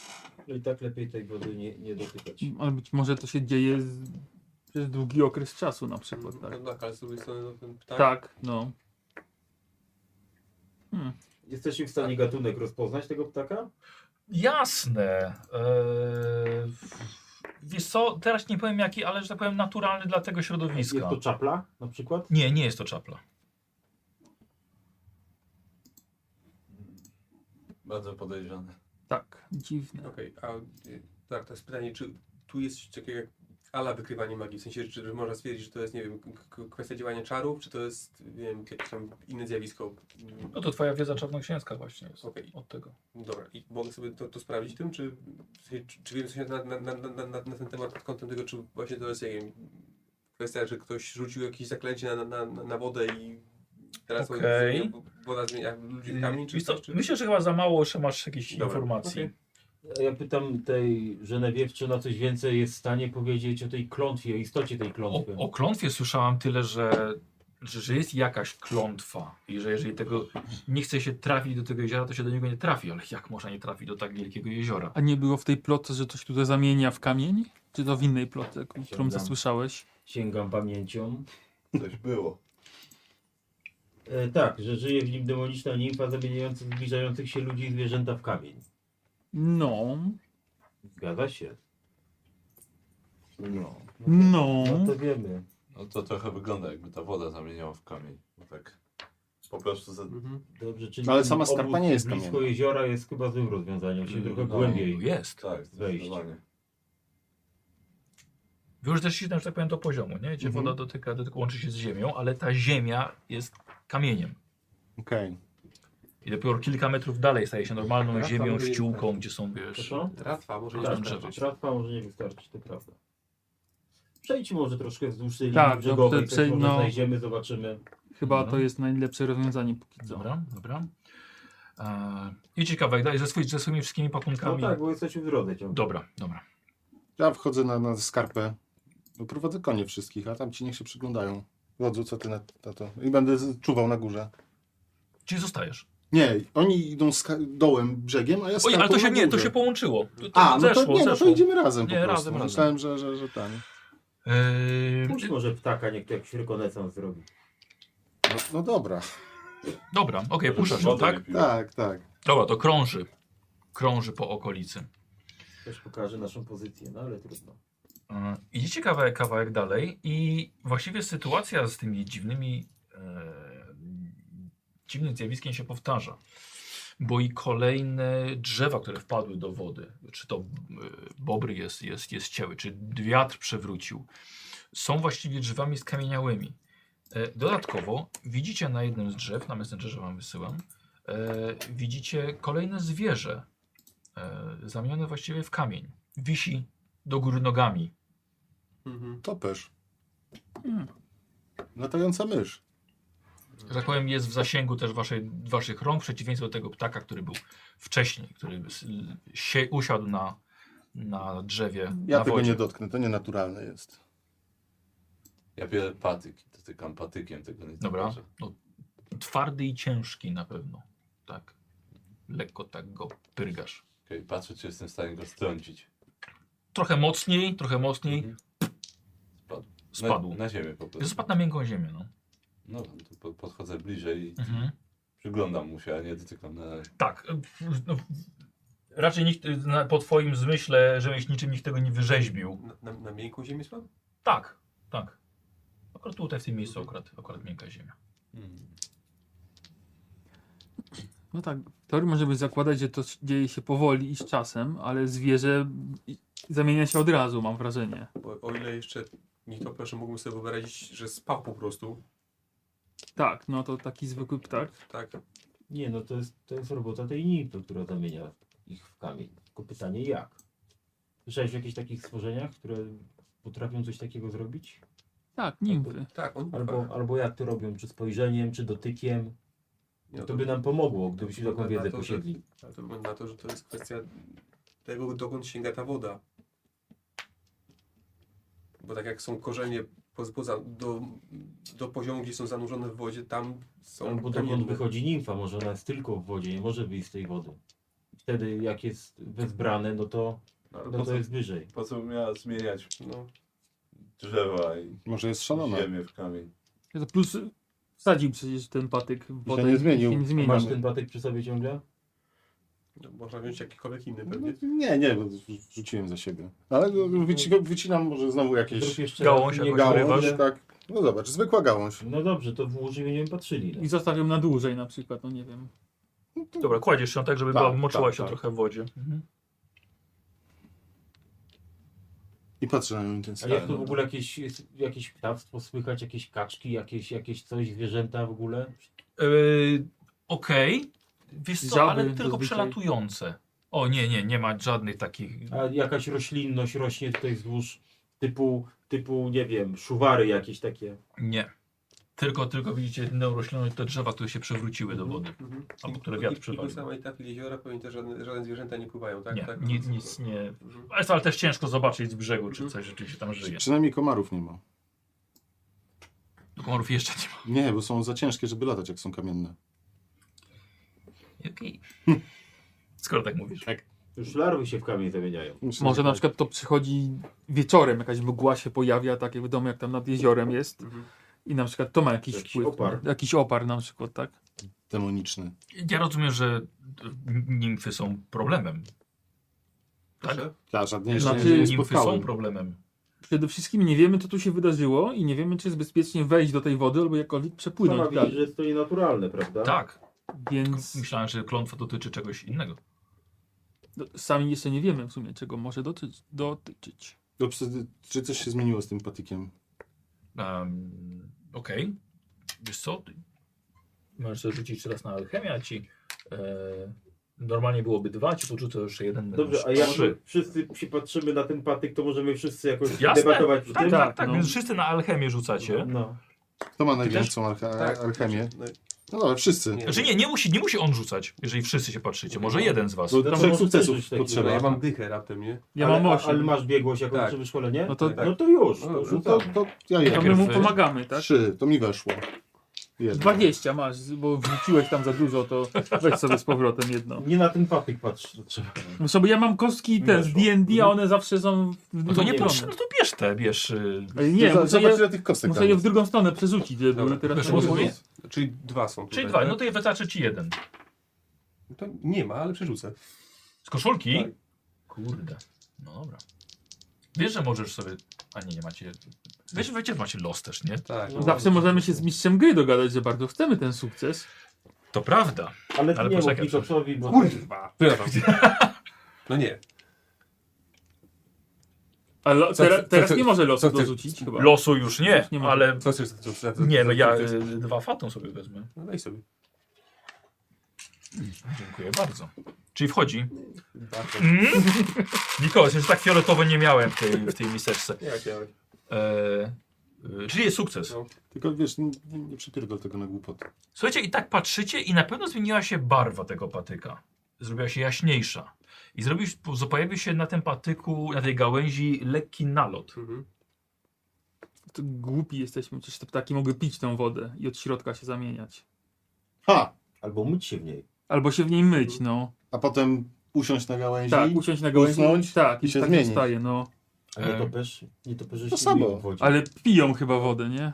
B: No i tak lepiej tej wody nie, nie dotykać.
E: Ale być może to się dzieje z... przez długi okres czasu na przykład, tak?
F: No tak, ale z drugiej strony no, ten ptak.
E: Tak, no.
B: Jesteśmy w stanie gatunek rozpoznać tego ptaka?
A: Jasne. Eee, wiesz co, teraz nie powiem jaki, ale że tak powiem naturalny dla tego środowiska.
B: Jest to czapla na przykład?
A: Nie, nie jest to czapla.
D: Bardzo podejrzane.
E: Tak, dziwne.
F: Okej, a y, tak, to jest pytanie, czy tu jest coś takiego jak ala wykrywanie magii, w sensie, czy można stwierdzić, że to jest, nie wiem, k- k- kwestia działania czarów, czy to jest, nie wiem, jakieś tam inne zjawisko? Mm,
A: No to twoja wiedza czarnoksięska właśnie jest
F: Okej,
A: od tego.
F: dobra, i mogę sobie to, to sprawdzić tym, czy, w sensie, czy, czy wiem coś na, na, na, na, na, na ten temat pod kątem tego, czy właśnie to jest, nie wiem, kwestia, że ktoś rzucił jakieś zaklęcie na, na, na, na wodę i teraz
A: Okej.
F: okay. woda zmienia ludzi w kamień, czy
A: Wiesz co,
F: coś, czy...
A: Myślę, że chyba za mało jeszcze masz jakichś
F: Dobra,
A: informacji.
F: okej.
G: A Ja pytam tej Żenewie, czy ona coś więcej jest w stanie powiedzieć o tej klątwie, o istocie tej
A: O,
G: klątwy.
A: o klątwie słyszałam tyle, że, że, że jest jakaś klątwa i że jeżeli tego nie chce się trafić do tego jeziora, to się do niego nie trafi. Ale jak można nie trafić do tak wielkiego jeziora?
E: A nie było w tej plotce, że coś tutaj zamienia w kamień? Czy to w innej plotce, k- którą
G: Sięgam.
E: zasłyszałeś?
G: Sięgam pamięcią.
D: Coś było.
G: E, tak, że żyje w nim demoniczna nimfa zamieniająca zbliżających się ludzi i zwierzęta w kamień.
E: No,
G: Zgadza się.
B: No.
E: no.
G: No to wiemy.
D: No to trochę wygląda jakby ta woda zamieniała w kamień. Bo tak po prostu za...
F: Mhm.
G: Dobrze, czyli
C: Ale
G: ten
C: sama skarpa
G: obóz
C: nie jest
G: blisko
C: kamienna.
G: jeziora jest chyba złym rozwiązaniem, się
D: Mm,
G: trochę
D: no.
A: No
G: głębiej.
A: Jest.
D: Tak,
G: Wejść.
D: zdecydowanie.
A: Wy już też się, że tak powiem, do poziomu, nie? Gdzie
C: Mhm.
A: woda dotyka, dotyka, łączy się z ziemią, ale ta ziemia jest kamieniem.
C: Okej.
A: I dopiero kilka metrów dalej staje się
C: Tak,
A: normalną
F: Teraz tam
A: ziemią,
F: byli-
A: ściółką, gdzie są, wiesz...
G: Proszę?
F: Tratwa, może nie
A: Tak,
F: wystarczy.
A: drzewo.
G: Trawka może nie wystarczyć, to prawda. Przejdźmy może troszkę wzdłuż tej
E: Tak,
G: linii brzegowej,
E: dobrze,
G: coś
E: przejdź-
G: może
E: no.
G: znajdziemy, zobaczymy.
E: Chyba
A: Mhm.
E: to jest najlepsze rozwiązanie póki co.
A: Dobra, dobra. Eee, I ciekawe, jak dalej, ze, swój, ze swoimi wszystkimi
B: No
A: pakunkami.
B: tak, bo jesteśmy w drodze ciągle.
A: Dobra, dobra.
C: Ja wchodzę na, na skarpę. No, prowadzę konie wszystkich, a tam ci niech się przyglądają. Wodzu, co ty na, na to? I będę z- czuwał na górze.
A: Czyli zostajesz.
C: Nie, oni idą ska- dołem, brzegiem, a ja
A: Oj,
C: skarpą
A: ale to się
C: na
A: nie, to
C: górze.
A: się połączyło. To, to
C: A, no
A: zeszło,
C: to, nie, no
A: zeszło.
C: to idziemy razem po
A: Nie,
C: prostu.
A: razem, razem.
C: Myślałem, że, że, że ten.
A: Eee,
G: Puść może ptaka, niech to jakiś rekonesans zrobi.
C: No, no dobra,
A: dobra, okej, puszczasz ją,
D: Wody
A: tak?
D: nie pił.
C: tak, tak.
A: Dobra, to krąży. Krąży po okolicy.
G: Też pokaże naszą pozycję, no ale trudno.
A: E, Idziecie kawałek, kawałek dalej i właściwie sytuacja z tymi dziwnymi e, dziwnym zjawiskiem się powtarza. Bo i kolejne drzewa, które wpadły do wody, czy to e, bobry jest, jest, jest ciały, czy wiatr przewrócił, są właściwie drzewami skamieniałymi. E, dodatkowo widzicie na jednym z drzew, na Messengerze wam wysyłam, e, widzicie kolejne zwierzę e, zamienione właściwie w kamień. Wisi do góry nogami.
F: Mhm.
C: Topesz.
A: Hmm.
C: Latająca mysz.
A: że tak powiem, jest w zasięgu też waszej, waszych rąk, w przeciwieństwie do tego ptaka, który był wcześniej, który s- sie, usiadł na, na drzewie.
C: Ja
A: na
C: tego
A: wodzie.
C: nie dotknę, to nienaturalne jest.
D: Ja biorę patyk i dotykam patykiem tego nie
A: Dobra.
D: zobaczę.
A: No, twardy i ciężki na pewno. Tak. Lekko tak go pyrgasz.
D: Okej, patrzę czy jestem w stanie go strącić.
A: Trochę mocniej, trochę mocniej.
C: Mhm.
D: Spadł.
A: Spadł.
D: Na, na ziemię po prostu.
A: Spadł na miękką ziemię. No.
D: No to po, podchodzę bliżej i
A: Mhm.
D: przyglądam mu się, a nie dotykam na razie.
A: Tak. No, raczej nikt y, na- po twoim zmyśle rzemieślniczym nikt tego nie wyrzeźbił.
F: Na, na, na miękką ziemię spadł?
A: Tak, tak. Akurat tutaj w tym miejscu akurat, akurat miękka ziemia.
E: No tak, w teorii możemy zakładać, że to s- dzieje się powoli i z czasem, ale zwierzę i- zamienia się od razu, mam wrażenie.
F: O, o ile jeszcze nie to proszę, mógłbym sobie wyobrazić, że spał po prostu,
E: Tak, no to taki zwykły ptak.
F: tak?
G: Nie no, to jest, to jest robota tej nimfy, która zamienia ich w kamień. Tylko pytanie jak? Słyszałeś o jakichś takich stworzeniach, które potrafią coś takiego zrobić?
E: Tak, nimfy.
F: Tak, on
G: Albo, albo jak to robią? Czy spojrzeniem, czy dotykiem?
F: Nie,
G: To by nam pomogło, gdybyśmy taką
F: wygląda na
G: wiedzę
F: to, że-
G: posiedli.
F: to wygląda na to, że to jest kwestia tego, dokąd sięga ta woda. Bo tak jak są korzenie poza, poza, do, do poziomu, gdzie są zanurzone w wodzie, tam są...
B: Albo
G: tak
F: tam
B: dokąd
F: nie-
B: wychodzi nimfa, może ona jest tylko w wodzie, nie może wyjść z tej wody. Wtedy jak jest wezbrane, no to,
D: Ale
B: no
D: po, co,
B: to jest wyżej.
D: po co bym miała zmieniać
F: No,
D: drzewa i
C: Może jest szalona.
D: ziemię w kamień?
E: Ja to plus y, wsadził przecież ten patyk w wodę.
C: nie
E: i- i
C: zmienił.
E: Się nie zmienił.
B: Masz ten batek przy sobie ciągle?
F: no, można wziąć jakikolwiek inny
C: No,
F: pewnie.
C: nie, nie, bo rzuciłem za siebie. Ale
A: No.
C: wyci- wycinam może znowu jakieś
B: Zrób jeszcze
A: Gałąź
B: raz, nie
A: jakąś
B: gałąź.
A: rywasz?
C: tak. No zobacz, zwykła gałąź.
B: No dobrze, to włóż i będziemy patrzyli.
E: I
B: No.
E: zostawił na dłużej na przykład, no nie wiem.
A: Dobra, kładziesz ją tak, żeby
C: Tak,
A: była, moczyła
C: tak,
A: się
C: tak.
A: trochę w wodzie.
E: Mhm.
C: I patrzę na nią
B: Ale
C: intensywnie.
B: jak to w ogóle jakieś, jakieś ptactwo słychać, jakieś kaczki, jakieś, jakieś coś, zwierzęta w ogóle?
A: Yy, Okej. Wiesz co,
E: Żaby
A: ale tylko
E: zazwyczaj.
A: przelatujące. O nie, nie, nie ma żadnych takich.
B: A jakaś roślinność rośnie tutaj wzdłuż typu, typu nie wiem, szuwary jakieś takie.
A: Nie. Tylko, tylko widzicie jedną roślinę, te drzewa, które się przewróciły do wody.
F: Mhm.
A: Albo które
F: I-
A: wiatr
F: i- I
A: przewalił.
F: po samej tafli jeziora pewnie też żadne, żadne zwierzęta nie pływają, tak?
A: Nie,
F: tak?
A: nic, nic nie.
F: Mhm.
A: Ale, ale też ciężko zobaczyć z brzegu, czy coś rzeczywiście tam żyje.
C: Przynajmniej komarów nie ma.
A: Tu Komorów jeszcze nie ma.
C: Nie, bo są za ciężkie, żeby latać, jak są kamienne.
A: Okej. Skoro tak mówisz.
B: Już larwy się w kamień zamieniają.
C: Myślę,
E: Może
C: że
E: na
C: tak.
E: przykład to przychodzi wieczorem, jakaś mgła się pojawia, takie wiadomo jak tam nad jeziorem jest.
F: Mhm.
E: I na przykład to ma jakiś,
B: Jakiś
E: wpływ.
B: opar.
E: Jakiś opar na przykład, tak?
C: Demoniczny.
A: Ja rozumiem, że nimfy są problemem. Tak?
F: Proszę?
C: Tak, żadnej
E: Znaczy,
C: się nie
A: nimfy są
C: spotkałem.
A: problemem.
E: Przede wszystkim nie wiemy, co tu się wydarzyło i nie wiemy, czy jest bezpiecznie wejść do tej wody albo jakkolwiek
B: Sama
E: przepłynąć
B: widzisz,
E: dalej.
B: że jest to nienaturalne, prawda?
A: Tak.
E: Więc
A: Myślałem, że klątwa dotyczy czegoś innego.
E: no, sami jeszcze nie wiemy w sumie, czego może dotyczyć. dotyczyć.
C: Dobrze, No, czy coś się zmieniło z tym patykiem?
A: Um, Okej. Wiesz co? Ty Możesz sobie rzucić teraz na alchemię, a ci e, normalnie byłoby dwa, ci podrzucę jeszcze jeden.
B: Dobrze,
A: będą
B: a jak
A: trzy.
B: wszyscy się patrzymy na ten patyk, to możemy wszyscy jakoś
A: Jasne.
B: debatować przy
A: Tak,
B: tym?
A: tak, tak.
E: no.
A: Więc wszyscy na alchemię rzucacie.
B: No.
C: Kto ma największą alche-
F: Tak,
C: alchemię?
F: no,
C: No dobra, wszyscy.
A: Znaczy nie, nie musi, nie musi on rzucać, jeżeli wszyscy się patrzycie. Może jeden z was.
C: Do
B: Tam
C: trzech
B: może
C: sukcesów
B: coś takiego.
C: potrzeba.
F: no, ja mam dychę raptem, nie?
E: Ja
B: ale,
E: mam
B: a- ale
E: osiem.
B: masz biegłość jakąś
F: Tak.
B: tak. przy szkolenie?
E: No to,
F: tak.
B: No to już,
F: No,
B: to
F: no
C: No to,
B: rzucamy.
C: to ja
E: to
C: jeden.
E: my mu
A: Najpierw-
E: pomagamy, tak?
C: Trzy, to mi weszło. Jeden.
E: 20 masz, bo wrzuciłeś tam za dużo, to weź sobie z powrotem jedno.
B: Nie na ten patyk patrz. Trzeba.
E: No sobie ja mam kostki te z D&D, a one zawsze są w
A: No to
E: drugą
A: nie potrzebne,
E: stronę.
A: no to bierz te, bierz. y,
E: Ale Nie,
C: Zobacz,
E: muszę
C: zobacz
E: je,
C: ile tych kostek
E: muszę
C: tam
E: je w
C: jest.
E: drugą stronę przerzucić, żeby
F: Dobra.
E: były teraz
A: Weszło
E: na
A: twoje?
E: jedno.
F: Czyli dwa są tutaj,
A: Czyli dwa,
F: tak?
A: no to wystarczy ci jeden.
F: No To nie ma, ale przerzucę.
A: Z koszulki?
F: Tak.
A: Kurde. No dobra. Wiesz, że możesz sobie. A nie, nie macie. Wiesz, wiecie, że macie los też, nie?
F: Tak.
B: No
E: Zawsze możemy się z mistrzem gry dogadać, że bardzo chcemy ten sukces.
A: To prawda.
B: Ale,
A: Ale
B: ale nie mów
A: poczekaj,
B: Nikosowi, bo...
F: Kurwa. No nie.
E: A lo,
F: Co-
E: tera,
F: co-
E: teraz
F: co-
E: nie może losu
F: co ty-
E: dorzucić chyba.
A: Losu już nie,
E: nie ma.
A: ale.
F: Co chcesz? Co, co, co,
A: Nie, no ja
F: co
A: y,
F: chcesz?
A: dwa fatą sobie wezmę.
F: No daj sobie.
A: Dziękuję bardzo. Czyli wchodzi.
F: Dwa, to-
A: Mm? Nikos, jeszcze tak fioletowo nie miałem w tej, w tej miseczce.
F: Jak, No. jak.
A: E, y, czyli jest sukces.
C: Tylko wiesz, nie, nie przypierdol tego na głupot.
A: Słuchajcie, i tak patrzycie i na pewno zmieniła się barwa tego patyka. Zrobiła się jaśniejsza. I zrobił, po- pojawił się na tym patyku, na tej gałęzi lekki nalot.
F: Mhm.
E: To głupi jesteśmy, przecież te ptaki mogły pić tą wodę i od środka się zamieniać.
C: Ha!
B: Albo myć się w niej.
E: Albo się w niej myć, no.
C: A potem usiąść na gałęzi.
E: Tak, usiąść na gałęzi.
C: usnąć
E: tak,
C: i się
E: tak
C: zmienić.
E: zostaje, no.
B: A nie topesz, nie toperze się
C: To samo.
B: nie w wodzie.
E: Ale piją chyba wodę, nie?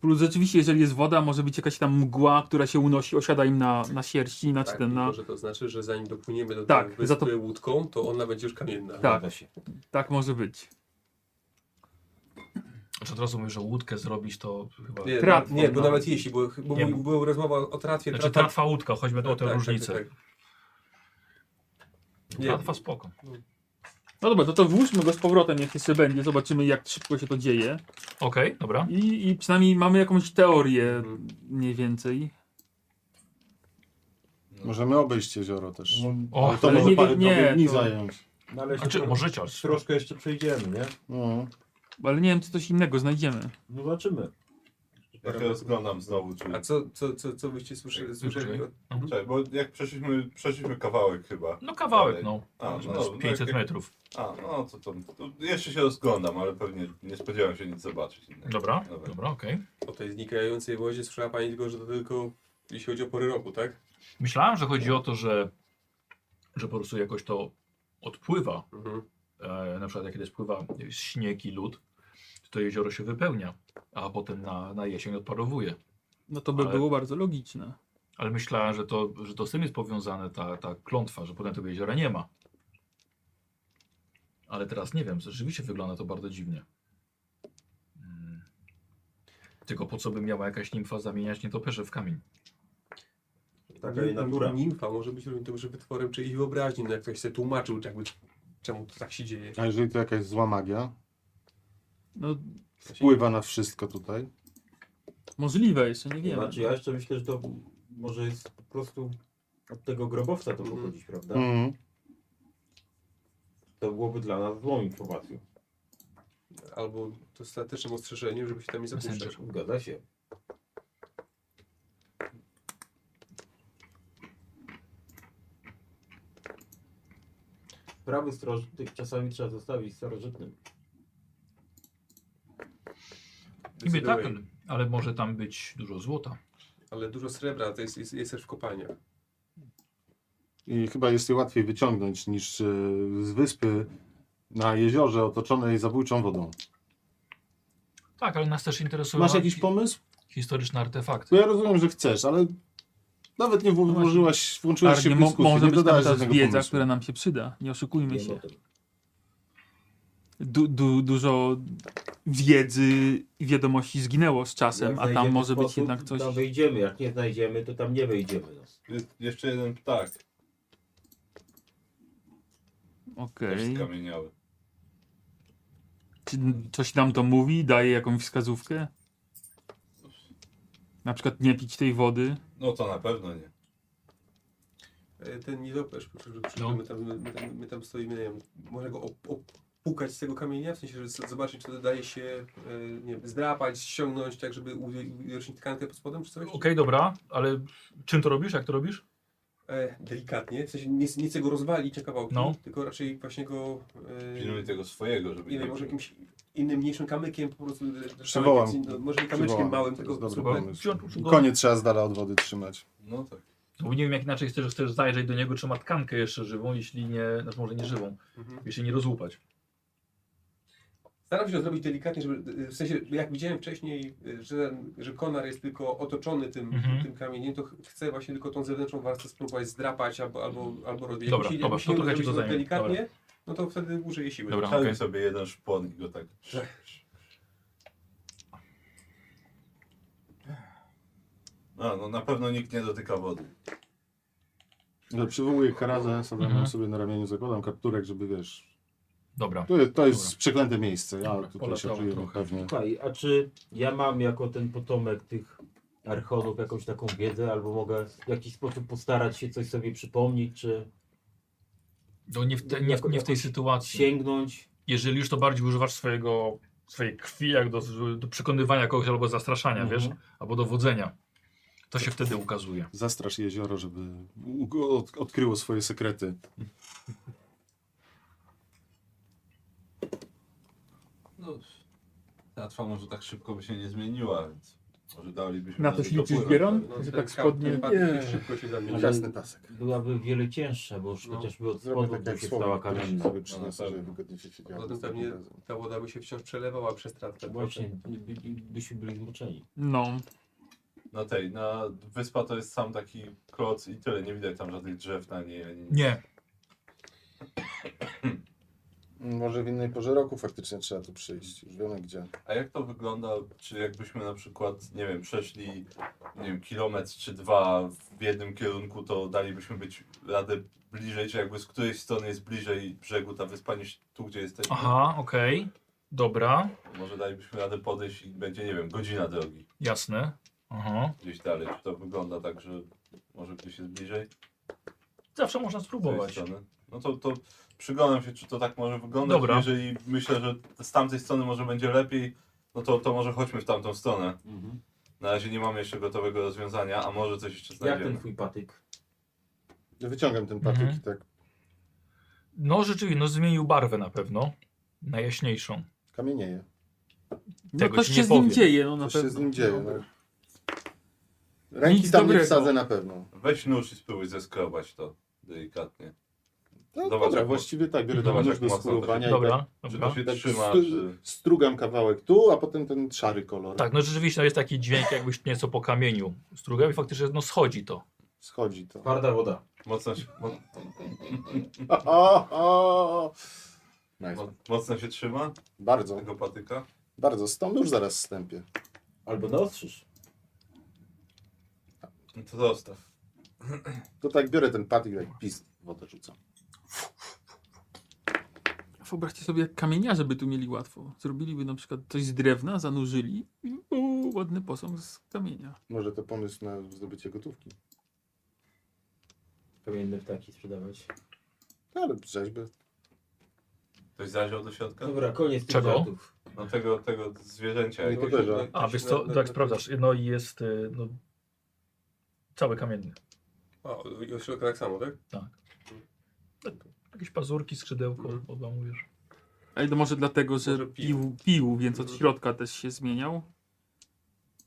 E: Plus rzeczywiście, jeżeli jest woda, może być jakaś tam mgła, która się unosi, osiada im na, na sierści, na
F: Tak,
E: czy ten, na...
F: Może to znaczy, że zanim dopłyniemy do
E: Tak,
F: tej wyspy
E: za to-
F: łódką, to ona będzie już kamienna.
E: Tak.
B: Zgadza się.
E: Tak może być.
A: Znaczy od razu mówię, że łódkę zrobić to chyba...
F: Nie,
E: Trat-
F: nie, bo nawet jeśli, bo, bo
A: Nie.
F: mój- była rozmowa o tratwie.
A: Znaczy
F: trata-
A: tratwa łódka, choćby o tę
F: tak,
A: różnicę.
F: Tak, tak, tak. Nie,
A: Tratwa spoko.
E: No dobra, to to włóżmy go z powrotem, jak jeszcze będzie, zobaczymy jak szybko się to dzieje.
A: Okej, dobra.
E: I, i przynajmniej mamy jakąś teorię,
F: Mhm.
E: mniej więcej.
C: Możemy obejść jezioro też.
F: No
A: O,
C: Ale to
E: No, ale
C: może
E: nie-
C: parę
E: nie,
C: dni
E: to-
C: zająć.
B: No ale jeszcze
A: Znaczy,
B: tro-
A: możecie, ale...
B: troszkę jeszcze przejdziemy, nie?
C: No.
E: Ale nie wiem, czy coś innego znajdziemy.
B: No zobaczymy.
D: Ja się rozglądam znowu, czy...
F: A co, co, co, co byście słyszeli, słyszeli od
D: Czekaj, bo jak przeszliśmy, przeszliśmy kawałek chyba.
A: No kawałek, no.
D: A, no,
A: Z
D: no,
A: 500
D: jak-
A: metrów.
D: A, no to tam. To jeszcze się rozglądam, ale pewnie nie spodziewałem się nic zobaczyć innego.
A: Dobra,
D: Dobra.
A: dobra, okej.
F: o tej znikającej wozie? Słyszała pani tylko, że to tylko jeśli chodzi o pory roku, tak?
A: Myślałem, że chodzi o to, że, że po prostu jakoś to odpływa.
F: Mhm.
A: E, na przykład jak kiedy spływa śnieg i lód, to, to jezioro się wypełnia, a potem na, na jesień odparowuje.
E: No to by
A: Ale-
E: było bardzo logiczne.
A: Ale myślałem, że to, że to z tym jest powiązane ta, ta klątwa, że potem tego jeziora nie ma. Ale teraz nie wiem, rzeczywiście wygląda to bardzo dziwnie. Mm. Tylko po co by miała jakaś nimfa zamieniać nietoperze w kamień?
B: Taka jej natura.
F: Nimfa może być równie dobrze wytworem czyjejś wyobraźni, no jak ktoś sobie tłumaczył, jakby czemu to tak się dzieje.
I: A jeżeli to jakaś zła magia,
E: No
I: wpływa na wszystko tutaj.
E: możliwe, jeszcze nie wiemy.
B: Znaczy ja jeszcze myślę, że to może jest po prostu od tego grobowca to pochodzić, prawda?
I: Mhm.
B: To byłoby dla nas złą informacją.
F: Albo to statecznym ostrzeżeniem, żeby się tam nie zapuszczać.
A: Messenger.
B: Zgadza się. Prawy strażnik czasami trzeba zostawić starożytnym.
A: Niby tak,
F: Zdecydowanie.
A: ale może tam być dużo złota.
F: Ale dużo srebra to jest, jest, jest też w kopalniach.
I: I chyba jest je łatwiej wyciągnąć niż e, z wyspy na jeziorze otoczonej zabójczą wodą.
A: Tak, ale nas też
E: No
A: interesują
I: Masz
A: ar-
I: jakiś pomysł?
A: historyczne artefakty.
I: Bo ja rozumiem, że chcesz, ale nawet nie
E: No
I: wło- włożyłaś, włączyłaś się
E: Arnie,
I: w
E: Tak, mo-
I: dyskusję,
E: może
I: nie
E: być tam
I: dodałeś
E: ta
I: żadnego
E: wiedza,
I: pomysłu.
E: która nam się przyda. Nie oszukujmy
B: Wiem
E: się.
B: o tym.
E: Du, du, dużo wiedzy i wiadomości zginęło z czasem,
B: Jak
E: a tam
B: znajdziemy
E: może być
B: sposób,
E: jednak coś.
B: Tam wejdziemy, jak nie znajdziemy, to tam nie wejdziemy. No.
D: Jest jeszcze jeden ptak, też
E: Okej.
D: skamieniały.
E: Czy Coś nam to mówi, daje jakąś wskazówkę? Na przykład nie pić tej wody.
D: No to na pewno nie.
F: E, Ten nietoperz, przy, przy, przy,
A: No.
F: my, tam, my, tam, my tam stoimy, nie wiem, można go op, opukać z tego kamienia, w sensie, żeby z- zobaczyć, czy to daje się, e, nie wiem, zdrapać, ściągnąć, tak żeby u- uwiecznić tkankę pod spodem, czy coś?
A: Okej, dobra, ale czym to robisz? Jak to robisz?
F: E, delikatnie, w sensie nie, nie chcę go rozwalić na kawałki,
A: No.
F: tylko raczej właśnie go,
D: Pilnuj
F: e,
D: tego swojego, żeby
F: nie wiem, może jakimś innym, mniejszym kamykiem po prostu, e,
I: Przywołam.
F: kamykiem, no, może kamyczkiem
I: Przywołam.
F: małym,
I: To jest
F: tylko
I: dobry
F: super,
I: pomysł.
A: Wziąć po prostu go-
I: Konie trzeba z dala od wody trzymać.
D: No tak.
A: No bo nie wiem jak inaczej chcesz, chcesz zajrzeć do niego, czy ma tkankę jeszcze żywą, jeśli nie, znaczy może nie żywą,
F: Mhm.
A: jeśli nie rozłupać.
F: Staram się to zrobić delikatnie, żeby, w sensie jak widziałem wcześniej, y, że, ten- że konar jest tylko otoczony tym,
A: Mhm.
F: tym kamieniem, to ch- chcę właśnie tylko tą zewnętrzną warstwę spróbować zdrapać albo, albo, albo rozbić.
A: Dobra,
F: Jeśli-
A: dobra,
F: jeśli
A: to
F: nie
A: trochę ci
F: zrobić
A: to
F: tego
A: zajmie.
F: delikatnie, no to wtedy użyję siły.
A: Dobra,
D: Czarny
A: okej.
D: sobie jeden szpon i go tak. A, no na pewno nikt nie dotyka wody.
I: Ale Przywołuję karazę, sobie,
A: Mhm.
I: sobie na ramieniu zakładam kapturek, żeby wiesz...
A: Dobra.
I: To jest, to jest
A: Dobra.
I: przeklęte miejsce, ja tutaj się
A: polatało
I: czuję
A: trochę.
I: pewnie.
B: Słuchaj, a czy ja mam jako ten potomek tych archonów jakąś taką wiedzę, albo mogę w jakiś sposób postarać się coś sobie przypomnieć, czy
A: No nie w, te, nie, w, nie w tej sytuacji.
B: sięgnąć?
A: Jeżeli już to bardziej używasz swojego, swojej krwi jak do, do przekonywania kogoś albo zastraszania,
B: Mhm.
A: wiesz, albo dowodzenia, to się wtedy ukazuje.
I: Zastrasz jezioro, żeby u- od, odkryło swoje sekrety.
D: No, teatwa może tak szybko by się nie zmieniła, więc może dalibyśmy
E: Na to
D: radę
E: się liczysz,
D: dopłynąć.
E: Bieron?
F: No,
E: Że
F: ten
E: tak
F: kap-
E: spodnie-
F: ten pan
I: Nie.
F: szybko się zamienia.
I: Jasny tasek.
B: Byłaby wiele cięższa, bo już
F: No,
B: chociażby od
I: Zrobię
B: spodu
I: tak
B: by
I: jak
B: się
I: słowa,
B: stała
I: które
B: kamienna.
I: sobie przyniosę,
D: No,
I: żeby
D: tak.
I: wygodnie się siedziało.
F: Potem pewnie ta woda by się wciąż przelewała przez tratwę.
B: Właśnie, by, by, byśmy byli zmoczeni.
E: No,
D: Na tej, na wyspa to jest sam taki kloc i tyle, nie widać tam żadnych drzew na niej. Ani...
A: Nie.
I: Może w innej porze roku faktycznie trzeba tu przyjść. Już wiemy gdzie.
D: A jak to wygląda, czy jakbyśmy na przykład, nie wiem, przeszli, nie wiem, kilometr czy dwa w jednym kierunku, to dalibyśmy być radę bliżej, czy jakby z której strony jest bliżej brzegu ta wyspa niż tu, gdzie jesteśmy?
A: Aha, okej. Dobra,
D: Może dalibyśmy radę podejść i będzie, nie wiem, godzina drogi
A: jasne. Aha.
D: gdzieś dalej. Czy to wygląda tak, że może gdzieś jest bliżej?
A: Zawsze można
D: z tej
A: spróbować.
D: strony? No to, to przyglądam się, czy to tak może wyglądać.
A: Dobra.
D: Jeżeli myślę, że z tamtej strony może będzie lepiej, no to, to może chodźmy w tamtą stronę. Na razie nie mamy jeszcze gotowego rozwiązania, a może coś jeszcze
B: Jak
D: znajdziemy.
B: ten twój patyk?
C: Ja wyciągam ten patyk
A: Mhm.
C: i tak.
A: No rzeczywiście, no zmienił barwę na pewno. Na jaśniejszą.
C: Kamienieje.
E: No
A: Tego
E: coś
A: ci
E: się
A: nie
E: z nim
A: powiem.
E: dzieje, no na
C: Coś
E: pewno.
C: się z nim dzieje. No. Ręki
E: Nic
C: tam
E: dobrego.
C: nie wsadzę na pewno.
D: Weź nóż i spróbuj zeskrobać to delikatnie.
C: No,
D: Zobacz,
C: dobra,
D: jak
C: właściwie tak, biorę
D: Zobacz,
C: ten nóż
D: jak
C: do
D: mocno to się-
C: skrurowania i tak,
A: Dobra,
D: Czy
A: dobra.
D: to się
C: tak
D: trzyma,
C: stru-
D: czy...
C: strugam kawałek tu, a potem ten szary kolor.
A: Tak, no rzeczywiście no, jest taki dźwięk jakbyś nieco po kamieniu strugał i faktycznie no schodzi to.
C: Schodzi to.
B: Twarda woda.
D: Mocno się, mo,
C: O, o, o. Nice.
D: mo, mocno się trzyma
C: Bardzo,
D: tego patyka?
C: bardzo. Stąd już zaraz wstępie.
B: Albo naostrzysz.
D: No to zostaw.
C: To tak biorę ten patyk, jak pis wodę rzucam.
E: Wyobraźcie sobie, jak kamieniarze by tu mieli łatwo. Zrobiliby na przykład coś z drewna, zanurzyli i u, ładny posąg z kamienia.
C: Może to pomysł na zdobycie gotówki.
B: Kamienne ptaki sprzedawać.
C: Ale rzeźby.
D: Ktoś zajrzał do
F: No.
D: środka?
B: Dobra, koniec tych
A: Czego?
B: żartów.
D: No tego, tego zwierzęcia.
C: No
D: jakiegoś-
C: podejrzewam.
D: jakiegoś
A: A, wiesz
D: na-
A: co,
D: na-
A: tak
D: na-
A: sprawdzasz, no i jest y, no, cały kamienny.
F: O, i od środka tak samo, tak?
A: Jakieś pazurki, skrzydełko,
F: Mhm.
A: odłamujesz.
E: A i to może dlatego, że
F: Może pił.
E: pił, pił, więc od
F: Mhm.
E: środka też się zmieniał.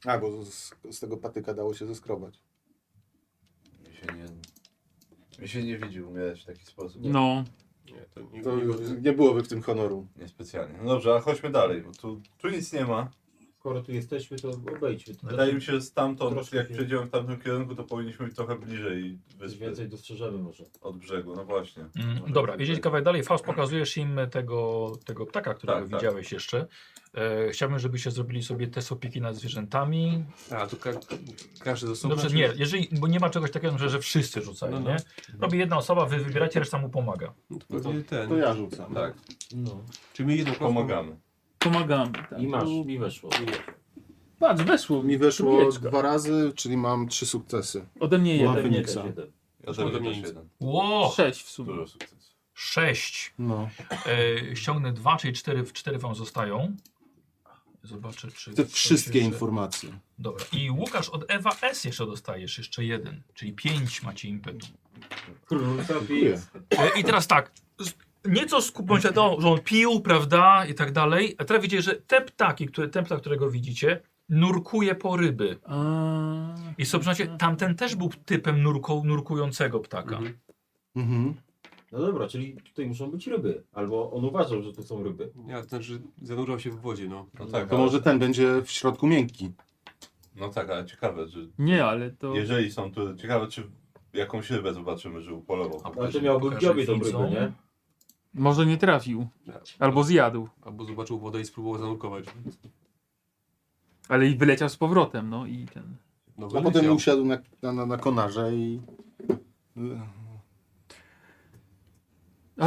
C: A, bo z, z tego patyka dało się zeskrobać.
D: Mi się nie... Mi się nie widzi umierać w taki sposób.
E: No,
F: Nie, to nie,
C: To
F: nie,
C: nie byłoby w tym honoru.
D: Niespecjalnie. No dobrze, a chodźmy dalej, bo tu, tu nic nie ma.
B: Skoro tu jesteśmy, to obejdźmy. To
D: Wydaje mi się, że stamtąd,
B: troszkę
D: jak
B: się-
D: przejdziemy w tamtym kierunku, to powinniśmy być trochę bliżej
B: Coś
D: wyspy
B: więcej dostrzeżemy może.
D: od brzegu. No właśnie.
A: Mm,
D: Może
A: dobra,
D: tak
A: jedziecie
D: być.
A: kawałek dalej. Faust, pokazujesz im e, tego, tego ptaka, którego
D: Tak, tak.
A: widziałeś jeszcze. E, chciałbym, żebyście zrobili sobie test opieki nad zwierzętami.
M: A, tu ka każdy z osobna,
A: Dobrze,
M: czy-
A: No nie, jeżeli, bo nie ma czegoś takiego, że, że wszyscy rzucają,
F: No, no.
A: nie? Robi jedna osoba, wy wybieracie, reszta mu pomaga.
F: No to pewnie ten.
C: To ja rzucam.
F: Tak.
B: No.
F: Czy my jedną kostką-
D: Pomagamy.
E: pomagamy. Tak.
B: I masz,
E: Tu-
B: mi weszło.
E: Patrz, weszło
C: Mi weszło
E: Trójeczka.
C: dwa razy, czyli mam trzy sukcesy.
E: Ode mnie
C: Ła,
E: jeden.
C: wy- Feniksa.
B: jeden.
D: Ja też
F: Ode mnie
D: też
F: nic.
D: jeden.
A: Ło!
E: Sześć w sumie.
D: Dużo sukcesu.
A: Sześć.
C: No.
A: E, ściągnę dwa, czyli cztery, cztery wam zostają. Zobaczę, czy...
C: Te
A: coś
C: wszystkie
A: jeszcze-
C: informacje.
A: Dobra. I Łukasz od Ewa S jeszcze dostajesz, jeszcze jeden. Czyli pięć macie impetu.
C: Dziękuję.
A: E, I teraz tak. z- Nieco skupmy się to, że on pił, prawda, i tak dalej. A teraz widzicie, że te ptaki, które, ten ptak, którego widzicie, nurkuje po ryby.
E: A,
A: I sobie przyznacie, tamten też był typem nurku, nurkującego ptaka.
F: Mhm.
C: Mhm.
B: No dobra, czyli tutaj muszą być ryby. Albo on uważał, że tu są ryby.
F: Ja, to znaczy zanurzał się w wodzie, no.
D: No tak,
C: To
D: ale,
C: może ten będzie w środku miękki.
D: no tak, ale ciekawe, że
E: nie, ale to...
D: jeżeli są tu, ciekawe czy jakąś rybę zobaczymy, No że upolował.
A: A
B: Znaczy miałby w
A: Pokażę
B: dziobie tą
A: widzom.
B: rybę, nie?
E: Może nie trafił. Albo zjadł.
F: Albo zobaczył wodę i spróbował zanurkować. No,
E: Ale i wyleciał z powrotem, no i ten...
F: No,
C: A potem usiadł na, na- na, na konarze i... E,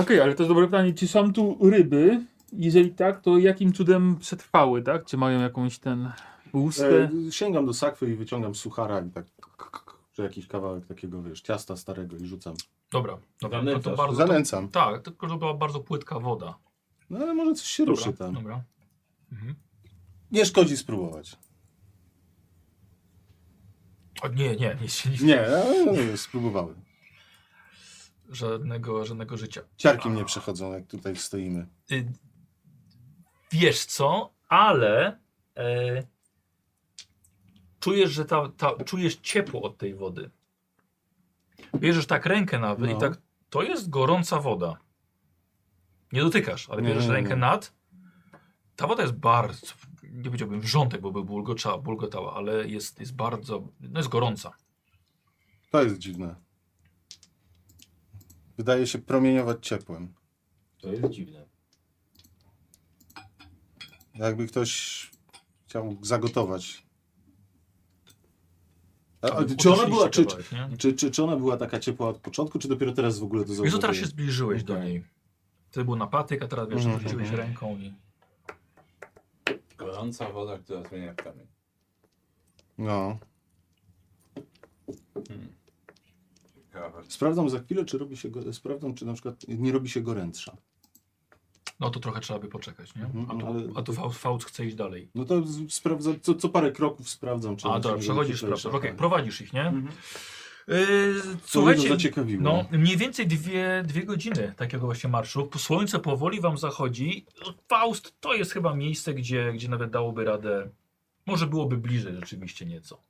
E: Okej, ale to jest dobre pytanie. Czy są tu ryby? Jeżeli tak, to jakim cudem przetrwały, tak? Czy mają jakąś ten
C: E,
E: łuskę?
C: sięgam do sakwy i wyciągam suchara i tak... Że jakiś kawałek takiego, wiesz, ciasta starego i rzucam.
A: Dobra, dobra. To, to
B: Zanęcasz.
A: bardzo, to,
C: Zanęcam.
A: tak, tylko to była bardzo płytka woda.
C: No ale może coś się
A: Dobra,
C: ruszy tam.
A: dobra. Mhm.
C: Nie szkodzi spróbować.
A: O, nie, nie, nic się nie,
C: Nie, ale spróbowałem.
A: żadnego, żadnego życia.
C: Ciarki mnie przechodzą, jak tutaj stoimy.
A: y, wiesz co, ale e, czujesz, że ta, ta, czujesz ciepło od tej wody. Bierzesz tak rękę nawet i
C: No.
A: tak, to jest gorąca woda. Nie dotykasz, ale
C: Nie,
A: bierzesz
C: nie, nie.
A: rękę nad. Ta woda jest bardzo, nie powiedziałbym wrzątek, bo by bulgoczała, bulgotała, ale jest, jest bardzo, no jest gorąca.
C: To jest dziwne. Wydaje się promieniować ciepłem.
B: To jest dziwne.
C: Jakby ktoś chciał zagotować. A, a, czy, ona
A: Uczesiliście
C: była, czy,
A: kawałek, nie?
C: czy, czy, czy ona była taka ciepła od początku, czy dopiero teraz w ogóle to
A: Wiesz, co,
C: zauważyłem?
A: teraz się zbliżyłeś do
C: Okej.
A: niej. Wtedy był napatyk, a teraz wiesz,
C: Mhm,
A: rzuciłeś
C: mhm.
A: ręką i...
D: Gorąca woda, która zmienia kamień.
C: No.
D: Ciekawe.
C: Sprawdzam za chwilę, czy robi się go... Sprawdzam, czy na przykład nie robi się gorętsza.
A: No to trochę trzeba by poczekać, nie?
C: Mhm,
A: A tu,
C: ale-
A: a tu Faust, Faust chce iść dalej.
C: No to z- sprawdzam, co, co parę kroków sprawdzam. Czy
A: A
C: oni się
A: dobra,
C: nie
A: przechodzisz,
C: wychylają.
A: prawda? Okej, prowadzisz ich, nie?
C: Mhm.
A: Yy,
C: tak. To mnie to
A: słuchajcie,
C: zaciekawiło.
A: no mniej więcej dwie, dwie godziny takiego właśnie marszu. Po- Słońce powoli wam zachodzi. Faust to jest chyba miejsce, gdzie, gdzie nawet dałoby radę. Może byłoby bliżej rzeczywiście nieco.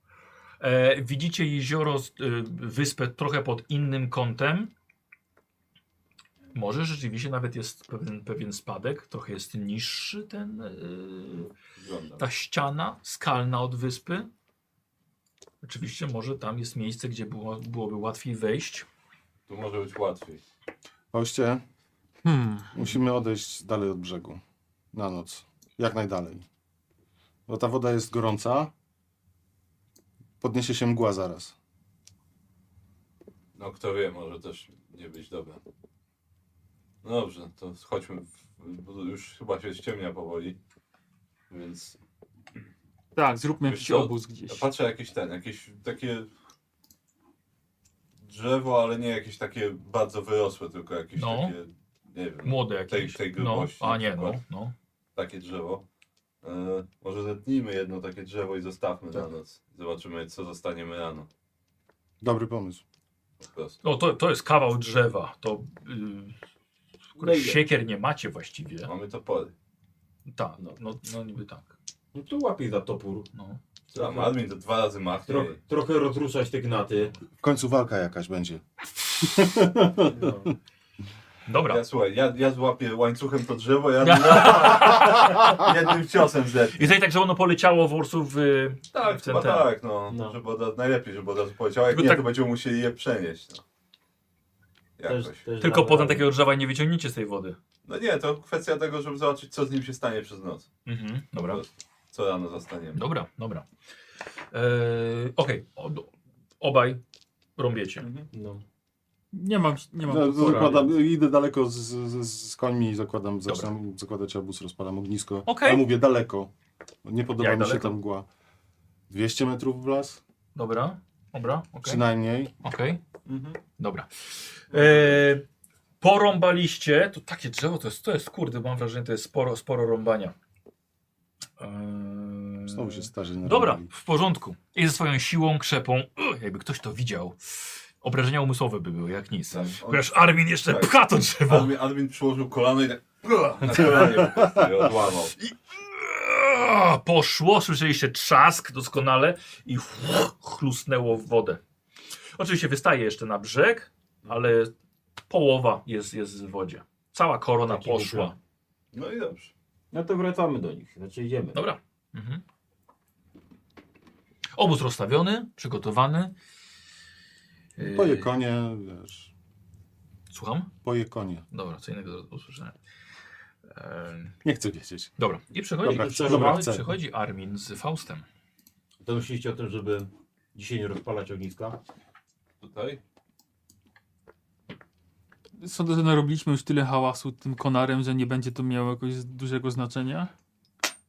A: E, widzicie jezioro, z- y, wyspę trochę pod innym kątem. Może rzeczywiście nawet jest pewien, pewien spadek, trochę jest niższy ten, y,
D: Wygląda.
A: ta ściana skalna od wyspy. Oczywiście może tam jest miejsce, gdzie było, byłoby łatwiej wejść.
D: Tu może być łatwiej.
I: Oście,
E: Hmm.
I: musimy odejść dalej od brzegu. Na noc. Jak najdalej. Bo ta woda jest gorąca. Podniesie się mgła zaraz.
D: No kto wie, może też nie być dobra. No dobrze, to chodźmy. W, bo już chyba się ściemnia powoli. Więc
E: Tak, zróbmy
D: Wiesz
E: jakiś
D: co?
E: obóz gdzieś.
D: ja patrzę jakieś ten, jakieś takie drzewo, ale nie jakieś takie bardzo wyrosłe, tylko jakieś
A: No.
D: takie, nie wiem,
A: Młode jakieś.
D: tej
A: no,
D: grubości
A: a
D: na
A: nie, no,
D: przykład.
A: no.
D: takie drzewo. E, może zetnijmy jedno takie drzewo i zostawmy na noc. Zobaczymy, co zostaniemy rano.
I: Dobry pomysł.
D: Po prostu.
A: no to, to jest kawał drzewa. To yy,
B: No ile?
A: siekier nie macie właściwie.
D: Mamy topory.
A: Tak, no, no, no niby tak.
B: No to łapie za topór.
A: No.
D: Co tam, admin to dwa razy machnie.
B: Tro, trochę rozruszać te gnaty.
I: W końcu walka jakaś będzie.
B: No.
A: Dobra,
D: Ja słuchaj, ja, ja złapię łańcuchem to drzewo, ja jednym ciosem
A: i
D: zetnę.
A: tutaj tak, że ono poleciało w y, Ursu w...
D: Tak,
A: w ten,
D: chyba
A: ten.
D: tak, no.
B: No.
D: Żeby od razu, najlepiej, żeby od razu powiedział, jak
A: Tylko
D: nie,
A: tak-
D: to będziemy musieli je przenieść. No.
B: Też,
D: Jakoś.
B: też
A: Tylko
B: damy
A: potem
B: radę.
A: takiego drzewa nie wyciągniecie z tej wody.
D: No nie, to kwestia tego, żeby zobaczyć, co z nim się stanie przez noc.
A: Mhm, dobra.
D: Co rano zostaniemy.
A: Dobra, dobra. Eee, Okej, o- obaj rąbiecie.
B: No.
E: Nie mam, nie mam
I: No,
E: topora.
I: zakładam, idę daleko z, z, z końmi i zakładam, zaczynam zakładać obóz, rozpalam ognisko.
A: Okej.
I: Ja mówię daleko. Nie podoba
A: Jak
I: mi się
A: daleko?
I: tam mgła. 200 metrów w las?
A: Dobra, dobra, okej.
I: Przynajmniej.
A: Okej. Dobra. Mhm. E, porąbaliście. To takie drzewo to jest, to jest kurde, mam wrażenie, to jest sporo, sporo rąbania. E,
I: Znowu się starzy
A: Dobra,
I: narobili.
A: w porządku. I ze swoją siłą, krzepą, uch, jakby ktoś to widział, obrażenia umysłowe by były, jak nic.
D: Tak, on-
A: Chociaż Armin jeszcze
D: Tak.
A: pcha to drzewo.
D: Admin, admin przyłożył kolano i tak na kolanie po prostu je odłamał.
A: Eee, Poszło, słyszeliście trzask doskonale i chlusnęło w wodę. Oczywiście wystaje jeszcze na brzeg, ale połowa jest, jest w wodzie. Cała korona
B: Taki
A: poszła.
B: wygran.
D: No i dobrze.
B: no to wracamy do nich, znaczy idziemy.
A: Dobra. Mhm. Obóz rozstawiony, przygotowany. Yy,
I: Poje konie, wiesz.
A: Słucham?
I: Poje konie.
A: Dobra, co innego zaraz usłyszałem. Eee,
I: Nie chcę wiedzieć.
A: dobra, i przychodzi,
I: Dobra,
A: i
I: chcę,
A: przychodzi,
I: dobra, chcę.
A: przychodzi Armin z Faustem.
B: To myślicie o tym, żeby dzisiaj nie rozpalać ogniska?
D: Tutaj?
E: Sądzę, że narobiliśmy już tyle hałasu tym konarem, że nie będzie to miało jakoś dużego znaczenia.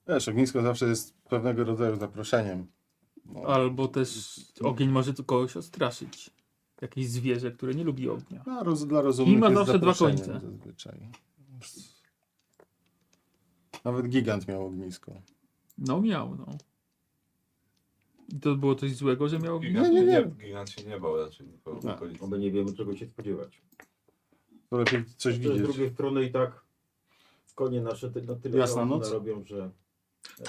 I: Wiesz, ognisko zawsze jest pewnego rodzaju zaproszeniem. No.
E: Albo też ogień może tu kogoś odstraszyć. Jakieś zwierzę, które nie lubi ognia.
I: Dla, roz, dla rozumnych
E: I ma
I: jest
E: zawsze dwa
I: zaproszeniem
E: końce.
I: Zazwyczaj. Nawet gigant miał ognisko.
E: No miał, no. I to było coś złego, że miał ognia?
D: Gigant,
I: nie,
D: się
I: nie.
D: nie, gigant się nie bał raczej nikogo w
I: No.
D: okolicy.
B: Oby nie wiemy czego się spodziewać.
I: To lepiej coś
B: To z
I: widzieć.
B: drugiej strony i tak konie nasze ty, na tyle
I: Jasna
B: hałasu
I: noc?
B: narobią, że...
A: Tak,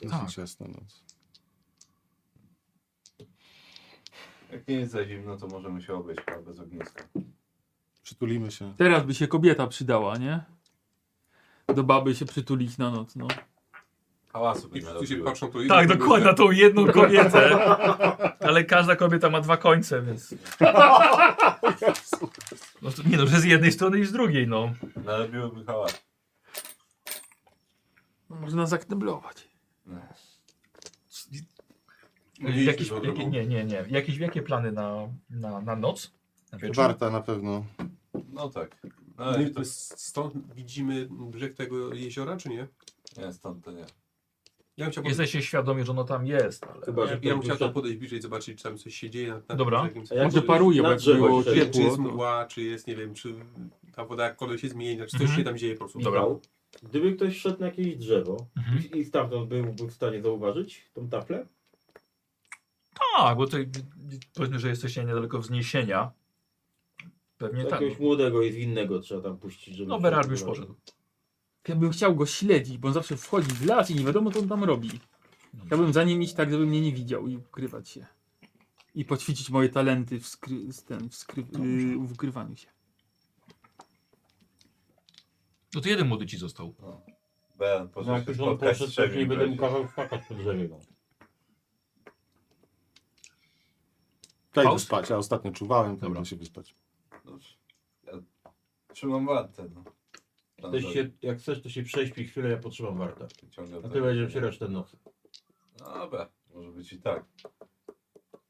A: tak.
I: Dosyć jasna noc.
D: Jak nie jest za zimno, to możemy się obejść chyba bez ogniska.
I: Przytulimy się.
E: Teraz by się kobieta przydała, nie? Do baby się przytulić na noc, no.
D: Hałasu by
F: I wszyscy się
D: narobiło.
F: patrzą tu
A: Tak, dokładnie na tą jedną kobietę. Ale każda kobieta ma dwa końce, więc. No to, nie no, że z jednej strony i z drugiej, no.
D: Narobiłoby hałas.
E: Można zakneblować.
D: Mieliśmy
A: Jakieś,
D: dobrą
A: jakie, nie, nie, nie. Jakieś, jakie plany na, na, na noc? Na wieczór?
I: Warta na pewno.
D: No tak. No,
F: Ale
D: ale to
F: to stąd widzimy brzeg tego jeziora, czy nie?
D: nie, stąd to nie.
F: Ja bym chciał, pod...
A: Jesteście świadomi, że ono tam jest, ale.
B: Chyba, że
F: ja, ja bym chciał tam podejść bliżej, zobaczyć, czy tam coś się dzieje. Nad, nad
A: Dobra.
F: brzegiem.
B: A jak
E: Może
B: to- Tak,
E: paruje,
B: na
E: bo jak
B: drzewo
E: było
B: się-
F: Czy, czy
E: ciepło.
F: jest
E: To...
F: mgła, czy jest, nie wiem, czy Ta woda jakkolwiek się zmieni, znaczy coś
A: Mhm.
F: się tam dzieje po prostu.
A: Dobra.
B: Michał, Gdyby ktoś szedł na jakieś drzewo
A: Mhm.
B: i- i stamtąd byłby w stanie zauważyć tą taflę,
A: Tak, bo tutaj powiedzmy, że jesteście niedaleko wzniesienia. Pewnie tak.
B: jakiegoś młodego i zwinnego trzeba tam puścić, żeby...
A: No,
B: się
A: Berard już
B: zobaczył.
A: poszedł.
E: Ja bym chciał go śledzić, bo on zawsze wchodzi w las i nie wiadomo, co on tam robi. Chciałbym za nim iść tak, żeby mnie nie widział i ukrywać się. I poćwiczyć moje talenty w, skry, z ten, w, skry, y, w ukrywaniu się.
A: No to jeden młody ci został.
D: Ben, po
B: No, jak
D: prostu
B: już on
D: spotkać
B: poszedł,
D: z
B: to już nie
D: Trzewim
B: będę mu
D: będzie.
B: kazał skakać po drzewie. No.
I: Ja idę
A: Faust?
I: spać, ja ostatnio czuwałem, to
A: Dobra.
I: idę się wyspać.
D: Dobrze. Ja trzymam wartę, no. Tam
B: Chcesz się, jak chcesz, to się prześpij chwilę, ja potrzymam wartę.
D: Ciągle
B: A ty będziesz się resztę nocy.
D: No Dobra, może być i tak.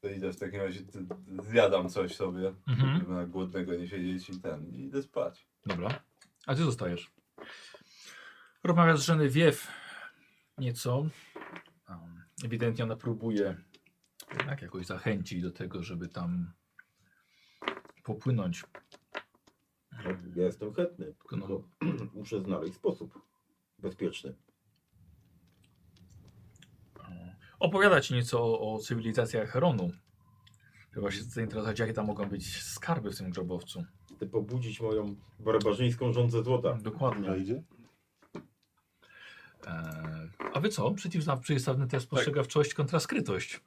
D: To idę w takim razie, ty- ty- zjadam coś sobie,
A: Mhm.
D: żeby na głodnego nie siedzieć i ten, i idę spać.
A: Dobra. A ty zostajesz. Rozmawiasz z żeny Wiew nieco. Um, Ewidentnie ona próbuje jednak jakoś zachęcić do tego, żeby tam popłynąć.
B: Ja jestem chętny,
A: Tylko no,
B: tylko muszę znaleźć sposób bezpieczny.
A: opowiada ci nieco o, o cywilizacjach Heronu. Chyba się zainteresować, jakie tam mogą być skarby w tym grobowcu.
B: Chcę pobudzić moją barbarzyńską rządzę złota.
A: Dokładnie.
I: Ja idzie?
A: Eee, a wy co? Przeciwna- Przeciwstawny test spostrzegawczość kontra skrytość.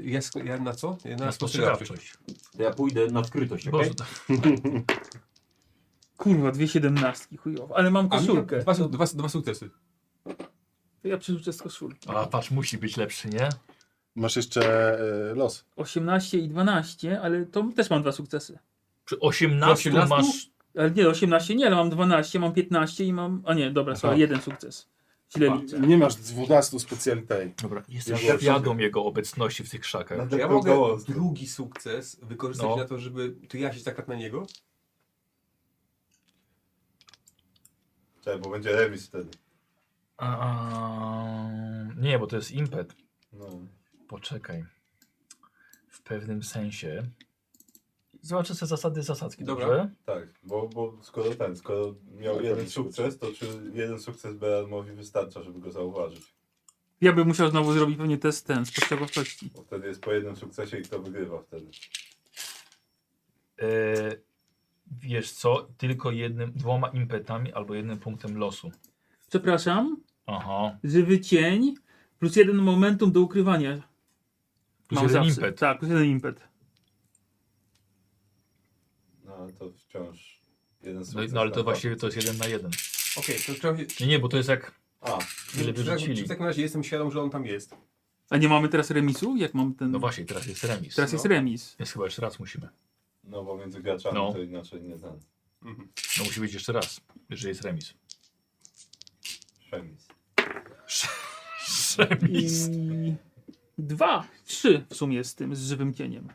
F: Ja, sk- ja na co? Ja na
A: spostrzegawczość.
B: To ja pójdę na skrytość, okej?
A: Boże, to-
E: Kurwa, dwie siedemnastki, chujowo. Ale mam
F: A,
E: koszulkę.
F: Dwa, su- dwa, dwa sukcesy.
E: To ja przerzucę z koszulki.
A: A patrz, musi być lepszy, nie?
I: Masz jeszcze e, los.
E: 18 i 12, ale to też mam dwa sukcesy.
A: Przy 18,
F: Przy 18?
A: masz.
E: Ale nie, 18 nie, ale mam 12, mam 15 i mam... A nie, dobra, sorry,
I: Aha.
E: jeden sukces. Źle liczę.
I: Nie masz 12 specjalitej.
A: Dobra, jestem
I: Jeszcze-
A: świadom jego obecności w tych szakach.
F: Ja
D: Tylko
F: mogę
D: gołąz, no.
F: drugi sukces wykorzystać
A: No.
F: na to, żeby to ja się zakradł na niego.
D: Czekaj, bo będzie remis wtedy.
A: A, a, nie, bo to jest impet.
D: No.
A: Poczekaj. W pewnym sensie. Zobaczę sobie zasady zasadzki,
F: Dobra.
A: dobrze?
D: Tak, bo, bo skoro ten, skoro miał jeden sukces, to czy jeden sukces Beranmowi wystarcza, żeby go zauważyć?
E: Ja bym musiał znowu zrobić pewnie test ten, spostrzegawczości.
D: Bo wtedy jest po jednym sukcesie i kto wygrywa wtedy.
A: E, wiesz co? Tylko jednym, dwoma impetami albo jednym punktem losu.
E: Przepraszam,
A: Aha.
E: żywy cień plus jeden momentum do ukrywania.
A: Plus
E: Mam
A: jeden
E: zawsze.
A: impet.
E: Tak, plus jeden impet.
D: No ale to wciąż jeden
A: No,
D: sukces.
A: no ale
D: na
A: to
D: dwa.
A: właściwie to jest jeden na jeden.
F: Okej, to trzeba się...
A: Nie, nie, bo to jest jak
D: A,
A: ile
F: Czy- czy tak- czy
A: wyrzucili.
F: W takim razie jestem świadom, że on tam jest.
E: A nie mamy teraz remisu? Jak mam ten...
A: No właśnie, no. teraz jest remis.
E: Teraz jest remis.
A: Więc chyba jeszcze raz musimy.
D: no bo między graczami
A: No.
D: to inaczej nie ten.
A: No musi być jeszcze raz, jeżeli jest remis.
D: Przemis.
E: I... Dwa, trzy w sumie z tym, z żywym cieniem.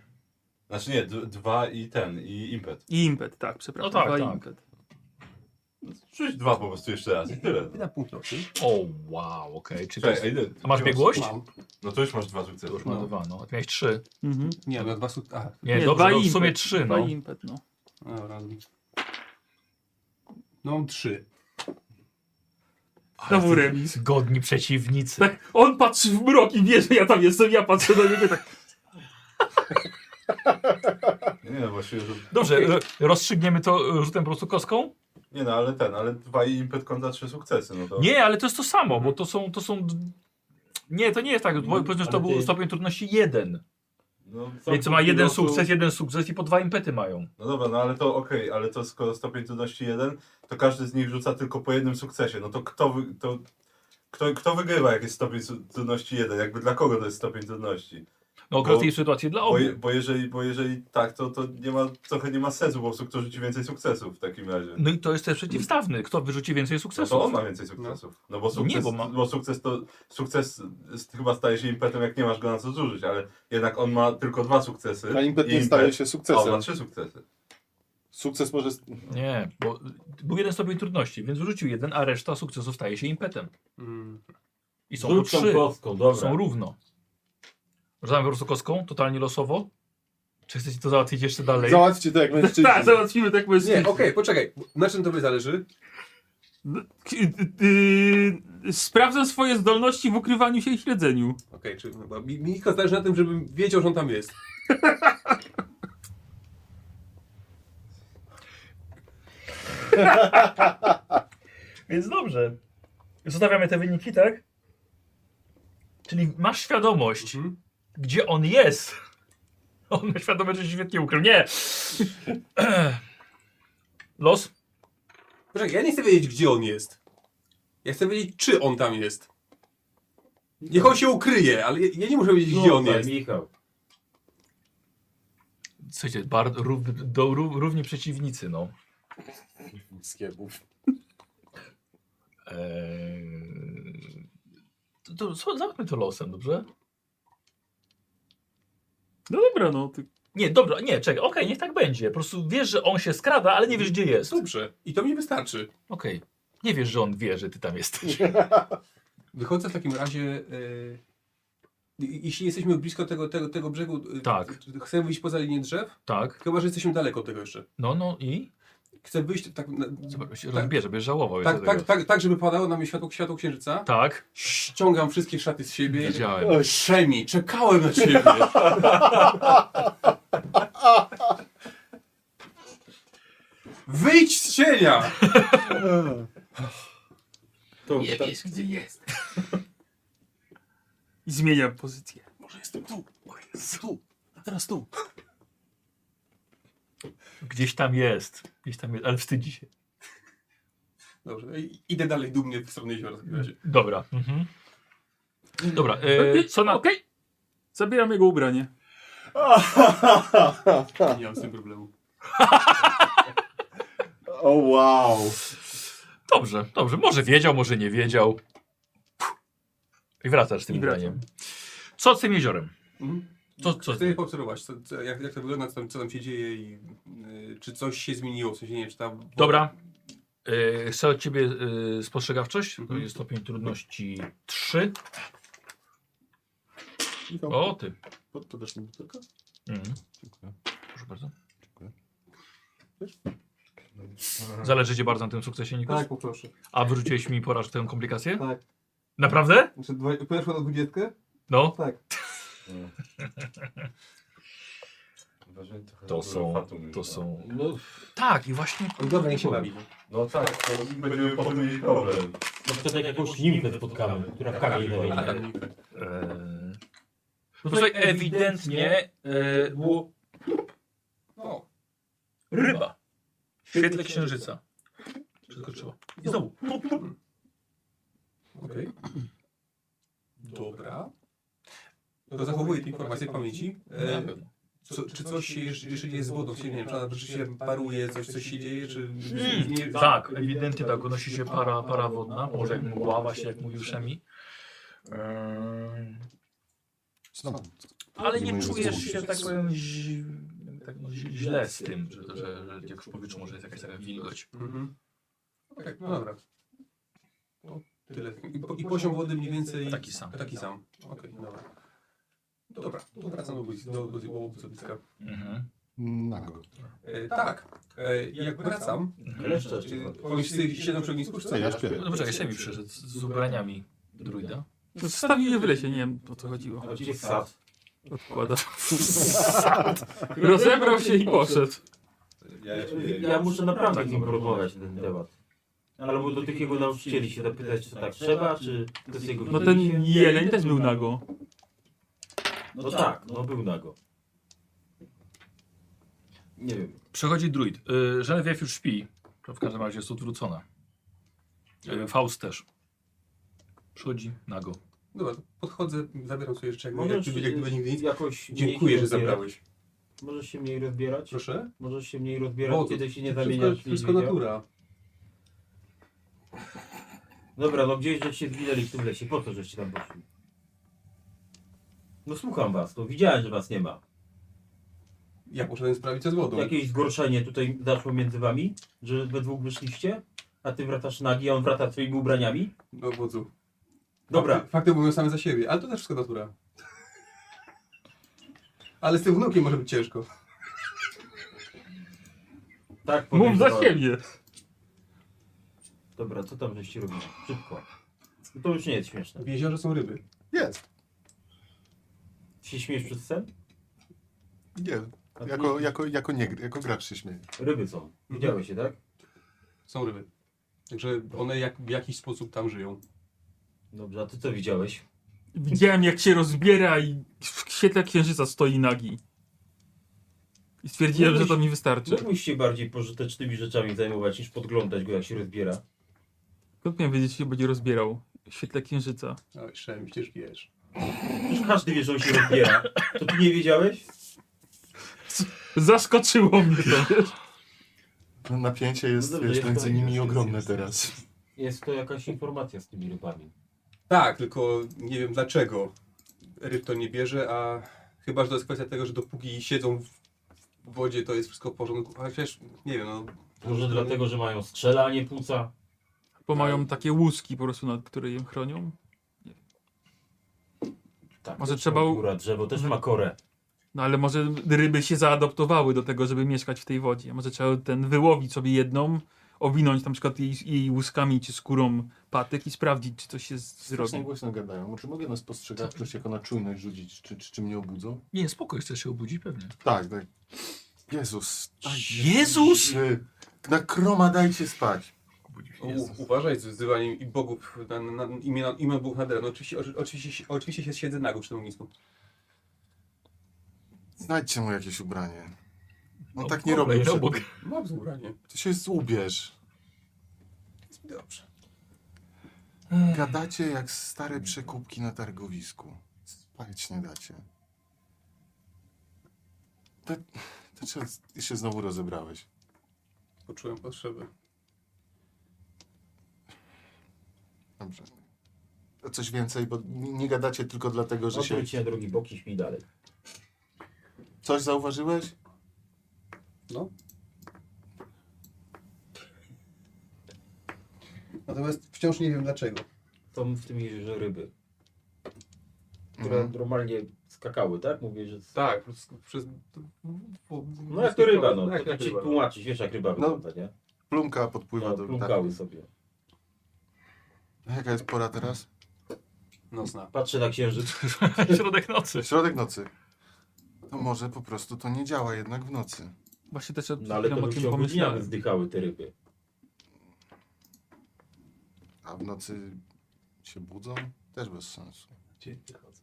D: Znaczy nie, d- dwa i ten, i impet.
E: I impet, tak, przepraszam.
A: No tak,
E: dwa i
A: tak.
E: impet.
D: Rzuć dwa po prostu jeszcze raz i tyle.
F: Na punkt losu.
A: O, wow, okej. Czy to
D: Czekaj,
A: jest...
D: a ile?
A: A masz biegłość?
F: Mam.
D: No to już masz dwa
A: To
D: sukcesy.
A: już ma dwa, no. A Miałeś trzy.
E: Mhm.
F: Nie, no dwa sukcesy. Aha,
A: Nie,
E: Nie,
A: dobrze,
E: dwa
A: no, w
E: impet,
A: sumie trzy,
E: Dwa
A: no.
E: i impet, no.
F: no razem. No trzy.
E: Znowu remis.
A: Zgodni przeciwnicy.
E: Tak, on patrzy w mrok i wie, że ja tam jestem, ja patrzę na niego tak.
D: Nie no, właściwie rzut...
A: Dobrze, e, rozstrzygniemy to e, rzutem po prostu kostką?
D: Nie no, ale ten, ale dwa i impet kontra trzy sukcesy, no to...
A: Nie, ale to jest to samo, bo to są... To są... Nie, to nie jest tak,
D: Mm,
A: bo powiedzmy, że to
B: ale
A: był
B: ty-
A: stopień trudności jeden.
D: No,
B: Są
A: Więc ma jeden
B: punkty losu.
A: sukces, jeden sukces i po dwa impety mają.
D: no dobra, no ale to okej, ale to skoro stopień trudności jeden, to każdy z nich rzuca tylko po jednym sukcesie. No to kto wy... To... Kto, kto wygrywa, jak jest stopień su- trudności jeden? Jakby dla kogo to jest stopień trudności?
A: No akurat
D: Bo-
A: w tej sytuacji dla
D: Bo,
A: obu.
D: je, bo, jeżeli, bo jeżeli tak, to, to nie ma, trochę nie ma sensu po prostu, kto rzuci więcej sukcesów w takim razie.
A: No i to jest też przeciwstawny. Kto wyrzuci więcej
D: No to
A: sukcesów?
D: on ma więcej sukcesów. No bo sukces,
A: Nie, bo
D: bo
A: ma-
D: sukces to sukces z- chyba staje się impetem, jak nie masz go na co zużyć, ale jednak on ma tylko dwa sukcesy.
I: A impet
D: i
I: nie staje się
D: A on ma
I: sukcesem.
D: trzy sukcesy.
I: Sukces może... st-
A: Nie, bo był jeden stopień trudności, więc wyrzucił jeden, a reszta sukcesów staje się impetem.
F: Mm.
A: I są po
B: Rzuć tą
A: trzy.
B: kostką, dobra.
A: Są równo. Rzucamy po prostu kostką, totalnie losowo. Czy chcecie to załatwić jeszcze dalej?
I: Załatwcie to jak mężczyźni.
E: Tak, załatwimy tak
F: Nie,
E: mężczyzn.
F: okej, poczekaj. Na czym tobie zależy?
E: K- y- y- Sprawdzam swoje zdolności w ukrywaniu się i śledzeniu.
F: Okej, czy no, bo mi, mi tylko zależy na tym, żebym wiedział, że on tam jest.
N: Więc dobrze. Zostawiamy te wyniki, tak?
A: Czyli masz świadomość,
F: Mhm.
A: gdzie on jest. On ma świadomość, że się świetnie ukrył. Nie! Los?
F: Poczekaj, ja nie chcę wiedzieć, gdzie on jest. Ja chcę wiedzieć, czy on tam jest. Niech on się ukryje, ale ja, ja No tak, nie muszę wiedzieć, gdzie on
B: Super,
F: jest.
B: Michał.
A: Słuchajcie, bar, rów, do, rów, równi przeciwnicy, no.
F: Skiebów.
A: Eee, to, to, co- zamknę to losem, dobrze?
E: No dobra, no. Ty...
A: Nie, dobra, nie, czekaj, okej, niech tak będzie. Po prostu wiesz, że on się skrada, ale nie wiesz, gdzie jest. Okej.
F: Dobrze, i to mi wystarczy.
A: Nie wiesz, że on wie, że ty tam jesteś.
F: Wychodzę w takim razie. y, i- jeśli jesteśmy blisko tego, tego, tego brzegu, y,
A: Tak.
F: t- t- chcę wyjść poza linię drzew,
A: Tak,
F: chyba że jesteśmy daleko od tego jeszcze.
A: no, no i?
F: Chcę wyjść tak, na,
A: Zobacz, się
F: Tak.
A: rozbierze, będziesz żałował.
F: tak,
A: jeszcze
F: tak,
A: tego.
F: tak, tak, żeby padało na mnie światło, światło księżyca.
A: tak,
F: Ściągam wszystkie szaty z siebie.
A: widziałem.
F: Szemi, czekałem na ciebie. Wyjdź z cienia!
B: To, ta,
A: gdzie jest.
E: I zmienia pozycję.
I: Może jestem tu. Może jestem tu. A teraz tu.
A: Gdzieś tam jest. Gdzieś tam jest, ale wstydzi się.
F: Dobrze, i- idę dalej dumnie w stronę jeziora w takim razie.
A: Dobra. Mhm. Dobra, e,
E: Okej,
A: co na...
E: Okej. Zabieram jego ubranie.
A: Tak.
F: Nie mam z tym problemu.
I: O wow.
A: Dobrze, dobrze. Może wiedział, może nie wiedział. I wracasz z tym
E: I wracam.
A: zdaniem. Co z tym jeziorem?
F: Mhm.
A: Co, co?
F: Chcę je poobserwować, co, co, jak, jak to wygląda, co tam, co tam się dzieje i y, czy coś się zmieniło, w sensie nie wiem, czy tam...
A: Dobra. E, chcę od ciebie e, spostrzegawczość. To
F: Mhm.
A: jest stopień trudności 3. O, ty.
I: Po- Podasz mi butelkę?
A: Mhm.
H: Dziękuję.
A: Proszę bardzo.
H: Dziękuję.
A: Zależy ci bardzo na tym sukcesie, Nikos?
O: Tak, poproszę.
A: A wyrzuciłeś mi porażkę, tę komplikację?
O: Tak.
A: Naprawdę?
O: Znaczy, dwa, poszło na dwudziestkę?
A: No.
O: Tak.
D: Uważaj, trochę
A: To
D: dużo
A: są-
D: fatum już
A: To
D: ma.
A: są...
D: No,
A: Tak, i właśnie...
F: No Dobra, niech się bawi.
D: no tak, to będziemy potem mieli problem.
G: No to tak jakąś nimfę spotkamy, która w
B: Tak,
G: kamień
A: Tak.
F: Ale-
G: wejdzie.
A: Eee... Tutaj ewidentnie e, było
F: No,
A: ryba. W świetle księżyca. Przeskoczyła. I znowu.
F: okej. Dobra. No to zachowuję te informacje w pamięci. E, co, czy coś się jeż- jeszcze dzieje z wodą? Czyli nie wiem, czy ona rzeczywiście paruje, coś, coś się dzieje, czy... nie-
A: Tak, ewidentnie tak. Unosi się para, para wodna. Może jak mgła właśnie, jak mówił Szemi. Eee,
I: Co tam?
A: Ale nie czujesz się tak powiem ź- tak, no, ź- źle z tym, że, tak że, że jak w powietrzu może jest jakaś taka wilgoć.
F: Mhm. Okej, no dobra. No, tyle. I, po, I poziom wody mniej więcej...
A: Taki sam.
F: Taki sam. Okej, dobra. Dobra, to wracam do błysk- do- do- do łowiska.
A: Mhm.
I: Nago.
F: E, tak, e, jak wracam,
B: Kleszcze czy
F: e, oni wszyscy siedzą przy ognisku, czy co?
I: Co, ja śpiewam.
A: No poczekaj, Szemi przyszedł z- z ubraniami druida.
E: Zostawił je w lesie, nie wiem o co chodziło.
B: Gdzie sad?
E: Odkłada. Rozebrał się i poszedł.
D: Ja,
B: E,
D: ja,
B: Ja muszę naprawdę z nim porozmawiać na ten temat. Albo do tych jego nauczycieli się zapytać, czy tak trzeba, czy to jest jego
E: No ten jeleń też był nago.
B: No tak, no był nago. Nie wiem.
A: Przechodzi druid. Y, Genevieve już śpi. To w każdym razie jest odwrócona. Y, Faust też. Przychodzi nago.
F: Dobra, to podchodzę, zabieram sobie jeszcze, jak, jak,
B: Możesz, y,
F: gdyby- jak gdyby nigdy nic.
B: Jakoś mniej
F: Dziękuję,
B: się
F: że
B: rozbierać.
F: zabrałeś.
B: Możesz się mniej rozbierać,
F: Proszę?
B: możesz się mniej rozbierać,
F: O, to-
B: kiedy się nie
F: Wszystko,
B: zamieniasz.
F: wszystko
B: niedźwiedzia.
F: natura.
B: Dobra, no gdzieś żeście zginęli w tym lesie, po co żeście tam poszli? No słucham was, to widziałem, że was nie ma.
F: Ja poszedłem sprawdzić, co z wodą.
B: Jakieś zgorszenie tutaj zaszło między wami, że we dwóch wyszliście, a ty wracasz nagi, a on wraca swoimi ubraniami?
F: No wodzu.
B: Dobra,
F: Fakty, fakty mówią same za siebie, ale to też wszystko natura. Ale z tym wnukiem może być ciężko.
B: Tak,
E: Mów za
B: podejrzewałem.
E: siebie.
B: Dobra, co tam żeście robili? Szybko. No to już nie jest śmieszne.
F: W jeziorze są ryby.
C: Jest.
B: Ty się śmiesz przez sen?
C: Nie.
B: A ty
C: Jako,
B: nie-
C: jako, jako, nie, jako gracz się śmieje.
B: Ryby
F: Mhm.
B: są. Widziałeś się, tak?
F: Są ryby. Także one jak, w jakiś sposób tam żyją.
B: Dobrze, a ty co widziałeś?
E: Widziałem jak się rozbiera i w świetle księżyca stoi nagi. I stwierdziłem, że to mi wystarczy.
B: Mógłbyś się bardziej pożytecznymi rzeczami zajmować, niż podglądać go, jak się rozbiera.
E: Skąd miałem wiedzieć, że się będzie rozbierał? W świetle księżyca.
F: Ale szem, przecież wiesz.
B: Przecież każdy wie, że on się rozbiera. To ty nie wiedziałeś?
E: Zaskoczyło mnie to. wiesz?
C: No, Napięcie jest,
B: No dobrze,
C: wiesz,
B: jest
C: między
B: to-
C: nimi
B: jest-
C: ogromne
B: jest-
C: teraz.
B: Jest to jakaś informacja z tymi rybami.
F: Tak, tylko nie wiem dlaczego ryb to nie bierze, a chyba, że to jest kwestia tego, że dopóki siedzą w w wodzie, to jest wszystko w porządku. A wiesz, nie wiem, no...
B: Może dlatego, że mają strzela, a nie płuca.
E: Bo mają takie łuski po prostu, nad które je chronią.
B: Tak,
E: Może
B: też
E: trzeba u-
B: Góra, drzewo też ma korę.
E: No ale może ryby się zaadoptowały do tego, żeby mieszkać w tej wodzie. Może trzeba ten wyłowić sobie jedną, owinąć na przykład jej, jej łuskami czy skórą patyk i sprawdzić, czy coś się z-
C: Strasznie
E: zrobi.
C: głośno gadają. Czy mogę na spostrzegawczość jako na czujność rzucić? Czy, czy, czy mnie obudzą?
A: Nie, spoko, jeszcze się obudzi pewnie.
C: Tak, tak. Jezus.
A: A Jezus!
C: Czy- Na kroma dajcie spać.
F: U, uważaj z wzywaniem i bogów na, na, na imię, na, imię Bóg nadal. No oczywiście, oczy- oczywiście, się- oczywiście się siedzę no, nago przy tym ognisku.
C: Znajdźcie mu jakieś ubranie. On tak nie
A: Dobra,
C: robi.
A: idę obok.
F: Mam ubranie.
C: Ty się ubierz.
F: no, Dobrze.
C: Gadacie jak stare przekupki na targowisku. Spać nie dacie. To, to czemu ty się znowu rozebrałeś?
F: Poczułem potrzebę.
C: Dobrze. To coś więcej, bo nie, nie gadacie tylko dlatego, że się...
B: Odwróć się na drugi bok i śpij dalej.
C: Coś zauważyłeś?
H: Natomiast wciąż nie wiem dlaczego.
B: Są w tym jeziorze ryby, które
C: Mhm.
B: normalnie skakały, tak? Mówię, że...
F: Tak, przez... przez
B: No jak to ryba, no.
F: Jak,
B: to
F: jak
B: tak ci
F: ryba.
B: tłumaczysz, wiesz jak ryba wygląda, nie?
C: Plumka podpływa
B: No,
C: do...
B: plumkały sobie.
C: Tak. Jaka jest pora teraz?
F: No zna.
B: Patrzę na księżyc.
A: Środek nocy.
C: Środek nocy. No może po prostu to nie działa jednak w nocy.
E: Właśnie też przed
B: No ale to
E: chwilą o
B: by w
E: tym
B: ciągu dnia by
E: pomyślałem.
B: zdychały te ryby.
C: A w nocy się budzą? Też bez sensu.
A: Tak,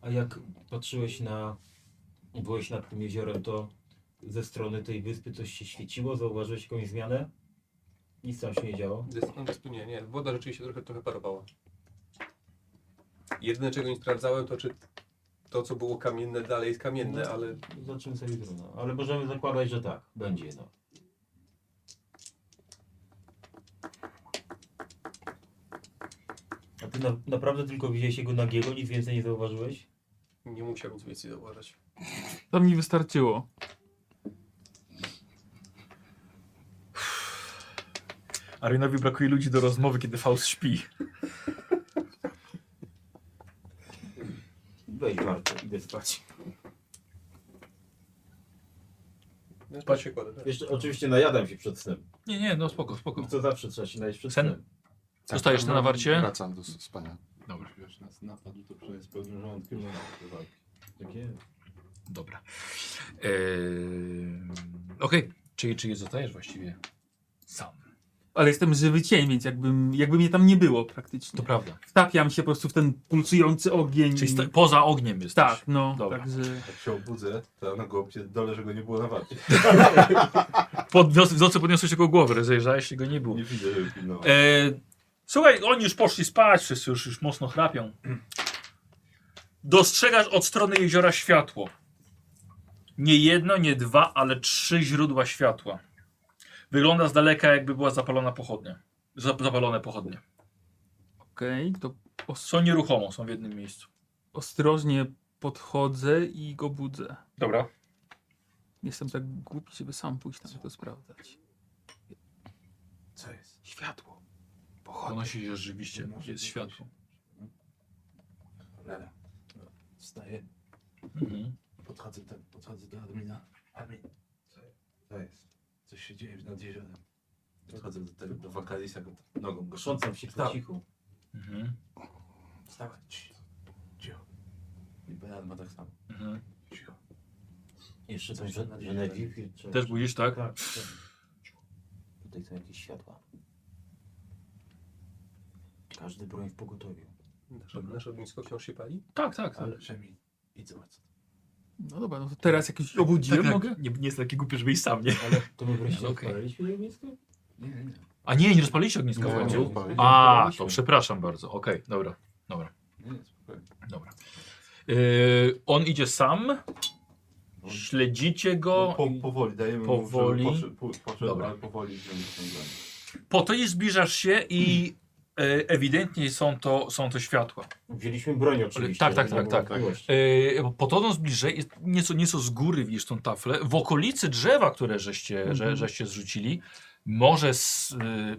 B: A jak patrzyłeś na... Byłeś nad tym jeziorem, to ze strony tej wyspy coś się świeciło? Zauważyłeś jakąś zmianę? Nic tam się nie działo?
F: Jest- No jest tu nie, nie. Woda rzeczywiście trochę, trochę parowała. Jedyne czego nie sprawdzałem to czy to co było kamienne dalej jest
B: No.
F: kamienne, ale
B: Zobaczymy sobie jutro, no. Ale możemy zakładać, że tak. Będzie, no. A ty na, naprawdę tylko widziałeś jego nagiego? Nic więcej nie zauważyłeś?
F: nie musiał nic więcej zauważyć.
E: To mi wystarczyło.
A: Arionowi brakuje ludzi do rozmowy, kiedy Faust śpi.
B: Weź Marta, idę spać.
F: Ja Patrz się kładę. tak.
B: Jeszcze oczywiście najadam się przed snem.
A: Nie, nie, no spoko, spoko.
B: Co zawsze trzeba się najeść przed
A: Sen?
B: snem.
A: Zostajesz
C: tak, no,
A: na nawarcie?
C: Wracam do s- spania.
A: Dobra,
H: Wiesz, nas napadł, to przynajmniej z pełnym żołądkiem na nasze walki.
G: Tak
B: Takie...
A: dobra. Eee, Okej, czyli, czyli zostajesz właściwie sam.
E: Ale jestem żywy cień, więc jakbym, jakby mnie tam nie było praktycznie.
A: To prawda.
E: Wtapiam się po prostu w ten pulsujący ogień.
A: Czyli sta- poza ogniem jesteś.
E: tak, no.
A: Dobra.
E: Także...
D: Jak się obudzę, to ja na gołąbie dole, że go nie było na warcie.
A: Pod, w nocy podniosłeś jego głowę, zajrzałeś się go nie było.
D: Nie widzę, żeby pilnował.
A: E, słuchaj, oni już poszli spać, wszyscy już, już mocno chrapią. Dostrzegasz od strony jeziora światło. Nie jedno, nie dwa, ale trzy źródła światła. Wygląda z daleka, jakby była zapalona pochodnia. Za- Zapalone pochodnie.
E: Okej, to os-
A: Są nieruchomo, są w jednym miejscu.
E: ostrożnie podchodzę i go budzę.
A: Dobra.
E: Jestem tak głupi, żeby sam pójść tam to sprawdzać.
H: Co jest?
E: Światło.
A: Ponosi się rzeczywiście, jest światło.
H: Cholera. No, Wstaję,
A: Mhm.
H: podchodzę, do- podchodzę do admina. Admin, co, co jest? Coś się dzieje nad jeziorem. Podchodzę do tego, do wakalisa, go tam nogą go
G: Trząsam się po
H: Wstał.
G: cichu.
A: Mhm.
H: Wstawaj, cii, cicho. I Beran ma tak samo,
A: Mhm.
H: cicho.
G: Jeszcze
H: Coś
G: coś że-
H: nad
G: że
H: jeziorem.
G: najdziwniej, czy-
A: Też budzisz, tak?
G: Tak. tak. Tutaj są jakieś światła. Każdy broń w pogotowiu.
F: Nasze, nasze ognisko wciąż się pali?
A: Tak, tak.
H: Ale Szemin, idź zobacz. co-
E: No dobra, no to teraz Tak jak
A: Tak,
E: już obudziłem mogę?
N: Nie, nie jestem taki głupi, żeby iść sam, nie?
G: Ale to my wreszcie
A: Okej.
G: odpaliliśmy to ognisko?
H: Nie, nie, nie.
A: A nie, nie rozpaliście ogniska w
C: Nie, nie
A: końcu?
C: odpalić.
A: A, to przepraszam bardzo. Okej, dobra.
H: Nie, nie, spokojnie.
A: Dobra. Yy, on idzie sam.
H: On-
A: Śledzicie go.
D: No, Po, powoli, dajemy
A: Powoli.
D: mu, żeby poszedł, po- poszedł,
A: Dobra.
D: ale powoli idziemy ciągle.
A: Po to i zbliżasz się i e, ewidentnie są to, są to światła.
G: Wzięliśmy broń oczywiście.
A: tak, tak,
G: żeby nie
A: tak,
G: było
A: tak.
G: wątpliwości.
A: E, podchodząc bliżej, jest nieco, nieco z góry widzisz tą taflę. W okolicy drzewa, które żeście, że, żeście zrzucili, może z, e,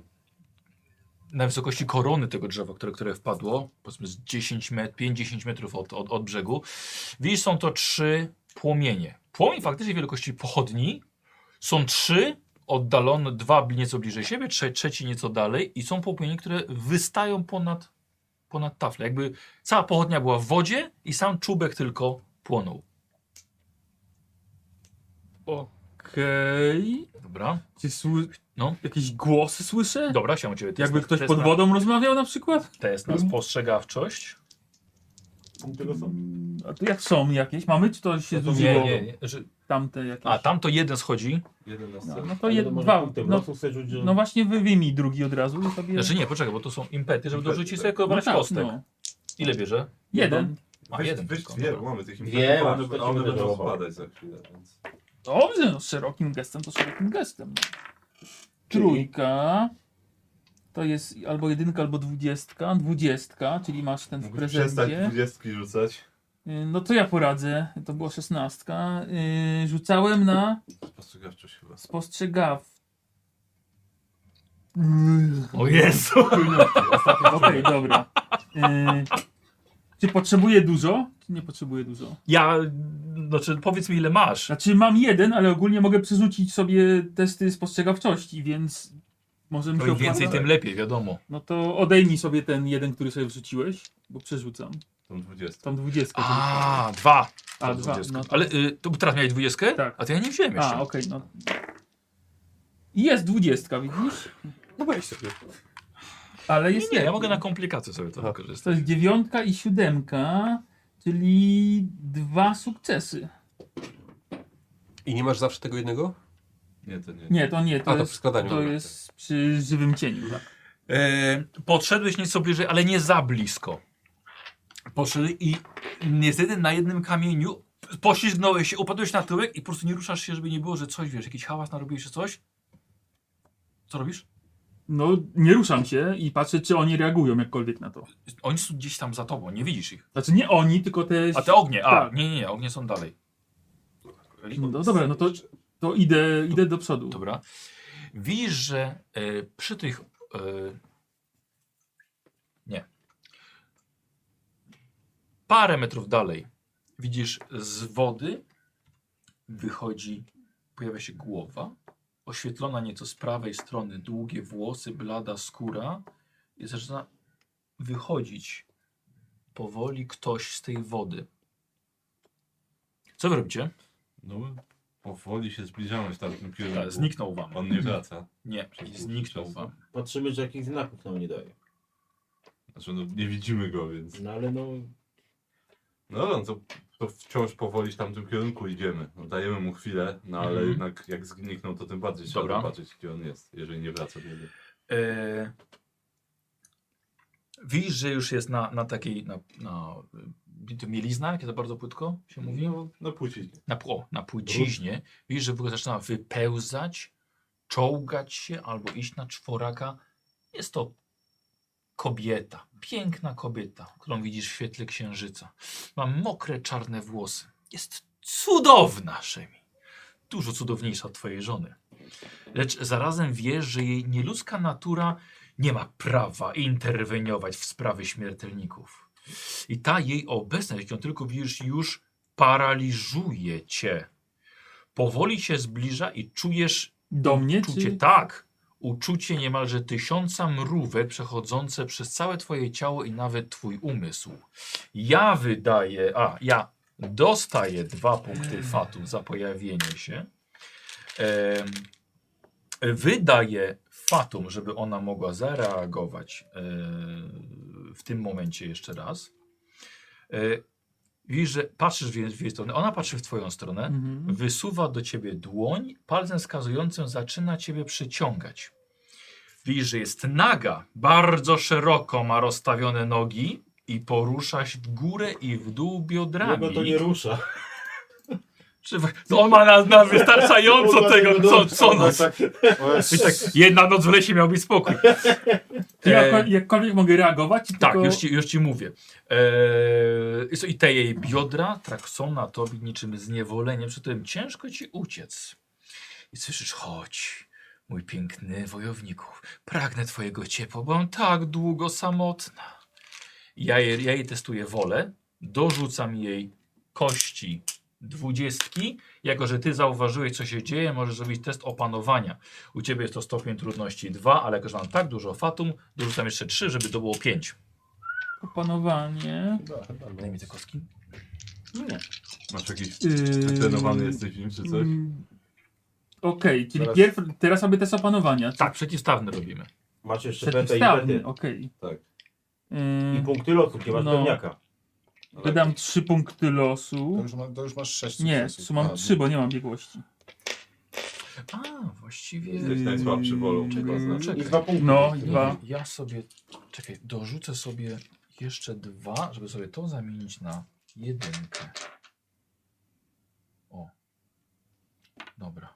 A: na wysokości korony tego drzewa, które, które wpadło, powiedzmy z 10 met, 5-10 metrów od, od, od brzegu, widzisz, są to trzy płomienie. Płomień faktycznie wielkości pochodni. Są trzy oddalone, dwa bli- nieco bliżej siebie, trze, trzeci nieco dalej i są płomienie, które wystają ponad, ponad taflę. Jakby cała pochodnia była w wodzie i sam czubek tylko płonął.
E: Okej.
A: Dobra,
E: Czy sły...
A: No.
E: Jakieś głosy słyszę?
A: dobra, chciałem ciebie test
E: Jakby
A: na-
E: ktoś
A: test
E: pod
A: na-
E: wodą rozmawiał na przykład?
A: Test na spostrzegawczość.
E: A tu jak są jakieś? Mamy czy to się
G: No to
E: zużyło?
A: nie. że-
E: Tamte jakieś?
A: A, tam to jeden schodzi.
D: Jeden na
E: No,
D: scenę.
E: no to
G: Ale
E: jed...
G: może
E: dwa,
G: punktem
E: no,
G: losu chcę rzucić, że-
E: no właśnie wy wyjmij drugi od razu i sobie...
A: Znaczy nie, poczekaj, bo to są impety, żeby
D: Impety,
A: dorzucić
D: tak.
A: sobie
E: no
A: kobrać
E: tak,
A: kostek.
E: no.
A: Ile bierze?
E: Jeden.
A: A,
D: Weź-
A: jeden
D: weź
A: tylko,
D: dwie,
A: dobra.
D: mamy tych
G: Dwie,
D: impetów,
G: masz,
D: one,
G: to
D: one
G: się
D: będą
G: wydawało.
D: spadać za chwilę, więc...
E: Dobrze, no szerokim gestem to szerokim gestem. No. Trójka. To jest albo jedynka, albo dwudziestka. Dwudziestka, czyli masz ten w
D: Mógłbyś przestać
E: prezencie.
D: dwudziestki rzucać.
E: Y, No to ja poradzę. To była szesnastka. Y, Rzucałem na
D: Spostrzegawczość chyba.
E: spostrzegaw.
A: O Jezu!
E: Okej, dobra. Y, Czy potrzebuję dużo? Czy nie potrzebuję dużo?
A: Ja, znaczy powiedz mi ile masz.
E: Znaczy mam jeden, ale ogólnie mogę przerzucić sobie testy spostrzegawczości, więc może mi
A: To
E: się
A: im więcej,
E: opłaca.
A: tym lepiej, wiadomo.
E: No to odejmij sobie ten jeden, który sobie wrzuciłeś, bo przerzucam.
D: Tą dwudziestką.
E: Tam dwudziestkę.
A: A, dwa.
E: A, dwa.
A: Dwudziestka.
E: No,
A: Ale y, to teraz miałeś dwudziestkę?
E: Tak.
A: A to ja nie wziąłem jeszcze.
E: a, okej, no. Jest dwudziestka, widzisz?
F: No weź sobie.
E: Ale
A: nie,
E: jest
A: nie, ja
E: lepiej.
A: mogę na komplikacje sobie to
F: Aha.
E: To
A: wykorzystać.
E: jest dziewiątka i siódemka, czyli dwa sukcesy.
F: I nie masz zawsze tego jednego?
D: Nie, to nie.
E: Nie, to nie, to,
F: A, to przy
E: jest,
F: składaniu,
E: to
F: dobra.
E: jest przy żywym cieniu. Tak?
A: E, podszedłeś nieco bliżej, ale nie za blisko. Podszedłeś i niestety na jednym kamieniu poślizgnąłeś się, upadłeś na tyłek i po prostu nie ruszasz się, żeby nie było, że coś, wiesz, jakiś hałas narobiłeś czy coś. Co robisz?
E: No, nie ruszam się i patrzę, czy oni reagują jakkolwiek na to.
A: Oni są gdzieś tam za tobą, nie widzisz ich.
E: Znaczy nie oni, tylko te...
A: A te ognie, a
E: Tak.
A: nie, nie, nie, ognie są dalej.
E: No dobra, no to, to idę, idę do przodu.
A: Dobra. Widzisz, że e, przy tych. E, nie. Parę metrów dalej widzisz z wody wychodzi, pojawia się głowa, oświetlona nieco z prawej strony, długie włosy, blada skóra i zaczyna wychodzić powoli ktoś z tej wody. Co wy robicie?
D: No, my powoli się zbliżamy w tamtym kierunku.
A: Zniknął wam.
D: On nie wraca.
A: Nie,
D: Przez
A: zniknął
D: dłuższy
A: wam.
G: Patrzymy, że jakichś znaków nam nie daje.
D: Znaczy, no, nie widzimy go, więc...
G: No ale no...
D: No, no to, to wciąż powoli w tamtym kierunku idziemy. No, dajemy mu chwilę, no ale
A: Mhm.
D: jednak jak zniknął, to tym bardziej trzeba
A: Dobra.
D: zobaczyć, gdzie on jest, jeżeli nie wraca do niego.
A: E, widzisz, że już jest na, na takiej, na, na y, to mielizna, jak to bardzo płytko się mówi,
D: No, na płci.
A: na, pł- o, na płciźnie. Widzisz, że w ogóle zaczyna wypełzać, czołgać się albo iść na czworaka. Jest to kobieta, piękna kobieta, którą widzisz w świetle księżyca. Ma mokre, czarne włosy. Jest cudowna, Szemi. Dużo cudowniejsza od twojej żony. Lecz zarazem wiesz, że jej nieludzka natura nie ma prawa interweniować w sprawy śmiertelników. I ta jej obecność, którą tylko widzisz, już paraliżuje cię. Powoli się zbliża i czujesz
E: Do mnie?
A: uczucie,
E: Czy...
A: tak, uczucie niemalże tysiąca mrówek przechodzące przez całe twoje ciało i nawet twój umysł. Ja wydaję, a ja dostaję dwa punkty fatu za pojawienie się. Em, wydaje Fatum, żeby ona mogła zareagować e, w tym momencie jeszcze raz. E, Widzisz, że patrzysz w jej, w jej stronę, ona patrzy w twoją stronę,
E: Mhm.
A: wysuwa do ciebie dłoń, palcem wskazującym zaczyna ciebie przyciągać. Widzisz, że jest naga, bardzo szeroko ma rozstawione nogi i porusza się w górę i w dół biodrami.
B: Jego to nie rusza.
A: Czy- No on ma na, na wystarczająco tego, co, co noc. I tak, jedna noc w lesie miał być spokój.
E: Czy jakol-
A: E,
E: jakkolwiek mogę reagować?
A: tak,
E: tylko...
A: już ci, już ci mówię. E, i co, I te jej biodra traksą na tobie niczym zniewolenie, przy tym ciężko ci uciec. I słyszysz, chodź, mój piękny wojowniku, pragnę twojego ciepła, byłam tak długo samotna. Ja jej, ja jej testuję wolę, dorzucam jej kości dwudziestki. Jako, że ty zauważyłeś, co się dzieje, możesz zrobić test opanowania. U ciebie jest to stopień trudności 2, ale jako, że mam tak dużo fatum, dorzucam jeszcze 3, żeby to było 5.
E: Opanowanie.
A: Daj mi te kostki.
D: Masz jakiś
E: Yy,
D: trenowany jesteś w nim czy coś?
E: mm, Okej, czyli
D: Zaraz.
E: pierw, teraz sobie test opanowania.
A: Tak, przeciwstawne robimy.
B: Masz jeszcze petę i
E: Przeciwstawny,
B: pety.
E: okej.
D: Tak.
E: Yy,
B: I punkty losu, nie masz
E: No.
B: pewniaka.
E: Wydam trzy punkty
C: To
E: losu.
C: już, ma, to już masz sześć
E: Nie,
C: sukcesów.
E: tu mam
C: A,
E: trzy, bo nie mam biegłości.
A: A, właściwie...
D: Jesteś najsłabszy wolą.
E: Czekaj,
D: chyba znaczy.
B: I
A: Czekaj.
B: dwa punkty.
E: No,
A: Nie,
E: dwa.
A: Ja sobie... Czekaj, dorzucę sobie jeszcze dwa, żeby sobie to zamienić na jedynkę. O. Dobra.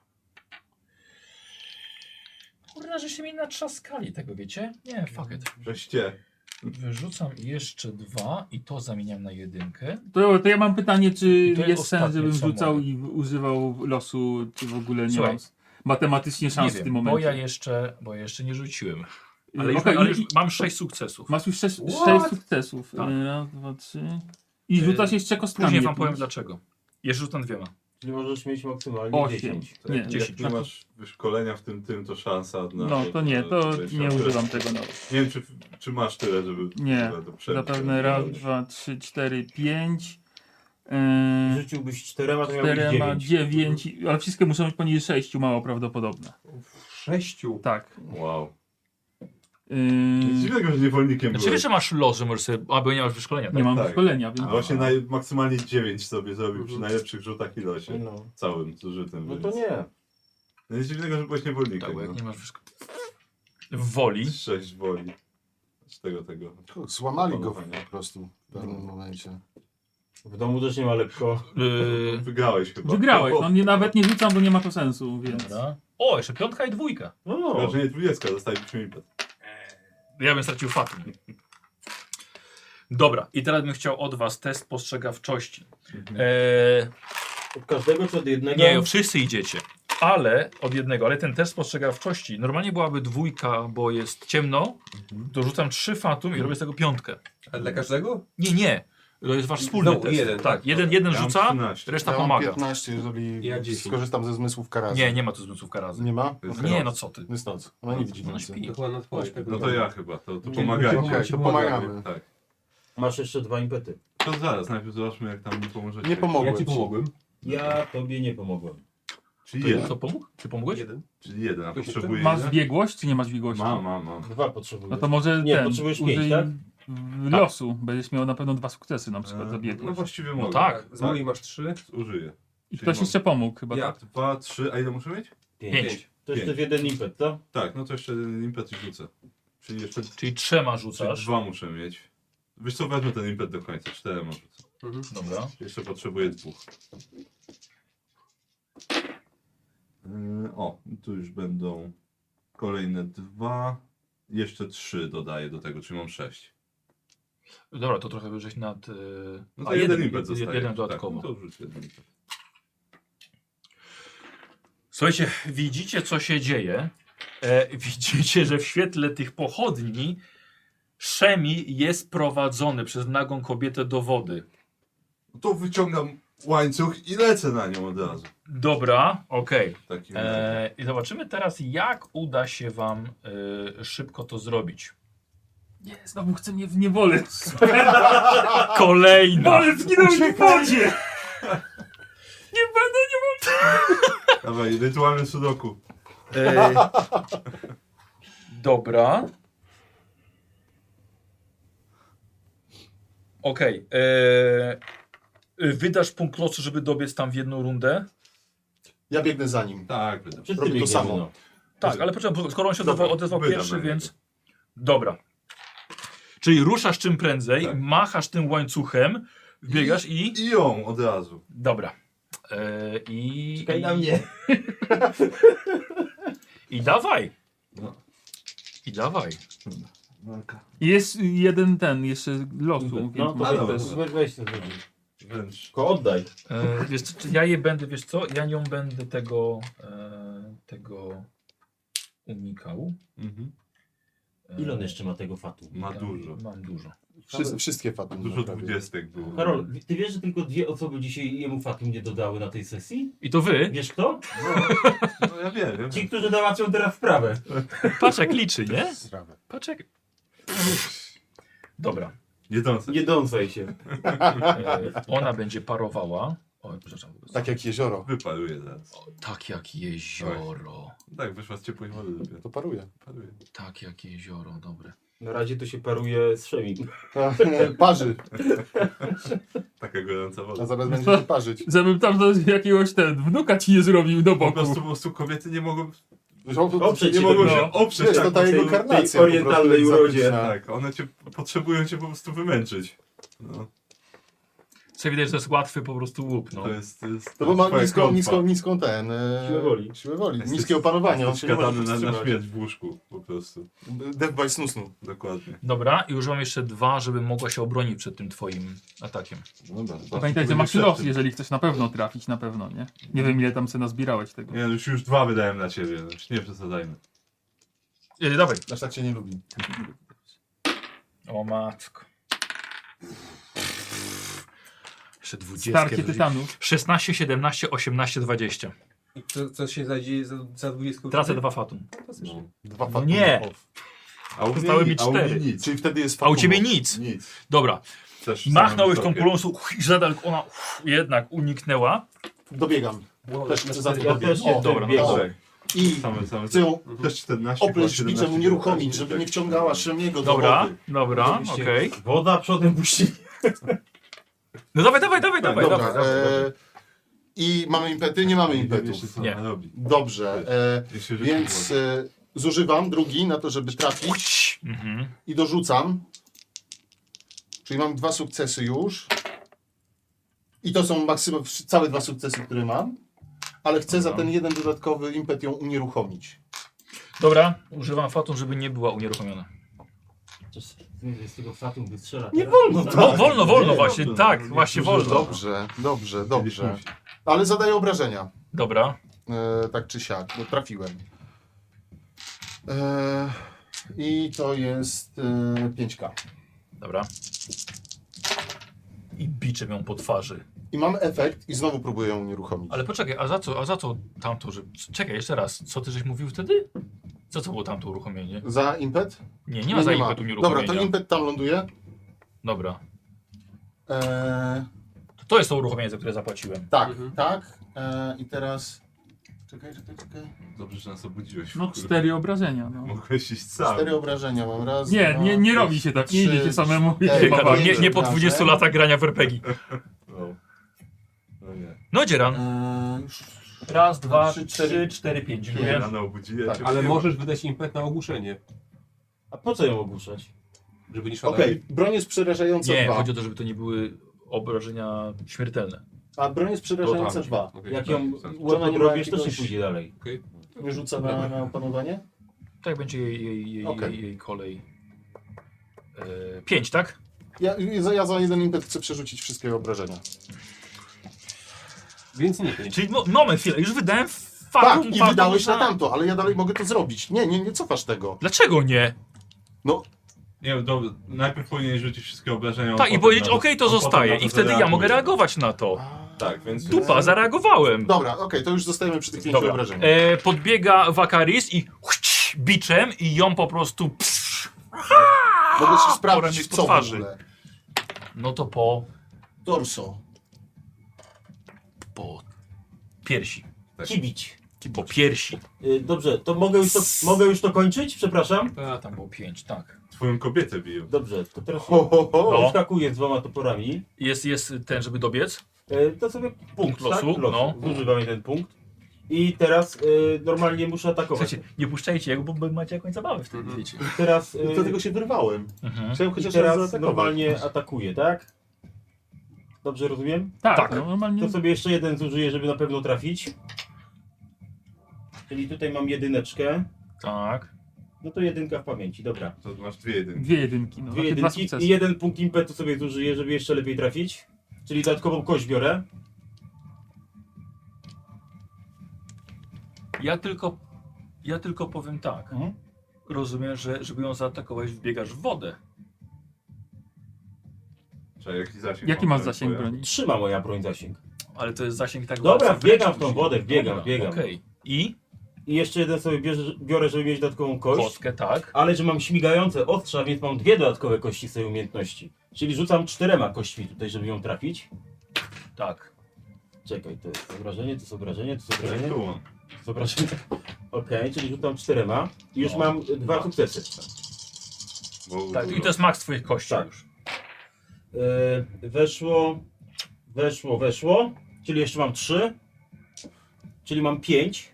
A: Kurna, że się mi natrzaskali tego, wiecie? Nie, fuck it.
D: Żeście.
A: Wyrzucam jeszcze dwa i to zamieniam na jedynkę.
E: To, to ja mam pytanie, czy
A: to
E: jest,
A: jest
E: sens,
A: ostatnie,
E: żebym
A: co
E: rzucał
A: mogę.
E: i używał losu, czy w ogóle nie
A: Słuchaj.
E: mam s- matematycznie szans
A: nie
E: w
A: wiem,
E: tym
A: bo ja
E: momencie.
A: jeszcze, bo ja jeszcze nie rzuciłem.
E: Yy,
A: Ale, już,
E: okej,
A: ale
E: i-
A: już mam sześć sukcesów.
E: Masz już sześć,
A: What?
E: sześć sukcesów.
A: Tak.
E: Yy, Raz, dwa, trzy. I
A: Yy,
E: rzucasz jeszcze kostkami.
A: Później wam
E: jakimiś.
A: powiem dlaczego. Jeszcze rzucam dwiema.
B: Czyli możesz mieć maksymalnie tak?
E: Osiem.
B: 10.
E: Nie,
D: Nie, jak
A: dziesięć.
D: nie masz wyszkolenia w tym tym, to szansa na.
E: No to nie, to
D: na-
E: nie
D: na-
E: używam tego nawet.
D: Nie wiem, czy, czy masz tyle, żeby.
E: Nie,
D: żeby to przebić.
E: Zapewne raz, dwa, trzy, cztery, pięć. Yy,
B: Rzuciłbyś czterema, to miałbyś
E: czterema,
B: 9.
E: dziewięć, i- ale wszystkie muszą być poniżej sześciu, mało prawdopodobne.
F: Sześciu.
E: Tak.
D: Wow. Nic
E: Yy,
D: dziwnego, że niewolnikiem
A: Mm. Znaczy wiesz,
D: byłeś.
A: że masz los, że możesz sobie, albo nie masz wyszkolenia, tak?
E: nie mam
D: tak.
E: szkolenia, więc...
D: No Właśnie naj, maksymalnie 9 sobie zrobił przy najlepszych rzutach i
A: Mm.
D: losie.
B: No.
D: Całym zużytym.
B: Mhm. no to
D: więc-
B: nie.
D: No Nic dziwnego, że byłeś
A: Tak,
D: niewolnikiem.
A: bo jak
D: no.
A: nie masz wyszkolenia. Woli.
D: 6 woli. Z tego, tego.
C: Kur- Złamali go po prostu w pewnym momencie.
B: W domu też nie ma lekko.
A: Yy,
D: Wygrałeś chyba.
E: Wygrałeś,
D: O,
E: no nie, nawet nie rzucam, bo nie ma to sensu, więc...
A: dobra. O, jeszcze piątka i dwójka.
B: No,
D: Wrażenie 20, dostaliśmy impet.
A: Ja bym stracił fatum. Dobra, i teraz bym chciał od was test postrzegawczości. Eee,
B: od każdego czy od jednego?
A: Nie, wszyscy idziecie. Ale od jednego, ale ten test postrzegawczości. Normalnie byłaby dwójka, bo jest ciemno. Dorzucam trzy fatum i robię z tego piątkę.
F: Ale dla każdego?
A: Nie, nie. To jest wasz wspólny
F: Znowu
A: test.
F: jeden,
A: tak,
F: tak,
A: jeden,
F: dobra.
A: jeden
D: Ja mam
A: rzuca,
D: 13.
A: reszta
C: Ja mam
A: pomaga.
C: 15, jeżeli
F: Ja 10.
C: skorzystam ze zmysłów karazy.
A: Nie, nie ma tu zmysłów karazy.
C: Nie ma?
D: Jest
C: Okej.
A: Nie, no co ty.
C: No stąd. Ona nie widzi
A: Ona
C: nic.
A: śpi.
F: To chyba nadpowiedź.
D: No to ja chyba, to, to pomagajcie.
C: Okej, to pomagamy.
D: Tak.
B: Masz jeszcze dwa impety.
D: To zaraz, najpierw zobaczmy jak tam mi pomożecie.
C: Nie pomogłem
F: Ja ci pomogłem.
B: Ja tobie nie pomogłem.
D: Czyli jeden.
A: To pomógł? Ty pomogłeś?
F: Jeden.
D: Czyli jeden, a
F: Ktoś jeszcze?
D: potrzebuję
E: Masz
D: jeden?
E: biegłość, czy nie masz biegłości?
D: Mam, mam, mam.
B: Dwa potrzebuję.
E: No to może
B: Nie,
E: ten,
B: potrzebujesz
E: użyj
B: pięć, tak?
E: w- losu, będziesz miał na pewno dwa sukcesy na przykład za
D: E, No
E: biegłość.
D: właściwie mogę.
A: tak.
D: tak.
F: Z mojej masz trzy.
D: Użyję.
E: I
D: czyli
E: ktoś jeszcze pomógł chyba,
F: Ja.
E: tak?
D: Dwa, trzy, a ile muszę mieć?
A: Pięć.
B: To jeszcze w jeden impet, co?
D: Tak, no to jeszcze jeden impet i rzucę. Czyli jeszcze
A: Czyli trzema
D: czyli
A: rzucasz.
D: dwa muszę mieć. Wiesz co, wezmę ten impet do końca, cztery może.
F: Mhm.
A: Dobra.
D: Jeszcze potrzebuję dwóch. Yy, O, tu już będą kolejne dwa. Jeszcze trzy dodaję do tego, czyli mam sześć.
A: Dobra, to trochę wyżej nad. e,
D: No to
A: a,
D: jeden, impet
A: jed-
D: zostaje.
A: Jeden dodatkowo.
D: Tak, no to wrzuć jeden impet.
A: Słuchajcie, widzicie co się dzieje.
N: E,
A: widzicie, że w świetle tych pochodni Szemi jest prowadzony przez nagą kobietę do wody.
D: No To wyciągam łańcuch i lecę na nią od razu.
A: Dobra, okej.
D: W takim razie.
A: E, I zobaczymy teraz, jak uda się wam e, szybko to zrobić.
N: Nie, znowu chce mnie w niewolę.
A: Kolejna!
N: No. Ale zginął w wodzie! Nie będę
D: Dawaj, rytualny sudoku.
A: E, dobra. Okej. e, e, Wydasz punkt losu, żeby dobiec tam w jedną rundę?
C: Ja biegnę za nim.
D: Tak, będę.
B: Wszyscy
C: Robię to
B: biegniemy,
C: samo.
B: no.
A: Tak, ale poczekaj, bo skoro on się odezwał,
D: Dobra,
A: odezwał
D: wydam
A: pierwszy,
D: na niego.
A: więc... Dobra. Czyli ruszasz czym prędzej,
D: Tak.
A: machasz tym łańcuchem, biegasz i...
D: I ją od razu.
A: Dobra. E, I...
B: Czekaj
A: i-
B: na mnie.
A: I dawaj.
D: No.
A: I dawaj.
D: Walka.
E: Jest jeden ten, jeszcze losu, więc
B: No,
E: może
B: to
D: dobra.
E: też.
B: weź, weź, weź to zrobić.
D: Wręcz.
B: Tylko oddaj.
A: E, wiesz, co, ja je będę, wiesz co, ja nie będę tego, e, tego unikał.
D: Mhm.
A: E,
B: Ile on jeszcze ma tego fatu?
D: Ma
C: Tak.
A: ja
D: dużo.
A: Mam dużo.
C: Wszyscy, wszystkie fatum.
D: Dużo
C: naprawię.
D: dwudziestek było.
B: Karol, wi- ty wiesz, że tylko dwie osoby dzisiaj jemu fatum nie dodały na tej sesji?
A: I to wy?
B: Wiesz kto?
D: No, no ja wiem, ja
B: Ci,
D: wiem.
B: którzy załatwią teraz sprawę.
A: Paczek liczy, nie? Paczek. Dobra.
D: Jedzące.
B: Nie dąsaj się.
A: E, ona będzie parowała. O, przepraszam.
C: Tak jak jezioro.
D: Wyparuje zaraz.
A: Tak jak jezioro.
D: Tak, wyszła z ciepłej wody dopiero.
C: To paruje.
D: Wyparuje.
A: Tak jak jezioro, dobre.
B: Na razie to się paruje z szemi.
C: Parzy.
D: Taka Tak gorąca
C: A
D: woda.
C: zaraz będzie się parzyć.
E: Żebym tam do jakiegoś ten wnuka ci nie zrobił do
D: Po
E: boku.
D: prostu, po prostu kobiety nie mogą,
B: Oprzeć
D: nie
B: się
D: mogą
B: do-
D: się
B: no.
D: oprzeć.
C: Wiesz,
D: tak,
C: to ta
D: mocno.
C: inkarnacja.
B: tej orientalnej
C: po prostu
B: urodzie.
C: egzotyczna.
D: Tak, one cię potrzebują cię po prostu wymęczyć. No,
A: Co widać, że to jest łatwy po prostu łup. No.
D: to jest. To, jest,
C: To bo mam
D: twoja
C: niską,
D: kompa.
C: niską, niską ten... e,
B: Siłę woli.
C: Siłę woli.
D: Jesteś-
C: Niskie opanowanie. On
D: Jesteś
C: się no, nie może
D: Gadany na, na
C: powstrzymać.
D: śmierć w łóżku po prostu.
C: Death by snusnu.
D: Dokładnie.
A: Dobra, i używam jeszcze dwa, żeby mogła się obronić przed tym twoim atakiem.
D: Dobra,
E: Pamiętajcie, masz los, jeżeli chcesz na pewno trafić, na pewno, nie? Nie wiem ile tam se nazbierałeś tego.
D: Nie, no już, już dwa wydałem na ciebie, znaczy nie przesadzajmy.
A: E, dawaj.
C: Aż tak cię nie lubi.
A: O matko. Jeszcze 20.
E: Starkie tytanów.
A: 16, 17, 18, 20.
F: I co, co się znajdzie za, za 20
A: Tracę dwa fatum.
F: Fantastycznie.
C: Dwa fatum.
A: Nie.
C: off.
D: A u
A: Zostały
D: mnie-
A: mi
D: a u mnie
A: cztery.
D: Nic.
C: Czyli wtedy jest
A: A
C: fatum.
A: u ciebie nic.
D: Nic.
A: Dobra.
D: Też w
A: Machnąłeś
D: samym
A: tą
D: topie.
A: kulą słuch, i zadal ona uff, jednak uniknęła.
C: Dobiegam. Też chcę za to
B: Ja też
C: dobiegać.
B: się
C: O,
A: dobra,
B: dobra,
A: no
B: biegam.
C: dobra.
D: Dobrze.
C: I
D: Same, same.
C: chcę ją
D: Też 14.
C: opleść
D: chyba,
C: biczem,
D: 17,
C: unieruchomić,
D: 17,
C: żeby
D: tak.
C: nie wciągała Szemiego do
A: Dobra,
C: wody.
A: dobra,
B: Oczywiście.
A: okej.
B: Woda przodem puści.
A: No dawaj, dawaj, dawaj, dawaj,
C: Dobra,
A: dawaj.
C: e, I mamy impety? Nie mamy
D: Nie wiem
C: impetów.
D: tak jeszcze co
A: Nie.
D: ona robi.
C: Dobrze, e,
D: Jeszcze rzeczy
C: więc e, zużywam drugi na to, żeby trafić
A: Mhm.
C: i dorzucam. Czyli mam dwa sukcesy już. I to są maksymalnie całe dwa sukcesy, które mam. Ale chcę za
A: Dobra.
C: ten jeden dodatkowy impet ją unieruchomić.
A: Dobra, używam fatum, żeby nie była unieruchomiona.
B: Z tego fatum wystrzela.
C: Nie
B: teraz.
C: wolno
A: No,
C: tak.
A: wolno, wolno
D: nie,
A: właśnie,
D: dobrze,
A: tak,
D: nie
A: właśnie
D: używam.
A: wolno.
C: Dobrze, dobrze,
D: robi.
C: dobrze. Ale zadaję obrażenia,
A: Dobra,
C: e, tak czy siak, bo trafiłem. E, I to jest e, 5K.
A: dobra. I biczem ją po twarzy.
C: I mam efekt i znowu próbuję ją unieruchomić.
A: Ale poczekaj, a za co, a za co tamto, że... Czekaj, jeszcze raz, co ty żeś mówił wtedy? Za co było tamto uruchomienie?
C: Za impet?
A: Nie, nie ma za impetu
C: No Dobra,
A: nieruchomienia.
C: to impet tam ląduje.
A: Dobra.
C: Eee,
A: To, to jest to uruchomienie, za które zapłaciłem.
C: tak, tak. Eee, I teraz... Czekaj, czekaj, czekaj.
D: Dobrze, że nas obudziłeś.
E: No
D: Kurde,
E: cztery obrażenia, no.
D: Mogłeś iść sam.
C: Cztery obrażenia mam. Raz,
E: Nie,
C: dwa,
E: nie, nie robi się tak, nie
C: trzy,
E: idzie się samemu.
C: cztery.
E: Nie ma walki.
A: nie, nie po 20 latach grania w RPG.
D: No. No nie.
A: No dzieran.
C: Eee, już-
A: Raz, dwa,
C: Trzy,
A: trzy,
C: cztery.
A: cztery, pięć.
D: Nie,
A: Dziękuję.
D: rano obudziłem
C: Tak,
D: cię.
F: Ale możesz wydać impet na ogłuszenie,
B: A po co ją ogłuszać?
F: żeby nie szaleć.
C: Okej, broń jest przerażająca
A: Nie,
C: dwa.
A: chodzi o to, żeby to nie były obrażenia śmiertelne.
C: A broń jest przerażająca dwa.
B: Jak ją
D: tak, tak.
C: Ona nie
B: łatwo
C: ma
B: robisz, to się
C: jakiegoś-
B: pójdzie dalej.
C: Nie rzuca na, na opanowanie?
A: Tak będzie jej, jej, jej,
C: Okej.
A: jej, jej kolej. E, pięć, tak?
C: Ja, ja, ja za jeden impet chcę przerzucić wszystkie obrażenia.
F: Więc nie.
A: Czyli mo moment, chwilę, już wydałem f-
C: Tak,
A: fatum,
C: i
A: fatum,
C: wydałeś na
A: tak.
C: tamto, ale ja dalej mogę to zrobić. Nie, nie, nie cofasz tego.
A: Dlaczego nie?
D: Nie, dobra, najpierw powinien rzucić wszystkie obrażenia. a
A: Tak, i
D: potem
A: powiedzieć,
D: na-
A: okej, to
D: a potem
A: zostaje.
D: na to
A: I wtedy ja
D: zareaguje.
A: mogę reagować na to.
D: Tak, więc...
A: Dupa, zareagowałem.
C: Dobra, okej, to już zostajemy przy tych pięciu
A: Dobra.
C: obrażeniach.
A: E, podbiega Wakaris i chć, biczem i ją po prostu... Psz,
C: Mogę się
A: Torem
C: sprawdzić,
A: jest
C: co
A: po
C: w
A: twarzy.
C: ogóle.
A: no to po...
C: Dorso.
A: po... piersi.
C: Tak.
B: Kibić.
A: Po piersi.
B: Y, Dobrze, to mogę już to, mogę już to kończyć? Przepraszam.
A: A, tam było pięć, tak.
D: Twoją kobietę biją.
B: Dobrze, to teraz
C: Ho, ho, ho.
A: No.
B: skakuję z dwoma toporami.
A: Jest, jest ten, żeby dobiec.
B: Y, To sobie punkt
A: losu,
B: tak?
A: no.
B: Zużywam jeden punkt. I teraz y, normalnie muszę atakować.
A: Słuchajcie, nie puszczajcie jego, bo macie jakąś zabawę wtedy,
F: Mhm.
A: wiecie.
B: Teraz,
C: I
B: y,
C: dlatego się wyrwałem.
A: Mhm.
C: Chciałem
B: i
C: chociaż raz
B: teraz
C: zaatakować.
B: normalnie atakuję, tak? Dobrze rozumiem?
E: Tak,
A: Tak.
E: No, normalnie.
C: Mm.
B: To sobie jeszcze jeden zużyję, żeby na pewno trafić. Czyli tutaj mam jedyneczkę.
A: Tak.
B: No to jedynka w pamięci, dobra.
D: To masz dwie jedynki.
E: Dwie jedynki, no.
B: Dwie
E: takie dwa
B: jedynki i
E: sukcesy.
B: jeden punkt impetu sobie zużyję, żeby jeszcze lepiej trafić. Czyli dodatkową kość biorę.
A: Ja tylko, ja tylko powiem tak. Rozumiem, że żeby ją zaatakować, wbiegasz w wodę.
D: Czekaj, jaki zasięg
E: Jaki
D: ma
E: masz
D: ten
E: zasięg
D: pojazd?
E: broni?
B: Trzyma moja broń zasięg.
A: Ale to jest zasięg tak
B: Dobra,
A: łatwo
B: wbiegam w
A: wręcz
B: tą wodę, wbiegam, wbiegam.
A: Okej. I
B: I jeszcze jeden sobie bierze, biorę, żeby mieć dodatkową kość.
A: kostkę, tak.
B: Ale że mam śmigające ostrza, więc mam dwie dodatkowe kości z tej umiejętności. Czyli rzucam czterema kośćmi tutaj, żeby ją trafić.
A: Tak.
B: Czekaj, to jest obrażenie, to jest obrażenie, to jest
D: Tak,
B: obrażenie, to
D: było.
B: jest obrażenie. Okej, czyli rzucam czterema. I już
A: No.
B: mam y, dwa
A: Dwa.
B: sukcesy.
D: Bo-
A: tak. I to jest maks twoich kości
B: Tak.
A: już.
B: Yy, weszło, weszło, weszło. Czyli jeszcze mam trzy. Czyli mam pięć.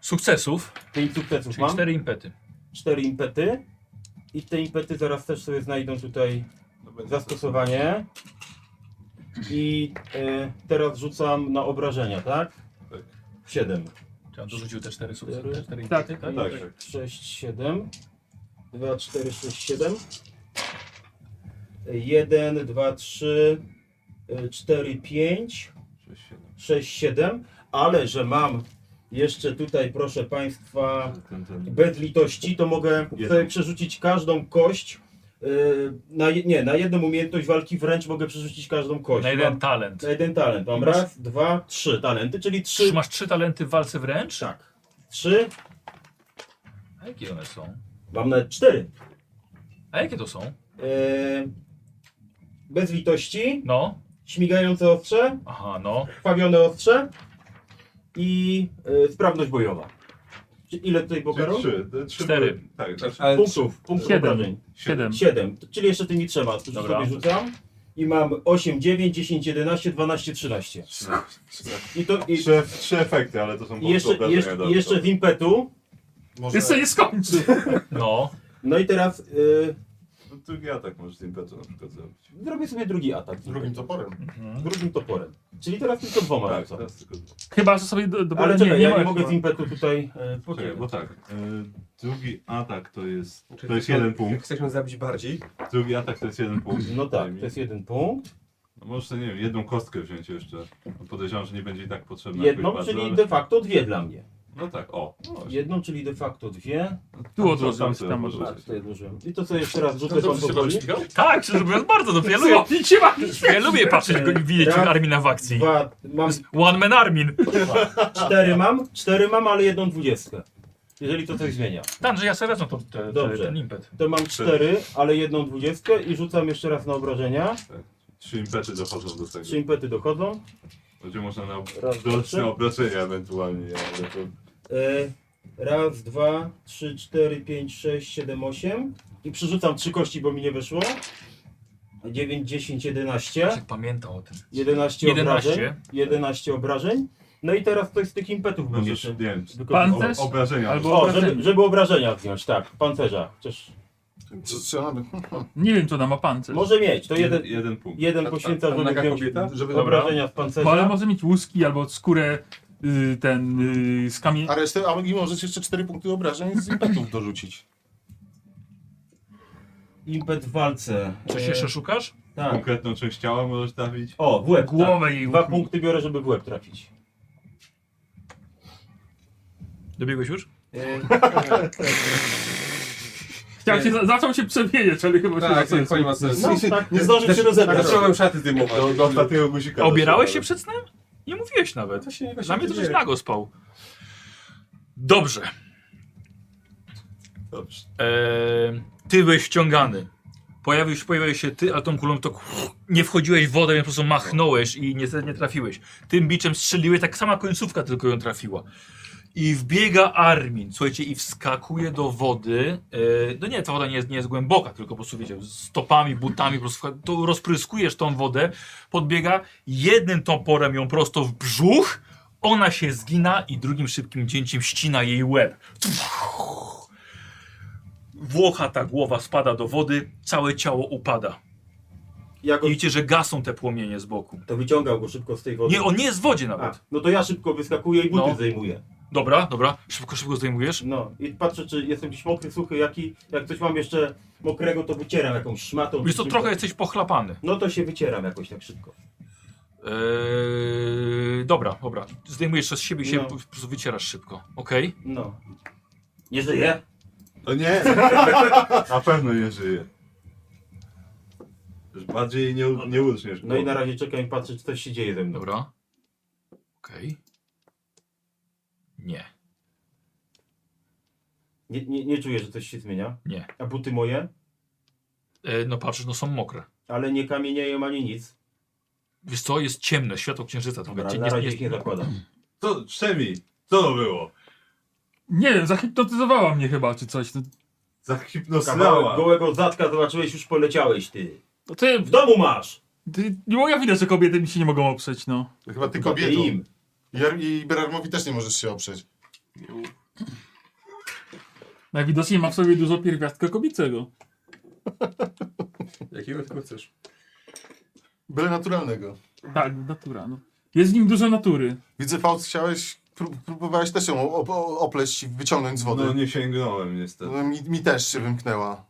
A: Sukcesów,
B: Pięć sukcesów
A: czyli
B: mam.
A: cztery impety.
B: cztery impety. I te impety zaraz też sobie znajdą tutaj
D: To będzie
B: zastosowanie. I e, teraz rzucam na obrażenia, tak?
D: Tak.
B: 7.
A: Czy on dorzucił te cztery sukcesy?
B: Cztery.
A: Te cztery
E: Tak.
A: impety,
D: Tak, tak.
B: 6, 7. 2, 4, 6, 7. 1, 2, 3, 4, 5,
D: Sześć, siedem.
B: 6, 7. Ale że mam jeszcze tutaj, proszę Państwa,
P: Ten, ten,
B: bez litości, to mogę
D: Jedną.
B: sobie przerzucić każdą kość. y, Na, je- nie, na jedną umiejętność walki wręcz mogę przerzucić każdą kość.
A: Na
B: Mam,
A: jeden talent.
B: na jeden talent. Mam
A: Masz-
B: raz, dwa, trzy talenty, czyli trzy.
A: Trzy, masz trzy talenty w walce wręcz?
B: Tak. Trzy.
A: A jakie one są?
B: Mam nawet cztery.
A: A jakie to są?
B: Y, bez litości,
A: No.
B: śmigające ostrze,
A: Aha, no.
B: krwawione ostrze i y, sprawność bojowa. Czy- Ile tutaj pokarą?
D: Czyli Trzy, te trzy
A: Cztery.
D: były- Tak, znaczy,
F: Ale
B: Punktów, punktów
E: Siedem.
B: obrażeń.
E: Siedem.
B: 7, czyli jeszcze tymi trzema, którzy
A: Dobra.
B: sobie rzucam. I mam 8, 9, 10, 11, 12, 13. I to i,
D: trzy, trzy efekty, ale to są
B: i
D: po prostu
B: jeszcze,
D: obrażenia.
B: jeszcze,
D: dodatkowe.
B: jeszcze z impetu.
C: Może...
E: Jeszcze nie skończy.
A: No.
B: No i teraz y,
D: No, Drugi atak możesz z impetu na przykład zrobić.
B: zrobię sobie drugi atak.
C: Drugim toporem.
B: Drugim toporem. Czyli teraz tylko dwoma
D: Tak,
B: rzucam.
D: teraz tylko...
E: Chyba, że sobie do, do
B: Ale
E: nie,
B: czekaj,
E: nie
B: ja nie
E: ma-
B: mogę z impetu tutaj... y,
D: Czekaj,
B: poczekaj.
D: bo tak, e, drugi atak to jest...
F: Czyli
D: To jest jeden
F: Jak
D: punkt,
F: chcesz ją zabić bardziej,
D: drugi atak to jest jeden punkt.
B: No tak, to jest jeden punkt.
D: No Możesz, sobie, nie wiem, jedną kostkę wziąć jeszcze. No Podejrzewam, że nie będzie i tak potrzebna
B: Jedną,
D: jakoś bardzo,
B: czyli
D: ale-
B: de facto dwie dla mnie.
D: No tak, o. no właśnie.
B: Jedną, czyli de facto dwie.
E: Tu odłożyłeś,
D: sobie
E: tam
D: możesz.
E: odłożyłeś.
B: Tak, tutaj odłożyłem. I to sobie jeszcze raz rzucę wam
A: Dobrze się
B: powoli.
A: bawisz, Michał? Tak, szczerze mówiąc, bardzo dobrze. Ja lubię, ja lubię patrzeć go i widzieć
B: Raz,
A: Armina w akcji.
B: Dwa, mam
A: One man Armin.
B: Cztery mam, cztery mam, ale jedną dwudziestkę. Jeżeli to coś zmienia.
A: Tam, że ja sobie wezmę to, te, te,
B: Dobrze.
A: ten impet.
B: To mam cztery, ale jedną dwudziestkę i rzucam jeszcze raz na obrażenia.
D: Trzy impety dochodzą do tego.
B: Trzy impety dochodzą.
D: Będzie można na
B: Raz, dwa, trzy.
D: dodatkowe obrażenia ewentualnie, ale to...
B: E, raz, dwa, trzy, cztery, pięć, sześć, siedem, osiem. I przerzucam trzy kości, bo mi nie weszło. Dziewięć, dziesięć, jedenaście.
A: Jak pamiętał o tym.
B: Jedenaście
A: Jedenaście.
B: obrażeń. Jedenaście obrażeń. No i teraz ktoś z tych impetów będzie
D: Możesz, no nie
B: jeszcze
D: wiem, czy-
E: Pan
B: wykorzystał.
E: też?
D: obrażenia.
E: Albo-
B: O, żeby, żeby obrażenia zdjąć, tak. Pancerza. Chociaż
C: Co strzelamy?
E: Nie wiem, co tam ma pancerz.
B: może mieć, to
D: jeden,
B: jeden,
D: no, jeden punkt.
B: jeden poświęca,
F: tam
B: żeby
F: naga
B: wziąć
F: kobieta?
C: Żeby dobra.
B: obrażenia w pancerza.
E: Bo ale może mieć łuski albo skórę y, ten y, z kamienia.
C: A resztę, a i możesz jeszcze cztery punkty obrażeń z impetów dorzucić.
B: Impet w walce.
A: Coś
B: E,
A: jeszcze szukasz?
B: Tak.
D: Konkretną część ciała możesz dawić.
B: O, w łeb.
E: Głowę
B: tak.
E: jej
B: Dwa punkty biorę, żeby w łeb trafić.
A: Dobiegłeś już?
D: Y,
E: Chciał się, zaczął się przemieniać, ale chyba się
F: Tak,
E: na
F: tak,
E: sensu.
F: pani ma sens.
B: No, tak, nie zdążył się
D: Tak,
B: rozebrać.
D: zacząłem szaty dymować.
F: Do- do ostatniego
D: guzika.
A: A Obierałeś się przed snem? Nie mówiłeś nawet.
F: To się
A: Dla mnie to żeś
F: dzieje.
A: nago spał. Dobrze.
D: Dobrze.
A: Eee, ty byłeś ściągany. Pojawił się, pojawiłeś się ty, ale tą kulą to nie wchodziłeś w wodę, więc po prostu machnąłeś i niestety nie trafiłeś. Tym biczem strzeliłeś, tak sama końcówka tylko ją trafiła. I wbiega Armin, słuchajcie, i wskakuje do wody. Eee, no nie, ta woda nie jest, nie jest głęboka, tylko po prostu, wiecie, stopami, butami, po prostu wcha- to rozpryskujesz tą wodę, podbiega, jednym toporem ją prosto w brzuch, ona się zgina i drugim szybkim cięciem ścina jej łeb. Włocha ta głowa spada do wody, całe ciało upada.
B: Ja go,
A: I widzicie, że gasą te płomienie z boku.
B: to wyciągał go szybko z tej wody.
A: Nie, on nie jest w wodzie nawet.
B: A, no to ja szybko wyskakuję i buty
A: No.
B: zdejmuję.
A: Dobra, dobra, szybko, szybko zdejmujesz.
B: No i patrzę, czy jestem jakiś mokry, suchy, jaki. Jak coś mam jeszcze mokrego, to wycieram jakąś szmatą.
A: Wiesz to
B: czy-
A: trochę jesteś pochlapany.
B: No to się wycieram jakoś tak szybko.
A: Eee, dobra, dobra. Zdejmujesz to z siebie i się
B: No.
A: po prostu wycierasz szybko. Okej?
B: No. Nie żyje?
D: O nie! Na pewno nie żyje. Już bardziej jej nie, u- nie uczniesz.
B: No i na razie czekam i patrzę, czy coś się dzieje ze mną.
A: Dobra. Okej. Nie.
B: Nie, nie, nie czuję, że coś się zmienia.
A: Nie.
B: A buty moje,
A: Eee, no patrzysz, no są mokre.
B: ale nie kamienieją ani nic.
A: Wiesz co, jest ciemne, światło księżyca. To
B: Dobra,
A: wiecie,
B: na
A: nie,
B: razie
A: nie,
B: ich nie zakładam.
D: To, Szemi, co to było?
E: Nie wiem, zahipnotyzowała mnie chyba, czy coś. No,
B: Kawałek
D: Zahipnosylała.
B: gołego zatka zobaczyłeś, już poleciałeś ty.
E: no ty,
B: W domu masz!
E: ty, nie moja wina, że kobiety mi się nie mogą oprzeć, no.
I: To Chyba ty
B: Chyba ty
I: kobietą.
B: im.
I: Jer- I Berarmowi też nie możesz się oprzeć.
E: Najwidoczniej ma w sobie dużo pierwiastka kobiecego.
F: Jakiego tylko chcesz?
I: Byle naturalnego.
E: Tak, natura, no. Jest w nim dużo natury.
I: Widzę, Faust, chciałeś, pró- próbowałeś też ją op- o- opleść i wyciągnąć z
D: No
I: wody.
D: nie Tak? sięgnąłem niestety.
I: No, mi, mi też się wymknęła.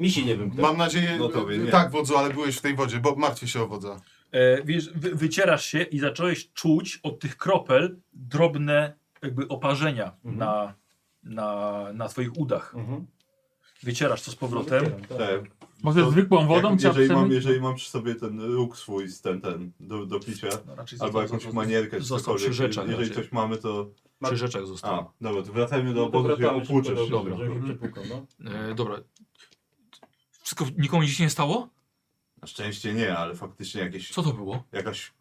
B: Mi się nie wymknęło.
I: Mam nadzieję,
D: No tobie nie.
I: tak wodzu, ale byłeś w tej wodzie, bo martwię się o wodza.
A: E, wiesz, wy, wycierasz się i zacząłeś czuć od tych kropel drobne jakby oparzenia na, na, na twoich udach.
B: Mhm.
A: Wycierasz to z powrotem.
D: Tak.
E: Może
D: To
E: zwykłą wodą
D: Jak,
E: trzeba
D: jeżeli, mam,
E: przemyć.
D: jeżeli mam przy sobie ten róg swój z ten, ten do, do picia,
A: No, raczej
D: albo jakąś manierkę, czy
A: został
D: cokolwiek,
A: przy rzeczach
D: jeżeli
A: raczej.
D: coś mamy, to...
A: Przy rzeczach zostało.
D: A, dobra, to wracajmy do
B: No to
D: obozu, no, się
B: wracamy szybko
D: opłuczesz.
B: do
A: Dobra.
B: dobra. żeby przepukał, no.
A: E, dobra. Wszystko nikomu nic się nie stało?
D: Na szczęście nie, ale faktycznie jakieś,
A: Co to było?
D: jakaś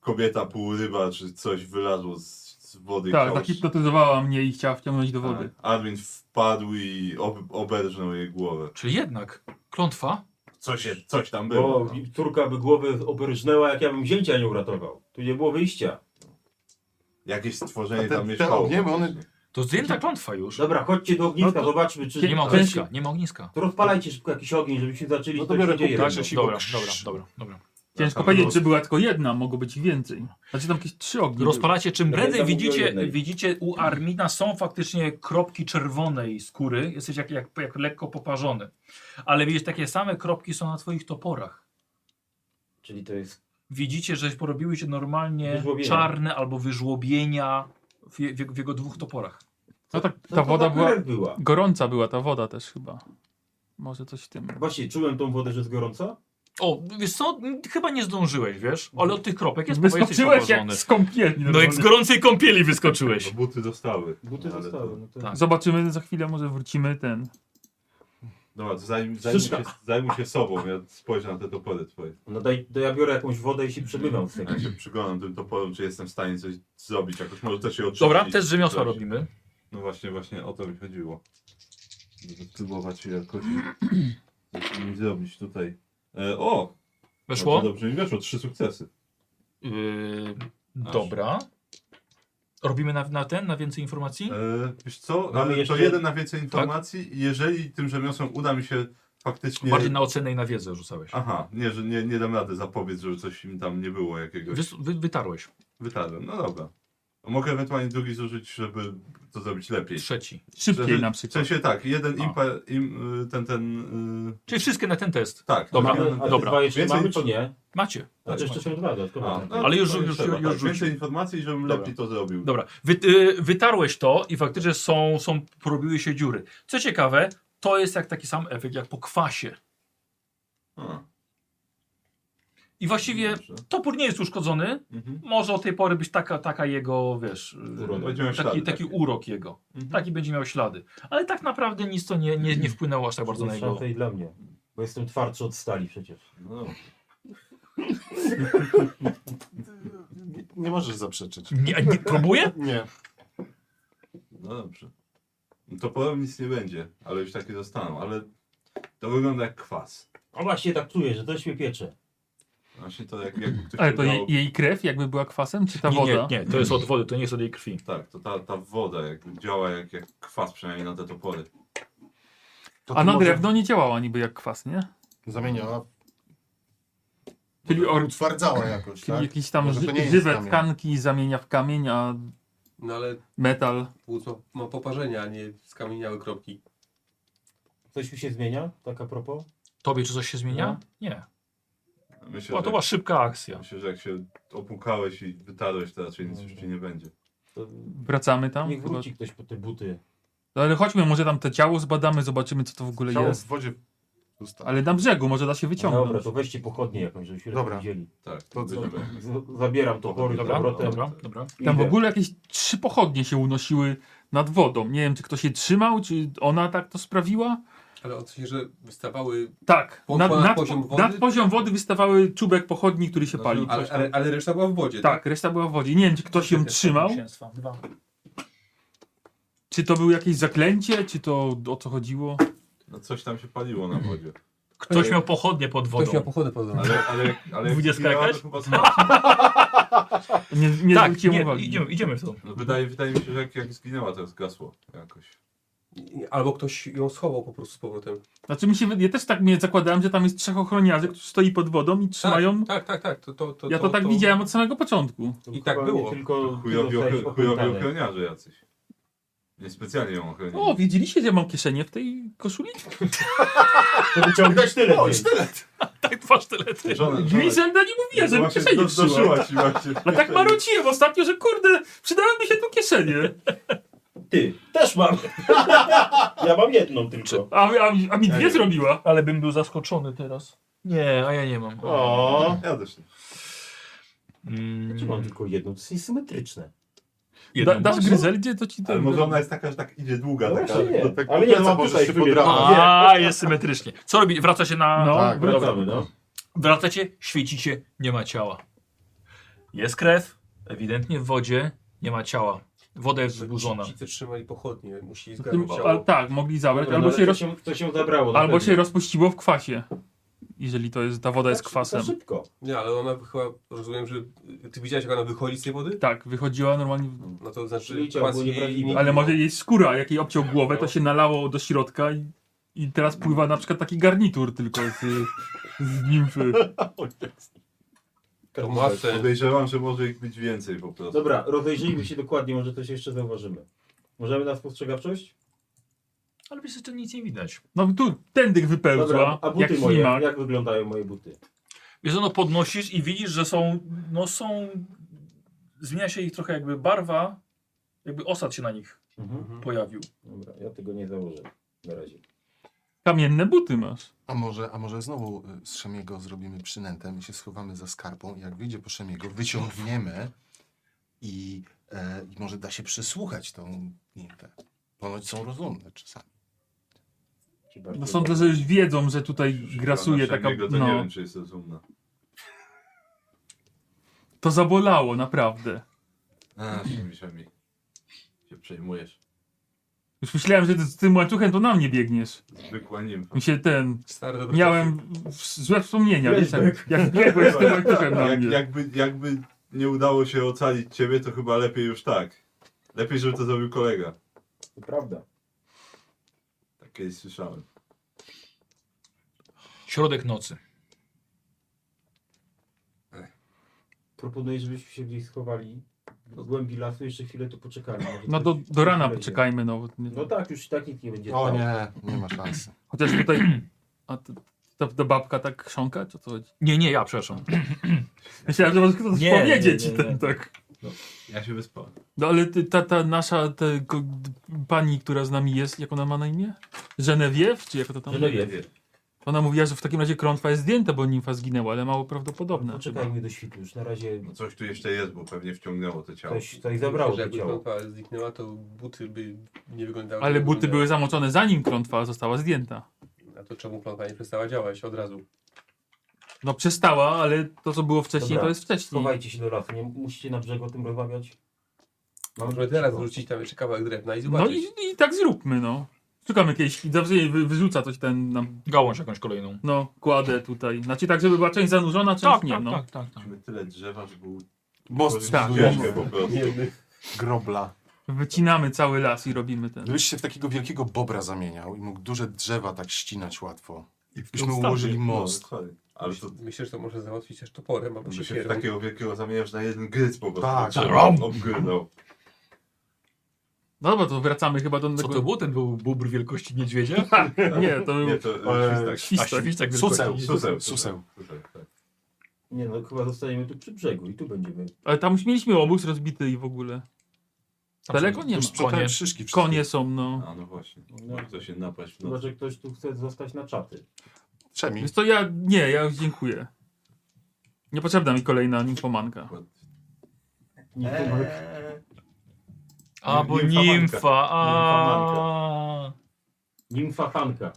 D: kobieta, pół ryba, czy coś wylazło z, z wody. i
E: Tak,
D: chciało-
E: zahipnotyzowała mnie i chciała wciągnąć do
C: Tak,
E: wody.
D: A, Armin wpadł i ob, oberżnął jej głowę.
A: Czyli jednak klątwa?
D: Coś, je- coś tam było.
B: Bo córka by głowę oberżnęła, jak ja bym zięcia nie uratował. Tu nie było wyjścia.
D: Jakieś
I: A
D: stworzenie
I: te-
D: tam
I: te
D: mieszkało.
I: ognie, bo one-
D: faktycznie.
A: To zdjęta klątwa już.
B: Dobra, chodźcie do ogniska,
E: No to-
B: zobaczmy, czy...
A: Nie ma ogniska, nie ma ogniska.
B: To rozpalajcie szybko jakiś ogień, żebyśmy zaczęli
I: No to
B: coś
I: biorę
B: się dzieje.
I: kubka,
B: ze mną.
I: się-
A: Dobra, dobra, dobra, dobra.
E: Ciężko
D: Tam
E: powiedzieć,
D: roz-
E: że była tylko jedna, mogło być ich więcej. Znaczy tam jakieś trzy ognie. były.
A: Rozpalacie, czym
B: Ja
A: prędzej
B: będę mówił o
A: widzicie,
B: jednej.
A: widzicie u Armina są faktycznie kropki czerwonej skóry, jesteś jak, jak, jak lekko poparzony. Ale widzisz, takie same kropki są na twoich toporach.
B: Czyli to jest...
A: Widzicie, że porobiły się normalnie
B: Wyżłobienia.
A: czarne albo wyżłobienia w, je- w, jego- w jego dwóch toporach.
E: No tak,
B: no
E: ta
B: to
E: woda
B: ta
E: była...
B: krew była.
E: Gorąca była ta woda też chyba. Może coś w tym.
B: Właśnie, czułem tą wodę, że jest gorąca?
A: O, wiesz co, chyba nie zdążyłeś, wiesz, ale od tych kropek jest poparzony.
E: Wyskoczyłeś jak z kąpieli.
A: No jak z gorącej kąpieli wyskoczyłeś.
D: No, buty dostały.
B: Buty
D: Ale
B: zostały. No to...
A: Tak.
E: Zobaczymy za chwilę, może wrócimy ten.
D: Dobra, No, to zajm, zajmuj, się, zajmuj się sobą, ja spojrzę na te topory twoje.
B: No daj, to ja biorę jakąś wodę i się przemywam z tym.
D: Ja się przyglądam tym toporem, czy jestem w stanie coś zrobić, jakoś może też się oczyścić.
A: Dobra, test rzemiosła
D: Coś.
A: robimy.
D: No właśnie, właśnie o to mi chodziło. Żeby próbować jakoś coś mi zrobić tutaj. E, o! No
A: Weszło?
D: to dobrze mi weszło, trzy sukcesy.
A: Yy, dobra. Robimy na, na ten, na więcej informacji?
D: E, wiesz co,
A: No,
B: Mamy
D: Ale
B: jeszcze-
D: to jeden na
A: Tak?
D: więcej informacji i jeżeli tym rzemiosłem uda mi się faktycznie...
A: Bardziej na ocenę i na wiedzę rzucałeś.
D: Aha, nie, że nie, nie dam rady zapobiec, żeby coś im tam nie było jakiegoś.
A: Wys, wy, wytarłeś.
D: Wytarłem, no dobra. A Mogę ewentualnie drugi zużyć, żeby to zrobić lepiej.
A: Trzeci.
E: Szybciej
D: Żeby-
E: na
D: W
E: przykład.
D: sensie tak, jeden
A: A.
D: impa, im, y, ten, ten, y,
A: Czyli wszystkie na ten test.
D: tak.
A: Dobra,
D: jeden-
B: Mamy, a te
A: dobra.
B: dwa jeszcze
D: Więcej
B: mamy
D: niż-
B: czy nie?
A: Macie.
B: A to jeszcze są dwa dodatkowe.
D: A,
B: tak.
D: no,
A: Ale już-
D: to nie
A: już-
D: trzeba,
A: już
D: tak. Więcej
A: rzucił.
D: informacji, żebym
A: Dobra.
D: lepiej to zrobił.
A: Dobra, Wy, y, wytarłeś to i faktycznie są, są, porobiły się dziury. Co ciekawe, to jest jak taki sam efekt jak po kwasie.
D: A,
A: I właściwie
D: dobrze.
A: topór nie jest uszkodzony.
D: Mhm.
A: Może od tej pory być taka, taka jego, wiesz, y,
D: Urok. Będzie miał
A: taki,
D: ślady
A: taki
D: takie.
A: urok jego.
D: Mhm.
A: Taki będzie miał ślady. Ale tak naprawdę nic to nie, nie, nie wpłynęło aż tak bardzo na
B: Jest
A: jego...
B: szansa i dla mnie. Bo jestem twardszy od stali przecież.
D: No,
C: Nie, nie możesz zaprzeczyć.
A: Nie, nie, próbuję?
C: Nie.
D: no dobrze. No To potem nic nie będzie, ale już takie zostaną, ale to wygląda jak kwas.
B: A właśnie tak czuję, że coś mnie piecze.
D: Właśnie to jak, jakby ktoś
E: Ale to
D: wybrał-
E: jej, jej krew jakby była kwasem, czy ta
A: Nie,
E: woda?
A: nie, nie, to jest od wody, to nie jest od jej krwi.
D: Tak, to ta, ta woda jak działa jak, jak kwas przynajmniej na te topory.
C: To
E: A
C: tu
E: na
C: może
E: drewno nie działała niby jak kwas, nie?
C: Zamieniała,
E: Czyli, or,
C: utwardzała jakoś,
E: czyli
C: tak?
E: jakieś tam
C: Może to nie
E: ży,
C: jest
E: żywe
C: kamień.
E: tkanki zamienia w kamień, a
F: No ale
E: metal...
F: płótno ma poparzenia, a nie skamieniałe kropki.
B: Coś mi się zmienia? Tak a propos?
A: Tobie czy coś się
E: No.
A: zmienia? Nie.
D: Myślę,
A: Była to
D: że,
A: była szybka akcja.
D: myślę, że jak się opłukałeś i wytarłeś, to raczej nic
C: No,
D: już ci nie będzie.
B: To
E: Wracamy tam?
B: niech
E: Chyba.
B: wróci ktoś po te buty.
E: No Ale chodźmy, może tam to ciało zbadamy, zobaczymy co to w ogóle
C: Ciało
E: jest.
C: w wodzie zostało.
E: Ale na brzegu, może da się wyciągnąć.
B: No Dobra, to weźcie pochodnie jakąś, żebyśmy
C: Dobra.
B: lepiej widzieli.
D: Tak,
C: To co?
D: będziemy-
B: Z- Zabieram to chory z
A: Dobra,
B: powrotem.
A: dobra, dobra.
E: Tam w
B: Idę.
E: ogóle jakieś trzy pochodnie się unosiły nad wodą. Nie wiem, czy ktoś je trzymał, czy ona tak to sprawiła.
F: Ale o coś, że wystawały,
E: Tak,
F: Po-
E: nad,
F: ponad
E: nad,
F: poziom wody?
E: nad poziom wody wystawały czubek pochodni, który się
D: No
E: palił.
F: ale, ale, ale reszta była w wodzie,
E: Tak, reszta była w wodzie. Nie wiem, czy ktoś ją trzymał, czy to było jakieś zaklęcie, czy to o co chodziło.
D: No coś tam się paliło na wodzie.
A: Ktoś miał pochodnie pod
F: Ktoś miał
A: wodą.
F: pochodę pod wodą.
D: Ale, ale, jak- ale jak
A: Dwudziestka
D: zginęła, to
A: jakaś?
D: chyba zmarła.
E: Nie, nie
A: Tak,
E: zwróciłem
A: nie,
E: uwagi.
A: idziemy, idziemy w to.
D: No, wydaje, wydaje mi się, że jak, jak zginęła, to zgasło jakoś.
F: Albo ktoś ją schował po prostu z powrotem.
E: Znaczy mi się, wy- ja też tak mnie zakładałem, że tam jest trzech ochroniarzy, którzy stoi pod wodą i trzymają.
F: Tak, tak, tak. To, to, to,
E: Ja to tak widziałem od samego początku.
B: To
F: I tak
B: chyba nie
F: było.
B: Tylko ty
D: Chujowi
B: zostałeś
D: ochro- chujowi
B: opętany.
D: ochroniarze jacyś. Niespecjalnie ją ochroniarze.
E: O, wiedzieliście, że mam kieszenie w tej koszuli?
B: To wyciągasz tyle.
C: O,
B: więc.
C: sztylet!
A: Tak, dwa sztylety.
D: Żona,
E: Griselda no nie mówiła, że mi
D: właśnie
E: kieszenie
D: do-
E: trzyma.
D: doszyła ci właśnie.
E: A tak maruciłem ostatnio, że kurde, przydały mi się tu kieszenie.
B: Ty, też mam. ja mam jedną tylko.
E: A, a, a mi dwie
D: nie.
E: zrobiła.
N: Ale bym był zaskoczony teraz.
A: Nie, a ja nie mam.
B: O.
D: Ja też nie.
A: Mm,
B: Czy mam tylko jedną? To jest niesymetryczne.
E: Da,
A: jedną.
E: dasz Gryzeldzie, to ci
D: Ale
E: to...
D: może ona jest taka, że tak idzie długa.
B: No
D: taka,
B: właśnie nie.
D: do tak-
B: Ale nie,
D: co
B: mam
D: możesz
B: tutaj
D: się
B: sobie
D: podrapać?
B: dam.
A: A, jest symetrycznie. Co robi? Wraca się na...
E: No,
C: Tak,
E: wr-
B: Wracamy, no.
A: Wracacie, świecicie, nie ma ciała. Jest krew, ewidentnie w wodzie, nie ma ciała. Woda jest wzburzona.
F: Ci, co trzymali pochodnie, musieli
E: tym,
F: zgarnąć
E: a,
F: ciało.
E: tak, mogli zabrać,
B: Dobra,
E: albo,
B: no, ale
E: się, roz,
B: coś się, coś się zabrało. na
E: albo
B: pewno.
E: się rozpuściło w kwasie. Jeżeli to jest, ta woda jest
B: Tak,
E: kwasem.
B: tak szybko.
F: Nie, ale ona chyba, rozumiem, że ty widziałeś, jak ona wychodzi z tej wody?
E: Tak, wychodziła normalnie,
F: No to znaczy
B: Czyli ciało było niewrażliwe.
E: ale może jej skóra, jak jej obciął głowę, to się nalało do środka i, i teraz pływa na przykład taki garnitur tylko z, z nimfy.
F: To ma sens.
D: Podejrzewam, że może ich być więcej po prostu.
B: Dobra, rozejrzyjmy się dokładnie, może coś jeszcze zauważymy. Możemy na spostrzegawczość?
A: Ale wiesz, jeszcze nic nie widać.
E: No tu tędyk wypełzła,
B: Dobra, a buty
E: jak
B: moje,
E: ślimak.
B: jak wyglądają moje buty?
A: Wiesz, no podnosisz i widzisz, że są, no są, zmienia się ich trochę jakby barwa, jakby osad się na nich
B: Mhm.
A: pojawił.
B: Dobra, ja tego nie założę na razie.
E: Kamienne buty masz.
C: A może, a może znowu y, z Szemiego zrobimy przynętę i się schowamy za skarpą i jak wyjdzie po Szemiego, wyciągniemy i, e, i może da się przesłuchać tą nimfę. Ponoć są rozumne czasami.
B: Ci bardziej-
E: No sądzę, że już wiedzą, że tutaj grasuje taka...
D: Jego to nie
E: No,
D: wiem, czy jest rozumna.
E: to zabolało, naprawdę.
D: A, mi się przejmujesz.
E: Już myślałem, że ty z tym łańcuchem to na mnie biegniesz.
D: Zwykła nimfa.
E: Mi się ten...
F: Stary, dobry
E: Miałem w- złe wspomnienia, wiesz, jak, jak biegłeś z tym łańcuchem na
D: Jak,
E: mnie.
D: jakby, jakby nie udało się ocalić ciebie, to chyba lepiej już tak. Lepiej, żeby to zrobił kolega.
B: To prawda.
D: Tak kiedyś słyszałem.
A: Środek nocy.
B: Proponuję, żebyśmy się gdzieś schowali do głębi lasu, jeszcze chwilę tu poczekali. Może
E: No do,
B: ktoś-
E: do rana
B: ktoś wlezie.
E: poczekajmy, no. bo nie-
B: No tak, już i tak nikt nie będzie
C: O
B: stał.
C: nie, nie ma szansy.
E: Chociaż tutaj... A to, Ta, ta babka tak krząka, czy o co chodzi?
A: Nie, nie, ja, przepraszam.
E: Myślałem, że może ktoś
A: Nie, nie,
E: powiedzieć
A: nie, nie,
E: i ten
A: nie.
E: tak.
D: Ja się wyspałem.
E: No ale ty, ta, ta nasza te, ko, d- pani, która z nami jest, jak ona ma na imię? Genevieve? Czy jak to
G: No
E: tam?
B: Genevieve.
E: Ona mówiła, że w takim razie klątwa jest zdjęta, bo nimfa zginęła, ale mało prawdopodobne.
B: No,
G: Poczekajmy do świtu, już na razie
D: No coś tu jeszcze jest, bo pewnie wciągnęło to ciało.
G: ktoś tutaj zabrało
F: Że
G: to
F: jakby
G: ciało.
F: klątwa zniknęła, to buty by nie wyglądały.
E: Ale
F: tak,
E: buty były
F: wyglądały.
E: zamoczone zanim klątwa została zdjęta.
F: A to czemu klątwa nie przestała działać od razu?
E: No przestała, ale to co było wcześniej,
G: Dobra.
E: to jest wcześniej.
G: Schowajcie się do lasu, nie musicie na brzegu o tym rozmawiać.
D: No,
F: Możemy teraz wrzucić tam jeszcze kawałek drewna i
E: No
F: zobaczyć.
E: i, i tak zróbmy, no. Szukamy kiedyś, zawsze jej wy- wyrzuca coś ten nam,
A: Gałąź jakąś kolejną.
E: no, kładę tutaj. Znaczy tak, żeby była część zanurzona, część nie, no.
A: tak, tak, tak.
D: Mamy tyle drzewa, że był
I: Most
E: Tak.
I: zbudujemy.
D: po prostu.
I: Grobla.
E: Wycinamy cały las i robimy ten.
I: Gdybyś się w takiego wielkiego bobra zamieniał i mógł duże drzewa tak ścinać łatwo.
D: I
I: Byśmy ułożyli most.
D: No, dokładnie. Ale to
F: Myślę, że to może załatwić też toporem albo
D: by się w
F: siekierą.
D: takiego wielkiego zamieniasz na jeden gryz po prostu.
I: Tak.
D: Ob- Obgryzał.
A: Tak.
E: No dobra, to wracamy chyba do
A: Co
E: tego... Tak.
A: to był? Ten był bubr wielkości niedźwiedzia?
E: Nie, to był
D: Nie, to e,
I: Eee,
D: świstak.
A: A
E: świstek.
A: świstak
I: Suseł.
A: wielkości.
D: Suseł.
I: Suseł.
D: Suseł, tak.
G: Nie no, chyba zostaniemy tu przy brzegu i tu będziemy.
E: Ale tam już mieliśmy obóz rozbity i w ogóle.
A: Tam
E: Daleko
A: są
E: nie ma.
A: już
I: Konie,
A: Konie.
I: szyszki wszystkie.
E: Konie są, no.
D: A no właśnie.
G: No.
D: Może ktoś się napaść w
G: Chyba,
D: nocy.
G: że ktoś tu chce zostać na czaty.
I: Trzemi.
E: Więc to ja, nie, ja już dziękuję. Niepotrzebna mi kolejna nimfomanka.
G: Nie,
E: Eee.
A: A, bo
D: Nimfamanka.
A: nimfa. A.
D: Nimfamanka.
G: Nimfa Hanka.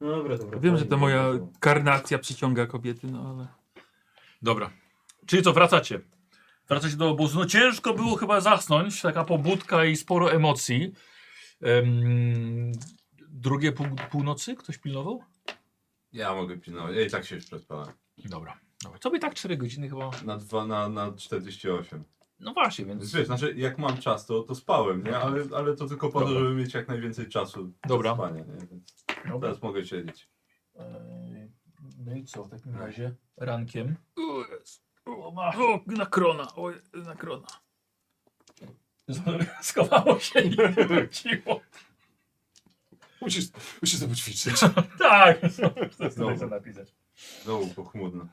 G: No dobra, dobra.
E: Wiem, że to moja karnacja przyciąga kobiety, no ale...
A: Dobra. Czyli co, wracacie? Wracacie do obozu. No ciężko było chyba zasnąć, taka pobudka i sporo emocji. Em, drugie pół, północy ktoś pilnował?
D: Ja mogę pilnować. Ej, tak się już przespałem.
A: Dobra. Dobra. To by tak 4 godziny chyba.
D: Na, dwa, na, na 48.
A: No właśnie, więc.
D: Więc wiesz, znaczy jak mam czas, to, to spałem, nie? Ale, ale to tylko po to,
A: Dobra.
D: żeby mieć jak najwięcej czasu
A: Dobra.
D: do spania, nie? Więc
A: Dobra.
D: teraz mogę siedzieć.
A: Eee, No i co w takim razie? Rankiem.
E: O, jest. O, ma- o, na krona, o, na krona.
A: Schowało się i wróciło.
I: Musisz, musisz to poćwiczyć.
A: Tak.
D: Znowu.
A: Chcę napisać.
D: Znowu pochmurno.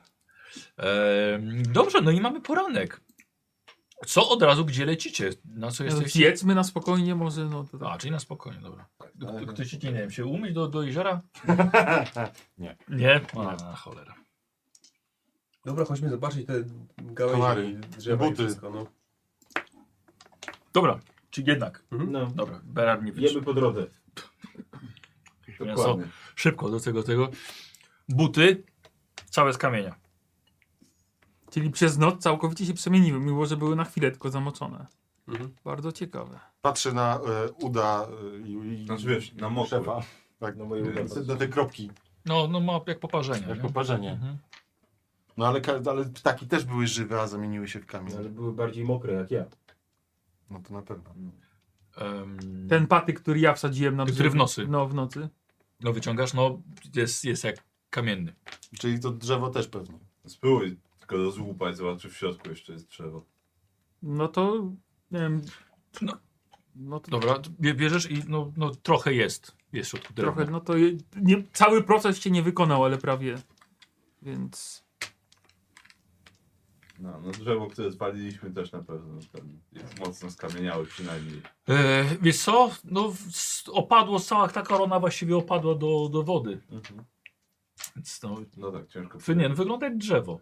A: Em, dobrze, no i mamy poranek. Co od razu, gdzie lecicie? Na co
E: No,
A: jesteście?
E: Jedzmy na spokojnie może, no to tak.
A: A, czyli na spokojnie, dobra. K- Ktoś ci, nie wiem, się umyć do, do jeziora?
I: Nie.
A: Nie? A, cholera.
F: Dobra, chodźmy zobaczyć te
I: Komary,
F: gałęzie i drzewa
I: buty.
F: i wszystko. No.
A: Dobra, czyli jednak.
G: No,
A: Dobra, Berard nie wytrzyma.
G: jemy po drodze.
A: Mięso.
D: Dokładnie.
A: Szybko do tego, tego. Buty, całe z kamienia.
E: Czyli przez noc całkowicie się przemieniły, mimo że były na chwilę tylko zamoczone.
F: Mhm.
E: Bardzo ciekawe.
I: Patrzę na e, uda e, i, i
D: Znaczy wiesz, na mokro.
I: szefa. Tak,
B: Na moje uda
I: na te kropki,
A: No, no ma jak poparzenie.
I: jak
A: nie?
I: poparzenie.
A: Mhm.
I: No ale, ka- ale ptaki też były żywe, a zamieniły się w
G: Ale
I: kamień.
G: były bardziej mokre jak ja.
I: No to na pewno.
A: Em,
E: Ten patyk, który ja wsadziłem na
A: Który
E: brzeg-
A: w nocy.
E: No, w nocy.
A: No wyciągasz, no jest, jest jak kamienny.
I: Czyli to drzewo też pewnie.
D: Spróbuj tylko rozłupać, zobacz czy w środku jeszcze jest drzewo.
E: No to, nie wiem...
A: No.
E: No to
A: Dobra, bie- bierzesz i no, no trochę jest. Jest w środku drewna.
E: trochę, no to je, nie, cały proces się nie wykonał, ale prawie. Więc
D: No, no drzewo, które spaliliśmy też na pewno tam jest mocno skamieniałe przynajmniej.
A: E, wiesz co, no w- s- opadło cała, ta korona właściwie opadła do, do wody. Więc no,
D: No tak, ciężko.
A: wy- nie, no, wygląda jak drzewo.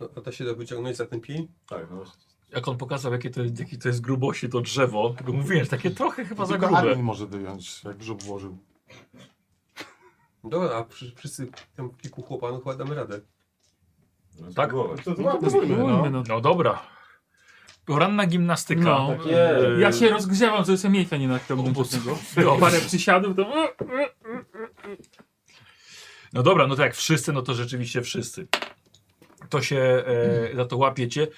F: No, a da się to wyciągnąć za ten pij?
D: Tak, no właśnie.
A: Jak on pokazał, jakie to, jakie to jest grubości to drzewo, tylko mówiłem, że takie trochę chyba za
I: Tylko
A: grube.
I: Armin może wyjąć, jak już obłożył.
F: Dobra, a przy, wszyscy tam kilku chłopanów chyba damy radę.
D: No,
A: Tak?
D: spróbować.
I: No,
E: spróbujmy, no.
A: No dobra. Poranna gimnastyka.
E: No.
A: No,
B: jest.
E: Ja się rozgrzewam, żeby sobie miejsca nie naciągnąć
A: Obóz.
E: od niego. No, Parę przysiadów, to...
A: no dobra, no tak jak wszyscy, no to rzeczywiście wszyscy. To się e, za to łapiecie.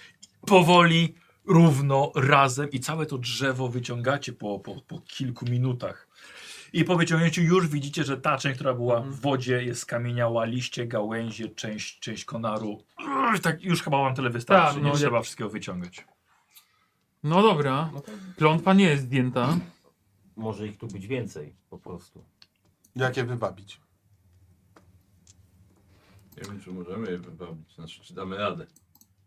A: Powoli, równo, razem i całe to drzewo wyciągacie po, po, po kilku minutach. I po wyciągnięciu już widzicie, że ta część, która była w wodzie, jest skamieniała, liście, gałęzie, część, część konaru. Uff, Tak, już chyba wam tyle wystarczy.
E: Tak,
A: nie
E: no,
A: trzeba wszystkiego wyciągać.
E: No dobra, klątwa nie jest zdjęta.
G: Może ich tu być więcej po prostu.
O: Jak je wywabić?
D: Nie wiem, czy możemy je wybawić, znaczy, czy damy radę.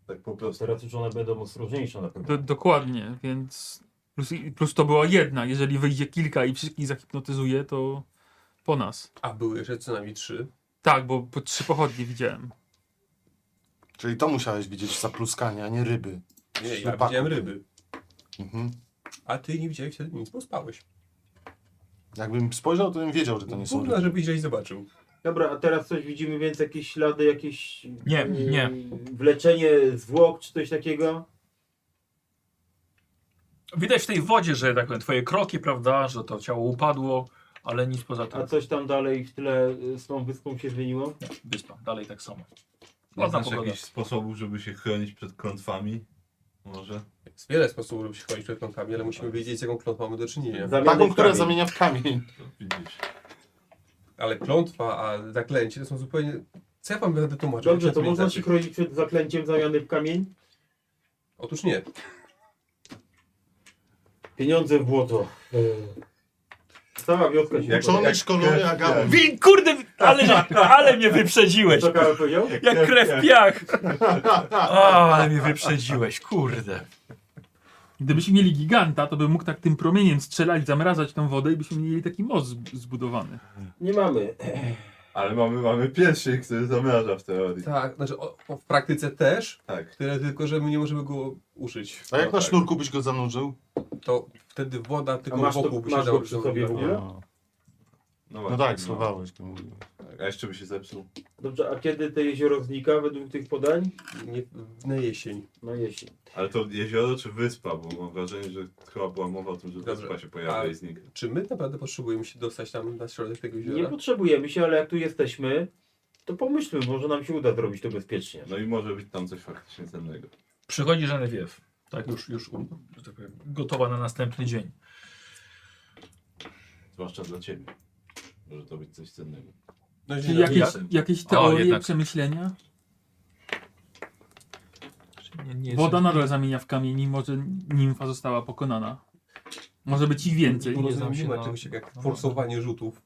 D: Tak po prostu.
B: Teraz już one będą ostrożniejsze na pewno.
E: Do, dokładnie, więc plus, plus to była jedna. Jeżeli wyjdzie kilka i wszystkich zahipnotyzuje, to po nas.
F: A były jeszcze co najmniej trzy.
E: Tak, bo po trzy pochodnie widziałem.
O: Czyli to musiałeś widzieć zapluskanie, a nie ryby.
F: Nie, ja
O: Ślepaku.
F: widziałem ryby.
O: Mhm.
F: A ty nie widziałeś wtedy nic, bo spałeś.
O: Jakbym spojrzał, to bym wiedział, że to nie są
F: Kurna,
O: ryby.
F: żebyś gdzieś zobaczył.
B: Dobra, a teraz coś widzimy, więc jakieś ślady, jakieś...
A: Nie,
B: y,
A: nie.
B: Wleczenie zwłok czy coś takiego?
A: Widać w tej wodzie, że tak powiem, twoje kroki, prawda, że to ciało upadło, ale nic poza tym.
B: A coś tam dalej w tyle y, z tą wyspą się zmieniło?
A: Wyspa, dalej tak samo.
D: Nie
A: Ładna
D: znasz
A: pogoda.
D: jakichś sposobów, żeby się chronić przed klątwami? Może?
F: Jest wiele sposobów, żeby się chronić przed klątwami, ale
B: Tak.
F: musimy wiedzieć, z jaką klątwą mamy do czynienia.
B: Zamiany
O: Taką,
B: w
O: która
B: kamień.
O: zamienia w kamień.
D: To widzisz.
F: Ale klątwa, a zaklęcie to są zupełnie... Co ja wam będę tłumaczył?
B: Dobrze,
F: Jak
B: to można
F: inaczej?
B: się chronić przed zaklęciem zamiany w kamień?
F: Otóż nie.
B: Pieniądze w błoto. Cała wioska się...
D: Jak
B: podoba.
O: Czony, szkolony, a gałąź.
N: Wi, kurde, ale, ale mnie wyprzedziłeś.
B: Co Karol powiedział?
N: Jak krew w piach.
A: A, ale mnie wyprzedziłeś, kurde.
E: Gdybyśmy mieli giganta, to by mógł tak tym promieniem strzelać, zamrażać tą wodę i byśmy mieli taki most zb- zbudowany.
B: Nie mamy.
D: Ale mamy, mamy pierścień, który zamraża w teorii.
F: Tak, znaczy o, o, w praktyce też,
D: Tak.
F: tyle tylko, że my nie możemy go użyć.
O: A jak
D: No
O: na
D: tak.
O: sznurku byś go zanurzył?
F: To wtedy woda
B: A
F: tylko
B: masz,
F: wokół
B: to,
F: by się
B: masz go
F: dało
B: przy sobie w ogóle?
O: No
D: właśnie,
O: tak, słowałeś. to mówiłem.
D: Tak, A jeszcze by się zepsuł.
B: Dobrze, a kiedy to jezioro znika według tych podań?
F: Nie, na jesień.
B: No jesień.
D: Ale to jezioro czy wyspa? Bo mam wrażenie, że chyba była mowa o tym, że
F: Dobrze.
D: wyspa się pojawia
F: A-
D: i znika.
F: Czy my naprawdę potrzebujemy się dostać tam na środek tego
B: Nie
F: jeziora?
B: potrzebujemy się, ale jak tu jesteśmy, to pomyślmy, może nam się uda zrobić to bezpiecznie.
D: No i może być tam coś faktycznie cennego.
A: Przychodzi Genevieve. Tak, już, już u- że tak powiem, gotowa na następny dzień.
D: Zwłaszcza dla ciebie. Może to być coś cennego.
F: No,
E: Czyli
F: źle.
E: jakieś,
A: jasne.
E: jakieś
A: O,
E: teorie,
A: jednak.
E: przemyślenia?
A: Nie, nie
E: Woda
A: jestem-
E: nadal zamienia w kamień, mimo że nimfa została pokonana. Może być i więcej.
F: Bo
A: nie znam
F: nie
A: się
F: ma
A: na-
F: czegoś jak
A: no
F: forsowanie rzutów.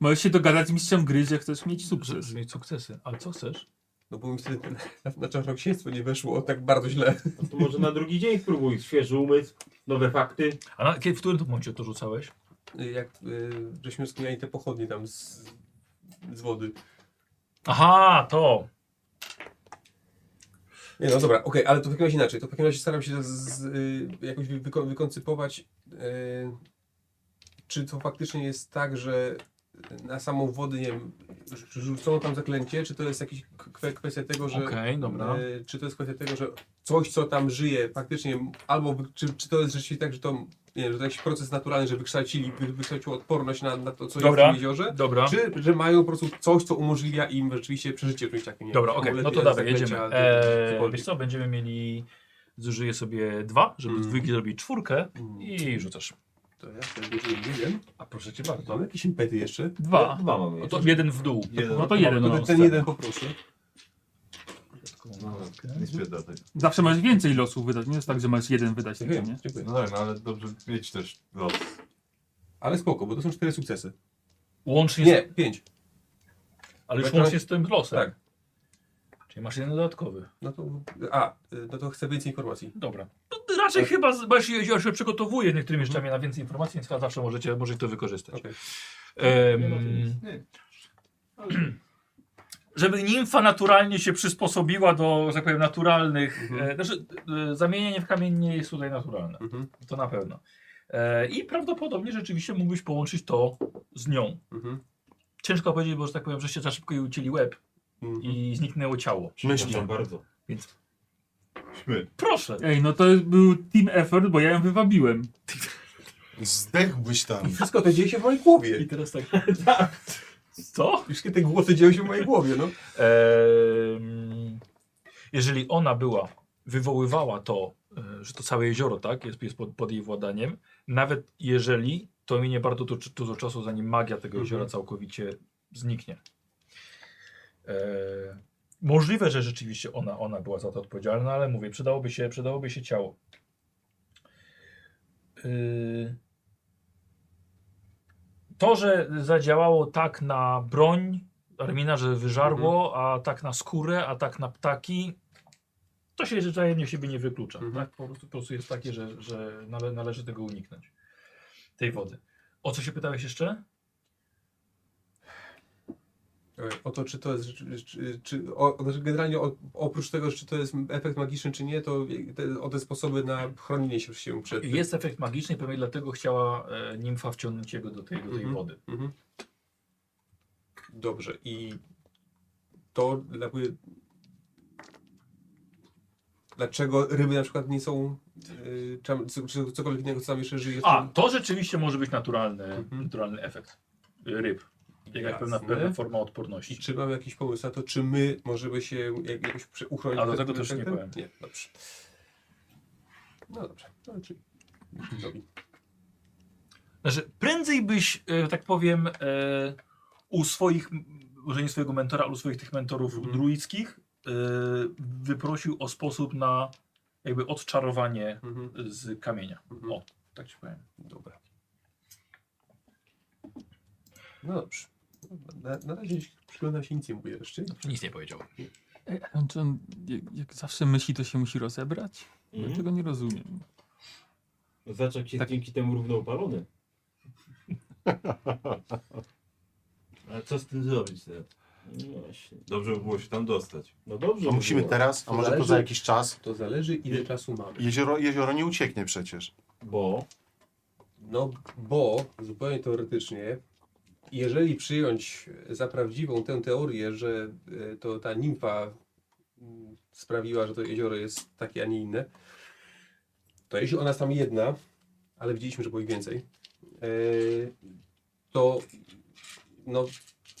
E: Możesz się dogadać z mistrzem gry, że chcesz mieć
A: Że-
E: sukces.
A: że Mieć sukcesy. Ale co chcesz?
F: No bo mi wtedy na, na czarnoksięstwo nie weszło tak bardzo źle.
B: No to może na drugi dzień spróbuj, świeży umysł, nowe fakty.
A: A na, kiedy, w którym to momencie to rzucałeś?
F: Jak y, żeśmy sklinali te pochodnie tam z, z wody.
A: Aha, to!
F: Nie no dobra, okej, ale to w takim razie inaczej. To w takim razie staram się z, z, y, jakoś wy- wyko- wykoncypować, y, czy to faktycznie jest tak, że na samą wodę, nie wiem, rz- rzucono tam zaklęcie, czy to jest jakaś kwestia tego, że...
A: Okej, dobra.
F: Y, Czy to jest kwestia tego, że coś, co tam żyje, faktycznie, albo wy- czy, czy to jest rzeczywiście tak, że to, nie wiem, że to jakiś proces naturalny, że wykształcili, wy, wykształciło odporność na, na to, co
A: Dobra.
F: jest w tym jeziorze?
A: E, Dobra.
F: Czy że mają po prostu coś, co umożliwia im rzeczywiście przeżycie w czymś takim? nie wiem,
A: Dobra, okej, no
F: amulety,
A: to dawaj,
F: zaklęcia,
A: jedziemy.
F: czy-
A: Eee,
F: cokolwiek.
A: wiesz co, będziemy mieli... Zużyję sobie dwa, żeby z
F: Mm.
A: dwójki zrobić czwórkę
F: Mm.
A: i rzucasz.
F: To ja wtedy nie wiem. A proszę cię bardzo. Mam jakieś impety jeszcze?
E: Dwa.
B: Dwa mamy.
A: No to jeden w dół.
D: Jeden.
E: No to jeden.
A: No,
F: To
A: no,
F: ten
A: tak.
F: jeden poproszę.
D: No, nie stwierdza tego.
E: Zawsze masz więcej losów wydać, nie jest tak, że masz jeden wydać tylko, nie?
F: dziękuję.
D: No tak, no ale dobrze mieć też los.
F: Ale spoko, bo to są cztery sukcesy.
A: Łącznie
F: Nie,
A: z,
F: pięć.
A: ale już
F: Bo to-
A: łącznie z tym losem.
F: Tak.
A: Czyli masz jeden dodatkowy.
F: No to, a, y, no to chcę więcej informacji.
A: Dobra. No,
D: E,
A: Raczej chyba, z- bo ja się, ja się przygotowuję niektórymi rzeczami na więcej informacji, więc zawsze możecie, możecie to wykorzystać.
F: Okej.
A: Em,
D: Nie ma tu nic. Nie.
A: żeby nimfa naturalnie się przysposobiła do, że tak powiem, naturalnych.
F: Mhm.
A: E, znaczy, e, zamienienie w kamień nie jest tutaj naturalne.
F: Mhm,
A: To na pewno. E, I prawdopodobnie rzeczywiście mógłbyś połączyć to z nią.
F: mhm,
A: Ciężko powiedzieć, bo że tak powiem, żeście za szybko jej ucięli łeb
F: mhm.
A: i zniknęło ciało.
B: Myślę bardzo.
A: Więc
D: Śmy.
A: proszę.
E: Ej, no to był team effort, bo ja ją wywabiłem.
O: Zdechłbyś tam.
F: Wszystko to dzieje się w mojej głowie.
A: I teraz tak. Co?
F: Wszystkie te głosy dzieją się w mojej głowie, no.
A: Em, jeżeli ona była, wywoływała to, e, że to całe jezioro, tak, jest, jest pod, pod jej władaniem, nawet jeżeli to minie bardzo tu, dużo czasu, zanim magia tego
F: Mhm.
A: jeziora całkowicie zniknie. E, możliwe, że rzeczywiście ona, ona była za to odpowiedzialna, ale mówię, przydałoby się, przydałoby się ciało. E, Yy, To, że zadziałało tak na broń Armina, że wyżarło,
F: Mhm.
A: a tak na skórę, a tak na ptaki, to się zwyczajnie siebie nie wyklucza.
F: Mhm.
A: Tak? Po, prostu, po prostu jest takie, że, że nale, należy tego uniknąć. Tej wody. O co się pytałeś jeszcze?
F: E, O to, czy to jest, czy, czy, czy, o, znaczy generalnie o, oprócz tego, czy to jest efekt magiczny, czy nie, to te, o te sposoby na chronienie się, się przed tym.
A: Jest efekt magiczny, pewnie dlatego chciała e, nimfa wciągnąć jego do tej, do tej
F: Mhm.
A: wody.
F: Mhm. Dobrze, i to jakby... Dlaczego ryby na przykład nie są, y, czam- c- czy cokolwiek innego, co tam jeszcze żyje? w
A: A,
F: tym-
A: to rzeczywiście może być naturalny,
F: Mhm.
A: naturalny efekt y, ryb. Jakaś pewna,
F: Jasne.
A: pewna forma
F: I
A: odporności.
F: czy mam jakiś pomysł na to, czy my możemy się jak, jakoś prze- uchronić?
A: A do
F: przed
A: tego
F: tym
A: też nie
F: efektem?
A: powiem.
F: Nie, dobrze. No dobrze, no, czyli robi.
A: Znaczy, prędzej byś, e, tak powiem, e, u swoich, m, może nie swojego mentora, ale u swoich tych mentorów
F: Mhm.
A: druidzkich e, wyprosił o sposób na jakby odczarowanie
F: Mhm.
A: z kamienia.
F: Mhm.
A: O, tak ci powiem.
F: Dobra. No dobrze. Na, na razie przyglądam się nic nie mówię jeszcze.
A: Nic nie powiedział.
E: Ej, ale czy on jak, jak zawsze myśli, to się musi rozebrać?
B: Mhm.
E: Ja
I: Mhm.
E: tego nie rozumiem.
B: Zaczek Mm. się
E: Tak.
B: dzięki temu równoupalony.
G: A co z tym zrobić teraz?
B: No właśnie.
D: Dobrze by było się tam dostać.
B: No dobrze.
I: To
B: by
I: musimy
B: było.
I: teraz, a może to za
F: Zależy-
I: jakiś czas.
F: To zależy ile czasu mamy.
I: Jezioro, jezioro nie ucieknie przecież.
B: Bo.
F: No bo, zupełnie teoretycznie, jeżeli przyjąć e, za prawdziwą tę teorię, że e, to ta nimfa mm, sprawiła, że to jezioro jest takie, a nie inne, to jeśli ona jest tam jedna, ale widzieliśmy, że było ich więcej, e, to no,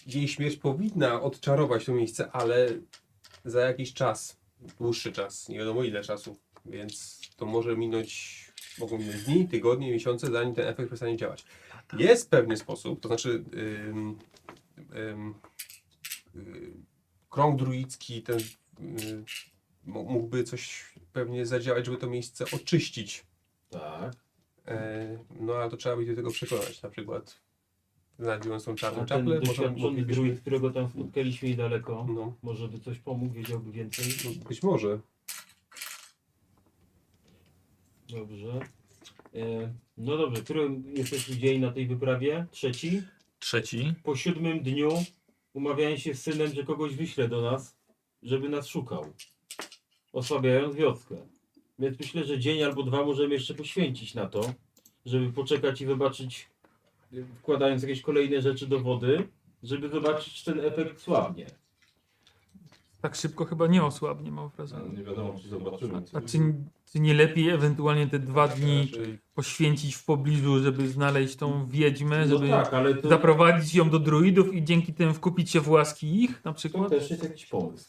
F: jej śmierć powinna odczarować to miejsce, ale za jakiś czas, dłuższy czas, nie wiadomo ile czasu, więc to może minąć, mogą minąć dni, tygodnie, miesiące, zanim ten efekt przestanie działać. Jest pewny sposób, to znaczy ym, ym, y, krąg druicki ten y, mo- mógłby coś pewnie zadziałać, żeby to miejsce oczyścić.
B: Tak.
F: E, no ale to trzeba by do tego przekonać, na przykład znajdując tą
B: A
F: czarną
B: ten
F: czaplę, może
B: doświadczony druid,
F: moglibyśmy...
B: którego tam spotkaliśmy niedaleko,
F: No,
B: może by coś pomógł, wiedziałby więcej.
F: no, być może.
B: Dobrze. E, no dobrze, który jesteśmy dzień na tej wyprawie? Trzeci.
A: Trzeci.
B: Po siódmym dniu umawiałem się z synem, że kogoś wyśle do nas, żeby nas szukał. Osłabiając wioskę. Więc myślę, że dzień albo dwa możemy jeszcze poświęcić na to, żeby poczekać i zobaczyć, y, wkładając jakieś kolejne rzeczy do wody, żeby zobaczyć, czy ten efekt słabnie.
E: Tak szybko chyba nie osłabnie, mam
D: Ale
E: wrażenie.
D: nie wiadomo, czy zobaczymy.
E: A czy, czy nie lepiej ewentualnie te dwa dni
F: Znaczy,
E: poświęcić w pobliżu, żeby znaleźć tą wiedźmę, żeby
B: no tak, ale to,
E: zaprowadzić ją do druidów i dzięki temu wkupić się w łaski ich na
B: to
E: przykład?
B: też jest jakiś pomysł.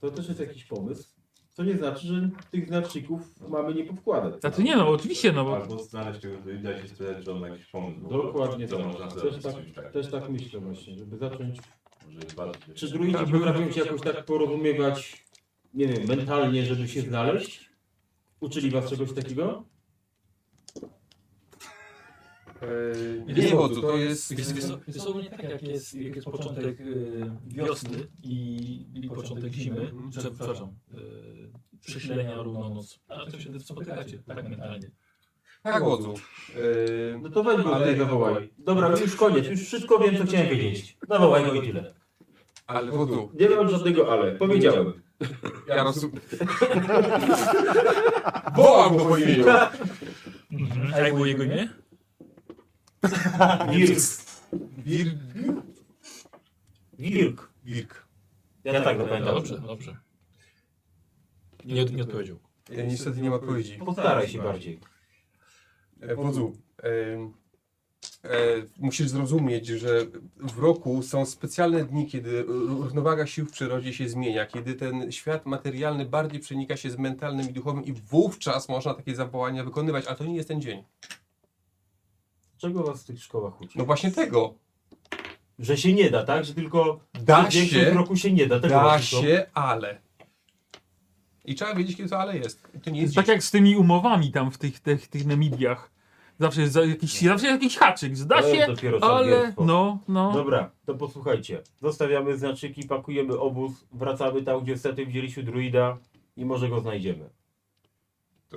B: To też jest jakiś pomysł. Co nie znaczy, że tych znaczników mamy nie powkładać.
E: Znaczy nie no, oczywiście, no
B: Tak.
E: bo
D: Albo znaleźć tego druida i się spytać, czy on ma jakiś pomysł. bo
B: Dokładnie
D: to
B: tak.
D: można
B: Też
D: zrobić.
B: tak,
D: coś, tak.
B: też tak myślę właśnie, żeby zacząć.
D: Może jest bardziej-
B: Czy druidzi
E: Tak,
B: potrafią się jakoś tak porozumiewać, nie wiem, mentalnie, żeby się znaleźć? Uczyli was czegoś takiego?
F: E,
A: Nie,
F: nie, bo to, to jest...
A: Wiesz, wiesz, co- wiesz, co, nie tak jak jest, jak jest początek y, wiosny i, i początek zimy,
F: Mhm.
A: czy, przepraszam, y, przesilenia równonoc, a to się wtedy spotykacie, tak mentalnie.
F: Tak, wodzu. E,
B: No to weź go
F: Ale-
B: tutaj zawołaj. Dobra, już koniec, już wszystko wiem, co chciałem wiedzieć. Zawołaj go i tyle.
F: ale wodzu,
B: Nie mam żadnego ale, powiedziałem.
F: ja rozumiem. Wołam go po imieniu.
A: A jak było jego imię?
B: Tak. Wirk.
F: Wir...
B: Wirk.
F: Wirk.
B: Ja tak
A: No,
B: zapamiętam.
A: dobrze, dobrze. Nie, nie odpowiedział.
F: Ja E, niestety nie ma odpowiedzi.
B: Postaraj się bardziej.
F: E, Wodzu, e, e, musisz zrozumieć, że w roku są specjalne dni, kiedy r- równowaga sił w przyrodzie się zmienia, kiedy ten świat materialny bardziej przenika się z mentalnym i duchowym i wówczas można takie zawołania wykonywać, ale to nie jest ten dzień.
B: Czego was w tych szkołach uczy?
F: No właśnie tego.
B: Że się nie da, tak? Że tylko
F: Da
B: w większym
F: się,
B: roku się nie da. Tego
F: da
B: was uczą.
F: się, ale. I trzeba wiedzieć, kiedy to ale jest. I To nie
E: To
F: jest
E: jest
F: dziś.
E: tak jak z tymi umowami tam w tych, tych, tych Namidiach. Zawsze jest za- jakiś, zawsze jest jakiś haczyk, zda
B: To jest
E: się,
B: dopiero
E: ale
B: żanglierstwo.
E: no, no.
B: Dobra, to posłuchajcie. Zostawiamy znaczyki, pakujemy obóz, wracamy tam, gdzie wtedy widzieliśmy druida i może go znajdziemy.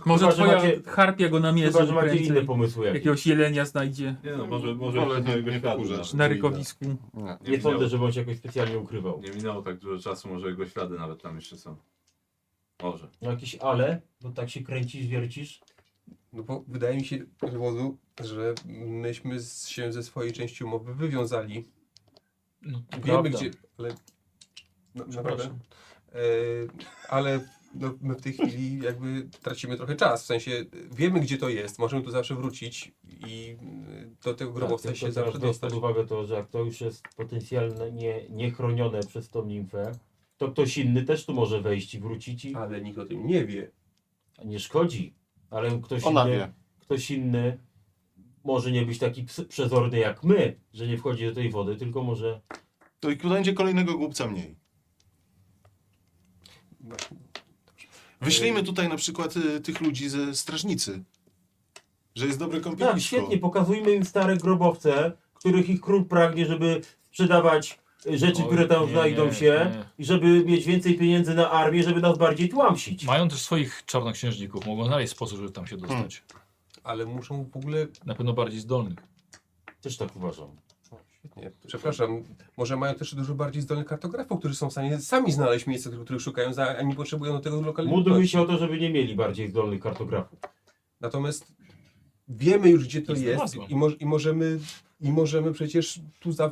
E: Może
B: Chyba, że
E: twoja
B: macie-
E: harpia go namierzy
B: Chyba, że macie
E: prędzej.
B: inne pomysły jakieś.
E: Jakiegoś jelenia znajdzie
D: Nie no, może, może
I: Wolę
D: jeszcze
I: nie-
D: mojego
I: nie
D: śladu.
I: wkurzać.
D: nawet.
E: na rykowisku.
B: tak.
D: Nie,
B: Nie
D: minęło,
B: sądzę, żeby on się jakoś specjalnie ukrywał.
D: nie minęło tak dużo czasu, może jego ślady nawet tam jeszcze są. Może.
B: No Jakieś ale, bo tak się kręcisz, wiercisz.
F: No bo wydaje mi się, Wozu, że myśmy z, się ze swojej części umowy wywiązali. Wiemy gdzie, ale... No, naprawdę. E, ale no, my w tej chwili jakby tracimy trochę czas, w sensie wiemy gdzie to jest, możemy tu zawsze wrócić i y, do tego grobowca
B: tylko
F: się
B: Tak, teraz
F: zawsze
B: weź
F: dostać.
B: pod uwagę to, że jak to już jest potencjalnie nie, niechronione przez tą nimfę, to ktoś inny też tu może wejść i wrócić i
F: Ale nikt o tym nie wie.
B: nie szkodzi. Ale ktoś
I: Ona
B: inny,
I: wie.
B: ktoś inny może nie być taki ps- przezorny jak my, że nie wchodzi do tej wody, tylko może
I: To i będzie kolejnego głupca mniej. Wyślijmy tutaj na przykład y, tych ludzi ze strażnicy. Że jest dobre kąpielisko.
B: Tak, świetnie, pokazujmy im stare grobowce, których ich król pragnie, żeby sprzedawać e, rzeczy,
A: Oj,
B: które tam
A: nie,
B: znajdą
A: nie,
B: się
A: nie.
B: i żeby mieć więcej pieniędzy na armię, żeby nas bardziej tłamsić.
A: Mają też swoich czarnoksiężników, mogą znaleźć sposób, żeby tam się dostać.
F: Ale muszą w ogóle
A: Na pewno bardziej zdolnych.
B: Też tak uważam.
F: Nie, przepraszam, może mają też dużo bardziej zdolnych kartografów, którzy są w stanie sami znaleźć miejsce, które- których szukają, za- a nie potrzebują do tego
B: Módlmy
F: lokalizacji.
B: się o to, żeby nie mieli bardziej zdolnych kartografów.
F: Natomiast wiemy już, gdzie to
A: Jest
F: jest
A: masło.
F: i, mo i, możemy, i możemy przecież tu za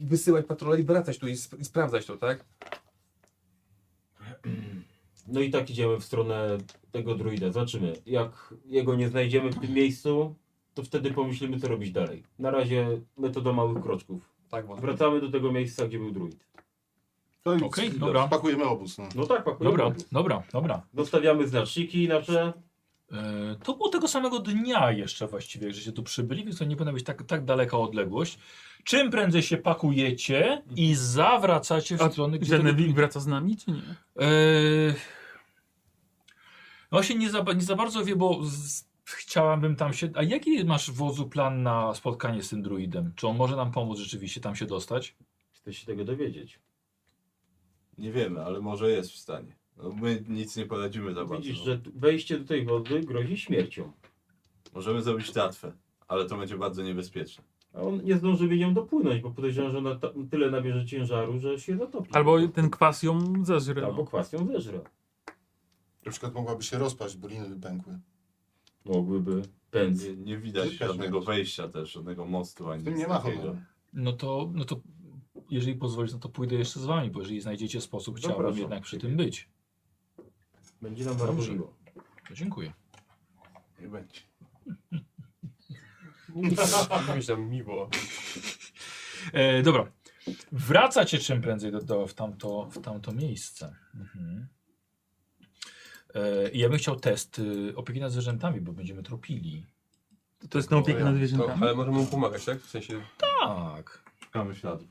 F: wysyłać patrole i wracać tu i, sp i sprawdzać to, tak?
B: No i tak idziemy w stronę tego druida. Zobaczymy. Jak jego nie znajdziemy w tym miejscu, to wtedy pomyślimy, co robić dalej. Na razie metoda małych kroczków.
F: Tak, bo
B: Wracamy do tego miejsca, gdzie był druid.
I: To i-
A: Okej, dobra.
I: Pakujemy obóz. No.
B: No tak, pakujemy.
A: Dobra, dobra, dobra.
B: Zostawiamy znaczniki na prze.
A: E, To było tego samego dnia jeszcze właściwie, że się tu przybyli, więc to nie powinna być tak, tak daleka odległość. Czym prędzej się pakujecie i zawracacie w
E: A
A: stronę, gdzie... ten-
E: Genevieve wraca z nami, czy nie?
A: E, No się nie za, nie za bardzo wie, bo z, chciałabym tam się... A jaki masz wodzu plan na spotkanie z tym druidem? Czy on może nam pomóc rzeczywiście tam się dostać?
B: Chcę się tego dowiedzieć.
D: Nie wiemy, ale może jest w stanie. No, my nic nie poradzimy za bardzo.
B: Widzisz, że tu- wejście do tej wody grozi śmiercią,
D: Możemy zrobić tratwę, ale to będzie bardzo niebezpieczne.
B: a on nie zdąży nią dopłynąć, bo podejrzewam, że ona ta, tyle nabierze ciężaru, że się zatopi.
E: Albo ten kwas ją zażre.
B: Albo
E: No.
B: kwas ją zeżre.
I: Na przykład mogłaby się rozpaść, bo liny pękły.
B: Mogłyby pędz.
D: Nie, nie widać
I: Zyskać
D: żadnego
I: będzie.
D: wejścia też, żadnego mostu ani
I: W tym
D: nic
I: nie ma
D: takiego.
I: honoru.
A: No to, no to jeżeli pozwolisz, no to pójdę jeszcze z wami, bo jeżeli znajdziecie
D: No
A: sposób, chciałbym
B: Zapraszam.
A: jednak przy tym być.
B: Będzie nam
A: Dobrze.
B: bardzo miło.
A: To dziękuję.
D: Nie będzie.
F: mówisz tam miło.
A: E, dobra. Wracacie czym prędzej do, do, w, tamto, w tamto miejsce. Mhm. E, i ja bym chciał test y, opieki nad zwierzętami, bo będziemy tropili.
E: To, to jest na opiekę nad
F: To,
E: zwierzętami.
F: ale możemy mu pomagać, tak? W sensie
A: Tak.
D: Szukamy śladów.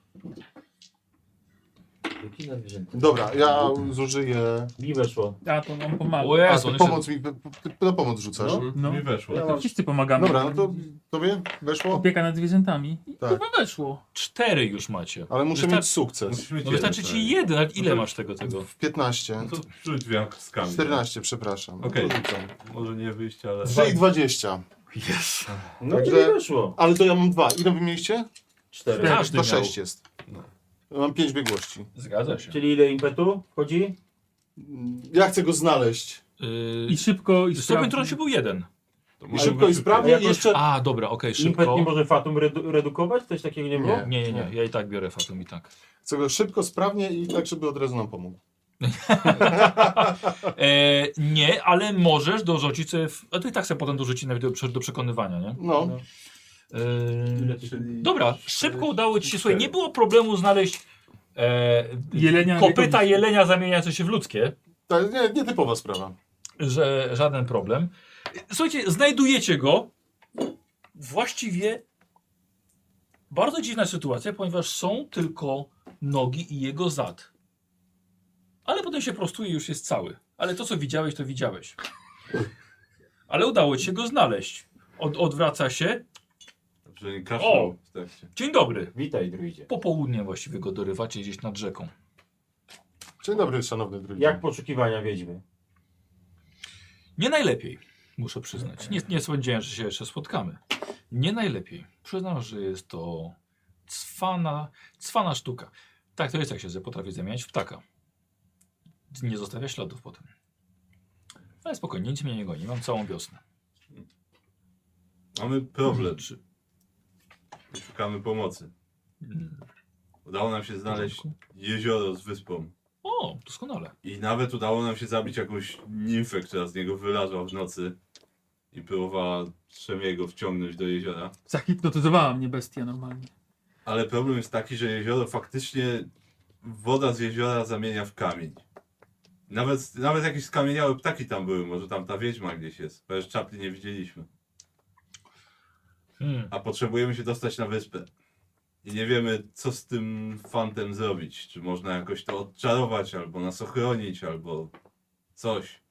B: Jaki na zwierzęta.
I: Dobra, ja zużyję...
B: Mi weszło.
E: A to nam pomaga.
A: O
I: A,
A: Jezu,
I: to
A: on
I: pomoc mi... Ty na pomoc rzucasz?
B: No.
E: No.
D: Mi weszło.
I: Ja
E: To
I: mam-
E: wszyscy pomagamy.
I: Dobra, no to tobie weszło?
E: Opieka nad zwierzętami. I
I: Tak.
E: Chyba weszło.
A: cztery już macie.
I: Ale muszę
A: Wystar-
I: mieć sukces.
D: Musisz mieć
A: No wystarczy
D: jeden
A: ci
D: przynajmniej.
A: jeden, ale ile
D: No to-
A: masz tego tego?
I: 15.
D: No to rzuć wiaskami.
I: 14, przepraszam. No
D: Okej.
I: to rzucam.
D: Może nie wyjść, ale...
I: 3 i 20.
A: Yes.
B: No
I: Także-
B: to nie weszło.
I: Ale to ja mam dwa. Ile wy mieliście?
B: Cztery.
A: Tak. Każdy
I: to
A: miał.
I: 6 jest.
D: No.
I: Ja Mam 5 biegłości.
A: Zgadza się.
B: Czyli ile impetu wchodzi?
I: Ja chcę go znaleźć.
A: Yy,
E: I szybko, i
A: stopień
E: szybko.
A: trudności był jeden.
D: To
I: I
D: może
I: szybko i
D: być
I: sprawnie
B: szybko.
I: i jeszcze...
A: A, dobra, okej,
B: Impet nie
A: szybko.
B: może fatum redu redukować? Coś takiego nie było?
I: Nie.
A: Nie, nie, nie, ja i tak biorę Fatum i tak.
I: Chcę go szybko, sprawnie i tak, żeby od razu nam pomógł.
A: E, nie, ale możesz dorzucić sobie, w- a ty i tak sobie potem dorzuci nawet do, prze- do przekonywania, nie?
I: No.
B: No.
A: E,
D: Czyli-
A: dobra, szybko udało ci się, słuchaj, nie było problemu znaleźć e,
E: Jelenia-
A: kopyta jelenia zamieniające się w ludzkie,
I: To jest nie, nietypowa sprawa.
A: że żaden problem. Słuchajcie, znajdujecie go, właściwie bardzo dziwna sytuacja, ponieważ są tylko nogi i jego zad. Ale potem się prostuje i już jest cały. Ale to, co widziałeś, to widziałeś. Ale udało ci się go znaleźć. Od, odwraca się.
D: Że nie kaszlał w trakcie.
A: Dzień dobry.
B: Witaj, druidzie.
A: Popołudnie właściwie go dorywacie gdzieś nad rzeką.
I: Dzień dobry, szanowny drugi.
B: Jak poszukiwania wiedźmy?
A: Nie najlepiej, muszę przyznać. Nie, nie sądziłem, że się jeszcze spotkamy. Nie najlepiej. Przyznam, że jest to cwana, cwana sztuka. Tak to jest, jak się ze- potrafi zamieniać w ptaka. Nie zostawia śladów potem. Ale spokojnie, nic mnie nie goni. Mam całą wiosnę.
D: Mamy problem.
A: Czy-
D: Szukamy pomocy.
A: Mm,
D: Udało nam się
A: w
D: znaleźć
A: porządku.
D: jezioro z wyspą.
A: O, doskonale.
D: I nawet udało nam się zabić jakąś nimfę, która z niego wylazła w nocy i próbowała Trzemiego wciągnąć do jeziora.
E: Zahipnotyzowała mnie bestia normalnie.
D: Ale problem jest taki, że jezioro faktycznie woda z jeziora zamienia w kamień. Nawet, nawet jakieś skamieniałe ptaki tam były, może tam ta wiedźma gdzieś jest, bo już czapli nie widzieliśmy.
A: Hmm.
D: A potrzebujemy się dostać na wyspę. I nie wiemy, co z tym fantem zrobić. Czy można jakoś to odczarować, albo nas ochronić, albo coś.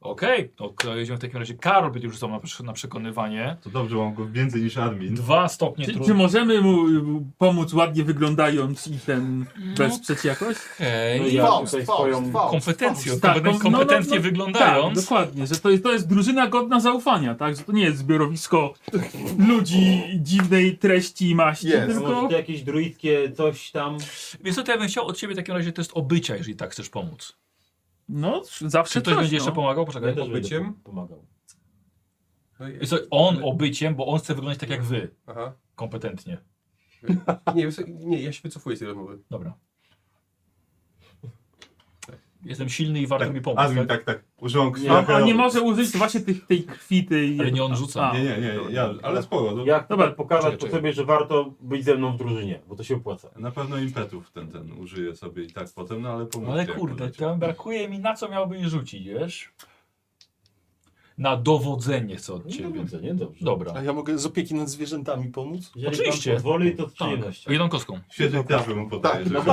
A: Okej, to jedziemy w takim razie. Karol będzie już są na, przesz- na przekonywanie.
D: To dobrze, mam go więcej niż admin.
A: Dwa stopnie
E: Czy,
A: trudności.
E: czy możemy mu y, pomóc ładnie wyglądając i ten
A: No,
E: wesprzeć jakoś?
A: Okej.
B: No ja
I: Faust,
B: tutaj
I: Faust,
B: swoją-
I: Faust.
A: Kompetencjo,
E: Tak,
A: kompeten-
E: no, no,
A: kompetentnie
E: no, Tak,
A: wyglądając.
E: dokładnie, że to jest, to jest drużyna godna zaufania, tak? Że to nie jest zbiorowisko ludzi dziwnej treści i maści,
I: Jest.
E: tylko...
B: Może to jakieś druidzkie coś tam?
A: Więc tutaj ja bym chciał od ciebie w takim razie test obycia, jeżeli tak chcesz pomóc.
E: No, zawsze
A: Czy ktoś
E: coś,
A: będzie jeszcze
E: no.
A: pomagał? Poczekaj.
B: Ja też będę
F: Obyciem?
B: pomagał.
F: No i-
A: I co, on obyciem, bo on chce wyglądać tak jak wy,
F: Aha.
A: kompetentnie.
F: Nie, wiesz co, nie, ja się wycofuję z tej rozmowy.
A: Dobra. Jestem silny i warto mi pomóc.
D: Admin,
A: Tak?
D: tak, tak. Użyłam krwi.
E: A, a nie może użyć właśnie tych, tej krwi, tej...
A: Ale nie on rzuca.
E: A,
D: Nie, nie, nie, ja, ale spoko. No,
B: Jak
E: Dobra,
B: Dobra, pokazać
A: czekaj,
B: po sobie, że warto być ze mną w drużynie, bo to się opłaca.
D: Na pewno impetów ten, ten użyję sobie i tak potem, no ale pomóżcie.
A: Ale
D: jak
A: kurde,
D: możecie.
A: tam brakuje mi na co miałbym rzucić, wiesz? Na dowodzenie chcę od
B: Nie
A: ciebie.
B: widzę, nie? No Dobrze.
A: Dobra.
I: A ja mogę z opieki nad zwierzętami pomóc?
B: Jeżeli
A: Oczywiście.
B: pan pozwoli, to z
A: Tak.
B: przyjemnością.
A: Jedną kostką.
D: Świetnie trafił mu podaje,
I: Tak,
D: żeby...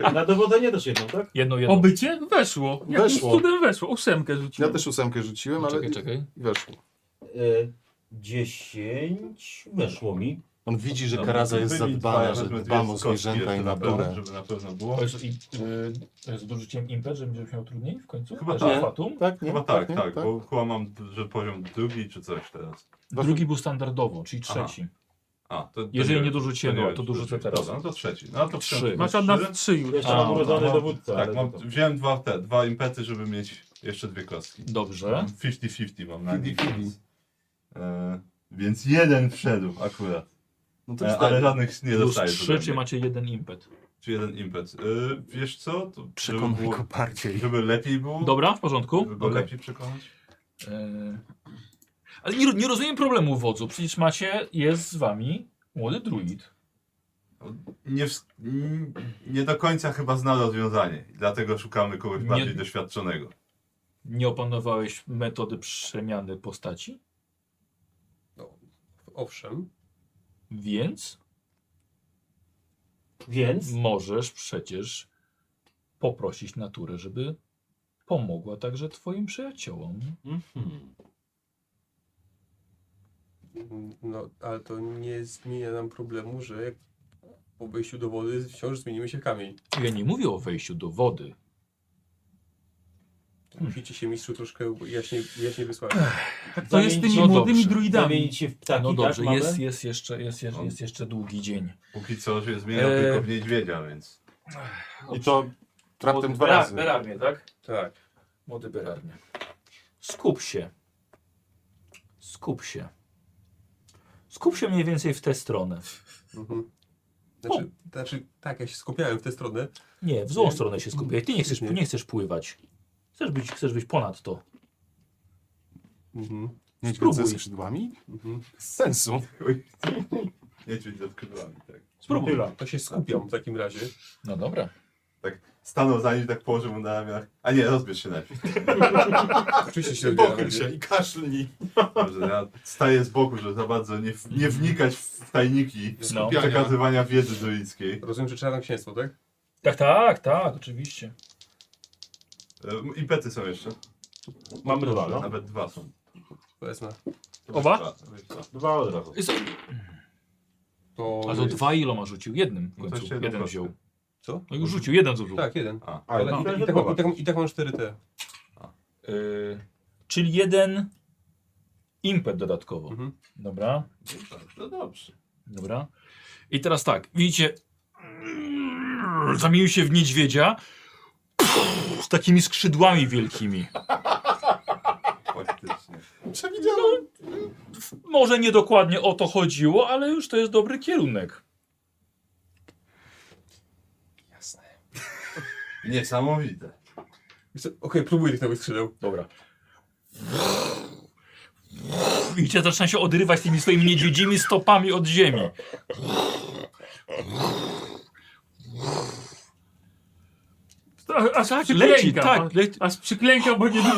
I: no
B: Na dowodzenie też jedną, tak?
A: Jedną, No, jedną.
E: Obycie? Weszło. Jakimś
I: Weszło.
E: cudem weszło. Ósemkę rzuciłem.
I: Ja też ósemkę rzuciłem, ale
A: Czekaj, czekaj.
I: weszło.
B: Y, 10 weszło mi.
I: On widzi, że
D: Dobra,
I: karaza jest
D: No, wybić
I: zadbana,
D: dwa,
I: że
D: wezmę dwie
I: dbam o
D: kostki
I: zwierzęta i
D: jeszcze na pewno,
I: naturę.
D: Żeby na pewno było.
A: To jest, i, y, z dorzuciem impet, żebyś miał trudniej w końcu?
D: Chyba
A: Też
D: tak.
A: fatum?
I: Tak, nie?
D: Chyba tak,
I: nie?
D: tak, bo chyba mam, że poziom drugi czy coś teraz.
A: Drugi był standardowo, czyli trzeci.
D: A, to, No, to
A: Jeżeli nie
D: wiem,
A: dorzuciłem,
D: nie
A: to,
D: wiem,
A: to
D: czy
A: dorzucę
D: drugi.
A: teraz.
D: Dobra, no to trzeci. No to
A: Trzy.
D: wziąłem
E: Masz od nas trzy już.
B: Jeszcze
A: A,
B: mam urodzony
D: mam-
B: dowódca.
D: Tak,
B: ale
D: mam,
B: to-
D: wziąłem dwa, te, dwa impety, żeby mieć jeszcze dwie kostki.
A: Dobrze.
D: Mam 50-50 mam na nich, więc, e, więc jeden wszedł akurat.
I: No to
D: E,
I: cztery.
D: ale żadnych nie
A: Plus
D: dostaje.
A: trzy, czy macie jeden impet.
D: czy jeden impet. E, wiesz co? To, żeby,
I: Przekonaj go
D: było,
I: bardziej.
D: żeby lepiej było.
A: Dobra, w porządku?
D: Żeby go
A: Okej.
D: lepiej przekonać.
A: Y, Ale nie, nie rozumiem problemu wodzu, przecież macie, jest z wami młody druid.
D: nie, ws- n- nie do końca chyba zna rozwiązanie. Dlatego szukamy kogoś
A: Nie-
D: bardziej doświadczonego.
A: Nie opanowałeś metody przemiany postaci,
F: Owszem.
A: więc
B: Więc
A: możesz przecież poprosić naturę, żeby pomogła także twoim przyjaciołom.
B: Mhm.
F: No, ale to nie zmienia nam problemu, że jak po obejściu do wody wciąż zmienimy się w kamień.
A: Ja nie mówię o wejściu do wody.
F: Musicie się mistrzu troszkę jaśniej, jaśniej wysłać.
E: Tak to jest z tymi
A: No
E: młodymi
A: dobrze.
E: druidami.
B: zamienić się w ptaki,
A: No dobrze,
B: tak,
A: jest,
B: mamy?
A: jest, jeszcze, jest,
D: No.
A: jest, jest jeszcze długi dzień.
D: Póki co się zmienia
A: Eee.
D: tylko w niedźwiedzia, więc.
I: I to raptem dwa razy.
A: Berarnie, tak?
F: Tak.
A: Młody Berarnie. Skup się. Skup się. Skup się mniej więcej w tę stronę.
F: Mhm. Znaczy, znaczy, tak, ja się skupiałem w tę stronę.
A: Nie, w złą stronę się skupiaj. Ty nie chcesz,
F: Nie.
A: nie chcesz pływać. Chcesz być, chcesz być ponad to.
F: Mhm.
I: Niedźwiedź
A: Spróbuj.
I: ze skrzydłami?
F: Mhm.
I: Z sensu.
D: Niedźwiedź ze skrzydłami, tak.
A: Spróbuj.
F: To się skupiam w takim razie.
A: No dobra.
D: Tak stanął za nim, tak położył mu na ramionach. A nie, rozbierz się najpierw.
F: Oczywiście Tak, się
I: Pochyl
F: odbieram.
I: się i kaszlnij.
D: Dobrze, ja staję z boku, że za bardzo nie, w- nie wnikać w tajniki
A: No.
D: przekazywania wiedzy druickiej.
F: Rozumiem, że czarnoksięstwo, tak?
A: Tak, tak, tak, oczywiście.
D: E, Impety są jeszcze.
B: Mamy dwa, no.
D: Nawet dwa są.
F: Powiedzmy.
E: Oba?
B: Dwa od razu.
A: Jest-
F: To
A: A to dwa iloma rzucił? Jednym w
D: No to
A: końcu.
D: jeszcze jedną
A: jeden
D: kostkę.
A: wziął.
D: Co?
A: No już rzucił, jeden zużył.
F: Tak, jeden.
D: A,
B: Ale
F: Ale i,
B: myślałem,
F: i,
B: że
F: tak,
B: dwa.
F: mam- i, tak, mam- I tak mam 4T.
A: Y, czyli jeden impet dodatkowo.
F: Mhm.
A: Dobra,
D: No dobrze.
A: dobra. I teraz tak, widzicie, zamienił się w niedźwiedzia z takimi skrzydłami wielkimi.
D: Faktycznie.
A: Może niedokładnie o to chodziło, ale już to jest dobry kierunek.
D: Niesamowite.
F: Wiesz co, Okej, próbuję tych nowych skrzydeł.
A: Dobra. Widzicie, zaczyna się odrywać tymi swoimi niedźwiedzimi stopami od ziemi.
E: Tak, A, aż
A: Leci,
E: przyklęka.
A: tak, leci.
E: Aż przyklęka, bo nie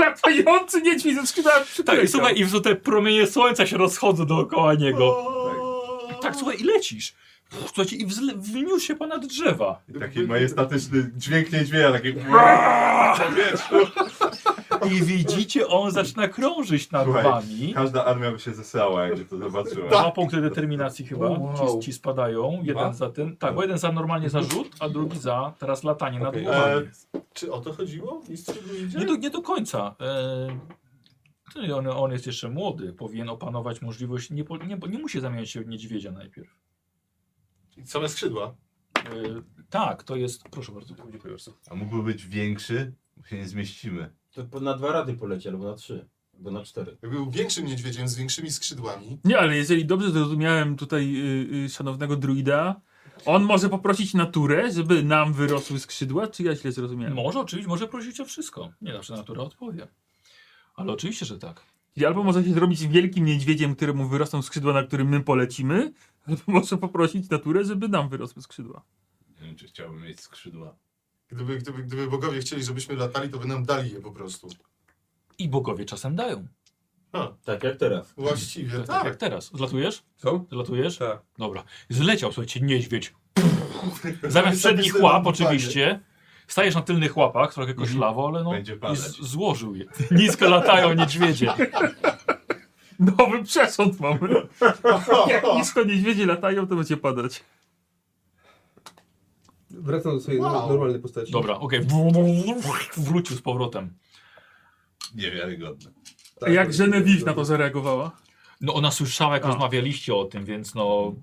E: Latający niedźwiedź ze skrzydłami
A: Tak,
E: przyklęka.
A: i słuchaj, i w te promienie słońca się rozchodzą dookoła niego. Tak, słuchaj, i lecisz. Pff, Słuchajcie, i wzle- wzniósł się ponad drzewa.
D: I taki majestatyczny dźwięk niedźwiedzia, taki...
A: I widzicie, on zaczyna krążyć nad
D: Słuchaj,
A: wami.
D: Każda armia by się zesrała, jakby to zobaczyła.
A: Dwa punkty determinacji chyba ci, ci spadają. Jeden za ten, tak, bo jeden za normalnie za rzut, a drugi za teraz latanie nad
F: Okej,
A: głowami.
I: Tak.
O: E, czy o to chodziło? Mistrzu Druidzie?
A: Nie do, nie do końca. E, ty, on, on jest jeszcze młody, powinien opanować możliwość. Nie, po- nie, nie musi zamieniać się w niedźwiedzia najpierw.
O: Same skrzydła.
A: E, tak, to jest. Proszę bardzo.
D: A mógłby być większy, bo się nie zmieścimy.
B: To po- na dwa rady poleci, albo na trzy, albo na cztery.
O: Jakby Był większym niedźwiedziem z większymi skrzydłami.
E: Nie, ale jeżeli dobrze zrozumiałem tutaj y, y, szanownego druida, on może poprosić naturę, żeby nam wyrosły skrzydła, czy ja źle zrozumiałem?
A: Może oczywiście, może prosić o wszystko. Nie zawsze natura odpowie. Ale oczywiście, że tak.
E: Czyli Albo może się zrobić wielkim niedźwiedziem, któremu wyrosną skrzydła, na którym my polecimy, albo może poprosić naturę, żeby nam wyrosły skrzydła.
D: Nie wiem, czy chciałbym mieć skrzydła.
O: Gdyby, gdyby, gdyby bogowie chcieli, żebyśmy latali, to by nam dali je po prostu.
A: I bogowie czasem dają.
B: Tak jak teraz.
O: Właściwie
A: Tak, tak jak
O: tak.
A: teraz. Zlatujesz?
F: Co?
A: Zlatujesz?
F: Tak.
A: Dobra. Zleciał, słuchajcie, niedźwiedź. Zamiast przednich
O: Zapisałem
A: łap,
O: na planie.
A: oczywiście. Stajesz na tylnych łapach, trochę koślawo, ale no.
D: Mhm. Będzie
A: I
D: padać.
A: z- złożył je. Nisko latają niedźwiedzie.
E: Nowy przesąd mamy. Jak nisko niedźwiedzie latają, to będzie padać.
F: Wracam do swojej
O: Wow.
F: normalnej postaci.
A: Dobra, okej. Okay. Wrócił z powrotem.
D: Niewiarygodne.
E: A Jak Genevieve na to zareagowała?
A: No ona słyszała, jak
E: A.
A: rozmawialiście o tym, więc no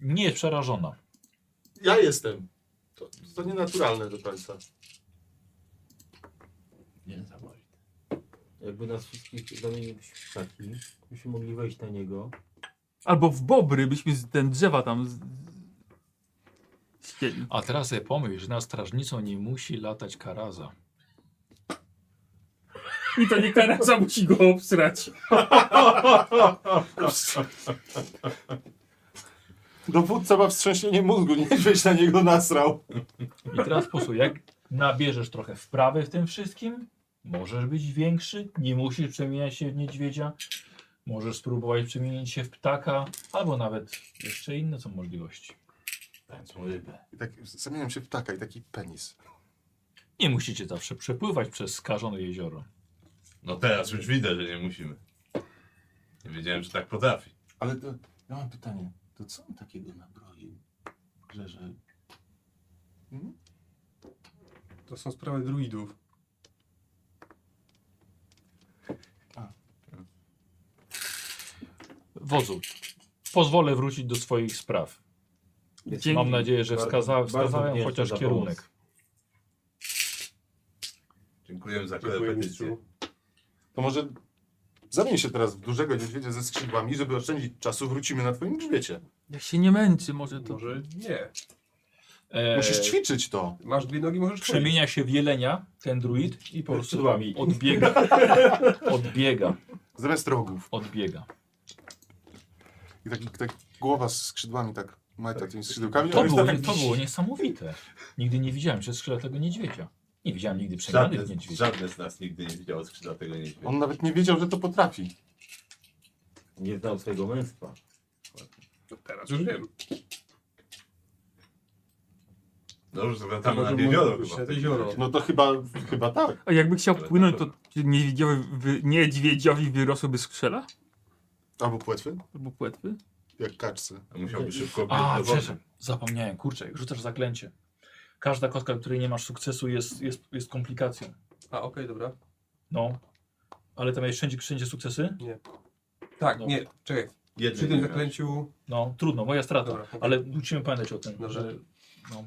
A: nie jest przerażona.
O: Ja jestem. To, to nienaturalne do końca.
H: Niesamowite.
B: Jakby nas wszystkich zamienił w ptaki, byśmy mogli wejść na niego.
E: Albo w bobry byśmy z- ten drzewa tam z- ścieli.
A: A teraz sobie pomyśl, że na strażnicą nie musi latać karaza.
E: I to nie karaza musi go obsrać.
I: Dowódca ma wstrząśnienie mózgu, niedźwiedź na niego nasrał.
A: I teraz posłuchaj, jak nabierzesz trochę wprawy w tym wszystkim, możesz być większy, nie musisz przemieniać się w niedźwiedzia, możesz spróbować przemienić się w ptaka, albo nawet jeszcze inne są możliwości.
H: Tańczą rybę.
O: I tak zamieniam się w ptaka i taki penis.
A: Nie musicie zawsze przepływać przez skażone jezioro.
D: No teraz już widzę, że nie musimy. Nie wiedziałem, że tak potrafi.
H: Ale to, ja mam pytanie. To co on takiego nabroił? Że, że...
F: To są sprawy druidów.
A: Wozu, pozwolę wrócić do swoich spraw.
E: Dzięki.
A: Mam nadzieję, że
B: Bardzo-
A: wskaza
B: bardzo
A: wskazałem
B: wdzięczny
A: chociaż
B: za
A: kierunek.
D: Dziękujemy za
F: Dziękuję mistrzu.
D: korepetycję.
O: To może zamień się teraz w dużego niedźwiedzia ze skrzydłami, żeby oszczędzić czasu, wrócimy na twoim grzbiecie.
E: Jak się nie męczy, może to.
F: Może nie.
A: E,
O: Musisz ćwiczyć to.
F: Masz dwie nogi, możesz chodzić.
A: Przemienia się w jelenia, ten druid, i po prostu
B: Skrzydłami.
A: odbiega. Odbiega,
O: Zamiast rogów.
A: odbiega.
O: I tak, tak głowa z skrzydłami tak majta tymi skrzydełkami.
A: To
O: On już
A: było,
O: tak-
A: to było niesamowite. Nigdy nie widziałem przez skrzydła tego niedźwiedzia. Nie widziałem nigdy przegranych
D: Żadne,
A: niedźwiedzi.
D: żadne z nas nigdy nie widziało skrzydlatego niedźwiedzia.
O: On nawet nie wiedział, że to potrafi.
B: Nie znał swojego męstwa.
F: Teraz już wiem.
D: No już zwracamy
F: może
D: na
F: mu-
D: jezioro chyba.
F: na jezioro.
C: No to chyba, chyba tak.
E: A jakby chciał
D: Ale
E: płynąć,
D: na
E: to niedźwiedziowi, wy, niedźwiedziowi wyrosłyby skrzela?
C: Albo płetwy,
E: Albo płetwy?
C: jak kaczce.
D: A Musiałby szybko biec
A: A,
D: do wody.
A: przepraszam, zapomniałem, kurczę, rzucasz zaklęcie. Każda kostka, której nie masz sukcesu jest, jest, jest komplikacją.
F: A, okej, dobra.
A: No. Ale tam jest wszędzie, wszędzie sukcesy?
F: Tak,
A: No.
F: nie, czekaj. Przy
D: Jednej
F: tym
D: nie miał.
F: zaklęciu...
A: No, trudno, moja strata.
F: Dobra, okej.
A: Ale musimy pamiętać o tym,
F: Dobra.
A: że... No.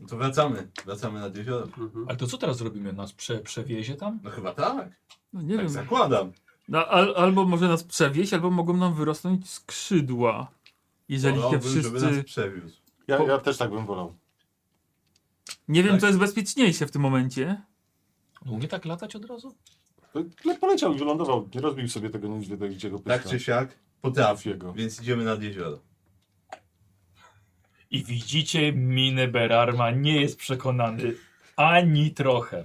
D: No to wracamy. Wracamy nad jezioro.
F: Mhm.
A: Ale to co teraz zrobimy? Nas prze, przewiezie tam?
D: No chyba tak.
E: No nie
D: Tak
E: wiem.
D: zakładam.
E: No, al, albo może nas przewieźć, albo mogą nam wyrosnąć skrzydła. Jeżeli się
D: Wolałbym, żeby nas
E: wszyscy...
D: przewiózł.
C: Ja, ja też tak bym wolał.
E: Nie wiem,
D: Tak.
E: co jest bezpieczniejsze w tym momencie.
A: No, nie tak latać od razu?
C: To le- Poleciał i wylądował, nie rozbił sobie tego niedźwiedzia, gdzie go
D: Tak
C: pyska.
D: czy siak potrafię.
C: go.
D: Tak. Więc idziemy nad jezioro.
A: I widzicie, minę Berarma nie jest przekonany ani trochę.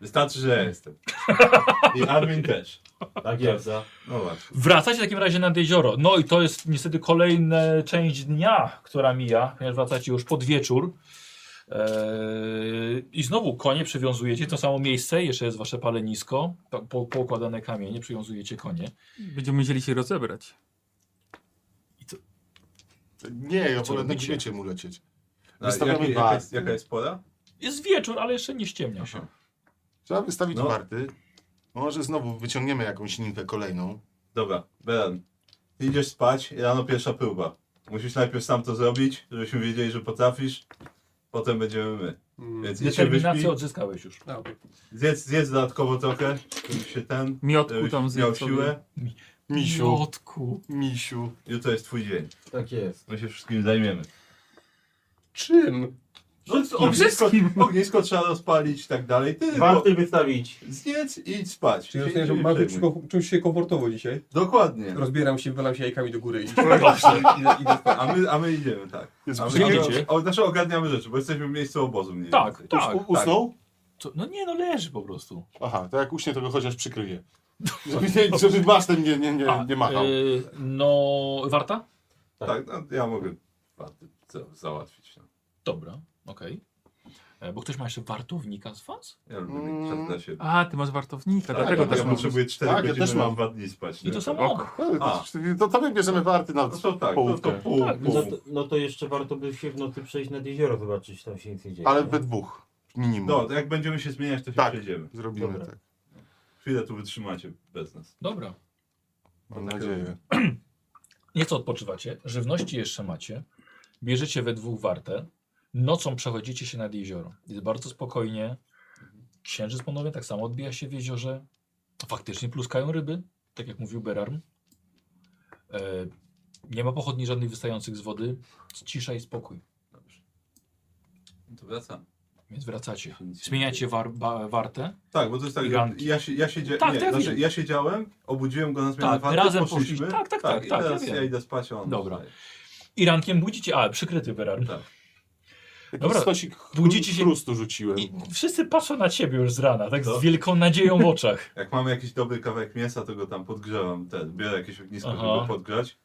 D: Wystarczy, że ja jestem. I admin też.
B: Tak jest. za.
D: No właśnie.
A: Wracacie w takim razie nad jezioro. No i to jest niestety kolejna część dnia, która mija, ponieważ wracacie już pod wieczór. Eee, I znowu konie przywiązujecie, to samo miejsce, jeszcze jest wasze palenisko, po- po- poukładane kamienie, przywiązujecie konie.
E: Będziemy musieli się rozebrać.
C: Nie, ja
A: Co
C: wolę na
A: robicie?
C: grzbiecie mu lecieć.
D: No,
C: Wystawiamy
D: jaka, jaka,
C: warty.
D: jest, jaka jest pora?
A: Jest wieczór, ale jeszcze nie ściemnia się.
D: Aha.
C: Trzeba wystawić
D: No.
C: warty. Może znowu wyciągniemy jakąś nimfę kolejną.
D: Dobra, Beran. ty Idziesz spać, rano pierwsza próba. Musisz najpierw sam to zrobić, żebyśmy wiedzieli, że potrafisz. Potem będziemy my.
F: Mm.
D: Więc idź się wyśpij,
A: Determinację odzyskałeś już.
F: A, okej.
D: zjedz, zjedz dodatkowo trochę, żebyś się ten,
E: Miotku
D: żebyś
E: tam
D: miał
E: zjedz sobie.
D: siłę.
C: Misiu,
A: Jotku.
C: No. misiu.
D: Jutro jest twój dzień.
B: Tak jest.
D: My się wszystkim zajmiemy.
C: Czym?
E: No
D: Ognisko, ognisko trzeba rozpalić i tak dalej. Ty no,
B: Warty wystawić.
D: zjedz i idź spać.
F: Czyli
D: Się
F: rozumiem, że
D: nie
F: bardzo
D: przejmuj.
F: czu- czuć się komfortowo dzisiaj.
D: Dokładnie.
F: Rozbieram się, wylam się jajkami do góry i
D: Idę- idę spać. A my, a my idziemy, tak.
C: Jest
D: A my,
C: przyjęcie.
D: a, a, znaczy ogarniamy rzeczy, bo jesteśmy w miejscu obozu mniej
A: Tak,
D: więcej.
A: tak.
C: U- Usnął?
A: To, no nie, no leży po prostu.
C: Aha, to jak uśnie, to go chociaż przykryje. Żeby, nie, żeby masztem nie, nie, nie, nie machał.
A: y, no, warta?
D: Tak, no, ja mogę warty za- załatwić. No.
A: Dobra, okej. E, Bo ktoś ma jeszcze wartownika z was?
D: Ja lubię mieć czas dla siebie.
E: A, ty masz wartownika,
D: Tak,
E: dlatego
D: ja
E: też
D: ja
E: mam.
D: potrzebuję 4
C: Tak, ja
D: godziny,
C: też mam.
D: mam 2 dni spać.
A: I
C: E,
D: nie?
A: to samo.
C: O, To,
D: A.
C: No, to tobie bierzemy warty na
D: No to tak, to,
C: połówkę.
D: to pół,
A: Tak,
C: pół.
B: No to, no to jeszcze warto by się w nocy przejść nad jezioro, zobaczyć, czy tam się nic nie dzieje.
C: Ale
B: nie?
C: we dwóch. Minimum.
D: No, to jak będziemy się zmieniać, to się
C: Tak.
D: przejdziemy.
C: Zrobimy
B: Dobra.
C: tak.
D: Chwilę tu wytrzymacie bez nas.
A: Dobra.
C: Mam
D: tak
C: nadzieję.
A: Nieco odpoczywacie, żywności jeszcze macie, bierzecie we dwóch wartę, nocą przechodzicie się nad jezioro. Jest bardzo spokojnie, księżyc ponownie tak samo odbija się w jeziorze, faktycznie pluskają ryby, tak jak mówił Berarm. E, nie ma pochodni żadnych wystających z wody, cisza i spokój,
D: Dobrze. No to wracam.
A: więc wracacie. Zmieniacie war, ba, wartę,
D: Tak, bo to jest tak, że
A: Ganki.
D: ja, się, ja, się,
A: Tak,
D: nie,
A: tak,
D: znaczy,
A: wiem.
D: ja siedziałem, obudziłem go na zmianę
A: Tak,
D: warty,
A: razem
D: poszliśmy.
A: poszliśmy. Tak, tak, tak,
D: i
A: tak,
D: teraz
A: ja
D: ja,
A: wiem.
D: idę spać, a on
A: Dobra.
D: zostaje.
A: i rankiem budzicie, a przykryty Berarm.
D: Tak.
C: Jakiś
A: Dobra,
C: stosik
A: budzicie
C: budzicie
A: się-
C: się... chrustu rzuciłem.
A: I wszyscy patrzą na ciebie już z rana, tak
D: No.
A: z wielką nadzieją w oczach.
D: Jak mamy jakiś dobry kawałek mięsa, to go tam podgrzewam, ten, biorę jakieś ognisko,
A: Aha.
D: żeby go podgrzać.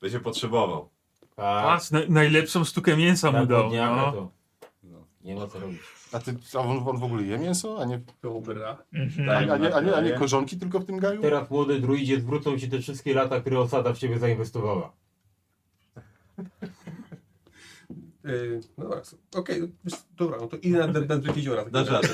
D: Będzie potrzebował.
B: A,
E: Patrz, naj- najlepszą sztukę mięsa mu dał.
B: dnia
E: No.
B: Tak, to. Nie ma co robić.
C: A, ty, a on, on w ogóle je mięso? A nie,
F: Dobra.
C: a, a, nie, a, nie, a nie
D: Daję.
C: korzonki tylko w tym gaju?
B: Teraz młody druidzie zwrócą ci te wszystkie lata, które osada w ciebie zainwestowała.
F: Yy, no dobra, s- okej, wiesz co, dobra, no to idę na ten brzeg jeziora.
D: Dasz radę.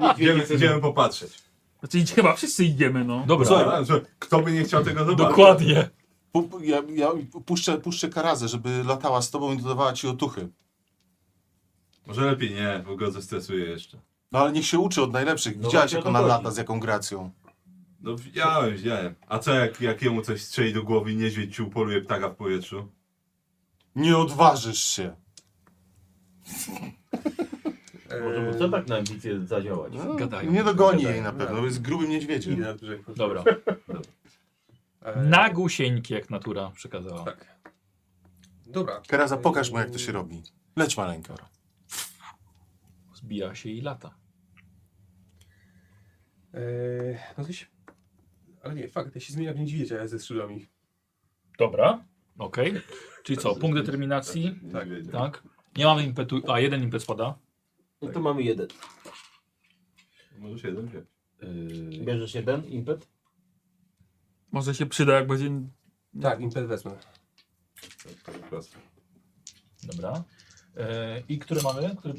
B: Niech
D: Idziemy, idziemy popatrzeć.
E: Znaczy idź- chyba wszyscy idziemy, no.
A: Dobra,
D: Słuchaj, że kto by nie chciał tego zobaczyć?
A: dokładnie.
C: Pu- pu- Ja, ja puszczę, puszczę karazę, żeby latała z tobą i dodawała ci otuchy.
D: Może lepiej nie, bo go zestresuję jeszcze.
C: No ale niech się uczy od najlepszych.
B: No
C: Widziałaś
B: właśnie
C: jak
B: o
C: ona
B: to chodzi.
C: lata, z jaką gracją.
D: No wziąłem, wziąłem. A co jak, jak jemu coś strzeli do głowy i niedźwiedź ci upoluje ptaka w powietrzu?
C: Nie odważysz się.
F: Y,
B: Może mu co tak na ambicje zadziałać?
C: No,
A: Gadają.
C: nie dogoni
B: Gadają,
C: jej na pewno, bo jest grubym niedźwiedziem.
F: Idę na brzeg.
A: Dobra.
F: Eee,
A: Nagusieńki, jak natura przekazała.
F: Tak. Dobra.
C: Karaza, pokaż mu jak to się robi. Leć maleńko.
A: Zbija się i lata.
F: E, Eee, no coś... Ale nie, fakt, ja się zmieniam w niedźwiedzia ze skrzydłami.
N: Dobra.
A: Okej. Czyli co, punkt determinacji?
D: Tak.
A: Tak. Nie mamy impetu. A, jeden impet spada.
G: No to mamy jeden.
D: Możesz jeden wziąć.
H: Yy,
G: Bierzesz jeden impet?
E: Może się przyda, jak będzie...
F: Tak, impet wezmę.
D: Tak, to po prostu.
A: Dobra. E, I które mamy? Który...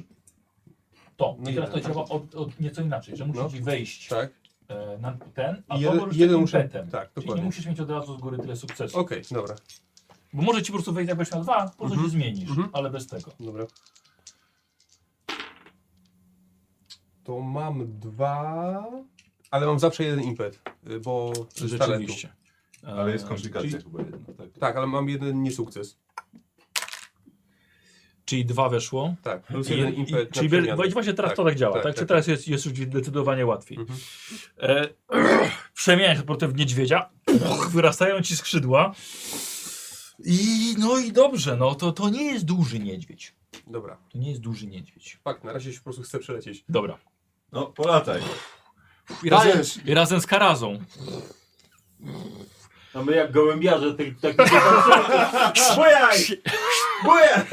A: To.
F: No
A: I teraz to
F: jeden.
A: działa od, od nieco inaczej, że musisz
F: No.
A: wejść
F: Tak,
A: e, na ten, a jeden,
F: I jeden-
A: podróż
F: jeden muszę-
A: impetem.
F: tak,
A: Czyli nie
F: dokładnie.
A: musisz mieć od razu z góry tyle sukcesów.
F: Okej, dobra.
A: Bo może ci po prostu wejść jakoś na dwa, po prostu
F: Mhm.
A: się zmienisz,
F: Mhm.
A: ale bez tego.
F: Dobra. To mam dwa, ale mam zawsze jeden impet, y, bo z talentu.
A: Rzeczywiście.
D: Ale jest komplikacja
A: Czyli,
D: chyba jedna, tak.
F: Tak, ale mam jeden niesukces.
A: E, czyli dwa weszło.
F: Tak, plus
A: I-
F: jeden
A: i-
F: impet
A: Czyli bier-
F: na przemianę.
A: właśnie- właśnie teraz to tak działa, tak?
F: tak,
A: Czy
F: tak,
A: teraz jest, jest już zdecydowanie łatwiej.
F: Mhm.
A: E, przemieniasz portret niedźwiedzia, wyrastają ci skrzydła. I no i dobrze, no to, to nie jest duży niedźwiedź.
F: Dobra,
A: To nie jest duży niedźwiedź.
F: fakt, na razie się po prostu chcę przelecieć.
A: Dobra.
D: No, polataj.
A: I razem, i razem z Karazą.
B: A my jak gołębiarze tylko tak Bojaj! Bojaj!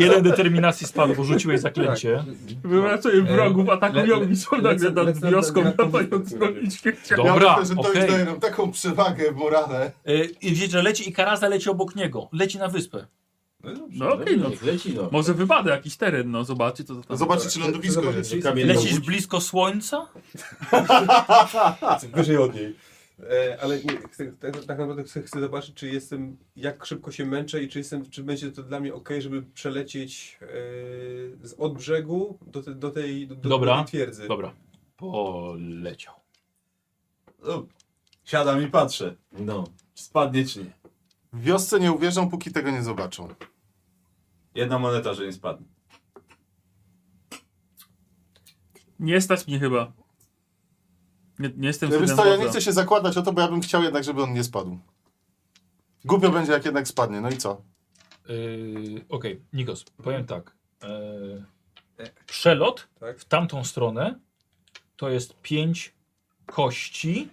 A: Jeden determinacji spadł, bo rzuciłeś zaklęcie.
E: Byłem raczej wrogów atakują
F: E, le-
E: mi są nagle
F: lecę-
E: nad
F: lecę-
E: wioską
F: lecę-
E: na pającą i świecie.
A: Dobra,
O: myślę, że to
A: okej.
O: już daje nam taką przewagę w morale.
A: E, I wiecie, że leci i Karaza leci obok niego. Leci na wyspę.
E: No okej, no.
B: Leci no.
E: Może wypada jakiś teren, no zobaczy co to tam.
O: Zobaczyć, czy lądowisko
F: Zobaczyć,
O: jest.
F: czy
A: Lecisz blisko słońca?
F: wyżej od niej. E, ale nie, chcę, tak, tak naprawdę chcę, chcę zobaczyć, czy jestem, jak szybko się męczę i czy jestem, czy będzie to dla mnie ok, żeby przelecieć e, z od brzegu do, te, do, tej, do, do
A: Dobra.
F: tej twierdzy.
A: Dobra. Poleciał.
D: No, siadam i patrzę.
B: No.
D: Spadnie czy nie?
O: W wiosce nie uwierzą, póki tego nie zobaczą.
D: Jedna moneta, że nie spadnie.
E: Nie stać mnie chyba. Nie, nie jestem
O: Wiesz
E: synem
O: co, ja
E: Boga.
O: nie chcę się zakładać o to, bo ja bym chciał jednak, żeby on nie spadł. Głupio będzie, jak jednak spadnie. No i co?
A: Yy, Okej, Nikos, powiem tak. Yy, przelot
F: Tak.
A: w tamtą stronę to jest 5 kości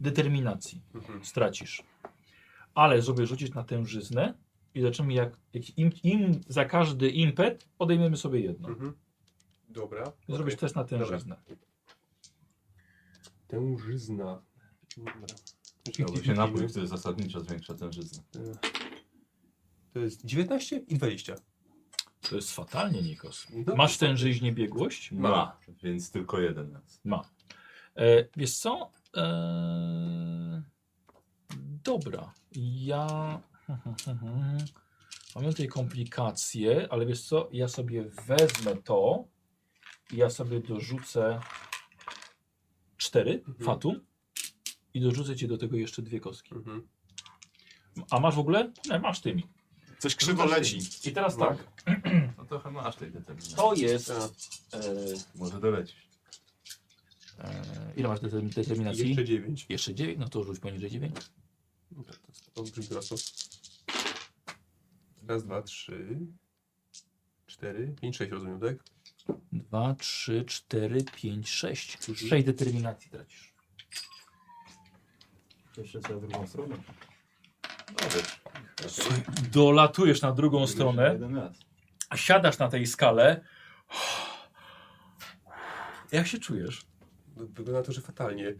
A: determinacji.
F: Mhm.
A: Stracisz. Ale sobie rzucić na tężyznę i zobaczymy, jak, jak im, im za każdy impet odejmiemy sobie jedno.
F: Mhm. Dobra. okej.
A: Zrobisz test na tężyznę.
F: Tężyzna. Dobra.
D: Chciałby się napój, który zasadniczo zwiększa tę żyznę.
F: To jest 19 i 20.
A: To jest fatalnie, Nikos.
F: No.
A: Masz tężyźnie biegłość?
D: Ma, więc tylko jeden raz.
A: Ma. E, wiesz co? E, dobra. Ja. Mam tutaj komplikacje, ale wiesz co? Ja sobie wezmę to i ja sobie dorzucę cztery fatum i dorzucę ci do tego jeszcze dwie kostki.
F: Mhm.
A: A masz w ogóle? Nie, masz tymi.
O: Coś krzywo leci.
A: I teraz
F: No.
A: tak.
D: No trochę masz tej determinacji.
A: To jest. E,
D: Może dolecisz.
A: e, ile masz determin- determinacji?
F: Jeszcze 9.
A: Jeszcze 9, no to rzuć poniżej 9.
F: To brzmi grosso. Raz, dwa, trzy, cztery, pięć, sześć rozumiem, tak?
A: 2, 3, 4, 5, 6. 6 determinacji tracisz.
B: Jeszcze sobie drugą stronę.
A: Dolatujesz na drugą
D: Jeszcze
A: stronę,
D: Jeden raz.
A: siadasz na tej skale. Jak się czujesz?
F: No, Wygląda na to, że fatalnie.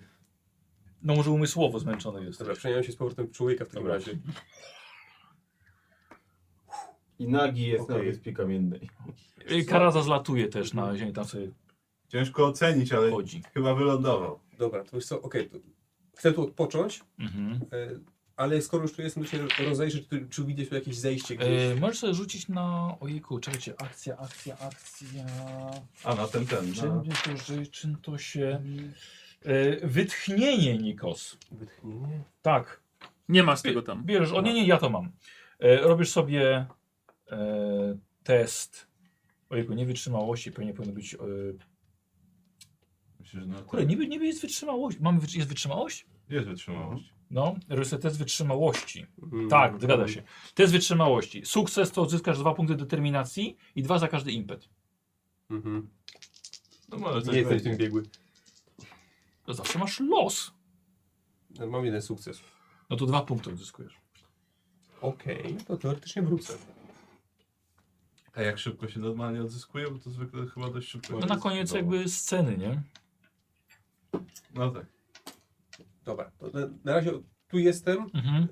A: No może umysłowo zmęczony jesteś.
F: Dobra, przemieniam się z powrotem w człowieka w takim
A: Dobra.
F: razie.
B: I nagi jest na
F: Okej.
B: wyspie kamiennej.
A: Y, Karaza zlatuje też na ziemię, tam sobie
D: Ciężko ocenić, ale
A: chodzi.
D: chyba wylądował.
F: Dobra, to wiesz co, okej, to chcę tu odpocząć,
A: Mhm.
F: e, ale skoro już tu jestem, to się rozejrzę, czy, czy widzę tu jakieś zejście gdzieś.
A: Y, możesz sobie rzucić na... Ojejku, czekajcie, akcja, akcja, akcja...
D: A na ten, ten.
A: Czym,
D: Na...
A: to, że, czym to się...
D: Mhm.
A: Y, wytchnienie, Nikos.
F: Wytchnienie.
A: Tak.
E: Nie masz tego tam.
A: Bierzesz, o nie, nie, ja to mam. E, robisz sobie e, test. Ojejku, nie wytrzymałości, pewnie powinno być. E,
D: Myślę, że na
A: kurde, niby, niby jest wytrzymałość. Mamy, wytrzy- jest wytrzymałość?
D: Jest wytrzymałość.
A: No, robisz sobie test wytrzymałości.
F: Mm.
A: Tak, zgadza się. Test wytrzymałości. Sukces to odzyskasz dwa punkty determinacji i dwa za każdy impet.
F: Mhm.
D: No może
F: Nie
D: coś
F: jestem w
D: będzie.
F: tym biegły.
A: To zawsze masz No los.
F: Mam jeden sukces.
A: No to dwa punkty odzyskujesz.
F: Okej, No to teoretycznie wrócę.
D: A jak szybko się normalnie odzyskuje, bo to zwykle chyba dość szybko.
A: No na
D: jest.
A: koniec jakby sceny, nie?
D: No tak.
F: Dobra, to na, na razie tu jestem.
A: Mhm.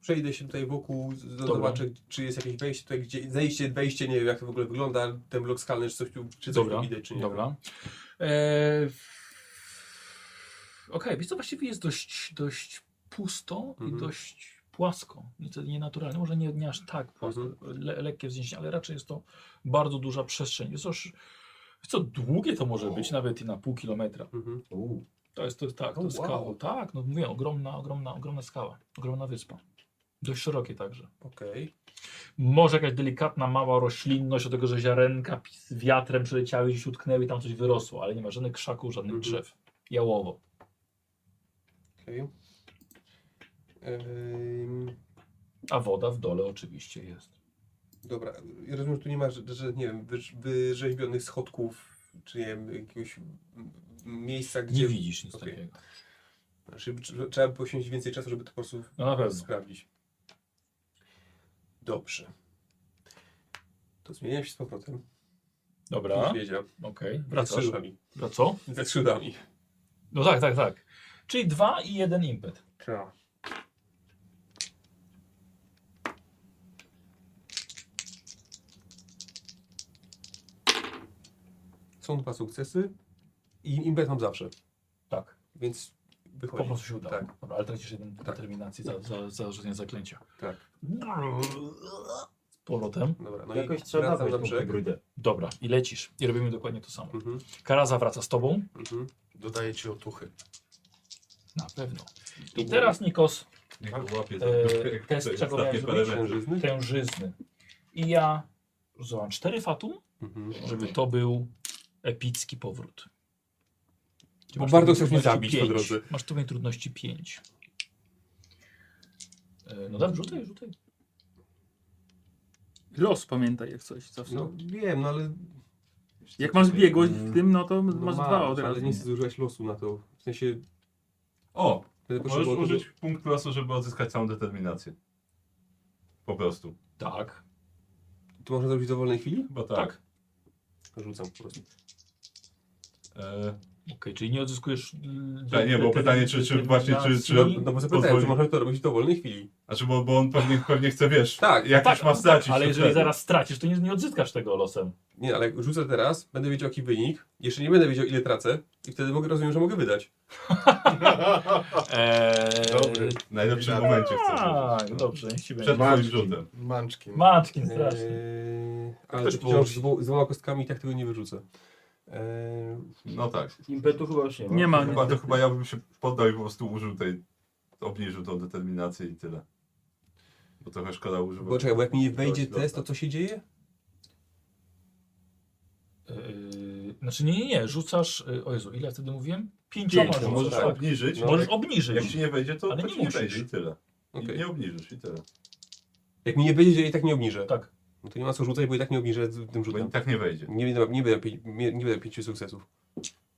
F: Przejdę się tutaj wokół, z-
A: Dobra.
F: zobaczę, czy jest jakieś wejście tutaj, gdzie zejście, wejście, nie wiem jak to w ogóle wygląda, ten blok skalny, czy coś tu, czy coś
A: Dobra,
F: tu widać, czy nie. no.
A: dobra. Eee, Okej, więc to właściwie jest dość, dość pusto i
F: Mhm.
A: dość płasko. Nieco nienaturalne. Może nie, nie aż tak płasko,
F: Mhm.
A: le, lekkie wzniesienie, ale raczej jest to bardzo duża przestrzeń. Jest też, wiesz co długie to może być, nawet i na pół kilometra.
F: Mhm.
A: To jest to, jest tak, to
F: O,
A: jest skała.
F: wow.
A: Tak, no mówię, ogromna, ogromna, ogromna skała. Ogromna wyspa. Dość szerokie także.
F: Okej.
A: Może jakaś delikatna, mała roślinność od tego, że ziarenka pi- z wiatrem przeleciały gdzieś utknęły i tam coś wyrosło, ale nie ma żadnych krzaków, żadnych
F: Mhm.
A: drzew. Jałowo.
F: okej. Em,
A: A woda w dole oczywiście jest.
F: Dobra, ja rozumiem, że tu nie ma, że, że nie wiem, wyrz- wyrzeźbionych schodków, czy nie wiem, jakiegoś m- miejsca,
A: Nie
F: gdzie...
A: widzisz nic
F: Okej.
A: takiego.
F: Znaczy, tr- trzeba by poświęcić więcej czasu, żeby to po prostu
A: No na pewno.
F: sprawdzić. Dobrze. To zmieniam się z powrotem.
A: Dobra. Okej.
F: Niedźwiedzia.
A: Wracasz.
F: skrzydłami.
A: Za co?
F: Ze skrzydłami.
A: No tak, tak, tak. Czyli dwa i jeden impet.
F: Tak. Są dwa sukcesy i impet mam zawsze,
A: Tak.
F: więc wychodzi.
A: Po prostu się udało.
F: Tak.
A: Dobra, ale tracisz jeden determinacji za, za, za rzucenie zaklęcia.
F: Tak.
A: Z powrotem.
F: Dobra, no
G: Jakoś
F: i
G: trzeba
F: wracam
G: nabrać
F: na
G: tą
F: brzeg.
G: hybrydę.
A: Dobra, i lecisz. I robimy dokładnie to samo.
F: Mhm,
A: Kara zawraca z tobą.
F: mhm.
O: Dodaję ci otuchy.
A: Na pewno. I teraz Nikos.
D: Niech go łapie za
A: E,
D: to
A: test
D: jest
A: czego
D: takie
A: miałeś robić?
D: parę rzeczy.
F: Mężczyzny?
A: Tężyzny. I ja rzucam cztery fatum,
F: Mhm.
A: żeby to był epicki powrót.
F: Bo
A: Masz
F: bardzo
A: tu
F: chcesz mnie
A: trudności
F: zabić po
A: pięć.
F: drodze.
A: Masz tu trudności 5. No dobrze, rzucaj, rzucaj.
N: Los pamiętaj jak coś zawsze.
F: No wiem, no ale
N: Jak masz biegłość w tym, no to
F: no
N: masz dwa od razu.
F: ale nie chcę zużywać losu na to. W sensie
D: O!
F: będę
D: Możesz
F: potrzebował
D: użyć punktu losu, żeby odzyskać całą determinację. Po prostu.
A: Tak.
F: tego- To można zrobić w dowolnej chwili?
D: Chyba tak.
F: Rzucam po prostu.
A: Tak.
D: E,
A: Okej, czyli nie odzyskujesz. mm,
D: Tak, nie, bo pytanie, czy- czy właśnie, czy- czy-
A: determinacji.
F: No bo zapytałem,
D: Pozwoli-
F: czy można to robić w dowolnej chwili.
D: znaczy, bo, bo on pewnie, pewnie chce, wiesz,
F: Tak,
D: jak
A: tak,
D: już ma stracić.
A: Ale
D: to
A: jeżeli
D: wtedy.
A: zaraz stracisz, to nie, nie odzyskasz tego losem.
F: Nie, ale jak rzucę teraz, będę wiedział jaki wynik, jeszcze nie będę wiedział ile tracę i wtedy mogę, rozumiem, że mogę wydać.
A: Eee,
B: E,
O: Dobry.
D: W najlepszym momencie chce.
A: Tak,
D: żeby-
A: dobrze, niech ci będzie.
D: Przed twoim rzutem.
O: Manczki.
A: Matki strasznie.
F: Eee, ale
O: Ktoś
F: to
O: położy.
F: wciąż z, dwu- z dwoma kostkami i tak tego nie wyrzucę. Eee,
D: No tak.
G: Impetu chyba już nie ma.
N: Nie
A: No,
N: ma.
D: Chyba, to chyba ja bym się poddał i po prostu użył tej, obniżył tą determinację i tyle. Bo trochę szkoda używać.
F: bo czekaj, bo jak mi nie wejdzie test, to co się dzieje?
A: Yy, znaczy nie, nie, nie, rzucasz, yy, o Jezu, ile ja wtedy mówiłem? Pięcioma
F: Pięć,
A: rzucasz,
F: no
D: możesz
A: tak.
D: obniżyć,
F: No.
A: Możesz
D: jak, jak
A: obniżyć.
D: ci nie wejdzie, to,
A: Ale
D: to
A: nie
D: ci nie
A: musisz.
D: wejdzie i tyle. I
F: Okej.
D: nie obniżysz i tyle.
F: Jak mi nie wejdzie, ja i tak nie obniżę.
A: Tak.
F: No to nie ma co rzucać, bo i tak nie obniżę z- tym
D: Bo i
F: rzutem.
D: tak nie wejdzie.
F: Nie będę, nie będę, pi- nie, nie będę pięciu sukcesów.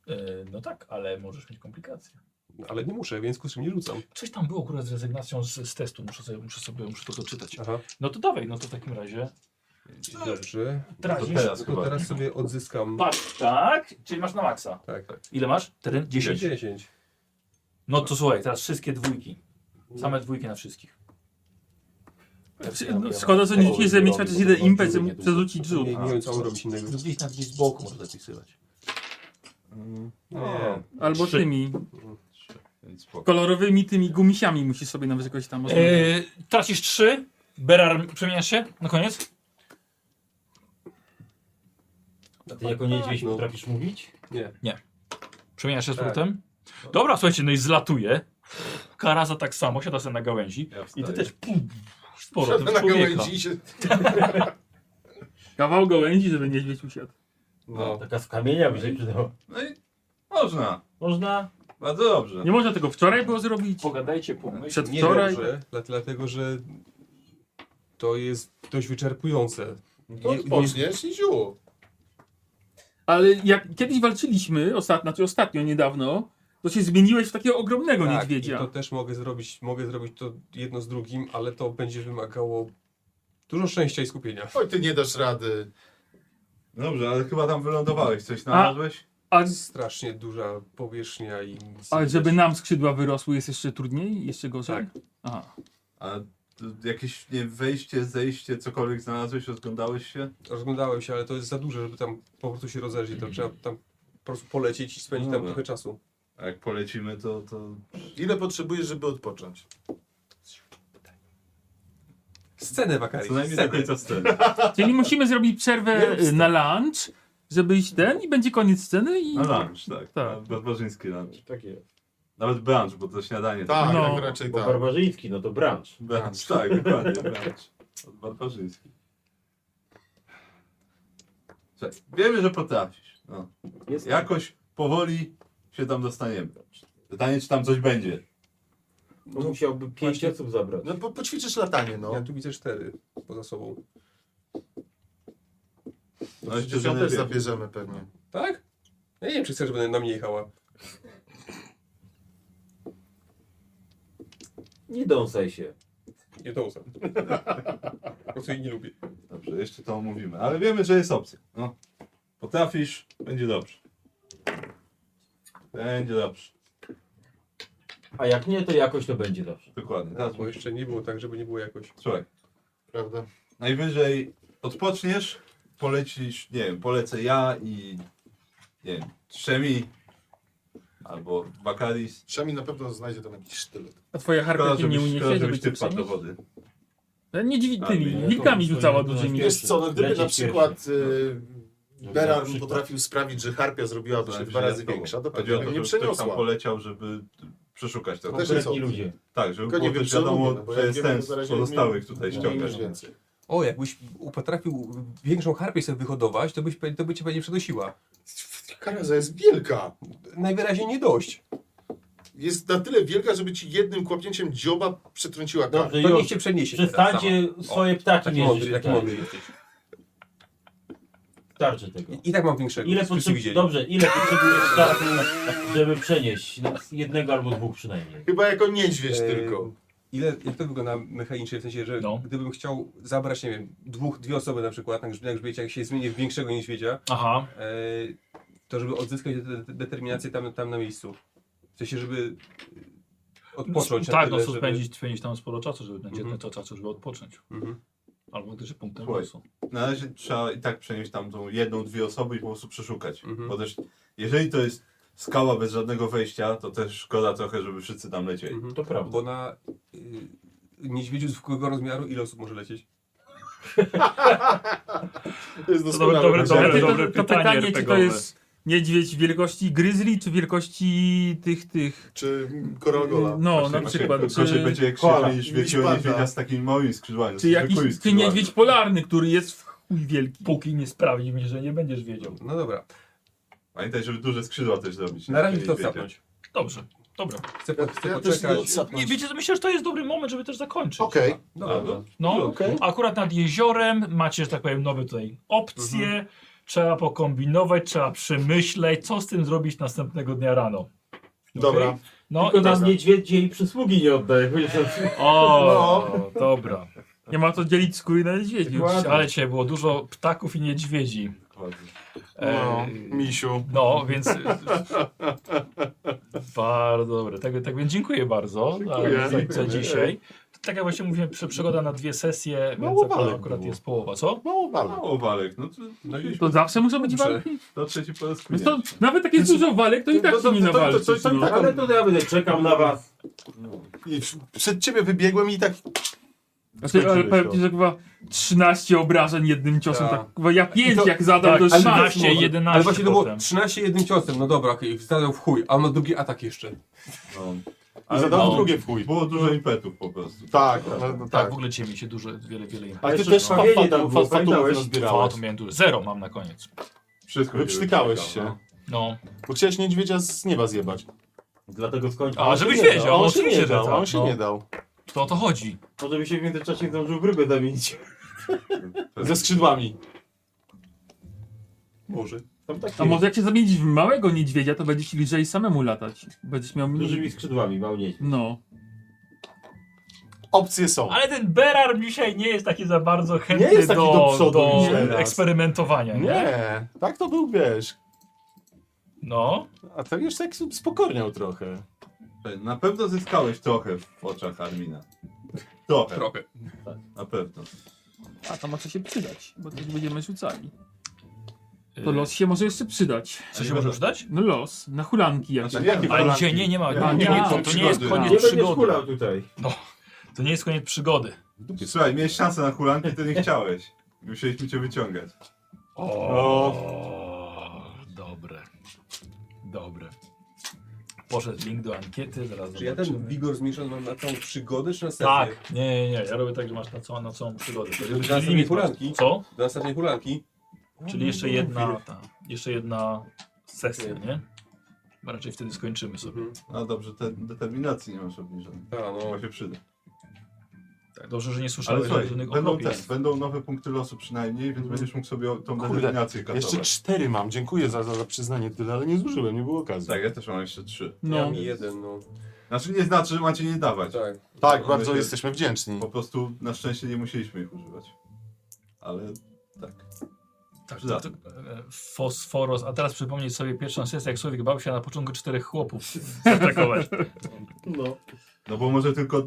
A: Yy, no tak, ale możesz mieć komplikacje.
F: No, Ale nie muszę, więc kurczę, nie rzucam.
A: Coś tam było akurat z rezygnacją z, z testu, muszę sobie, muszę sobie muszę to doczytać.
F: Aha,
A: No to dawaj, no to w takim razie
F: dobrze.
D: To
A: tracisz.
D: teraz
F: No
D: chyba.
F: to teraz sobie odzyskam.
A: Patrz, tak, czyli masz na maksa.
F: Tak, tak.
A: Ile masz? Teren? 10.
F: 10.
A: No to słuchaj, teraz wszystkie dwójki. Same dwójki na wszystkich.
N: No, Szkoda, że nie rzuciłeś, że mieć chociaż jeden impet, żeby móc przerzucić rzut.
F: Nie, nie wiem, co mam robić innego.
A: Gdzieś tam gdzieś z boku może zapisywać.
F: Nie.
N: Albo
A: Trzy.
N: tymi
D: Więc spoko.
N: kolorowymi tymi gumisiami musisz sobie nawet jakoś
E: E,
N: tam oznaczyć.
A: Eee, tracisz 3, Berar przemieniasz się na koniec?
G: Ty jako
B: Tak,
G: niedźwiedź
B: no.
G: potrafisz mówić?
F: Nie.
A: Przemieniasz się z
F: Tak.
A: powrotem? Dobra, słuchajcie, no i zlatuje. Karaza tak samo, siada sobie na gałęzi.
D: Ja
A: I ty
D: wstaję.
A: też pum, sporo tym
O: Na
A: człowieka.
O: gałęzi i się...
N: Kawał gołęzi, żeby niedźwiedź usiadł.
D: No.
G: Taka z kamienia by się przydała.
D: no i można.
G: Można?
D: Bardzo dobrze.
N: Nie można tego wczoraj było zrobić,
A: Pogadajcie, pomyśl.
F: Nie
N: przedwczoraj.
F: dobrze, dla- dlatego że to jest dość wyczerpujące.
O: To
F: Nie, tak, nie,
O: odpoczniesz i ziół.
N: Ale jak kiedyś walczyliśmy, ostat, znaczy ostatnio, niedawno,
E: To się zmieniłeś w takiego ogromnego
F: Tak,
E: niedźwiedzia.
F: I to też mogę zrobić, mogę zrobić to jedno z drugim, ale to będzie wymagało dużo szczęścia i skupienia.
O: Oj, ty nie dasz rady.
D: Dobrze, ale chyba tam wylądowałeś. Coś znalazłeś?
E: A,
F: Strasznie duża powierzchnia i... nic
E: ale
F: nie
E: żeby
F: widać.
E: nam skrzydła wyrosły jest jeszcze trudniej? Jeszcze gorzej?
D: Tak.
E: Aha.
D: A tu jakieś nie, wejście, zejście, cokolwiek znalazłeś, rozglądałeś się?
F: Rozglądałem się, ale to jest za duże, żeby tam po prostu się rozejrzeć. To trzeba tam po prostu polecieć i spędzić tam
D: Dobra.
F: trochę czasu.
D: A jak polecimy, to, to
O: Ile potrzebujesz, żeby odpocząć?
F: Scenę
D: co
F: wakacji.
D: najmniej do
F: Scenę.
D: końca sceny.
E: Czyli musimy zrobić przerwę y, na lunch, żeby iść ten i będzie koniec sceny i...
D: Na lunch, tak.
E: Tak.
D: Na barbarzyński lunch.
B: Tak jest.
D: Nawet brunch, bo to śniadanie.
O: Tak,
E: No.
O: tak raczej
B: Bo
O: tak.
B: barbarzyński, no to branż.
D: Brunch, tak, dokładnie, brunch. Od barbarzyński. Słuchaj, wiemy, że potrafisz. No.
B: Jest
D: Jakoś powoli się tam dostaniemy. Pytanie, czy tam coś będzie.
B: Bo musiałby pięć
F: właśnie-
B: osób zabrać.
O: No po, poćwiczysz latanie, no.
F: Ja tu widzę cztery poza sobą.
C: Znaczy,
D: No,
O: No,
D: jeszcze
O: też
D: nie wiem.
O: zabierzemy pewnie.
F: Tak? Ja nie wiem, czy chcesz, żeby na mnie jechała.
B: Nie dąsaj się.
F: Nie dąsam. Po prostu jej nie lubię.
D: Dobrze, jeszcze to omówimy. Ale wiemy, że jest opcja. No. Potrafisz, będzie dobrze. Będzie dobrze.
B: A jak nie, to jakoś to będzie dobrze.
D: Dokładnie. Teraz
F: Bo jeszcze nie było tak, żeby nie było jakoś.
D: Słuchaj,
O: Prawda?
D: najwyżej odpoczniesz, polecisz, nie wiem, polecę ja i nie wiem, Szemi albo Bakaris.
O: Szemi na pewno znajdzie tam jakiś sztylet.
E: A twoja harpia
D: Szkoda,
E: cię nie
D: żebyś, szkoda,
E: uniesie, żeby
D: żebyś
E: cię
D: ty wpadł do
E: przenieść?
D: wody.
O: Znaczy,
E: Ja Nie dziwi
D: A, nie,
E: tymi,
D: to
E: wilkami
C: swoje
E: rzucała
C: to
E: dużymi.
C: jest-
O: Wiesz co, no, gdyby
B: Lecieć
O: na przykład
B: pierwszy.
O: y,
B: No,
O: Beran
B: na przykład.
O: potrafił sprawić, że harpia zrobiła to się
D: Najwyżej
O: dwa
D: ja z
O: razy
D: tobą.
O: większa, to
D: Chodzi o
O: pewnie
D: to,
O: by nie
D: żeby ktoś tam
O: przeniosła.
D: poleciał, żeby przeszukać to.
O: też jest
B: Konkretni
O: opcja.
B: ludzie.
D: Tak, żeby
O: Tylko
D: było
O: nie wiem,
D: też
O: czy
D: wiadomo,
O: lubię, bo ja
D: że jest
O: wiem,
D: ten
O: że na razie
D: pozostałych
O: nie-
D: tutaj
O: Nie
D: ściągać.
O: masz więcej.
F: O, jakbyś potrafił większą harpię sobie wyhodować, to, byś, to by cię pewnie przenosiła.
O: Karaza jest wielka.
F: Najwyraźniej nie dość.
O: Jest na tyle wielka, żeby ci jednym kłapnięciem dzioba przetrąciła karę.
B: Dobrze,
F: No, To niech
B: już.
F: cię przeniesie. teraz
B: Przestańcie
F: sama.
B: swoje ptaki
F: Taki mądry,
B: mierzyć.
F: taki
B: tak.
F: mądry jesteś.
B: Starczy tego.
F: I, I tak mam większego.
B: Ile
F: Wszyscy
B: potrzeb...
F: widzieli.
B: Dobrze, ile potrzebujesz startu, żeby przenieść? No, jednego albo dwóch przynajmniej.
O: Chyba jako niedźwiedź
F: Eee,
O: tylko.
F: Ile, jak to wygląda mechanicznie, w sensie, że
A: No.
F: gdybym chciał zabrać, nie wiem, dwóch, dwie osoby na przykład na grzb- na grzbiecie, jak się zmienię w większego niedźwiedzia,
A: Aha.
F: eee, to żeby odzyskać de- de- determinację tam, tam na miejscu. W sensie, żeby odpocząć na
A: tak, no
F: tyle,
A: to
F: żeby-
A: spędzić, spędzić tam sporo czasu, żeby będzie
F: Mhm.
A: to czasu, żeby odpocząć.
F: Mhm.
A: Albo też punktem
D: Słuchaj.
A: losu.
D: Na razie trzeba i tak przenieść tam tą jedną, dwie osoby i po prostu przeszukać.
F: Mhm.
D: Bo też, jeżeli to jest skała bez żadnego wejścia, to też szkoda trochę, żeby wszyscy tam lecieli.
F: Mhm.
B: To prawda.
F: Bo na y, niedźwiedziu zwykłego rozmiaru ile osób może lecieć?
O: To jest doskonałe.
A: dobre-
O: powiedziane.
A: dobre-
E: Ale to,
A: dobre
E: to, to
A: pytanie
E: pytanie, czy to
A: RPGowe.
E: jest niedźwiedź wielkości gryzli, czy wielkości tych, tych...
O: Czy Korogola.
E: No,
D: Właśnie-
E: na
D: właśnie
E: przykład,
D: Gorzej
E: czy,
D: będzie jak
O: koala,
D: się niż wielkiego
O: niedźpanda.
D: niedźwiedzia z takimi małymi skrzydłami.
E: czy
D: z zwykłymi
E: jakiś, czy
D: skrzydłami.
E: niedźwiedź polarny, który jest w chuj wielki.
A: Póki nie sprawdzi mnie, że nie będziesz wiedział.
F: No dobra,
D: Pamiętaj, żeby duże skrzydła też zrobić.
F: na razie
D: Niedźwiedzie.
F: to wstapnąć.
A: Dobrze, dobra.
F: Chcę, po, chcę
O: Ja też nie
F: poczekać.
A: Nie,
O: odsapnąć.
A: wiecie, co, myślę, że to jest dobry moment, żeby też zakończyć.
O: Okej.
F: Dobra, no.
A: No,
O: Okej.
A: akurat nad jeziorem macie, że tak powiem, nowe tutaj opcje.
O: Mhm.
A: Trzeba pokombinować, trzeba przemyśleć, co z tym zrobić następnego dnia rano. Okej?
O: Dobra.
A: No,
B: Tylko
A: i
F: tak.
B: nam niedźwiedzie i przysługi nie oddaje.
A: O,
O: No.
A: dobra.
E: Nie ma co dzielić skóry na niedźwiedzi.
A: Ale dzisiaj było dużo ptaków i niedźwiedzi.
D: Dokładnie.
O: No,
A: E,
O: misiu.
A: No, więc. bardzo dobre. Tak, tak więc dziękuję bardzo
O: Dziękuję.
A: za, za, za
O: Dziękuję.
A: dzisiaj. Tak jak właśnie mówiłem, prze- przegoda na dwie sesje, więc
O: Mało
A: akurat,
O: walek
A: akurat
O: było.
A: jest połowa, co?
O: Mało balon.
D: Mało walek, no to, no,
E: To zawsze muszą być
F: Dobrze.
E: walki.
D: to trzeci po raz
E: No to, nawet jak jest dużo walek, to i tak
O: Znaczy, To-
E: się
O: to-
E: nie
O: to- to-
E: nawalczy.
O: to- to-
E: no.
O: tak-
B: Ale to ja będę czekał na was.
O: I przed ciebie wybiegłem i tak
E: A ty, ale
O: Skończyłeś
E: Znaczy, powiem
O: to.
E: ci, że chyba 13 obrażeń jednym ciosem.
F: Tak.
E: Tak. chyba ja 5
F: I to-
E: jak zadam,
O: tak,
A: Tak,
E: to
F: ale
E: jest szans.
A: 13,
E: może.
A: 11
F: Ale właśnie to było
A: potem.
F: 13 jednym ciosem, no dobra, okej, zadał w chuj, a on ma drugi atak jeszcze.
D: No.
O: i
D: Ale
O: zadałem
D: no,
O: drugie w chuj.
D: Było dużo impetów po prostu.
O: Tak, no, no,
A: Tak,
O: tak.
A: w ogóle cię mi się dużo, wiele, wiele imprez.
O: Ale ty
B: Jeszcze
O: też
B: trawienie
O: fa-
B: tam
O: fa-
B: było,
O: fa- fatulę
B: pamiętałeś?
O: rozbierałeś.
A: miałem dużo. Zero mam na koniec.
D: Wszystko
O: Wyprztykałeś
D: cię wyprztykało,
O: się.
A: No.
O: Bo chciałeś niedźwiedzia z nieba zjebać.
B: Dlatego skończę. no.
A: A,
O: On
A: żebyś
O: się nie
A: wiedział,
O: dał, on się
A: oczywiście,
O: nie
A: że
O: dał,
A: tak,
O: on się
A: no.
O: nie dał.
A: To o to chodzi.
B: Może by się w międzyczasie zdążył w rybę zamienić.
D: no.
O: Ze skrzydłami.
F: Może.
B: Tam takie
E: A może jak się zamienić w małego niedźwiedzia, to będziesz lżej samemu latać. Będziesz miał
B: z
E: mniej...
B: dużymi skrzydłami, mał nie.
E: No.
O: Opcje są.
N: Ale ten Berarm dzisiaj nie jest taki za bardzo chętny
O: jest taki
N: do,
O: do przodu
N: do
O: już teraz.
N: eksperymentowania. Nie?
O: Nie, tak to był, wiesz.
N: No.
O: A ten już tak spokorniał trochę.
D: Na pewno zyskałeś trochę w oczach Armina. Trochę.
F: Trochę.
D: Na pewno.
E: A to może się przydać, bo też będziemy rzucali.
O: Yy.
E: To los się może jeszcze przydać.
A: Co E, się może przydać?
E: No los, na hulanki jakieś.
O: Znaczy, jakie
A: Ale
O: kolanki?
A: dzisiaj nie, nie ma.
O: Ja-
A: nie,
E: nie,
A: nie, to, to nie
O: przygody.
A: jest
B: Nie
A: koniec
B: będziesz
A: przygody. No,
B: kulał tutaj.
A: To nie jest koniec przygody.
D: Słuchaj, miałeś szansę na hulankę, ty nie chciałeś. Musieliśmy cię wyciągać.
A: O, dobre. Dobre. Poszedł link do ankiety, zaraz
F: Czy ja ten
A: zobaczymy.
F: wigor zmniejszony mam na tą przygodę, czy na sesję?
A: Tak, nie, nie, nie, ja robię tak, że masz na całą, na całą przygodę. To jest
F: Zaraz
A: limit
F: sobie
A: masz.
F: hulanki.
A: Co?
F: Do następnej hulanki.
A: Czyli jeszcze jedna, ta, jeszcze jedna sesja, nie? Bo raczej wtedy skończymy sobie.
D: No dobrze, te determinacji nie masz obniżonej.
F: A, no.
D: Chyba się przyda.
A: Tak, dobrze, że nie słyszałeś
D: Ale słuchaj,
A: żadnych
D: będą,
A: okropieństw.
D: te, będą nowe punkty losu przynajmniej, więc
A: Mhm.
D: będziesz mógł sobie tą
O: Kurde,
D: determinację
O: Jeszcze
D: katować.
O: cztery mam, dziękuję za, za, za przyznanie tyle, ale nie zużyłem, nie było okazji.
D: Tak, ja też mam jeszcze trzy.
F: No. Ja
E: No.
F: mam jeden, no.
D: Znaczy nie znaczy, że macie nie dawać.
F: Tak.
O: Tak,
D: One
O: bardzo
D: się-
O: jesteśmy wdzięczni.
D: Po prostu na szczęście nie musieliśmy ich używać. Ale tak.
A: Tak, tak, tak. E, Fosforos. A teraz przypomnieć sobie pierwszą sesję, jak Słowik bał się na początku czterech chłopów atakować.
C: No.
D: No bo może tylko.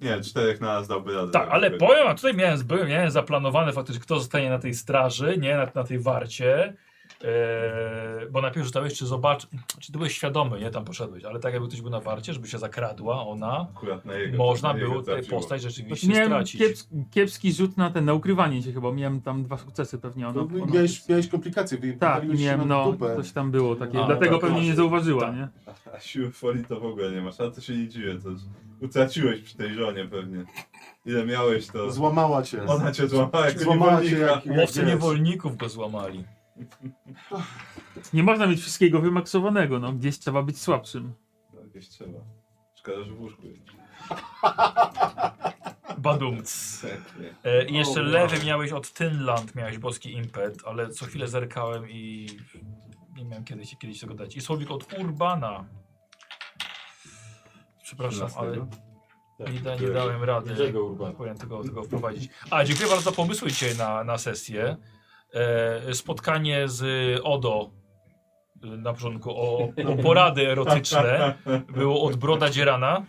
D: Nie, czterech na nas dałby radę.
A: Tak, ale powiem, a tutaj miałem, byłem, miałem zaplanowane faktycznie, kto zostanie na tej straży, nie, na, na tej warcie. E, bo najpierw rzucałeś, czy zobacz, czy ty byłeś świadomy, nie, tam poszedłeś, ale tak jakby ktoś był na warcie, żeby się zakradła ona,
D: Akurat na jego,
A: można
D: na jego
A: było tę
D: trafiło.
A: postać rzeczywiście
E: Znaczy, miałem
A: stracić.
E: kieps, kiepski rzut na ten, na ukrywanie się chyba. Miałem tam dwa sukcesy pewnie. Ona,
O: No,
E: ona,
O: miałeś, miałeś komplikacje,
E: tak,
O: wyjechaliśmy
E: miałem,
O: na
E: no,
O: dupę.
E: coś tam było takie.
A: A,
E: dlatego
A: tak,
E: pewnie nie
A: właśnie.
E: zauważyła,
A: Tak.
E: nie?
D: A siły folii to w ogóle nie masz, ale to się nie dziwię. To już utraciłeś przy tej żonie pewnie. Ile miałeś to.
O: Złamała cię.
D: Ona cię złamała jako
O: Złamała cię
D: niewolnika.
O: jak... jak
A: Łowcy
O: wiesz.
A: niewolników go złamali.
E: Nie można mieć wszystkiego wymaksowanego, no. Gdzieś trzeba być słabszym.
D: No, Jakieś trzeba. Szkoda, że w łóżku jest.
A: Badumc.
D: Tak, nie.
A: E, i jeszcze lewy miałeś od Tynland, miałeś boski impet, ale co chwilę zerkałem i nie miałem kiedyś, kiedyś tego dać. I słowik od Urbana. Przepraszam, ale nie, da, nie dałem rady.
B: Jerzego Urbana.
A: Powinien tego, tego wprowadzić. A, dziękuję bardzo za pomysły dzisiaj na, na sesję. E, spotkanie z Odo e, na początku o, o porady erotyczne było od Broda Dzierana.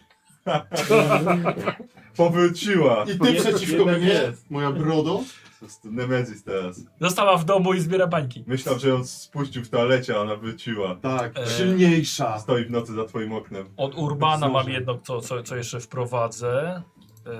D: Powróciła!
O: I ty przeciwko
B: Jednak
O: mnie, moja brodo.
D: Po prostu Nemezis teraz.
A: Została w domu i zbiera bańki.
D: Myślał, że ją spuścił w toalecie, a ona wróciła.
O: Tak,
A: E,
O: silniejsza.
D: Stoi w nocy za twoim oknem.
A: Od Urbana mam
O: Zdążę.
A: jedno, co, co, co jeszcze wprowadzę. Yy,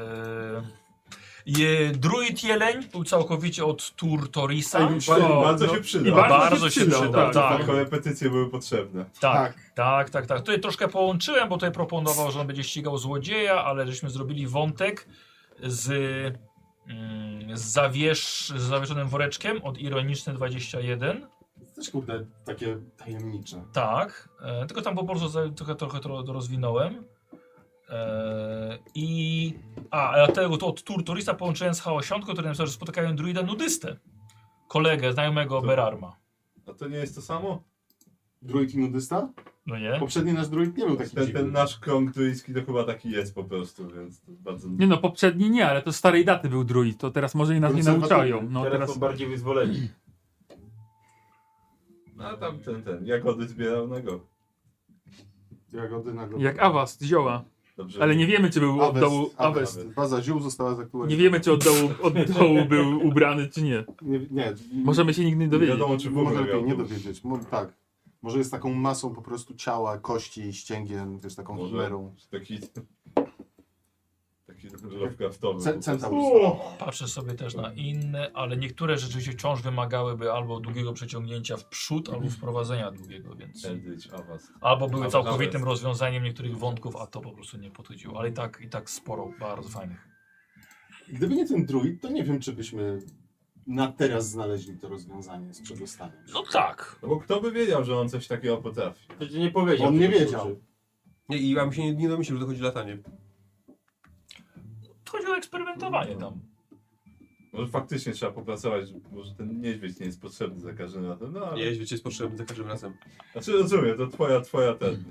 A: je, druid Jeleń był całkowicie od Turtorisa.
O: Ej,
D: Ba-
O: no,
D: bardzo
O: no.
D: się
E: I
D: przyda.
E: bardzo,
A: Bardzo
E: się
A: się
E: przydał,
A: przydał,
E: tak.
A: tak.
D: Tylko repetycje były potrzebne.
A: Tak, tak, tak, tak. Tutaj troszkę połączyłem, bo tutaj proponował, że on będzie ścigał złodzieja, ale żeśmy zrobili wątek z, mm, z, zawiesz, z zawieszonym woreczkiem od Ironiczny 21.
O: Też kurde, takie tajemnicze.
A: Tak, e, tylko tam po prostu za- trochę, trochę to to rozwinąłem. E, I. A, a tego to od Turturista połączyłem z chaosiątką, który napisał, że spotykają druida nudystę. Kolegę, znajomego
D: To-
A: Berarma.
D: A to nie jest to samo?
O: Druid i nudysta?
A: No nie?
O: Poprzedni nasz druid nie był taki
D: Ten,
O: dziwny.
D: ten nasz krąg duński to chyba taki jest po prostu, więc to bardzo...
E: Nie no, poprzedni nie, ale to starej daty był druid, to teraz może i nas nie
O: Konserwatywny.
E: nauczają. No
B: teraz,
E: teraz
B: są bardziej wyzwoleni.
D: A tam ten, ten, jagody zbierał na go.
O: Jagody na
E: jak Awas z zioła,
D: Dobrze.
E: ale nie wiemy czy był od dołu,
O: Awest, Awest. Baza ziół została
E: nie
O: zaktualizowana.
E: wiemy czy od dołu, od dołu był ubrany czy nie.
O: Nie, nie,
E: Możemy się nigdy nie
D: nie
E: dowiedzieć.
D: wiadomo, czy w
O: może
D: ogóle
O: lepiej
D: miał
O: nie
D: to.
O: dowiedzieć. Mo, tak. Może jest taką masą po prostu ciała, kości, ścięgien, wiesz, taką
D: Może.
O: chimerą.
D: Taki... Taki Lovecraftowy.
O: Ce,
D: po prostu.
O: centaur.
A: Patrzę sobie też na inne, ale niektóre rzeczywiście wciąż wymagałyby albo długiego przeciągnięcia w przód, albo wprowadzenia długiego, więc.
D: Eldritch Avast.
A: Albo były
D: Mhm. Albo
A: całkowitym
D: nawet.
A: rozwiązaniem niektórych wątków, a to po prostu nie podchodziło. Ale i tak, i tak sporo bardzo fajnych.
O: Gdyby nie ten druid, to nie wiem, czy byśmy na teraz znaleźli to rozwiązanie z przedostaniem.
A: No tak.
D: No bo kto by wiedział, że on coś takiego potrafi?
B: To ci nie powiedział.
O: On nie
B: tego
O: wiedział.
B: służy.
F: Nie, i ja bym się nie, nie domyślił, że dochodzi latanie.
D: No.
A: To chodzi o eksperymentowanie tam.
D: Może faktycznie trzeba popracować, może ten niedźwiedź nie jest potrzebny za każdym razem. No, ale...
F: Jeźdź, jest potrzebny za każdym razem.
D: Znaczy rozumiem, to twoja, twoja ten... y,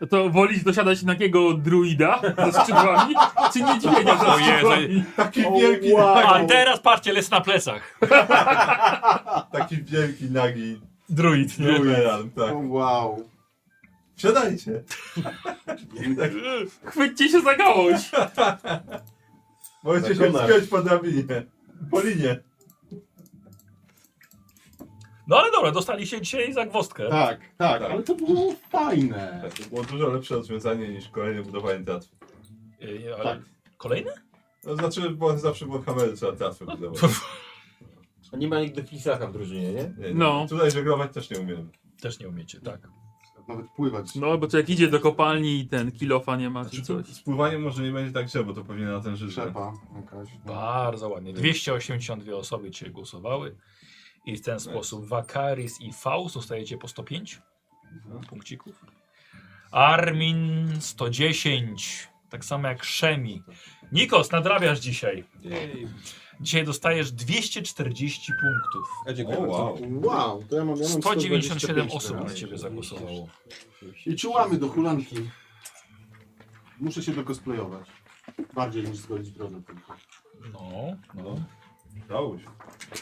E: No To wolisz dosiadać takiego druida ze skrzydłami, czy niedźwiedzia ze
A: O Jezu.
E: skrzydłami?
D: Taki wielki,
I: Tak.
D: tak.
A: A
D: nagi,
A: teraz patrzcie, les na plecach.
D: taki wielki nagi
A: Druid, nie?
D: Drumeran, tak.
I: Wow.
D: Wsiadajcie.
E: Chwyćcie się za gałąź!
D: Możecie się
B: Zakonasz.
D: wspiąć po drabinie. Po linie.
A: No ale dobra, dostaliście dzisiaj za gwostkę.
I: Tak, tak, ale to było fajne.
D: To było dużo lepsze rozwiązanie niż kolejne budowanie teatru.
A: Ej, E, ale...
I: Tak.
A: Kolejny?
D: No, znaczy, bo zawsze było kamery, trzeba teatru budować.
B: A nie ma nigdy flisaka w drużynie, nie?
D: Nie, nie.
E: No.
D: Tutaj żeglować też nie umiem.
A: Też nie umiecie, tak.
I: Nawet pływać.
E: No, bo to jak idzie do kopalni i ten kilofa nie ma
A: Znaczy,
E: czy coś.
D: Z pływaniem może nie będzie tak źle, bo to pewnie na ten życzę.
I: Trzeba jakaś.
A: Bardzo ładnie.
I: Tak.
A: 282 osoby cię głosowały. I w ten sposób Wakaris i Faust dostajecie po 105
I: Mhm.
A: punkcików. Armin 110. Tak samo jak Szemi. Nikos, nadrabiasz dzisiaj.
F: Jej.
A: Dzisiaj dostajesz 240 punktów.
F: A E, dziękuję
D: O, wow.
I: Wow, to ja mam, ja mam
A: 197
I: 125
A: osób na
I: teraz.
A: ciebie zagłosowało.
I: I czułamy do hulanki. Muszę się dokosplayować. Bardziej niż zgodzić brodę tylko.
A: No, no.
D: Udało się.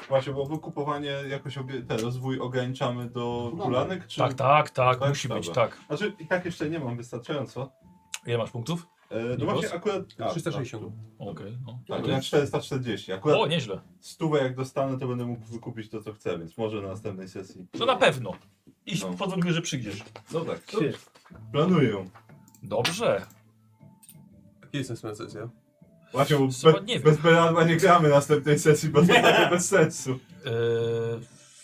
D: Właśnie, bo wykupowanie jakoś obie... ten rozwój ograniczamy
B: No,
D: do kulanek, czy...
A: Tak, tak, tak,
D: Tak,
A: musi być,
D: dobra.
A: tak.
D: Znaczy, i tak jeszcze nie mam wystarczająco.
A: Ile masz punktów?
D: E,
A: Nie
D: no właśnie,
A: głos?
D: akurat... a,
F: 360.
A: Okej, no.
D: Tak, tak, na 440. Akurat
A: O, nieźle.
D: stówę jak dostanę, to będę mógł wykupić to, co chcę, więc może na następnej sesji.
A: To na pewno. I
D: No.
A: pod warunkiem, że przyjdziesz.
D: No tak, to planuję.
A: Dobrze.
F: Kiedy jest następna sesja?
D: Właśnie, bo
A: Chyba
D: be,
A: nie wiem.
D: bez Beradła nie gramy następnej sesji, bo to będzie bez sensu.
A: Yy,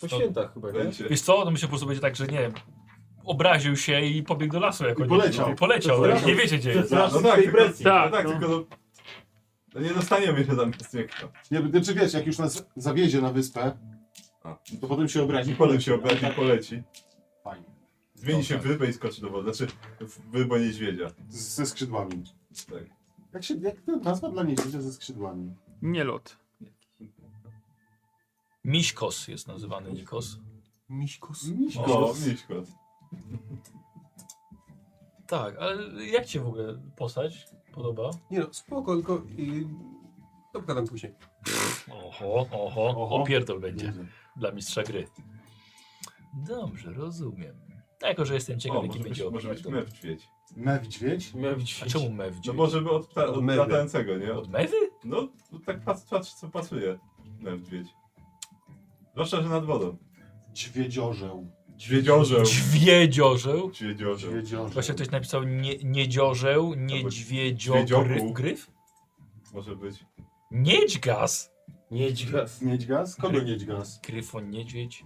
B: Po
A: to-
B: świętach chyba, nie?
D: Będzie.
A: Wiesz co, to myślę po prostu będzie tak, że nie wiem, obraził się i pobiegł do lasu jako no,
I: I poleciał.
A: I poleciał, ale nie wiecie gdzie jest.
B: Przepraszam
D: No
B: z
D: tak,
B: tej
D: tylko-
B: presji.
E: Tak,
D: No tak,
E: no.
D: tylko no, no nie dostaniemy się tam bez niego.
I: Nie, znaczy wiesz, jak już nas zawiezie na wyspę,
D: A.
I: to potem się obrazi.
D: Nikolem się obrazi, poleci.
I: Fajnie.
D: Zmieni
A: No
D: się w
A: tak.
D: rybę i skoczy do wody. Znaczy, w rybę niedźwiedzia.
I: Z, ze skrzydłami.
D: Tak.
I: Jak się, jak to nazwa dla niedźwiedzia ze skrzydłami?
E: Nie lot.
A: Miśkos jest nazywany Nikos.
E: Miśkus.
D: O, miśkot.
A: Tak, ale jak cię w ogóle postać podoba?
F: Nie no, spoko, tylko... I... To pogadam później.
A: Oho, oho, opierdol będzie dla mistrza gry. Dobrze, rozumiem. A jako, że jestem
D: O,
A: ciekaw, jaki
D: może być,
A: będzie
D: może być
A: opierdol.
D: mewdźwiedź.
I: Mewdźwiedź?
A: A czemu mewdź?
D: No może by od, pta- od
F: mewy.
D: latającego, nie? Od,
A: Od mewy?
D: no, tak patrz, patrz co pasuje. Mewdźwiedź. Zwłaszcza, że nad wodą.
I: Dźwiedziorzeł.
D: Dźwiedziorzeł.
A: Dźwiedziorzeł.
D: Dźwiedziorzeł.
I: Dźwiedziorzeł.
A: Właśnie ktoś napisał nie, niedziorzeł, niedźwiedzio,
D: Dźwiedzioku.
A: gryf?
D: Może być.
A: Niedźgaz?
B: Niedźgas.
I: Niedźgaz? Kogo niedźgaz?
A: Gryfon, niedźwiedź.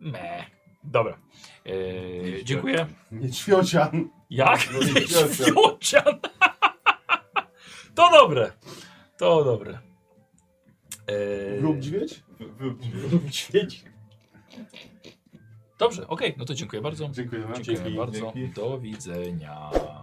A: Me. Dobra. Eee, dziękuję.
I: Niedźwiedzian.
A: Jak?
I: No, niedźwiedzia.
A: Niedźwiedzian. to dobre. To dobre. Eee,
I: Lub dźwiedź?
D: Wy- Wróć.
A: Dobrze, okej, no to dziękuję bardzo.
I: Dziękujemy.
A: Dziękuję bardzo.
D: Dzięki.
A: Do widzenia.